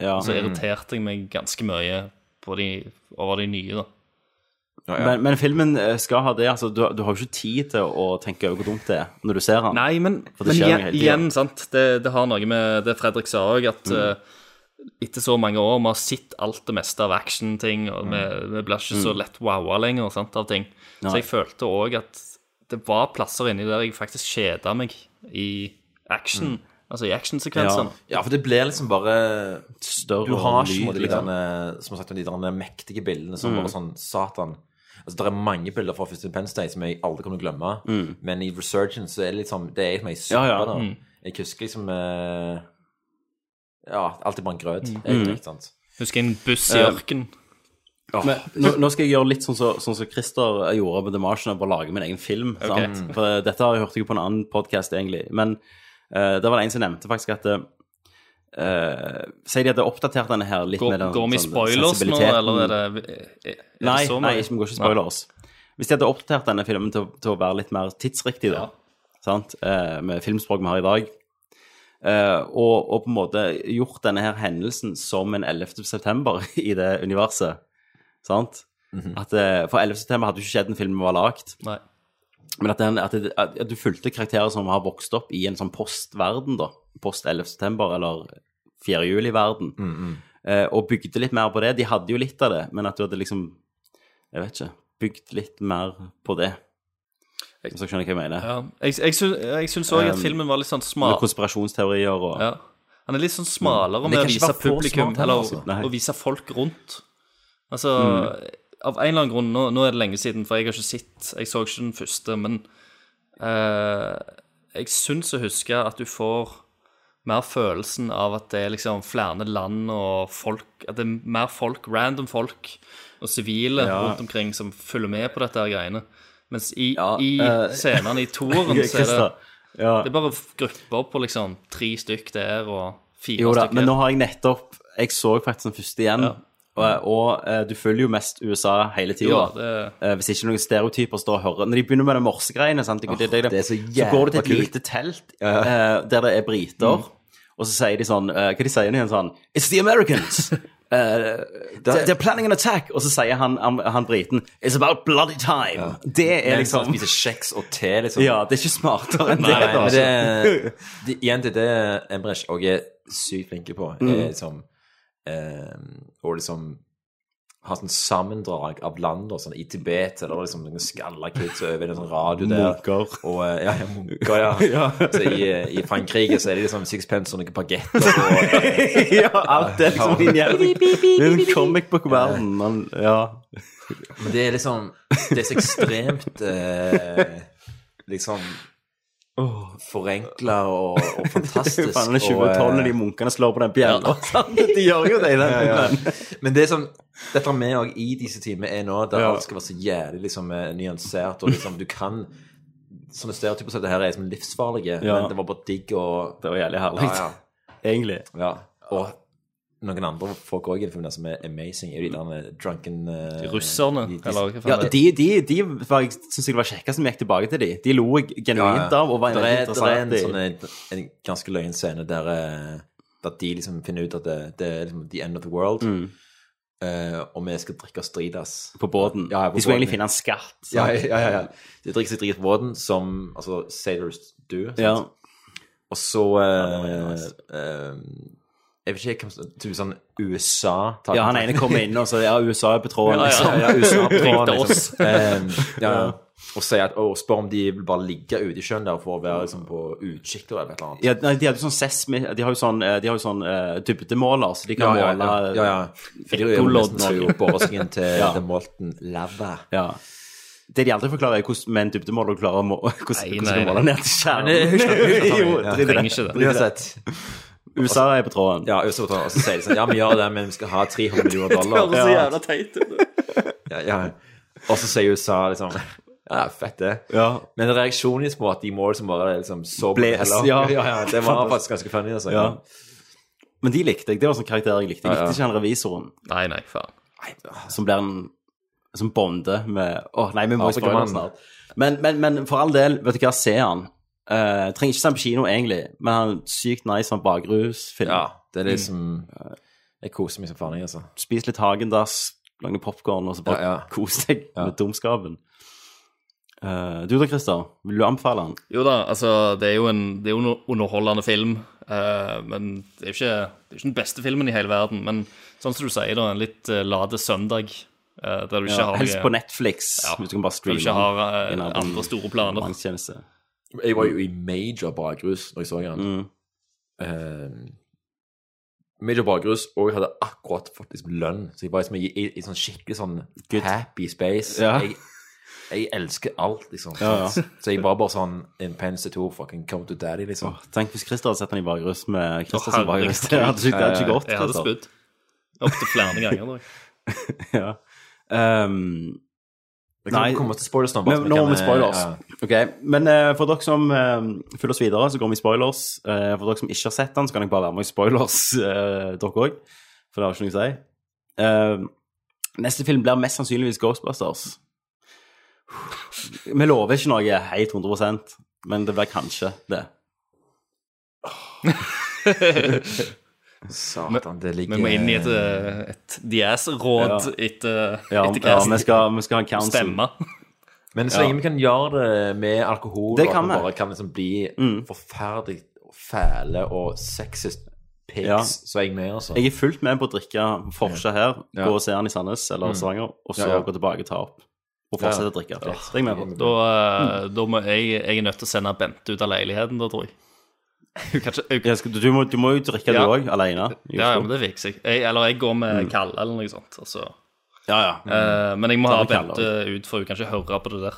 [SPEAKER 1] ja.
[SPEAKER 10] Så irriterte jeg meg ganske mye på de, over de nye, da.
[SPEAKER 9] Ja, ja.
[SPEAKER 1] Men, men filmen eh, skal ha det. altså Du, du har jo ikke tid til å tenke over hvor dumt det er når du ser den.
[SPEAKER 10] Nei, men,
[SPEAKER 1] For
[SPEAKER 10] men
[SPEAKER 1] det skjer jo
[SPEAKER 10] igjen,
[SPEAKER 1] hele tiden. Mm.
[SPEAKER 10] igjen sant? Det, det har noe med det Fredrik sa òg, at eh, etter så mange år vi har sett alt det meste av actionting, og vi, vi blir ikke så lett wowa lenger sant, av ting. Så
[SPEAKER 1] Mm. Nei.
[SPEAKER 10] jeg følte òg at det var plasser inni der jeg faktisk kjeda meg i
[SPEAKER 1] Mm.
[SPEAKER 10] action. Altså i actionsekvensene.
[SPEAKER 9] Ja, for det blir liksom bare
[SPEAKER 1] Større
[SPEAKER 9] Du har
[SPEAKER 1] lyd,
[SPEAKER 9] ikke på en måte, de
[SPEAKER 1] liksom.
[SPEAKER 9] derne, som sagt, de derne mektige bildene som
[SPEAKER 1] Mm.
[SPEAKER 9] bare sånn Satan. Altså, Det er mange bilder fra første Penn State som jeg aldri kommer til å glemme. Men i Resurgence så er det liksom Det er som ei suppe.
[SPEAKER 1] Mm. Ja, ja.
[SPEAKER 9] da.
[SPEAKER 10] Mm.
[SPEAKER 9] Jeg husker liksom eh, Ja, alt er bare en grøt,
[SPEAKER 1] Mm.
[SPEAKER 9] egentlig. ikke sant?
[SPEAKER 10] Husker en buss i
[SPEAKER 1] Eh,
[SPEAKER 10] ørkenen.
[SPEAKER 1] Men, nå, nå skal jeg gjøre litt sånn som så, sånn som Christer gjorde med The Martian, og bare lage min egen film.
[SPEAKER 10] Mm.
[SPEAKER 1] Sant? For eh, dette har jeg hørt ikke på en annen podkast, egentlig. Men eh, det var det en som nevnte faktisk at eh, eh, Sier de at det er oppdatert denne her litt med
[SPEAKER 10] Går
[SPEAKER 1] den
[SPEAKER 10] går vi i
[SPEAKER 1] sånn
[SPEAKER 10] spoilers nå,
[SPEAKER 1] sensibiliteten.
[SPEAKER 10] eller er det, eh, er, er det
[SPEAKER 1] Nei,
[SPEAKER 10] så
[SPEAKER 1] nei,
[SPEAKER 10] mye?
[SPEAKER 1] ikke, vi går ikke spoilers. Hvis de hadde oppdatert denne filmen til, til å være litt mer tidsriktig, da, sant? Eh, med filmspråk vi har i dag, eh, og, og på en måte gjort denne her hendelsen som en 11. september <laughs> i det universet, sant? at, eh, for 11. september hadde jo ikke skjedd en film som var lagd,
[SPEAKER 10] Nei.
[SPEAKER 1] men at, den, at, det, at at du fulgte karakterer som har vokst opp i en sånn postverden, da. Post 11. september, eller 4. juli-verden. eh, og bygde litt mer på det. De hadde jo litt av det, men at du hadde liksom Jeg vet ikke. Bygd litt mer på det. Hvis dere skjønner hva jeg mener.
[SPEAKER 10] Ja. Jeg, jeg, syns- jeg syns òg at
[SPEAKER 1] Um,
[SPEAKER 10] filmen var litt sånn
[SPEAKER 1] Med
[SPEAKER 10] smart.
[SPEAKER 1] konspirasjonsteorier og
[SPEAKER 10] Ja. Han er litt sånn smalere
[SPEAKER 1] Mm.
[SPEAKER 10] med
[SPEAKER 1] Det
[SPEAKER 10] å
[SPEAKER 1] kan ikke
[SPEAKER 10] vise
[SPEAKER 1] være for
[SPEAKER 10] publikum,
[SPEAKER 1] smart,
[SPEAKER 10] eller
[SPEAKER 1] altså. Nei. Mm.
[SPEAKER 10] å vise folk rundt. Altså, av en eller annen grunn, nå, nå er det lenge siden, for jeg har ikke sett Jeg så ikke den første, men eh, jeg syns å huske at du får mer følelsen av at det er liksom flere land og folk At det er mer folk, random folk og sivile
[SPEAKER 1] Ja.
[SPEAKER 10] rundt omkring som følger med på dette her greiene. Mens i, i
[SPEAKER 1] eh,
[SPEAKER 10] scenene i toeren så er det
[SPEAKER 1] <laughs> <laughs> Christer, ja.
[SPEAKER 10] Det er bare grupper på liksom tre stykk der og fire
[SPEAKER 1] Jo da,
[SPEAKER 10] stykk
[SPEAKER 1] men
[SPEAKER 10] her.
[SPEAKER 1] nå har jeg nettopp Jeg så faktisk den første igjen. Og, og eh, du følger jo mest USA hele tida.
[SPEAKER 10] Jo da,
[SPEAKER 1] Hvis ikke noen stereotyper står og hører Når de begynner med de morsegreiene, sant? Det, det, det,
[SPEAKER 9] det er så
[SPEAKER 1] går du til
[SPEAKER 9] jævla
[SPEAKER 1] et
[SPEAKER 9] kult.
[SPEAKER 1] lite telt
[SPEAKER 9] Ja.
[SPEAKER 1] eh, der det er briter,
[SPEAKER 9] Mm.
[SPEAKER 1] og så sier de sånn eh, Hva de sier de igjen sånn It's the
[SPEAKER 9] <laughs>
[SPEAKER 1] Americans! Eh, they're, they're planning an attack! Og så sier han, han, han briten It's about bloody time! Det er
[SPEAKER 9] Mens han
[SPEAKER 1] liksom
[SPEAKER 9] spiser kjeks og te, liksom.
[SPEAKER 1] Ja, det er ikke smartere enn
[SPEAKER 9] Nei,
[SPEAKER 1] det. altså. da.
[SPEAKER 9] men det, det Igjen til det Emresh òg er sykt flinke på, er
[SPEAKER 1] Mm.
[SPEAKER 9] liksom eh, Å liksom ha sånn sammendrag av land og sånn i Tibet, eller liksom noen skalla kids over en sånn radio der.
[SPEAKER 1] Munker.
[SPEAKER 9] Og, eh, ja, ja, munker, ja.
[SPEAKER 1] <laughs> Ja.
[SPEAKER 9] Så i, eh, i Frankrike så er det liksom sixpence og noen bagetter og eh,
[SPEAKER 1] <laughs> ja, alt det er liksom din jævla Det er en comic book-verden, men ja.
[SPEAKER 9] Men det er liksom Det er så ekstremt eh, liksom Forenkla og, og
[SPEAKER 1] Det er
[SPEAKER 9] fantastisk.
[SPEAKER 1] jo <laughs> faen det er
[SPEAKER 9] og, eh,
[SPEAKER 1] 2012 når de munkene slår på den bjella. <laughs> sant? De gjør jo det i den
[SPEAKER 9] Ja, ja.
[SPEAKER 1] filmen.
[SPEAKER 9] Men det er sånn Dette vi òg i disse timer er nå, der
[SPEAKER 1] Ja.
[SPEAKER 9] alt skal være så jævlig liksom, eh, nyansert, og liksom du kan Sånne stereotyper som dette her er liksom livsfarlige,
[SPEAKER 1] Ja.
[SPEAKER 9] men det var bare digg og
[SPEAKER 1] Det var jævlig herlig,
[SPEAKER 9] Ja,
[SPEAKER 1] egentlig.
[SPEAKER 9] ja. ja. Og noen andre folk òg i den filmen der som er amazing, er jo de der eh, drunken eh,
[SPEAKER 10] De russerne,
[SPEAKER 9] de- de-
[SPEAKER 10] eller hva faen
[SPEAKER 1] Ja,
[SPEAKER 10] det er.
[SPEAKER 1] de, de, de var, jeg synes jeg var kjekkest som gikk tilbake til de. De lo jeg genuint av og var
[SPEAKER 9] Der
[SPEAKER 1] veldig
[SPEAKER 9] er, der er en,
[SPEAKER 1] interessant i.
[SPEAKER 9] sånn, en, en ganske løyen scene der, eh, der de liksom finner ut at det, det er liksom the end of the world.
[SPEAKER 1] Mm.
[SPEAKER 9] eh, og vi skal drikke oss dritas.
[SPEAKER 1] På båten.
[SPEAKER 9] Ja, ja, på
[SPEAKER 1] De skulle
[SPEAKER 9] båten.
[SPEAKER 1] egentlig finne en skatt. sant?
[SPEAKER 9] Ja, ja, ja, ja. De drikker seg drit på båten, som altså, sailors do. sant?
[SPEAKER 1] Ja.
[SPEAKER 9] Og så eh, eh, Jeg vet ikke hvem som Typ sånn USA tar
[SPEAKER 1] Ja, han
[SPEAKER 9] kontakt.
[SPEAKER 1] ene kommer inn og så Ja, USA er på tråden, liksom.
[SPEAKER 9] <laughs> Ja, ja, ja, USA på tråden,
[SPEAKER 1] Ringte oss.
[SPEAKER 9] <laughs> liksom. Eh, ja, ja. Og sier at, og spør om de vil bare ligge ute i sjøen der for å være liksom, på utkikk eller et eller annet.
[SPEAKER 1] Ja, nei, de hadde jo sånn sesmi... De har jo sånn, eh, de har jo sånn eh, dybdemåler, så de kan
[SPEAKER 9] ja,
[SPEAKER 1] måle
[SPEAKER 9] ja, ja, ja. For det er jo
[SPEAKER 1] Ettolodd.
[SPEAKER 9] nesten å bore seg inn til
[SPEAKER 1] Ja.
[SPEAKER 9] The Molten Lava.
[SPEAKER 1] Ja. Det de aldri forklarer, er hvordan med en dybdemåler klarer å må, <laughs> hvordan,
[SPEAKER 9] Nei,
[SPEAKER 1] hvordan
[SPEAKER 9] nei,
[SPEAKER 1] du måler
[SPEAKER 9] nei.
[SPEAKER 1] ned til
[SPEAKER 9] Men det-
[SPEAKER 1] <laughs> kjernen. Jo, drit i det.
[SPEAKER 9] Uansett.
[SPEAKER 1] USA er på tråden.
[SPEAKER 9] Ja, USA er på tråden. Og så sier de sånn Ja, vi gjør det, men vi skal ha 300 millioner
[SPEAKER 10] Det
[SPEAKER 9] dollar.
[SPEAKER 10] høres så
[SPEAKER 9] Ja.
[SPEAKER 10] jævla teit ut.
[SPEAKER 9] ja, ja. Og så sier USA liksom Ja, fett det. Men reaksjonen på at de må liksom bare liksom så på
[SPEAKER 1] Bles,
[SPEAKER 9] heller.
[SPEAKER 1] ja.
[SPEAKER 9] ja, ja. Det var faktisk ganske funny. Altså.
[SPEAKER 1] Ja. Men de likte jeg. Det var sånn karakter jeg likte. Jeg
[SPEAKER 9] Ja, ja.
[SPEAKER 1] likte ikke han revisoren.
[SPEAKER 10] Nei, nei, faen.
[SPEAKER 1] Som blir en Som bonder med Å, nei, vi må
[SPEAKER 9] Afrikamann.
[SPEAKER 1] spoile den snart. Men, men, men for all del, vet du hva, se han. Eh, trenger ikke se han på kino, egentlig, men han er sykt nice som bakrusfilm.
[SPEAKER 9] Ja, det er det som Jeg koser meg som faen, jeg, altså.
[SPEAKER 1] Spis litt Hagendass, lage popkorn, og så bare
[SPEAKER 9] Ja, <laughs> ja.
[SPEAKER 1] kos deg med dumskapen. Eh, du da, Christer? Vil du anbefale han?
[SPEAKER 10] Jo da, altså, det er jo en, det er jo en underholdende film. eh, men det er jo ikke, det er jo ikke den beste filmen i hele verden. Men sånn som du sier, da, en litt uh, late søndag eh, der du ikke
[SPEAKER 1] Ja,
[SPEAKER 10] har
[SPEAKER 1] helst på Netflix,
[SPEAKER 10] Ja,
[SPEAKER 1] hvis du kan bare
[SPEAKER 10] der du
[SPEAKER 1] streame
[SPEAKER 10] ikke har eh,
[SPEAKER 1] den.
[SPEAKER 10] andre store planer.
[SPEAKER 1] Banktjeneste.
[SPEAKER 9] Jeg var jo i major bakrus når jeg så den.
[SPEAKER 1] Mm.
[SPEAKER 9] Eh, major bakrus, og jeg hadde akkurat fått liksom lønn. Så jeg var liksom i, i, i sånn skikkelig sånn happy space.
[SPEAKER 1] Ja.
[SPEAKER 9] Jeg, jeg elsker alt, liksom.
[SPEAKER 1] Ja, ja.
[SPEAKER 9] Så jeg var bare sånn in pens to two, fucking come to daddy, liksom.
[SPEAKER 1] Tenk hvis Christer hadde sett han i bakrus med Christer
[SPEAKER 10] Å,
[SPEAKER 1] som bakrus. <laughs>
[SPEAKER 10] herregud. Eh,
[SPEAKER 1] Det hadde ikke, det hadde ikke gått. altså.
[SPEAKER 10] Jeg hadde
[SPEAKER 1] Christer.
[SPEAKER 10] spydd. Opptil flere ganger. da.
[SPEAKER 1] ja. Um,
[SPEAKER 9] Vi kan komme til spoilers nå, bare så
[SPEAKER 1] Men,
[SPEAKER 9] vi
[SPEAKER 1] nå
[SPEAKER 9] kan,
[SPEAKER 1] må vi spoilers.
[SPEAKER 9] eh,
[SPEAKER 1] Ok, Men eh, for dere som eh, følger oss videre, så går vi i spoilers. Eh, for dere som ikke har sett den, så kan dere bare være med i spoilers, <laughs> eh, dere òg. For det har ikke noe å si. Eh, neste film blir mest sannsynligvis Ghostbusters. <sighs> Vi lover ikke noe helt 100 men det blir kanskje det.
[SPEAKER 9] Satan, det ligger
[SPEAKER 10] Vi må inn i et, eh, et diæsråd etter,
[SPEAKER 1] Ja,
[SPEAKER 10] etter
[SPEAKER 1] ja
[SPEAKER 10] casten.
[SPEAKER 1] vi, skal, vi skal ha en sånn- council.
[SPEAKER 10] Stemme.
[SPEAKER 9] Men så lenge vi kan gjøre det med alkohol,
[SPEAKER 1] Det
[SPEAKER 9] og at
[SPEAKER 1] kan
[SPEAKER 9] vi
[SPEAKER 1] vi.
[SPEAKER 9] bare kan liksom bli
[SPEAKER 1] Mm.
[SPEAKER 9] forferdelig fæle og sexist pigs,
[SPEAKER 1] Ja.
[SPEAKER 9] så er jeg med, altså.
[SPEAKER 1] Jeg er fullt med på å drikke Forsa her,
[SPEAKER 9] Ja.
[SPEAKER 1] gå og se den i Sandnes eller
[SPEAKER 9] Mm.
[SPEAKER 1] Stavanger, og så
[SPEAKER 9] Ja, ja.
[SPEAKER 1] gå tilbake og ta opp. Og
[SPEAKER 9] Ja,
[SPEAKER 1] fortsette
[SPEAKER 9] ja.
[SPEAKER 1] å drikke.
[SPEAKER 9] Ja.
[SPEAKER 1] Det er jeg med på.
[SPEAKER 10] Da, eh, da må jeg, jeg er nødt til å sende Bente ut av leiligheten, da, tror jeg.
[SPEAKER 1] Du, må, du må jo drikke det
[SPEAKER 10] Ja.
[SPEAKER 1] òg, alene. i
[SPEAKER 10] Ja, ja,
[SPEAKER 1] Oslo.
[SPEAKER 10] men det fikser jeg. jeg. Eller jeg går med
[SPEAKER 1] Mm.
[SPEAKER 10] Kalle eller noe sånt. Altså.
[SPEAKER 1] Ja, ja.
[SPEAKER 10] Eh, men jeg må
[SPEAKER 1] Ta
[SPEAKER 10] ha
[SPEAKER 1] med Kalle
[SPEAKER 10] Bente ut, for hun kan ikke høre på det der.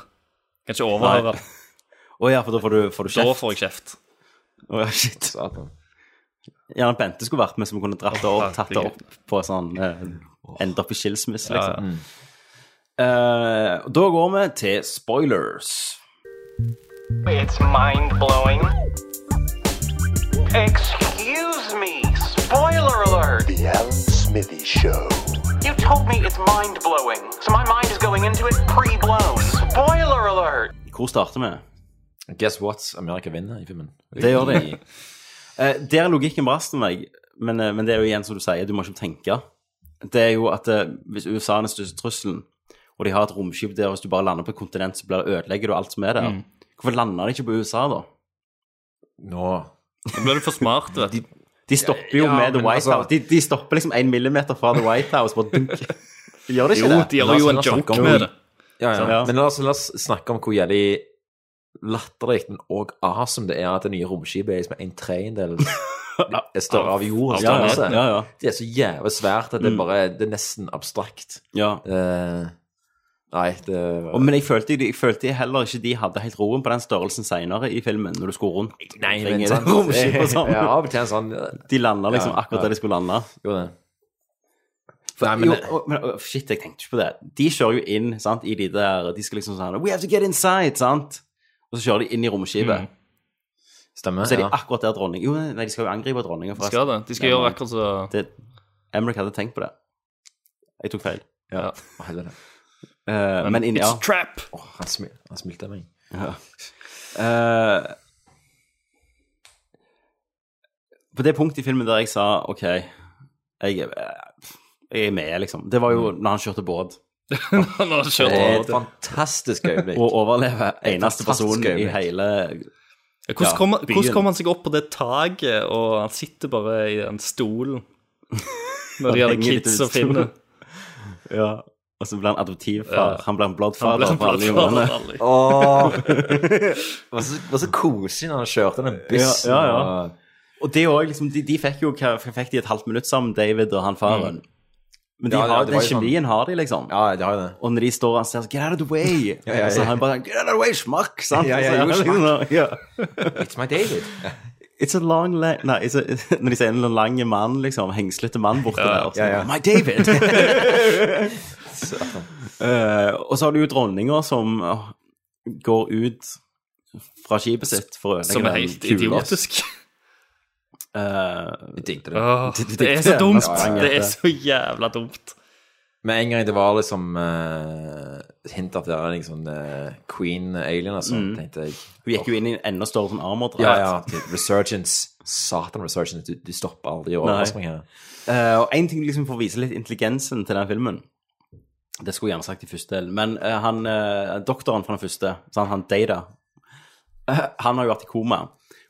[SPEAKER 10] Kan ikke overhøre.
[SPEAKER 1] Nei. Å ja, for da får du, får du kjeft?
[SPEAKER 10] Da får jeg kjeft.
[SPEAKER 1] Å ja, shit. Gjerne Bente skulle vært med, som kunne dratt det opp, tatt det opp på sånn eh, Enda opp i skilsmisse,
[SPEAKER 10] Ja, Mm. ja.
[SPEAKER 1] liksom. Eh, da går vi til spoilers.
[SPEAKER 20] It's mind blowing. Excuse me, spoiler alert!
[SPEAKER 2] The Alan Smithy Show.
[SPEAKER 20] You told me it's mind blowing, so my mind is going into it pre blown. Spoiler alert!
[SPEAKER 1] Hvor starter vi?
[SPEAKER 9] Guess what? Amerika vinner i filmen.
[SPEAKER 1] Det gjør de. Eh, Der er logikken brast for meg, men, eh, men det er jo igjen som du sier, du må ikke tenke. Det er jo at eh, hvis USA er den største trusselen, og de har et romskip der, og hvis du bare lander på et kontinent, så blir det ødelegger du alt som er der.
[SPEAKER 10] Mm.
[SPEAKER 1] Hvorfor lander de ikke på USA, da?
[SPEAKER 9] <laughs> Nå
[SPEAKER 10] Da blir du for smart, vet du.
[SPEAKER 1] De stopper jo
[SPEAKER 10] Ja,
[SPEAKER 1] med The
[SPEAKER 10] men
[SPEAKER 1] White
[SPEAKER 10] altså-
[SPEAKER 1] House. De, de stopper liksom en millimeter fra The White House. Bare dunk. De gjør det ikke det?
[SPEAKER 9] La oss- la oss snakke om- Ja, ja.
[SPEAKER 1] Ja.
[SPEAKER 9] Men la oss, la oss snakke om hvor jævlig latterlig men og awesome det er at det nye romskipet er liksom en tredjedel
[SPEAKER 1] <laughs>
[SPEAKER 9] er større av jordens
[SPEAKER 1] Ja, ja,
[SPEAKER 9] størrelse.
[SPEAKER 1] ja, ja.
[SPEAKER 9] Det er så jævlig svært at det
[SPEAKER 1] Mm.
[SPEAKER 9] bare det er nesten abstrakt.
[SPEAKER 1] Ja.
[SPEAKER 9] Eh, nei, det
[SPEAKER 1] Og, men jeg følte, jeg følte heller ikke de hadde helt roen på den størrelsen seinere i filmen, når du skulle rundt.
[SPEAKER 9] Nei,
[SPEAKER 1] omkring
[SPEAKER 9] men
[SPEAKER 1] i det
[SPEAKER 9] sant.
[SPEAKER 1] romskipet og sånn.
[SPEAKER 9] <laughs> Ja, av og til en sånn
[SPEAKER 1] De landa liksom
[SPEAKER 9] Ja, ja.
[SPEAKER 1] akkurat der de skulle lande.
[SPEAKER 9] Gjorde det.
[SPEAKER 1] For,
[SPEAKER 9] Nei, men-
[SPEAKER 1] jo, og, men og, shit, jeg tenkte ikke på det. De kjører jo inn sant, i de der De skal liksom sånn We have to get inside, sant? Og så kjører de inn i romskipet.
[SPEAKER 9] Stemmer.
[SPEAKER 1] Og så er de
[SPEAKER 9] ja.
[SPEAKER 1] akkurat der dronning Jo, nei, de skal jo angripe dronninga,
[SPEAKER 10] De skal det. De skal gjøre akkurat så
[SPEAKER 1] det, Emmerich hadde tenkt på det. Jeg tok feil.
[SPEAKER 9] Ja, heller det.
[SPEAKER 1] Eh, men, inn,
[SPEAKER 9] It's
[SPEAKER 1] ja.
[SPEAKER 9] a
[SPEAKER 10] <laughs>
[SPEAKER 9] trap! Åh, han, smil, han smilte av meg.
[SPEAKER 1] Ja. Eh, på det punktet i filmen der jeg sa OK, jeg, eh, jeg er med, liksom. Det var jo når han kjørte båt.
[SPEAKER 10] Når han kjørte
[SPEAKER 1] Det er et
[SPEAKER 10] båt.
[SPEAKER 9] fantastisk øyeblikk.
[SPEAKER 1] Å overleve eneste
[SPEAKER 10] Fantastisk
[SPEAKER 1] personen i
[SPEAKER 10] øyeblikk.
[SPEAKER 1] hele
[SPEAKER 10] Ja, Hvordan
[SPEAKER 1] ja,
[SPEAKER 10] kommer
[SPEAKER 1] byen.
[SPEAKER 10] hvordan kommer han seg opp på det taket, og han sitter bare i den
[SPEAKER 1] <laughs>
[SPEAKER 10] stolen
[SPEAKER 1] Han
[SPEAKER 10] når de hadde
[SPEAKER 1] henger litt
[SPEAKER 10] kids
[SPEAKER 1] ut
[SPEAKER 10] og finner
[SPEAKER 1] Ja. Og så blir han adoptivfar.
[SPEAKER 10] Ja.
[SPEAKER 1] Han blir en bloodfather
[SPEAKER 10] Han blir en
[SPEAKER 1] for alle
[SPEAKER 10] bloodfather
[SPEAKER 1] jungene.
[SPEAKER 9] Åh.
[SPEAKER 10] for
[SPEAKER 9] <laughs> Det var så- det var så koselig når han kjørte den bussen.
[SPEAKER 1] Ja, ja,
[SPEAKER 9] og-
[SPEAKER 1] ja. Og det òg, liksom, de, de fikk jo hva, fikk de et halvt minutt sammen, David og han faren. Men de
[SPEAKER 9] Ja, ja,
[SPEAKER 1] har,
[SPEAKER 9] det
[SPEAKER 1] den
[SPEAKER 9] var jo sånn-
[SPEAKER 1] kjemien har de, liksom.
[SPEAKER 9] Ja, de har det.
[SPEAKER 1] Og når de står og sier 'get out of the way',
[SPEAKER 9] Ja, ja, ja.
[SPEAKER 1] og så har han bare 'get out of the way,
[SPEAKER 9] <laughs>
[SPEAKER 1] smakk', sant?
[SPEAKER 9] Ja, ja,
[SPEAKER 1] Og så er
[SPEAKER 9] jo,
[SPEAKER 1] han
[SPEAKER 9] smakk.
[SPEAKER 1] liksom, <laughs> ja.
[SPEAKER 9] It's my David.
[SPEAKER 1] It's a long la Nei, it's a, <laughs> når de sier en lang mann, liksom, hengslete mann borte
[SPEAKER 9] Ja,
[SPEAKER 1] der, og så
[SPEAKER 9] ja, ja.
[SPEAKER 1] bare, My David! <laughs> Eh, og så har du jo dronninga som åh, går ut fra skipet sitt for å ødelegge
[SPEAKER 10] Som er
[SPEAKER 1] den
[SPEAKER 10] helt
[SPEAKER 1] kula. <laughs>
[SPEAKER 10] idiotisk.
[SPEAKER 1] Eh,
[SPEAKER 9] Jeg digget det.
[SPEAKER 10] Åh,
[SPEAKER 1] Du- du
[SPEAKER 10] Det er
[SPEAKER 1] digget
[SPEAKER 10] så
[SPEAKER 1] det.
[SPEAKER 10] dumt!
[SPEAKER 1] Ja, ja.
[SPEAKER 10] Det er så jævla dumt.
[SPEAKER 9] Med en gang det var liksom eh, hint at det er liksom eh, Queen Alien og sånn,
[SPEAKER 1] Mm.
[SPEAKER 9] tenkte jeg.
[SPEAKER 1] Hun gikk jo inn i en enda større sånn armordrakt.
[SPEAKER 9] Ja, ja. til Resurgence. Satan, Resurgence. Du, du stopper aldri i overraskning her.
[SPEAKER 1] Eh, og en ting liksom for å vise litt intelligensen til den filmen Det skulle jeg gjerne sagt i første del, men eh, han, eh, doktoren fra den første, sant, han Data, eh, han har jo vært i koma.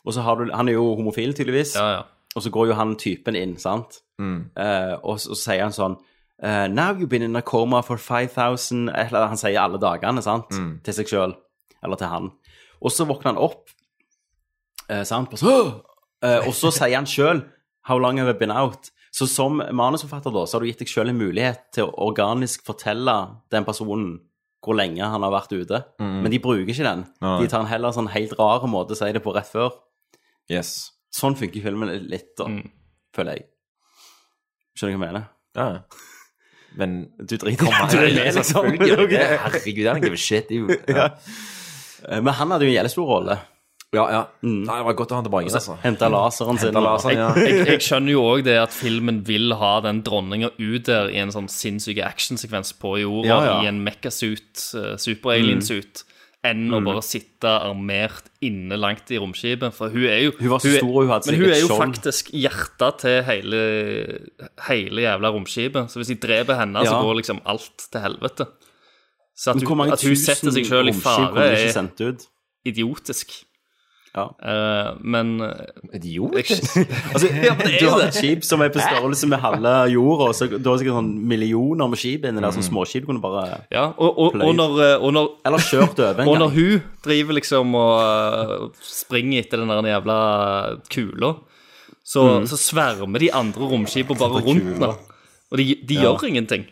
[SPEAKER 1] Og så har du, Han er jo homofil, tydeligvis. Og så går jo han typen inn, sant?
[SPEAKER 9] Mm.
[SPEAKER 1] Eh, og, så- og så sier han sånn eh, Now you've been in a coma for 5000 Eller han sier alle dagene, sant?
[SPEAKER 9] Mm.
[SPEAKER 1] Til seg sjøl. Eller til han. Og så våkner han opp, eh, sant? Og så, <gasps> eh, og så sier han sjøl How long have I been out? Så som manusforfatter da, så har du gitt deg sjøl en mulighet til å organisk fortelle den personen hvor lenge han har vært ute.
[SPEAKER 9] Mm.
[SPEAKER 1] Men de bruker ikke den.
[SPEAKER 9] Nei.
[SPEAKER 1] De tar en heller sånn helt rar måte å si det på rett før.
[SPEAKER 9] Yes.
[SPEAKER 1] Sånn funker filmen litt, da, føler jeg. Skjønner du hva jeg mener?
[SPEAKER 9] Ja. Men
[SPEAKER 1] Du driter i
[SPEAKER 9] Kom
[SPEAKER 1] det,
[SPEAKER 9] igjen,
[SPEAKER 1] det, liksom.
[SPEAKER 9] selvfølgelig. Herregud, I don't give a shit. Jo.
[SPEAKER 1] Ja. Eh, Men han hadde jo en jævlig stor rolle.
[SPEAKER 9] Ja, ja. Nei, det var godt å ha han tilbake. Altså.
[SPEAKER 1] Henta laseren sin.
[SPEAKER 9] Hentet laseren, ja.
[SPEAKER 10] Jeg, jeg skjønner jo òg det at filmen vil ha den dronninga ut der i en sånn sinnssyk actionsekvens på jorda
[SPEAKER 1] Ja, ja.
[SPEAKER 10] i en mekka-suit, eh, super-alien-suit, enn å
[SPEAKER 1] Mm.
[SPEAKER 10] bare sitte armert inne langt i romskipet. For hun er jo
[SPEAKER 1] Hun var så
[SPEAKER 10] er-
[SPEAKER 1] stor, og hun hadde
[SPEAKER 10] Men
[SPEAKER 1] sikkert
[SPEAKER 10] hun er jo
[SPEAKER 1] skjold.
[SPEAKER 10] faktisk hjertet til hele, hele jævla romskipet. Så hvis de dreper henne, så
[SPEAKER 1] Ja.
[SPEAKER 10] går liksom alt til helvete. Så at
[SPEAKER 1] Men hvor
[SPEAKER 10] hun,
[SPEAKER 1] mange
[SPEAKER 10] at hun
[SPEAKER 1] tusen
[SPEAKER 10] setter seg sjøl i
[SPEAKER 1] romskip kunne de
[SPEAKER 10] fare,
[SPEAKER 1] ikke
[SPEAKER 10] er
[SPEAKER 1] sendt ut?
[SPEAKER 10] idiotisk. Eh, men eh,
[SPEAKER 9] Idiot?
[SPEAKER 1] <laughs> altså, du har et skip som er på størrelse med halve jorda, så du har sikkert sånn millioner med skip inni der, som småskip kunne bare
[SPEAKER 10] Ja, og, og, og når, eh, og når
[SPEAKER 1] Eller kjørt over en
[SPEAKER 10] Og når
[SPEAKER 1] gang.
[SPEAKER 10] hun driver liksom og eh, springer etter den der jævla kula, så,
[SPEAKER 1] Mm.
[SPEAKER 10] så svermer de andre romskipene bare
[SPEAKER 1] Etter
[SPEAKER 10] rundt
[SPEAKER 1] kula.
[SPEAKER 10] henne. Og de, de
[SPEAKER 1] Ja.
[SPEAKER 10] gjør ingenting.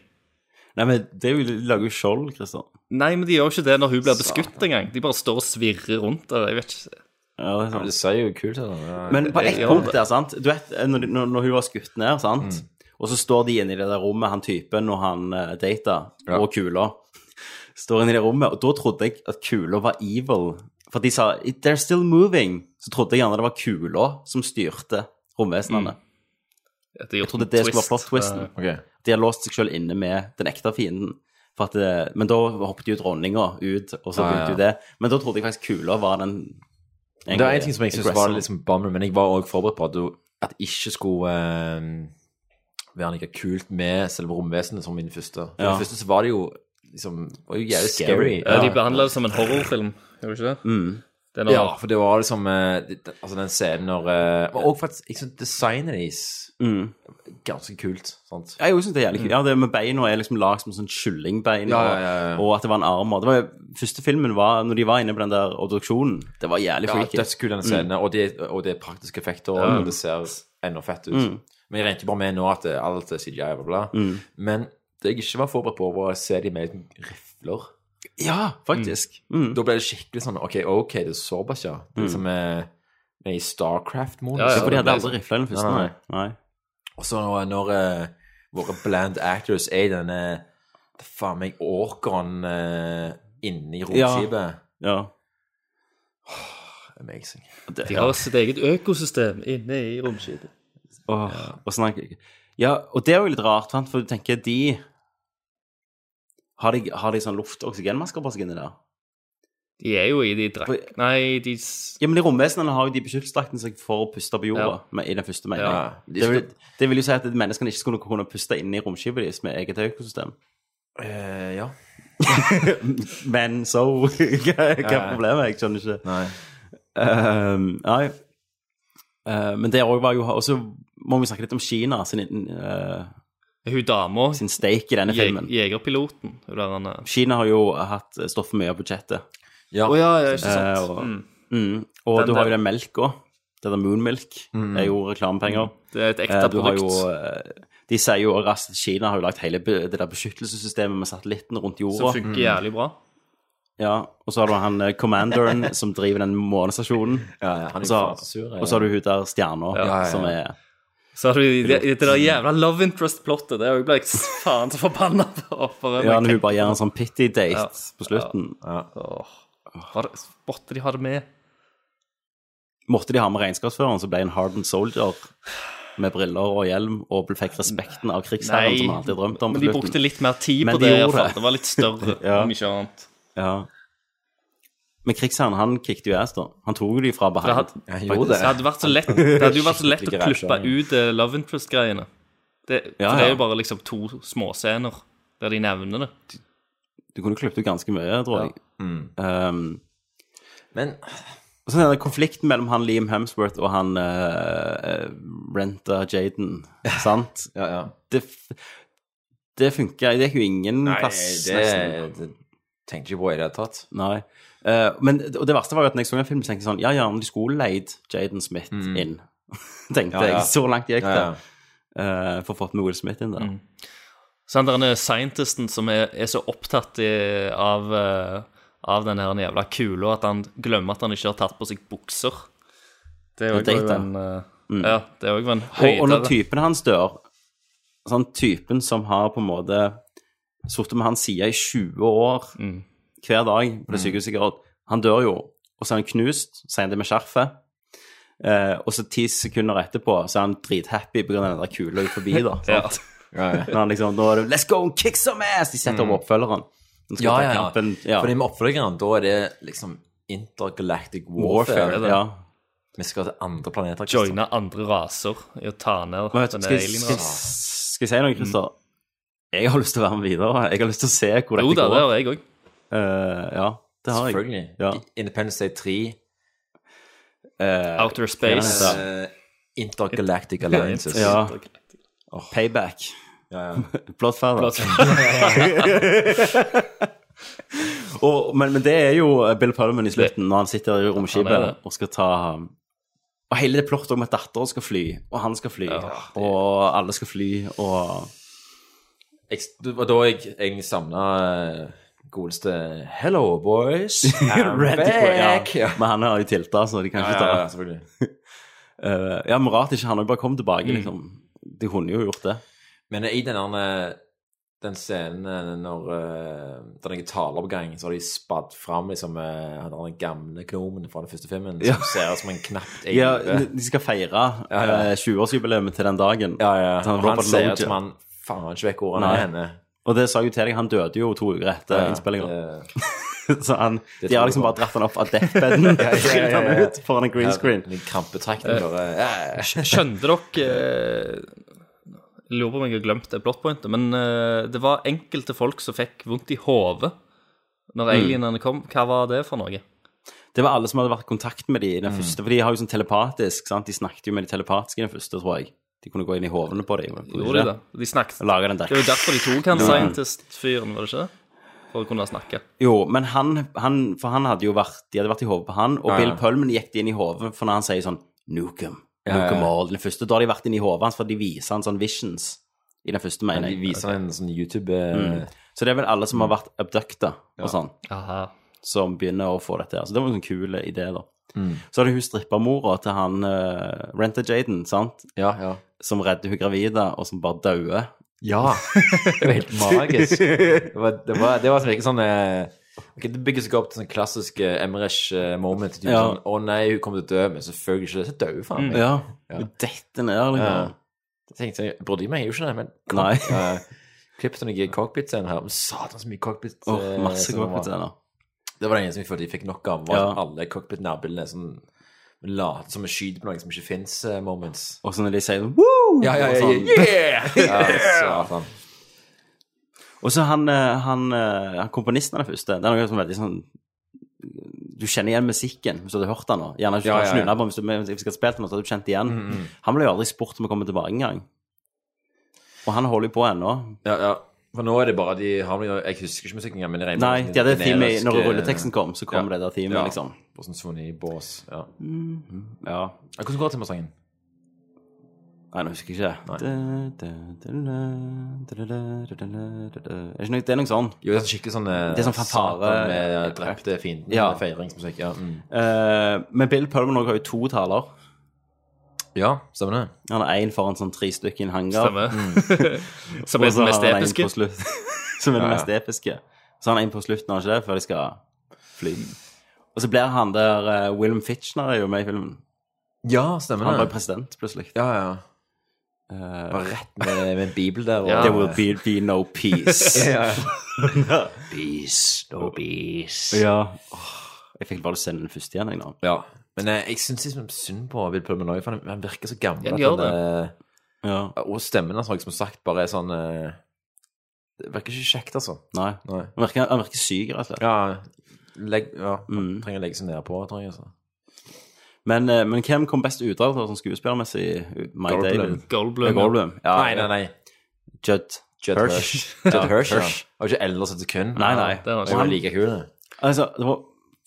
[SPEAKER 1] Nei, men det er jo, de lager jo skjold, Christer.
[SPEAKER 10] Nei, men de gjør ikke det når hun blir beskutt engang. De bare står og svirrer rundt der. Jeg vet ikke.
[SPEAKER 1] Ja, det er sånn. sant.
[SPEAKER 9] Det ser jo kult ut. altså. da.
[SPEAKER 1] Men
[SPEAKER 9] <laughs>
[SPEAKER 1] på ett
[SPEAKER 10] Ja.
[SPEAKER 1] punkt der, sant Du vet, når, de- når, når hun var skutt ned, sant
[SPEAKER 9] Mm.
[SPEAKER 1] Og så står de inne i det der rommet, han typen og han uh, data, og kula Står inne i det rommet, og da trodde jeg at kula var evil For de sa, they're still moving Så trodde jeg gjerne det var kula som styrte
[SPEAKER 9] Mm.
[SPEAKER 1] romvesenene Jeg trodde det skulle være plot-twisten
[SPEAKER 10] eh,
[SPEAKER 9] Ok.
[SPEAKER 1] De har låst seg selv inne med den ekte fienden for at, eh, men da hoppet jo dronninga ut, og så
[SPEAKER 9] Ah,
[SPEAKER 1] begynte
[SPEAKER 9] ja.
[SPEAKER 1] jo det. Men da trodde jeg faktisk kula var den...
[SPEAKER 9] Det var en ting som jeg syntes var
[SPEAKER 1] aggressor.
[SPEAKER 9] liksom bummer, men jeg var også forberedt på at, du, at det ikke skulle eh, være like kult med selve romvesenet som i den første. For
[SPEAKER 1] Ja.
[SPEAKER 9] den første så var det jo liksom var jo jævlig
[SPEAKER 1] Scary.
[SPEAKER 9] scary.
[SPEAKER 10] Ja, de behandler det som en horrorfilm, gjør de ikke det?
[SPEAKER 1] Mm.
[SPEAKER 10] Det er når,
[SPEAKER 9] Ja, for det var liksom eh, det- Altså den scenen når eh, Og også faktisk jeg synes designet deres
[SPEAKER 1] Mm.
[SPEAKER 9] ganske kult. sant?
[SPEAKER 1] Ja, jeg synes det er jævlig kult. Ja, det med beina er liksom lagd som sånn kyllingbein,
[SPEAKER 9] Mm. Ja, ja, ja, ja.
[SPEAKER 1] Og, og at det var en armer. Det var jo, første filmen var når de var inne på den der obduksjonen. Det var jævlig
[SPEAKER 9] Ja,
[SPEAKER 1] freaky.
[SPEAKER 9] dødskul den scenen, og, det, og det er praktiske effekter, og
[SPEAKER 1] Ja.
[SPEAKER 9] det ser enda fett ut.
[SPEAKER 1] Mm.
[SPEAKER 9] Men jeg regnet jo bare med nå at det, alt er CGI, bla, bla.
[SPEAKER 1] Mm.
[SPEAKER 9] Men det jeg ikke var forberedt på, var å se de med rifler.
[SPEAKER 1] Ja, faktisk. Mm.
[SPEAKER 9] Da ble det skikkelig sånn OK, ok, det er såpass, ja. Det
[SPEAKER 1] Mm.
[SPEAKER 9] er Som eh, med i Starcraft-modus.
[SPEAKER 1] Ja, ja, for de hadde aldri rifla i den første,
[SPEAKER 9] Nei,
[SPEAKER 1] nei. nei.
[SPEAKER 9] Og så når, når eh, våre bland actors er i denne hva faen meg orkeren uh, inni romskipet
[SPEAKER 1] Ja.
[SPEAKER 9] Amazing.
[SPEAKER 1] Det,
[SPEAKER 10] de
[SPEAKER 1] ja.
[SPEAKER 10] har sitt eget økosystem inne i romskipet.
[SPEAKER 1] Åh, og sånn snakk- ja, og det er jo litt rart, sant? for du tenker de Har de, har de sånn luft- og oksygenmasker på seg inni der?
[SPEAKER 10] De er jo i de drakk... Nei, de s-
[SPEAKER 1] Ja, men de romvesenene har jo de beskyttelsesdraktene seg for å puste på jorda
[SPEAKER 10] Ja.
[SPEAKER 1] med, i den første meningen.
[SPEAKER 10] Ja.
[SPEAKER 1] Det, vil, det vil jo si at menneskene ikke skulle kunne puste inn i romskipet deres med eget økosystem.
[SPEAKER 9] Eh, ja.
[SPEAKER 1] <laughs> Men so Hva hva er
[SPEAKER 9] Ja.
[SPEAKER 1] problemet? Jeg skjønner ikke.
[SPEAKER 9] Nei.
[SPEAKER 1] Ehm, nei. Eh, men det òg var jo Og så må vi snakke litt om Kina sin, eh,
[SPEAKER 10] Hun dama,
[SPEAKER 1] sin stake i denne
[SPEAKER 10] jeg,
[SPEAKER 1] filmen.
[SPEAKER 10] jegerpiloten hun der, han, eh,
[SPEAKER 1] Kina har jo hatt stått for mye av budsjettet.
[SPEAKER 9] Ja.
[SPEAKER 10] Å, ja, ja, ikke sant.
[SPEAKER 1] Eh, og
[SPEAKER 10] Mm.
[SPEAKER 1] mm. og
[SPEAKER 10] Den
[SPEAKER 1] du har jo
[SPEAKER 10] der.
[SPEAKER 1] den melka. Det der Moonmilk
[SPEAKER 10] Mm.
[SPEAKER 1] er jo reklamepenger.
[SPEAKER 10] Det er et ekte
[SPEAKER 1] Eh, du har
[SPEAKER 10] produkt.
[SPEAKER 1] Jo, eh, de sier jo raskt at Kina har jo lagt hele be- det der beskyttelsessystemet med satellittene rundt jorda.
[SPEAKER 10] som funker jævlig bra.
[SPEAKER 1] Mm. Ja, og så har du han eh, commanderen som driver den månestasjonen.
[SPEAKER 9] ja, han er
[SPEAKER 1] og,
[SPEAKER 9] jo
[SPEAKER 1] så,
[SPEAKER 9] faen så sur, ja.
[SPEAKER 1] og så har du hun der stjerna
[SPEAKER 9] ja, ja.
[SPEAKER 1] som er
[SPEAKER 10] Så har du det, det der jævla love interest-plottet. Det er jo jeg ble jeg <laughs> faen så forbanna på. For
[SPEAKER 1] Ja, når hun bare gjør en sånn pity date
[SPEAKER 10] Ja.
[SPEAKER 1] på slutten.
[SPEAKER 10] Var det, måtte de ha det med?
[SPEAKER 1] Måtte de ha med regnskapsføreren, så ble en hardened soldier med briller og hjelm og fikk respekten av krigsherren som han alltid har drømt om.
[SPEAKER 10] men
[SPEAKER 1] på
[SPEAKER 10] de
[SPEAKER 1] slutten.
[SPEAKER 10] brukte litt mer tid
[SPEAKER 1] Men
[SPEAKER 10] på
[SPEAKER 1] de
[SPEAKER 10] det. i
[SPEAKER 1] gjorde
[SPEAKER 10] hvert fall.
[SPEAKER 1] det.
[SPEAKER 10] Det var litt større,
[SPEAKER 1] <laughs> Ja.
[SPEAKER 10] om ikke annet.
[SPEAKER 1] Ja. Men krigsherren, han kickte jo ass, da. Han tok jo de fra
[SPEAKER 10] For det
[SPEAKER 1] behind.
[SPEAKER 10] hadde, det hadde, vært så lett, det hadde jo vært så lett å klippe ut eh, love interest-greiene. Det,
[SPEAKER 1] Ja,
[SPEAKER 10] for det
[SPEAKER 1] ja.
[SPEAKER 10] er jo bare liksom to småscener der de nevner det.
[SPEAKER 1] Du kunne klippet ut ganske mye, tror jeg.
[SPEAKER 10] Mm.
[SPEAKER 1] Um,
[SPEAKER 9] Men
[SPEAKER 1] og så denne konflikten mellom han Liam Hemsworth og han eh, eh, Renta Jaden,
[SPEAKER 10] <laughs>
[SPEAKER 1] sant?
[SPEAKER 9] ja, ja.
[SPEAKER 1] Det, f- det funker. Det gikk jo ingen plass.
[SPEAKER 9] det,
[SPEAKER 1] nesten.
[SPEAKER 9] det tenkte jeg ikke på i det hele tatt.
[SPEAKER 1] Nei. Eh, men, og det verste var jo at når jeg så den filmen, tenkte jeg sånn Ja, ja, men de skulle leid Jaden Smith inn. <laughs> tenkte
[SPEAKER 9] Mm. Ja, ja.
[SPEAKER 1] jeg. Så langt gikk det.
[SPEAKER 9] Ja, ja.
[SPEAKER 1] eh, for å få med Will Smith inn der.
[SPEAKER 10] Sånn, denne scientisten som er, er så opptatt i, av, eh, av den her jævla kula at han glemmer at han ikke har tatt på seg bukser. Det
[SPEAKER 1] Ja,
[SPEAKER 10] er
[SPEAKER 1] date,
[SPEAKER 10] jo en eh,
[SPEAKER 1] mm.
[SPEAKER 10] Ja, det er jo
[SPEAKER 1] Og, og når
[SPEAKER 10] en
[SPEAKER 9] altså.
[SPEAKER 10] høydere.
[SPEAKER 1] typen hans dør Sånn typen som har på en måte sittet med hans side i 20 år
[SPEAKER 9] Mm.
[SPEAKER 1] hver dag på det sykehuset i Grad, han dør jo, og så er han knust, så er han det med skjerfet. Eh, og så ti sekunder etterpå så er han drithappy pga. den der kula forbi, da. Sant?
[SPEAKER 9] <laughs> Ja, ja.
[SPEAKER 1] Når han liksom, nå er det 'Let's go and kick some ass!' De setter opp oppfølgeren. Nå skal vi
[SPEAKER 9] Mm. Ja,
[SPEAKER 1] ta
[SPEAKER 9] ja, ja.
[SPEAKER 1] kampen. ja.
[SPEAKER 9] Fordi med oppfølgeren, da er det liksom intergalactic warfare.
[SPEAKER 1] Warfare, ja.
[SPEAKER 9] Vi skal til andre planeter. Christian.
[SPEAKER 10] Joine andre raser i å ta ned
[SPEAKER 1] Men vet du,
[SPEAKER 10] denne
[SPEAKER 1] skal, jeg- skal,
[SPEAKER 10] alienrasen.
[SPEAKER 1] skal jeg si noe,
[SPEAKER 9] Mm.
[SPEAKER 1] Christer? Jeg har lyst til å være med videre. Jeg har lyst til å se hvor
[SPEAKER 10] Jo
[SPEAKER 1] dette
[SPEAKER 10] da,
[SPEAKER 1] går.
[SPEAKER 10] det har jeg òg.
[SPEAKER 1] Eh, ja, det har jeg.
[SPEAKER 9] Selvfølgelig.
[SPEAKER 1] Ja.
[SPEAKER 9] Independence Day 3.
[SPEAKER 1] eh,
[SPEAKER 10] Outer Space.
[SPEAKER 1] hva er det?
[SPEAKER 9] eh, Intergalactic Alliances.
[SPEAKER 1] Ja.
[SPEAKER 10] Intergalactic.
[SPEAKER 1] Payback. <laughs> Bloodfather.
[SPEAKER 10] Altså, Bloodfather.
[SPEAKER 1] og, men, men det er jo eh, Bill Pullman i slutten, når han sitter i
[SPEAKER 10] Han er
[SPEAKER 1] romskipet
[SPEAKER 10] det.
[SPEAKER 1] og skal ta um, Og hele det plottet om at datteren skal fly, og han skal fly, og alle skal fly, og
[SPEAKER 9] Jeg, det var da jeg egentlig savna eh, godeste Hello,
[SPEAKER 1] <laughs>
[SPEAKER 9] boys. I'm
[SPEAKER 1] Randy Quaid,
[SPEAKER 9] back.
[SPEAKER 1] ja. Men han har jo tilta, så de kan
[SPEAKER 9] Ja,
[SPEAKER 1] ikke
[SPEAKER 9] ja,
[SPEAKER 1] ta
[SPEAKER 9] ja, selvfølgelig.
[SPEAKER 1] Eh, ja, men rart ikke han òg bare kom tilbake,
[SPEAKER 9] Mm.
[SPEAKER 1] liksom. De kunne jo gjort det.
[SPEAKER 9] Men i den der, den scenen eh, når eh, det er noen taleoppgang, så har de spadd fram liksom, eh, han der gamle gnomen fra den første filmen
[SPEAKER 1] Ja.
[SPEAKER 9] som ser ut som en knapt
[SPEAKER 1] Ja,
[SPEAKER 9] elve.
[SPEAKER 1] de skal feire
[SPEAKER 9] Ja, ja.
[SPEAKER 1] eh, 20-årsjubileet til den dagen.
[SPEAKER 9] Ja, ja.
[SPEAKER 1] Sånn,
[SPEAKER 9] Han
[SPEAKER 1] Robert
[SPEAKER 9] ser
[SPEAKER 1] Loggia.
[SPEAKER 9] ut som han faen ikke vet hvor han
[SPEAKER 1] Nei.
[SPEAKER 9] er henne.
[SPEAKER 1] Og det sa jeg jo til deg, han døde jo to uker etter
[SPEAKER 9] Ja, Eh,
[SPEAKER 1] innspillinga. så han, de
[SPEAKER 9] Det
[SPEAKER 1] har
[SPEAKER 9] tror jeg
[SPEAKER 1] liksom
[SPEAKER 9] på.
[SPEAKER 1] bare dratt han opp av deathbeden
[SPEAKER 9] <laughs>
[SPEAKER 1] og skilt han ut foran en green screen.
[SPEAKER 9] Ja, en krampetrekning bare
[SPEAKER 10] Eh,
[SPEAKER 1] <laughs>
[SPEAKER 10] Skjønte dere eh, Jeg lurer på om jeg har glemt det blottpointet, men eh, det var enkelte folk som fikk vondt i hodet
[SPEAKER 1] Mm.
[SPEAKER 10] når alienene kom. Hva var det for noe?
[SPEAKER 1] Det var alle som hadde vært i kontakt med de i den
[SPEAKER 9] Mm.
[SPEAKER 1] første, for de har jo sånn telepatisk, sant? De snakket jo med de telepatiske i den første, tror jeg. De kunne gå inn i hovene på dem.
[SPEAKER 10] Gjorde de det? De snakket.
[SPEAKER 1] Og lage den der.
[SPEAKER 10] Det var jo derfor de tok han
[SPEAKER 1] Ja.
[SPEAKER 10] scientist-fyren, var det ikke det? For å kunne snakke.
[SPEAKER 1] Jo, men han, han For han hadde jo vært De hadde vært i hodet på han, og
[SPEAKER 10] Ja,
[SPEAKER 1] Bill
[SPEAKER 10] ja.
[SPEAKER 1] Pullman gikk de inn i hodet for når han sier sånn Nuke 'em,
[SPEAKER 9] Ja, ja,
[SPEAKER 1] nuke 'em
[SPEAKER 9] ja.
[SPEAKER 1] all. Den første, da har de vært inn i hodet hans, for de viser han sånn visions i den første,
[SPEAKER 9] Men
[SPEAKER 1] mener
[SPEAKER 9] de
[SPEAKER 1] jeg.
[SPEAKER 9] viser en sånn YouTube eh,
[SPEAKER 1] Mm. Så det er vel alle som har vært abducta og sånn,
[SPEAKER 10] <laughs> Aha.
[SPEAKER 1] som begynner å få dette her. Så det var en sånn kul idé, da.
[SPEAKER 9] Mm.
[SPEAKER 1] Så er det hun strippermora til han uh, Renta Jaden, sant?
[SPEAKER 9] Ja, ja.
[SPEAKER 1] Som redder hun gravide, og som bare dauer.
[SPEAKER 9] Ja. Det var helt magisk. Det var, det var, det var som ikke sånn eh, ok, Det bygger seg opp til sånn klassisk eh, Emmerich eh, moment. Typ,
[SPEAKER 1] Ja. Mm,
[SPEAKER 9] sånn, 'Å nei, hun kommer til å dø', men selvfølgelig ikke. det, Så dør hun faen meg.
[SPEAKER 1] Ja. Hun detter ned, liksom.
[SPEAKER 9] Ja. Det tenkte jeg, Brydde jeg meg jo ikke, det, men
[SPEAKER 1] Nei.
[SPEAKER 9] eh, Klipp til noen cockpit-scener her. Men Satan, så mye cockpit.
[SPEAKER 1] Åh,
[SPEAKER 9] eh,
[SPEAKER 1] masse
[SPEAKER 9] som det var.
[SPEAKER 1] cockpit-scener.
[SPEAKER 9] Det var det eneste vi følte vi fikk nok av. Var
[SPEAKER 1] Ja.
[SPEAKER 9] at Alle cockpit-nærbildene som later som vi skyter på noe som ikke fins, moments.
[SPEAKER 1] Og så når de sier sånn Woo!
[SPEAKER 9] Ja, ja, ja,
[SPEAKER 1] Og sånn.
[SPEAKER 9] yeah! Ja, satan.
[SPEAKER 1] Og så han, eh, han, eh, han komponisten av den første, det er noe som er veldig sånn Du kjenner igjen musikken hvis du hadde hørt den nå. Gjerne ikke
[SPEAKER 9] Ja,
[SPEAKER 1] ja,
[SPEAKER 9] ja, ja.
[SPEAKER 1] unna på den hvis du men hvis jeg hadde spilt den, nå, så hadde du kjent igjen.
[SPEAKER 9] Mm, mm.
[SPEAKER 1] Han ble jo aldri spurt om å komme tilbake engang. Og han holder jo på ennå.
[SPEAKER 9] Ja, ja. For nå er det bare de har jo- Jeg husker ikke musikken, men jeg regner
[SPEAKER 1] Nei,
[SPEAKER 9] med
[SPEAKER 1] de hadde et
[SPEAKER 9] det
[SPEAKER 1] team i,
[SPEAKER 9] generiske-
[SPEAKER 1] når rulleteksten kom, så kom det der teamet,
[SPEAKER 9] ja.
[SPEAKER 1] liksom.
[SPEAKER 9] På sånn Sony-bås. Ja.
[SPEAKER 1] Ja.
[SPEAKER 9] Ja, Hvordan går det til med sangen?
[SPEAKER 1] Nei, nå husker jeg ikke. Da, da, da, da, da, da, da, da, da. Er det ikke noe, det er noe sånn.
[SPEAKER 9] Jo, det er sånn skikkelig sånn eh,
[SPEAKER 1] Det er sånn fanfare.
[SPEAKER 9] Satan med drepte fienden.
[SPEAKER 1] Ja.
[SPEAKER 9] eller Feiringsmusikk. Ja, mm.
[SPEAKER 1] Eh, men Bill Pullman også har jo to taler.
[SPEAKER 9] ja, stemmer det.
[SPEAKER 1] Han har én foran sånn tre stykker i en hangar.
[SPEAKER 10] Stemmer.
[SPEAKER 1] Mm.
[SPEAKER 10] Som
[SPEAKER 1] Og
[SPEAKER 10] er
[SPEAKER 1] så
[SPEAKER 10] den mest
[SPEAKER 1] har han en
[SPEAKER 10] episke.
[SPEAKER 1] på slutt- <laughs> Som er
[SPEAKER 9] Ja,
[SPEAKER 1] den
[SPEAKER 9] ja.
[SPEAKER 1] mest episke. Så han har en på slutten, har han ikke det? Før de skal fly. Og så blir han der eh, Willem Fitchner er jo med i filmen.
[SPEAKER 9] Ja, stemmer
[SPEAKER 1] Han ble
[SPEAKER 9] det.
[SPEAKER 1] president, plutselig.
[SPEAKER 9] Ja,
[SPEAKER 1] <laughs>
[SPEAKER 9] ja. Bare rett med, med en bibel der. Og,
[SPEAKER 1] There will be, be no
[SPEAKER 10] <laughs>
[SPEAKER 1] peace.
[SPEAKER 9] Ja, ja.
[SPEAKER 1] peace, no peace. Ja. Åh, jeg fikk bare sende den første igjen, jeg nå.
[SPEAKER 9] ja. Men eh, jeg syns liksom synd på Bill Pullman òg, for han, han virker så gammel.
[SPEAKER 10] Ja, han
[SPEAKER 9] at
[SPEAKER 10] gjør
[SPEAKER 9] han,
[SPEAKER 1] Ja.
[SPEAKER 9] eh, Og stemmen hans, har jeg som sagt, bare er sånn eh, Det virker ikke kjekt, altså.
[SPEAKER 1] Nei.
[SPEAKER 9] Nei.
[SPEAKER 1] Han virker, han virker syk, rett og slett.
[SPEAKER 9] Ja, legg, ja
[SPEAKER 1] Mm.
[SPEAKER 9] trenger å legge seg nedpå, tror jeg. Altså.
[SPEAKER 1] Men, eh, men hvem kom best ut av det sånn skuespillermessig? Mike
[SPEAKER 9] Goldblum.
[SPEAKER 1] David?
[SPEAKER 10] Goldblum,
[SPEAKER 1] Ja,
[SPEAKER 10] ja.
[SPEAKER 1] Goldblum. Ja,
[SPEAKER 9] nei, nei, nei.
[SPEAKER 1] Judd.
[SPEAKER 9] Judd
[SPEAKER 1] Hirsch.
[SPEAKER 9] Hirsch.
[SPEAKER 1] Ja,
[SPEAKER 9] Judd Hirsch, ja.
[SPEAKER 1] Hirsch.
[SPEAKER 9] Og ikke eldre et sekund.
[SPEAKER 1] Nei, nei.
[SPEAKER 9] Det var
[SPEAKER 1] Og han-
[SPEAKER 9] jo like kul, det.
[SPEAKER 1] Altså, det var,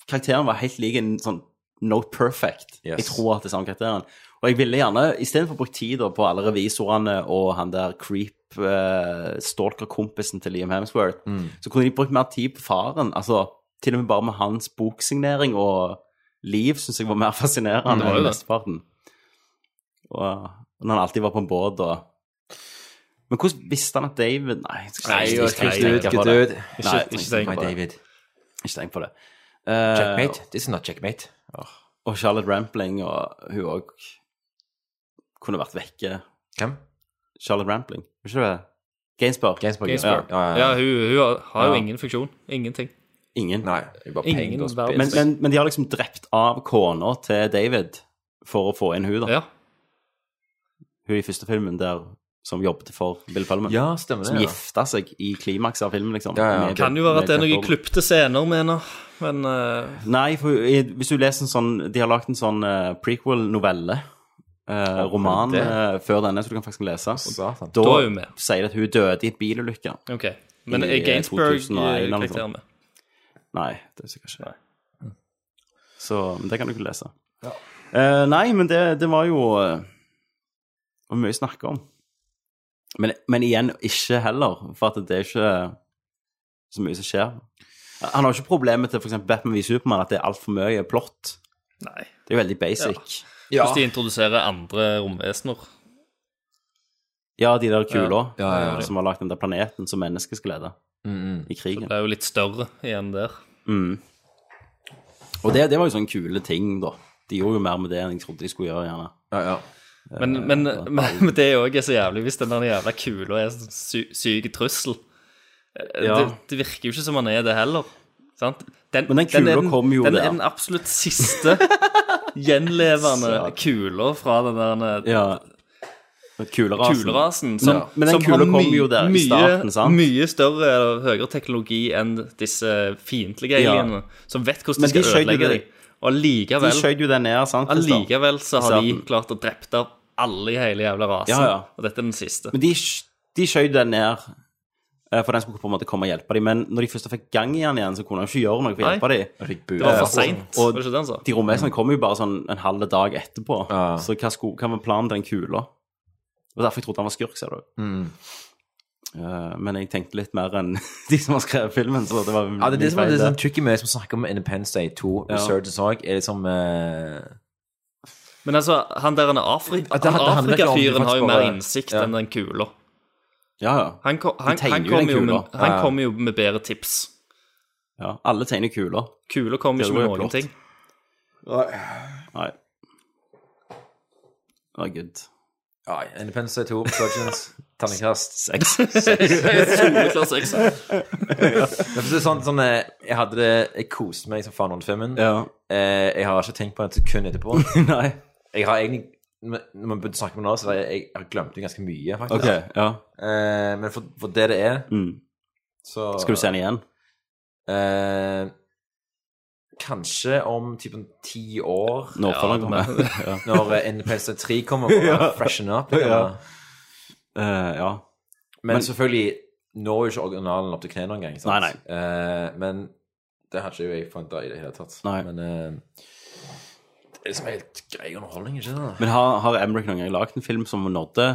[SPEAKER 1] karakteren var helt lik en sånn Note Perfect.
[SPEAKER 9] Yes.
[SPEAKER 1] Jeg tror at det er samme karakteren. Og jeg ville gjerne, istedenfor å bruke tid da på alle revisorene og han der creep eh, stalker-kompisen til Liam Hemsworth, så kunne de brukt mer tid på faren. Altså, til og med bare med hans boksignering og liv syns jeg var mer
[SPEAKER 10] Det
[SPEAKER 1] fascinerende
[SPEAKER 10] var jo
[SPEAKER 1] enn
[SPEAKER 10] det.
[SPEAKER 1] mesteparten. Og når han alltid var på en båt og Men hvordan visste han at David Nei, jeg skal
[SPEAKER 9] Nei,
[SPEAKER 1] ikke- jeg skal
[SPEAKER 9] good
[SPEAKER 1] ikke
[SPEAKER 9] dude,
[SPEAKER 1] tenke på
[SPEAKER 9] good
[SPEAKER 1] det. Nei,
[SPEAKER 9] dude.
[SPEAKER 1] Eh, jeg skal
[SPEAKER 10] ikke
[SPEAKER 1] tenke
[SPEAKER 10] tenk
[SPEAKER 9] My
[SPEAKER 1] på det.
[SPEAKER 9] David.
[SPEAKER 1] Ikke tenk på det. Eh,
[SPEAKER 9] Checkmate? This is not checkmate.
[SPEAKER 1] Og Charlotte Rampling, og hun òg kunne vært vekke.
[SPEAKER 9] Hvem?
[SPEAKER 1] Charlotte Rampling, var ikke det? Gainsbourg.
[SPEAKER 9] Gainsbourg.
[SPEAKER 10] Gainsbourg.
[SPEAKER 1] Ja.
[SPEAKER 9] Ja, ja, ja.
[SPEAKER 10] Ja, hun, hun har- har jo
[SPEAKER 1] Ja.
[SPEAKER 10] ingen funksjon. Ingenting.
[SPEAKER 1] Ingen.
[SPEAKER 9] Nei, jeg bare
[SPEAKER 10] Ingen
[SPEAKER 9] penger og
[SPEAKER 10] verden.
[SPEAKER 1] Men,
[SPEAKER 9] spill.
[SPEAKER 1] men, men de har liksom drept av kona til David for å få inn hun da.
[SPEAKER 10] Ja.
[SPEAKER 1] Hun i første filmen der som jobbet for Bill Pullman.
[SPEAKER 9] Ja, stemmer det,
[SPEAKER 1] som
[SPEAKER 9] ja.
[SPEAKER 1] gifta seg i klimakset av filmen, liksom.
[SPEAKER 9] Ja, ja.
[SPEAKER 1] Med-
[SPEAKER 10] Kan jo være
[SPEAKER 1] med
[SPEAKER 10] at det er
[SPEAKER 1] Jeff
[SPEAKER 10] noen
[SPEAKER 1] Goldblum.
[SPEAKER 10] klipte scener, mener Men eh,
[SPEAKER 1] Nei, for i- hvis du leser en sånn De har lagd en sånn eh, prequel-novelle. eh, roman
[SPEAKER 10] det?
[SPEAKER 1] eh, før denne, så du kan faktisk lese.
[SPEAKER 10] Satan.
[SPEAKER 1] Da,
[SPEAKER 10] Da er hun med.
[SPEAKER 1] sier det at hun døde i en bilulykke.
[SPEAKER 10] OK. Men
[SPEAKER 1] I,
[SPEAKER 10] er
[SPEAKER 1] eh,
[SPEAKER 10] Gainsbourg
[SPEAKER 1] 2001 eller noe sånt.
[SPEAKER 10] karakteren med?
[SPEAKER 1] Nei, det er sikkert ikke. Så men det kan du ikke lese.
[SPEAKER 10] Ja.
[SPEAKER 1] Eh, nei, men det, det var jo eh, det var mye å snakke om. Men, men igjen, ikke heller, for at det er ikke så mye som skjer. Han har ikke problemet til f.eks. Batman v Supermann, at det er altfor mye plott.
[SPEAKER 10] Nei.
[SPEAKER 1] Det er jo veldig basic.
[SPEAKER 10] Ja. Hvis de introduserer andre romvesener.
[SPEAKER 1] Ja, de der kula
[SPEAKER 10] Ja, ja, Mm, ja.
[SPEAKER 1] som har lagd den der planeten som mennesket skal lede i krigen.
[SPEAKER 10] Det er jo litt større igjen der.
[SPEAKER 1] Mm. Og det, det var jo sånne kule ting, da. De gjorde jo mer med det enn jeg trodde de skulle gjøre, gjerne.
[SPEAKER 10] Men,
[SPEAKER 1] Eh,
[SPEAKER 10] men, men, men det òg er så jævlig hvis den der jævla kula er en sånn sy- syk trussel. Eh,
[SPEAKER 1] Ja.
[SPEAKER 10] Det, det virker jo ikke som han er det heller. Sant?
[SPEAKER 1] Men den kula
[SPEAKER 10] er
[SPEAKER 1] kom jo
[SPEAKER 10] den
[SPEAKER 1] der.
[SPEAKER 10] er den absolutt siste <laughs> gjenlevende
[SPEAKER 1] Satan.
[SPEAKER 10] kula fra den der eh,
[SPEAKER 1] Ja. Kulerasen.
[SPEAKER 10] kulerasen. Som,
[SPEAKER 1] Men- men den
[SPEAKER 10] som
[SPEAKER 1] kula
[SPEAKER 10] har
[SPEAKER 1] kom
[SPEAKER 10] my-
[SPEAKER 1] jo der i
[SPEAKER 10] mye,
[SPEAKER 1] starten, sant?
[SPEAKER 10] Mye større eller høyere teknologi enn disse fiendtlige
[SPEAKER 1] Ja.
[SPEAKER 10] alienene, som vet hvordan
[SPEAKER 1] Men
[SPEAKER 10] de
[SPEAKER 1] de
[SPEAKER 10] skal
[SPEAKER 1] skjøt jo
[SPEAKER 10] ødelegge
[SPEAKER 1] det-
[SPEAKER 10] deg. Og allikevel
[SPEAKER 1] De skjøt jo den ned, sant? Christer?
[SPEAKER 10] Allikevel så har de
[SPEAKER 1] Starten.
[SPEAKER 10] klart å drepte alle i hele jævla rasen.
[SPEAKER 1] Ja, ja.
[SPEAKER 10] Og dette er den siste.
[SPEAKER 1] Men de, sk- de skjøt den ned, eh, for den skulle på en måte komme og hjelpe dem. Men når de først fikk gang i den igjen, så kunne de ikke gjøre noe for å hjelpe
[SPEAKER 10] Nei.
[SPEAKER 1] dem.
[SPEAKER 9] fikk bud.
[SPEAKER 10] Det var for sent,
[SPEAKER 1] Og,
[SPEAKER 10] var det ikke det han sa?
[SPEAKER 1] de romesene kom jo bare sånn en halv dag etterpå. Så hva, sko, hva var planen til den kula? Det var derfor jeg trodde han var skurk, ser du.
[SPEAKER 9] Mm.
[SPEAKER 1] Eh, men jeg tenkte litt mer enn <laughs> de som har skrevet filmen, så det var
[SPEAKER 9] Ja, det er
[SPEAKER 1] min
[SPEAKER 9] det som er
[SPEAKER 1] feil,
[SPEAKER 9] det
[SPEAKER 1] det.
[SPEAKER 9] sånn tricky med som snakker om Independence Day 2,
[SPEAKER 1] Ja.
[SPEAKER 9] Resurgence òg, er liksom eh,
[SPEAKER 10] Men altså, han der han er Afri
[SPEAKER 9] At det- det handler ikke om-
[SPEAKER 10] Afrikafyren har jo mer
[SPEAKER 9] bare-
[SPEAKER 10] innsikt enn den kula.
[SPEAKER 1] Ja, ja.
[SPEAKER 10] Han, ko-
[SPEAKER 1] De
[SPEAKER 10] han,
[SPEAKER 1] tegner
[SPEAKER 10] han
[SPEAKER 1] jo den
[SPEAKER 10] kommer jo,
[SPEAKER 1] kula.
[SPEAKER 10] med- han
[SPEAKER 1] Ja, ja.
[SPEAKER 10] kommer jo med bedre tips.
[SPEAKER 1] Ja, alle tegner kuler.
[SPEAKER 10] Kula kommer
[SPEAKER 1] Det
[SPEAKER 10] ikke
[SPEAKER 1] var jo
[SPEAKER 10] med noen
[SPEAKER 1] plott.
[SPEAKER 10] ting.
[SPEAKER 1] Nei. Å, gud.
[SPEAKER 9] ja, Independence Day 2,
[SPEAKER 1] <laughs>
[SPEAKER 9] Resurgence, terningkast
[SPEAKER 1] seks.
[SPEAKER 10] Soleklar seks.
[SPEAKER 9] Ja. Men for å si det Sånn, sånn, eh, jeg hadde det Jeg koste meg som faen under filmen. Eh, jeg har ikke tenkt på det et sekund etterpå.
[SPEAKER 1] <laughs> Nei.
[SPEAKER 9] Jeg har egentlig men Når vi begynte å snakke med noen, så har jeg, jeg har glemt det ganske mye, faktisk.
[SPEAKER 1] Ok, ja.
[SPEAKER 9] eh, men for, for det det er,
[SPEAKER 1] Mm.
[SPEAKER 9] så
[SPEAKER 1] Skal du se den igjen?
[SPEAKER 9] Eh, kanskje om typen ti år.
[SPEAKER 1] Når Fallout kommer.
[SPEAKER 9] men-
[SPEAKER 1] Ja.
[SPEAKER 9] <laughs> Når eh, NPC 3
[SPEAKER 1] <laughs>
[SPEAKER 9] kommer og
[SPEAKER 1] Ja.
[SPEAKER 9] bare freshen up.
[SPEAKER 1] Ja.
[SPEAKER 9] liksom.
[SPEAKER 1] <laughs> Eh, ja.
[SPEAKER 9] Men,
[SPEAKER 1] Men-
[SPEAKER 9] selvfølgelig når jo ikke originalen opp til kne noen gang. sant?
[SPEAKER 1] Nei, nei.
[SPEAKER 9] Eh, men det hadde ikke jeg forventa i det hele tatt.
[SPEAKER 1] Nei.
[SPEAKER 9] Men eh, det er liksom helt grei underholdning, ikke sant?
[SPEAKER 1] Men har, har Emmerich noen gang lagd en film som nådde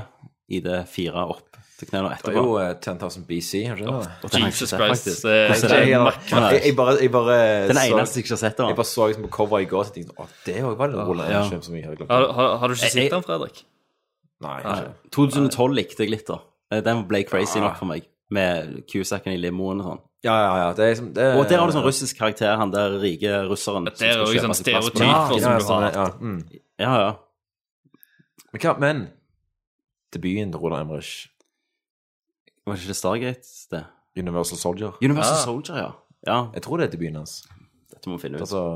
[SPEAKER 1] i det fire opp til knærne
[SPEAKER 9] Det
[SPEAKER 1] etterpå?
[SPEAKER 9] var jo eh, 10,000 BC, er det ikke det?
[SPEAKER 1] Og den har jeg ikke
[SPEAKER 10] Jesus
[SPEAKER 1] sett,
[SPEAKER 10] Christ, eh,
[SPEAKER 1] faktisk.
[SPEAKER 10] det er-
[SPEAKER 1] Hvordan
[SPEAKER 9] Jeg,
[SPEAKER 1] den?
[SPEAKER 9] jeg, jeg, jeg bare, jeg bare
[SPEAKER 1] Den
[SPEAKER 9] så-
[SPEAKER 1] eneste jeg ikke har sett, da.
[SPEAKER 9] Jeg bare så liksom, på coveret i går og tenkte at det òg var en Roland
[SPEAKER 1] Ja.
[SPEAKER 9] Emmerich-film som jeg hadde glemt.
[SPEAKER 10] Har, har, har du
[SPEAKER 9] Jeg-
[SPEAKER 10] ikke sett
[SPEAKER 9] jeg-
[SPEAKER 10] den, Fredrik?
[SPEAKER 9] Nei.
[SPEAKER 1] Nei.
[SPEAKER 9] Ikke.
[SPEAKER 1] 2012 likte jeg litt, da. Eh, Den ble crazy nok for meg, med Cusacken i limoen og sånn.
[SPEAKER 9] Ja, ja, ja. Det er liksom, det,
[SPEAKER 1] Og der har du sånn russisk karakter, han der rike russeren. som
[SPEAKER 10] Det er
[SPEAKER 1] skal
[SPEAKER 10] jo
[SPEAKER 1] kjøpe
[SPEAKER 10] sånn
[SPEAKER 1] sitt pass på-
[SPEAKER 10] stereotyp for som du
[SPEAKER 9] sånn,
[SPEAKER 10] har.
[SPEAKER 9] ja. Mm.
[SPEAKER 1] Ja, ja.
[SPEAKER 9] Men hva, men Debuten til Roland Emmerich,
[SPEAKER 1] Var ikke det Stargate, det?
[SPEAKER 9] Universal Soldier
[SPEAKER 1] Universal
[SPEAKER 9] Ja.
[SPEAKER 1] Soldier, ja. ja.
[SPEAKER 9] Jeg tror det er debuten hans.
[SPEAKER 1] Dette må vi finne ut.
[SPEAKER 9] Altså,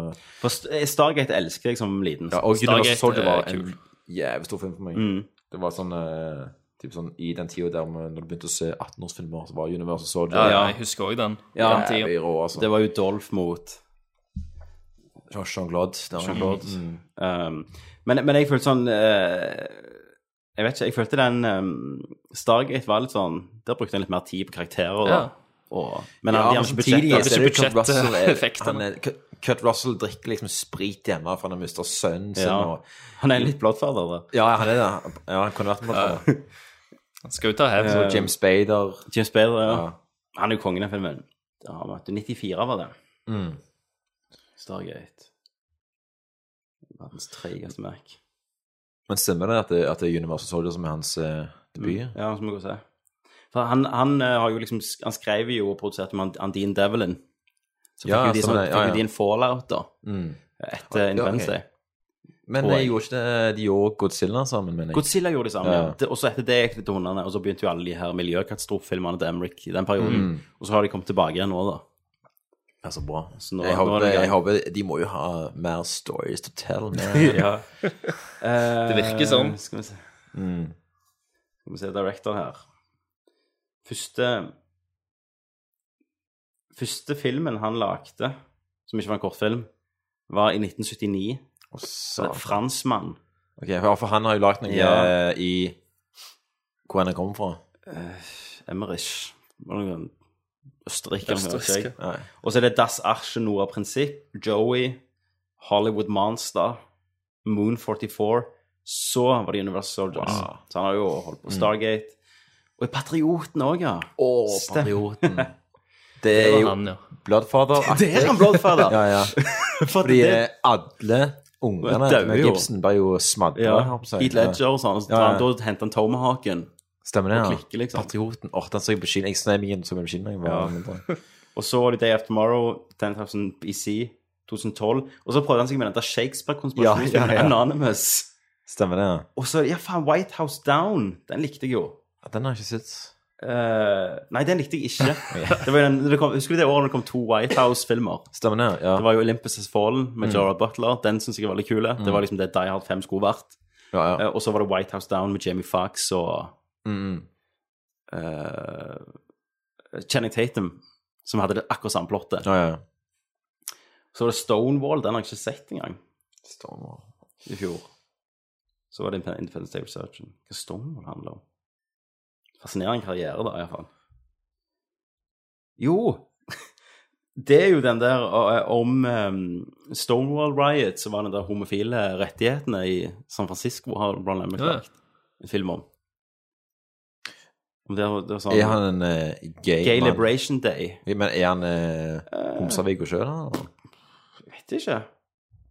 [SPEAKER 1] For St- eh, Stargate elsker jeg som liten.
[SPEAKER 9] ja, og
[SPEAKER 10] Stargate
[SPEAKER 9] Universal Soldier var
[SPEAKER 10] er
[SPEAKER 9] en jævlig stor film for meg.
[SPEAKER 1] Mm.
[SPEAKER 9] Det var sånn, eh, typ sånn I den tida der vi- når du begynte å se 18-årsfilmer, så var Universal Soldier
[SPEAKER 10] Ja, ja,
[SPEAKER 1] ja.
[SPEAKER 10] jeg husker òg den.
[SPEAKER 1] Ja,
[SPEAKER 10] den tiden.
[SPEAKER 9] jævlig rå, altså.
[SPEAKER 1] Det var jo Dolph mot
[SPEAKER 9] Jean-Claude. det var-
[SPEAKER 1] Jean-Claude.
[SPEAKER 9] Mm.
[SPEAKER 1] Um, men, men jeg følte sånn eh, Jeg vet ikke, jeg følte den um, Stargate var litt sånn Der brukte han litt mer tid på karakterer.
[SPEAKER 10] Ja.
[SPEAKER 1] Da. Og, men han,
[SPEAKER 9] Ja,
[SPEAKER 1] de
[SPEAKER 9] men
[SPEAKER 1] har ikke
[SPEAKER 9] samtidig
[SPEAKER 1] budsjett.
[SPEAKER 9] så er det jo Kurt Russell er-
[SPEAKER 10] budsjetteffektene.
[SPEAKER 9] han er- Kurt- Kurt Russell drikker liksom sprit hjemme for han har mista sønnen sin.
[SPEAKER 1] Ja.
[SPEAKER 9] Og,
[SPEAKER 1] Han er litt blottfader. da.
[SPEAKER 9] ja, han er det. Ja, han kunne vært med på det.
[SPEAKER 10] Han skal jo ta hevn.
[SPEAKER 9] Så Jim Spader
[SPEAKER 1] James Bader, ja.
[SPEAKER 9] Ja.
[SPEAKER 1] Han er jo kongen av filmen. Det har vi hatt. 94 var det.
[SPEAKER 9] Mm.
[SPEAKER 1] Stargate. Verdens treigeste merk.
[SPEAKER 9] Men stemmer det at det, at det er Universal Soldier som er hans eh, debut?
[SPEAKER 1] Ja, så må vi gå og se. For han, han eh, har jo liksom sk- Han skrev jo og produserte med And- Andine Devlin. Så fikk
[SPEAKER 9] Ja,
[SPEAKER 1] jo de, sånn,
[SPEAKER 9] stemmer det. Ja,
[SPEAKER 1] fikk jo
[SPEAKER 9] ja.
[SPEAKER 1] de en fallout, da.
[SPEAKER 9] Mm.
[SPEAKER 1] Etter
[SPEAKER 9] Ja,
[SPEAKER 1] Independence
[SPEAKER 9] ok.
[SPEAKER 1] Day.
[SPEAKER 9] Men
[SPEAKER 1] Tror
[SPEAKER 9] jeg.
[SPEAKER 1] jeg.
[SPEAKER 9] gjorde ikke det, de gjorde Godzilla sammen, mener jeg.
[SPEAKER 1] Godzilla gjorde det samme.
[SPEAKER 9] Ja.
[SPEAKER 1] Ja. Det- Og så etter det gikk det til hundene. Og så begynte jo alle de her miljøkatastrofefilmene til Emmerich i den perioden.
[SPEAKER 9] Mm.
[SPEAKER 1] Og så har de kommet tilbake igjen nå, da.
[SPEAKER 9] Ja, så bra.
[SPEAKER 1] Så nå- nå
[SPEAKER 9] jeg,
[SPEAKER 1] er
[SPEAKER 9] håper,
[SPEAKER 1] det i gang.
[SPEAKER 9] jeg håper De må jo ha mer stories to tell.
[SPEAKER 1] <laughs> Ja. Eh,
[SPEAKER 10] Det virker sånn.
[SPEAKER 1] Skal vi se. Skal vi se director her. Første Første filmen han lagde, som ikke var en kortfilm, var i 1979.
[SPEAKER 9] Å, satan.
[SPEAKER 1] Franskmann.
[SPEAKER 9] Ok, ja, For han har jo lagd noe
[SPEAKER 1] Ja.
[SPEAKER 9] eh, i Hvor han kommer fra.
[SPEAKER 1] Eh, Emmerich Var det noen Østerrike eller noe
[SPEAKER 9] Østerrike.
[SPEAKER 1] slik? Og så er det Das Arche Noa Prinsipp, Joey, Hollywood Monster, Moon 44 Så var det Universal Soldiers.
[SPEAKER 9] Wow.
[SPEAKER 1] Så han har jo holdt på
[SPEAKER 9] Mm.
[SPEAKER 1] Stargate. Og Patrioten òg, ja.
[SPEAKER 9] Å,
[SPEAKER 1] Stem-
[SPEAKER 9] Patrioten. <laughs> Det
[SPEAKER 1] Det
[SPEAKER 9] er
[SPEAKER 1] var
[SPEAKER 9] jo
[SPEAKER 1] han, ja.
[SPEAKER 9] Bloodfather.
[SPEAKER 1] Det er han, Bloodfather.
[SPEAKER 9] <laughs> ja, ja. Fordi eh,
[SPEAKER 1] det-
[SPEAKER 9] alle ungene
[SPEAKER 1] Døde
[SPEAKER 9] med
[SPEAKER 1] jo.
[SPEAKER 9] Gibson ble jo smadra.
[SPEAKER 1] ja.
[SPEAKER 9] har jeg på å si.
[SPEAKER 1] Heat Ledger og sånn. Så
[SPEAKER 9] Ja,
[SPEAKER 1] tar han-
[SPEAKER 9] ja.
[SPEAKER 1] Da henter han Tomahaken.
[SPEAKER 9] Stemmer det,
[SPEAKER 1] og
[SPEAKER 9] ja.
[SPEAKER 1] klikker, liksom.
[SPEAKER 9] Patrioten. Åh, den så jeg på kino. Jeg snøy meg inn som en kino. Jeg var mindre.
[SPEAKER 1] Og så var det Day After Tomorrow, 10,000 BC, 2012. Og så prøvde han seg med den der Shakespeare-konspirasjonen,
[SPEAKER 9] Ja, ja, ja.
[SPEAKER 1] Anonymous.
[SPEAKER 9] Stemmer det, ja.
[SPEAKER 1] Og så, ja faen, White House Down, den likte jeg jo.
[SPEAKER 9] Ja, Den har jeg ikke sett.
[SPEAKER 1] Eh, nei, den likte jeg ikke. det var jo den, det kom, husker du det året det kom to White House-filmer?
[SPEAKER 9] Stemmer det, ja.
[SPEAKER 1] Det var jo Olympus Has Fallen med
[SPEAKER 9] Mm.
[SPEAKER 1] Gerard Butler. Den syns jeg var veldig kul. Det var
[SPEAKER 9] Mm.
[SPEAKER 1] liksom det Die Hard 5 skulle vært.
[SPEAKER 9] Ja, ja.
[SPEAKER 1] Eh, og så var det White House Down med Jamie Foxx og
[SPEAKER 9] Mm.
[SPEAKER 1] eh, Channing Tatum, som hadde det akkurat samme plottet.
[SPEAKER 9] Ja, ja.
[SPEAKER 1] Så var det Stonewall, den har jeg ikke sett engang
[SPEAKER 9] Stonewall.
[SPEAKER 1] i fjor. Så var det Independ- Independence Day Researchen. Hva Stonewall handler om? Fascinerende karriere, da, iallfall. Jo! <laughs> Det er jo den der eh, om eh, Stonewall Riot, som var den der homofile rettighetene i San Francisco, har Ron Lemmick
[SPEAKER 10] Ja, ja.
[SPEAKER 1] lagt en film om. Om det, det var sånn,
[SPEAKER 9] Er han en eh, gay,
[SPEAKER 1] Gay Eh.
[SPEAKER 9] mann?
[SPEAKER 1] Liberation Day.
[SPEAKER 9] Ja, Men er han uh, Homsavik og sjøl, da?
[SPEAKER 1] Vet ikke.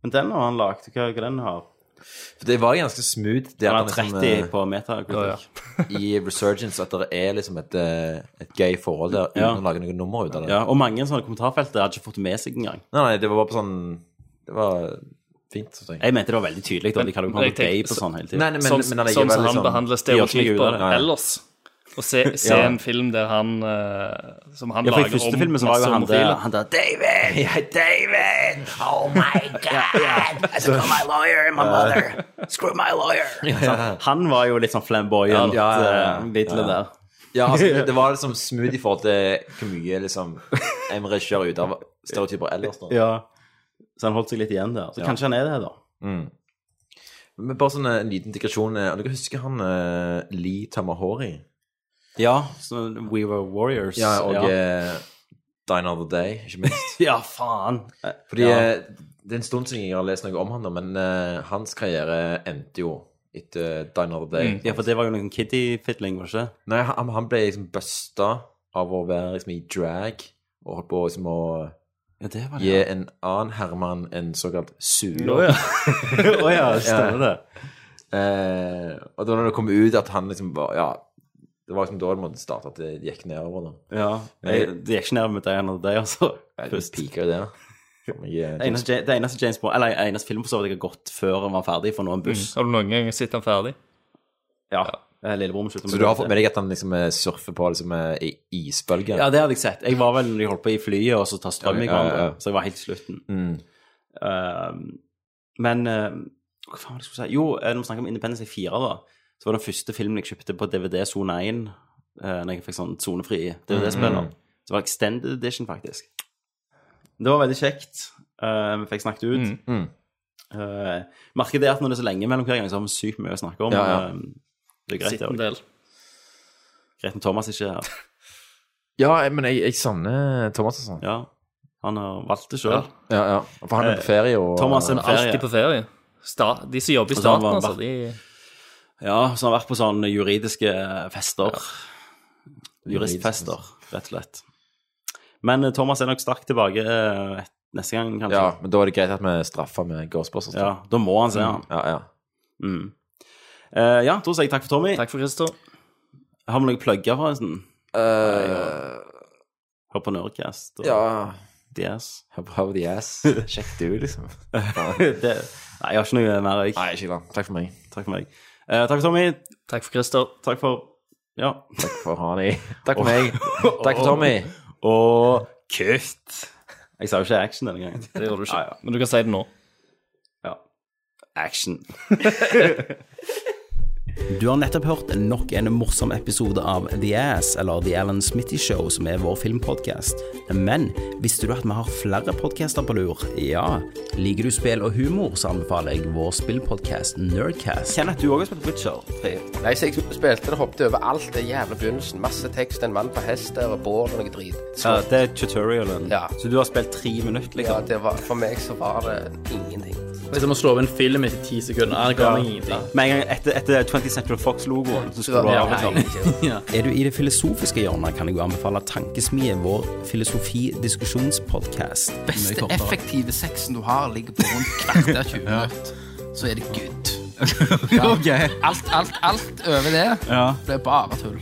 [SPEAKER 1] Men den har han lagd. Hva, hva den har
[SPEAKER 9] For det var ganske smooth. Det at
[SPEAKER 1] Han har
[SPEAKER 9] liksom,
[SPEAKER 1] 30
[SPEAKER 9] eh,
[SPEAKER 1] på metakritikk.
[SPEAKER 9] I Resurgence at det er liksom et, eh, et gay forhold der uten
[SPEAKER 1] Ja.
[SPEAKER 9] å lage noe nummer ut av det.
[SPEAKER 1] Ja, og mange sånne kommentarfelt der hadde ikke fått det med seg engang.
[SPEAKER 9] Nei, nei, det var bare på sånn Det var fint. så tenker
[SPEAKER 1] Jeg mente det var veldig tydelig da, de kaller jo
[SPEAKER 10] Men jeg
[SPEAKER 1] hverandre gay
[SPEAKER 10] tenkte-
[SPEAKER 1] på sånn hele tiden.
[SPEAKER 9] Nei, nei, men-
[SPEAKER 10] sånn
[SPEAKER 9] men allikevel,
[SPEAKER 10] sånn som han
[SPEAKER 9] liksom,
[SPEAKER 10] behandler
[SPEAKER 1] de gjør ikke mye ut av
[SPEAKER 10] stereotyper
[SPEAKER 1] det. Nei.
[SPEAKER 10] ellers. Å se, se
[SPEAKER 1] <laughs> Ja.
[SPEAKER 10] en film der han eh, Som han
[SPEAKER 1] Ja, for I
[SPEAKER 10] lager om
[SPEAKER 1] første filmen så var jo han der, han der <laughs> David!
[SPEAKER 21] David! Oh
[SPEAKER 1] <laughs>
[SPEAKER 21] my god! I said, call my lawyer and my mother. Screw my
[SPEAKER 1] <laughs>
[SPEAKER 21] lawyer.
[SPEAKER 1] Så Han var jo litt sånn flamboyant, ja,
[SPEAKER 9] Ja, ja, ja, ja.
[SPEAKER 1] Vidle
[SPEAKER 9] Ja, ja.
[SPEAKER 1] der.
[SPEAKER 9] jeg. Ja, altså, det var liksom smooth i forhold til hvor mye liksom Emre kjører ut av stereotyper ellers. Da.
[SPEAKER 1] Ja. Så han holdt seg litt igjen der. Så
[SPEAKER 9] Ja.
[SPEAKER 1] kanskje han er det, da.
[SPEAKER 9] Mm. Men bare sånn eh, en liten digresjon. eh, Dere husker han eh, Lee Tamahori?
[SPEAKER 1] Ja, så We Were Warriors.
[SPEAKER 9] Ja, og eh, Die Another Day, ikke minst.
[SPEAKER 1] ja faen!
[SPEAKER 9] Fordi
[SPEAKER 1] ja.
[SPEAKER 9] eh, Det er en stund siden jeg har lest noe om han, da, men eh, hans karriere endte jo etter eh, Die Another Day.
[SPEAKER 1] Mm. Ja, for det var jo noen kiddie-fitling, var det ikke?
[SPEAKER 9] Nei, han, han ble liksom busta av å være liksom i drag og holdt på liksom å
[SPEAKER 1] Ja, det var det,
[SPEAKER 9] gi
[SPEAKER 1] ja.
[SPEAKER 9] en annen herremann en såkalt suler.
[SPEAKER 1] Å, ja. <laughs> Å, ja, stemmer det.
[SPEAKER 9] Eh, og det var når det kom ut at han liksom var Ja, det var liksom da det måtte starte, at det gikk nedover. da.
[SPEAKER 1] Ja. Jeg,
[SPEAKER 9] Men-
[SPEAKER 1] det gikk ikke ned med Diana og deg, altså.
[SPEAKER 9] Det piker jo der. Som jeg-
[SPEAKER 1] Det eneste, det eneste James Bond, eller eneste film for så vidt jeg har gått før han var ferdig, for nå er han buss.
[SPEAKER 10] Har du noen gang sett han ferdig?
[SPEAKER 1] Ja. Eh, Lillebror må slutte
[SPEAKER 9] Så du har fått med deg at han liksom eh, surfer på liksom eh, i isbølger?
[SPEAKER 1] Ja, det hadde jeg sett. Jeg var vel når de holdt på i flyet og så tar strøm i
[SPEAKER 9] Ja, ja, ja.
[SPEAKER 1] hverandre. Så jeg var helt i slutten.
[SPEAKER 9] Mm.
[SPEAKER 1] Ehm, men eh, hva faen var det jeg skulle si? Jo, eh, når vi snakker om Independence Day 4, da, så var den første filmen jeg kjøpte på DVD Zone 1, eh, når jeg fikk sånn sonefri DVD-spiller.
[SPEAKER 9] Mm.
[SPEAKER 1] Så var det Extended Edition, faktisk. Det var veldig kjekt. Eh, Vi fikk snakket ut.
[SPEAKER 9] Mm.
[SPEAKER 1] Eh, merker det at når det er så lenge mellom hver gang, så har vi sykt mye å snakke om.
[SPEAKER 9] Ja, ja.
[SPEAKER 1] Eh, Det er greit, det
[SPEAKER 10] Sitt en
[SPEAKER 1] også.
[SPEAKER 10] del.
[SPEAKER 1] Greit når Thomas ikke er her.
[SPEAKER 9] Ja, men jeg, jeg savner Thomas og sånn.
[SPEAKER 1] Ja. Han har valgt det sjøl.
[SPEAKER 9] Ja, ja. For han er på ferie og
[SPEAKER 1] Eh, Thomas er på ferie.
[SPEAKER 10] Alltid på ferie. Sta, de som jobber i
[SPEAKER 1] Og så har
[SPEAKER 10] staten,
[SPEAKER 1] han
[SPEAKER 10] altså.
[SPEAKER 1] vært-
[SPEAKER 10] De,
[SPEAKER 1] Ja, så han har vært på sånne juridiske fester. Juristfester, rett og slett. Men eh, Thomas er nok sterkt tilbake eh, et- neste gang, kanskje.
[SPEAKER 9] Ja, men da er det greit at vi straffer med Ghostbusters. da.
[SPEAKER 1] Ja, da må han se han.
[SPEAKER 9] Ja, ja.
[SPEAKER 1] Mm. Eh, ja, da sier jeg takk for Tommy.
[SPEAKER 10] takk for Christer.
[SPEAKER 1] Har vi noen plugger, forresten?
[SPEAKER 9] Eh,
[SPEAKER 1] Hør på Nerdcast og
[SPEAKER 9] ja.
[SPEAKER 1] DS.
[SPEAKER 9] How the
[SPEAKER 1] <laughs>
[SPEAKER 9] ass. Sjekk du, liksom.
[SPEAKER 1] det, nei, jeg har ikke noe mer, jeg.
[SPEAKER 9] Nei, ikke da. Takk for meg.
[SPEAKER 1] Takk for meg. Eh, takk for Tommy.
[SPEAKER 10] Takk for Christer.
[SPEAKER 1] Takk for Ja.
[SPEAKER 9] Takk for Hani. Takk for meg. Takk for Tommy.
[SPEAKER 1] Og kutt! Jeg sa jo ikke action denne gangen.
[SPEAKER 10] <laughs> Det gjør du ikke. Men du kan si det nå.
[SPEAKER 1] Ja. Action. Du har nettopp hørt nok en morsom episode av The Ass, eller The Alan Smitty Show, som er vår filmpodkast. Men visste du at vi har flere podkaster på lur? Ja. Liker du spill og humor, så anbefaler jeg vår spillpodkast Nerdcast.
[SPEAKER 5] Kjenn at du òg har spilt Witcher 3.
[SPEAKER 22] Nei, så jeg spilte det, hoppet over alt det jævla begynnelsen. Masse tekst, en mann på hest der, og bål og noe drit.
[SPEAKER 1] Ja, det er tutorialen.
[SPEAKER 22] Ja.
[SPEAKER 1] Så du har spilt tre minutter,
[SPEAKER 22] Ja,
[SPEAKER 1] liksom?
[SPEAKER 22] det var, for meg så var det ingenting.
[SPEAKER 5] Det er som å slå av en film etter ti sekunder. Ah, Det ga meg
[SPEAKER 1] Ja.
[SPEAKER 5] ingenting.
[SPEAKER 1] Med en gang etter, etter 20th Central Fox-logoen, så skulle du
[SPEAKER 5] Ja,
[SPEAKER 1] ha
[SPEAKER 5] nei,
[SPEAKER 1] liksom. Er du i det filosofiske hjørnet, kan jeg jo anbefale Tankesmie, vår filosofidiskusjonspodkast.
[SPEAKER 23] beste effektive sexen du har, ligger på rundt kvarter 20 minutter. Så er det
[SPEAKER 1] <laughs>
[SPEAKER 23] good. Alt, alt, alt over det
[SPEAKER 1] Ja.
[SPEAKER 23] ble bare tull.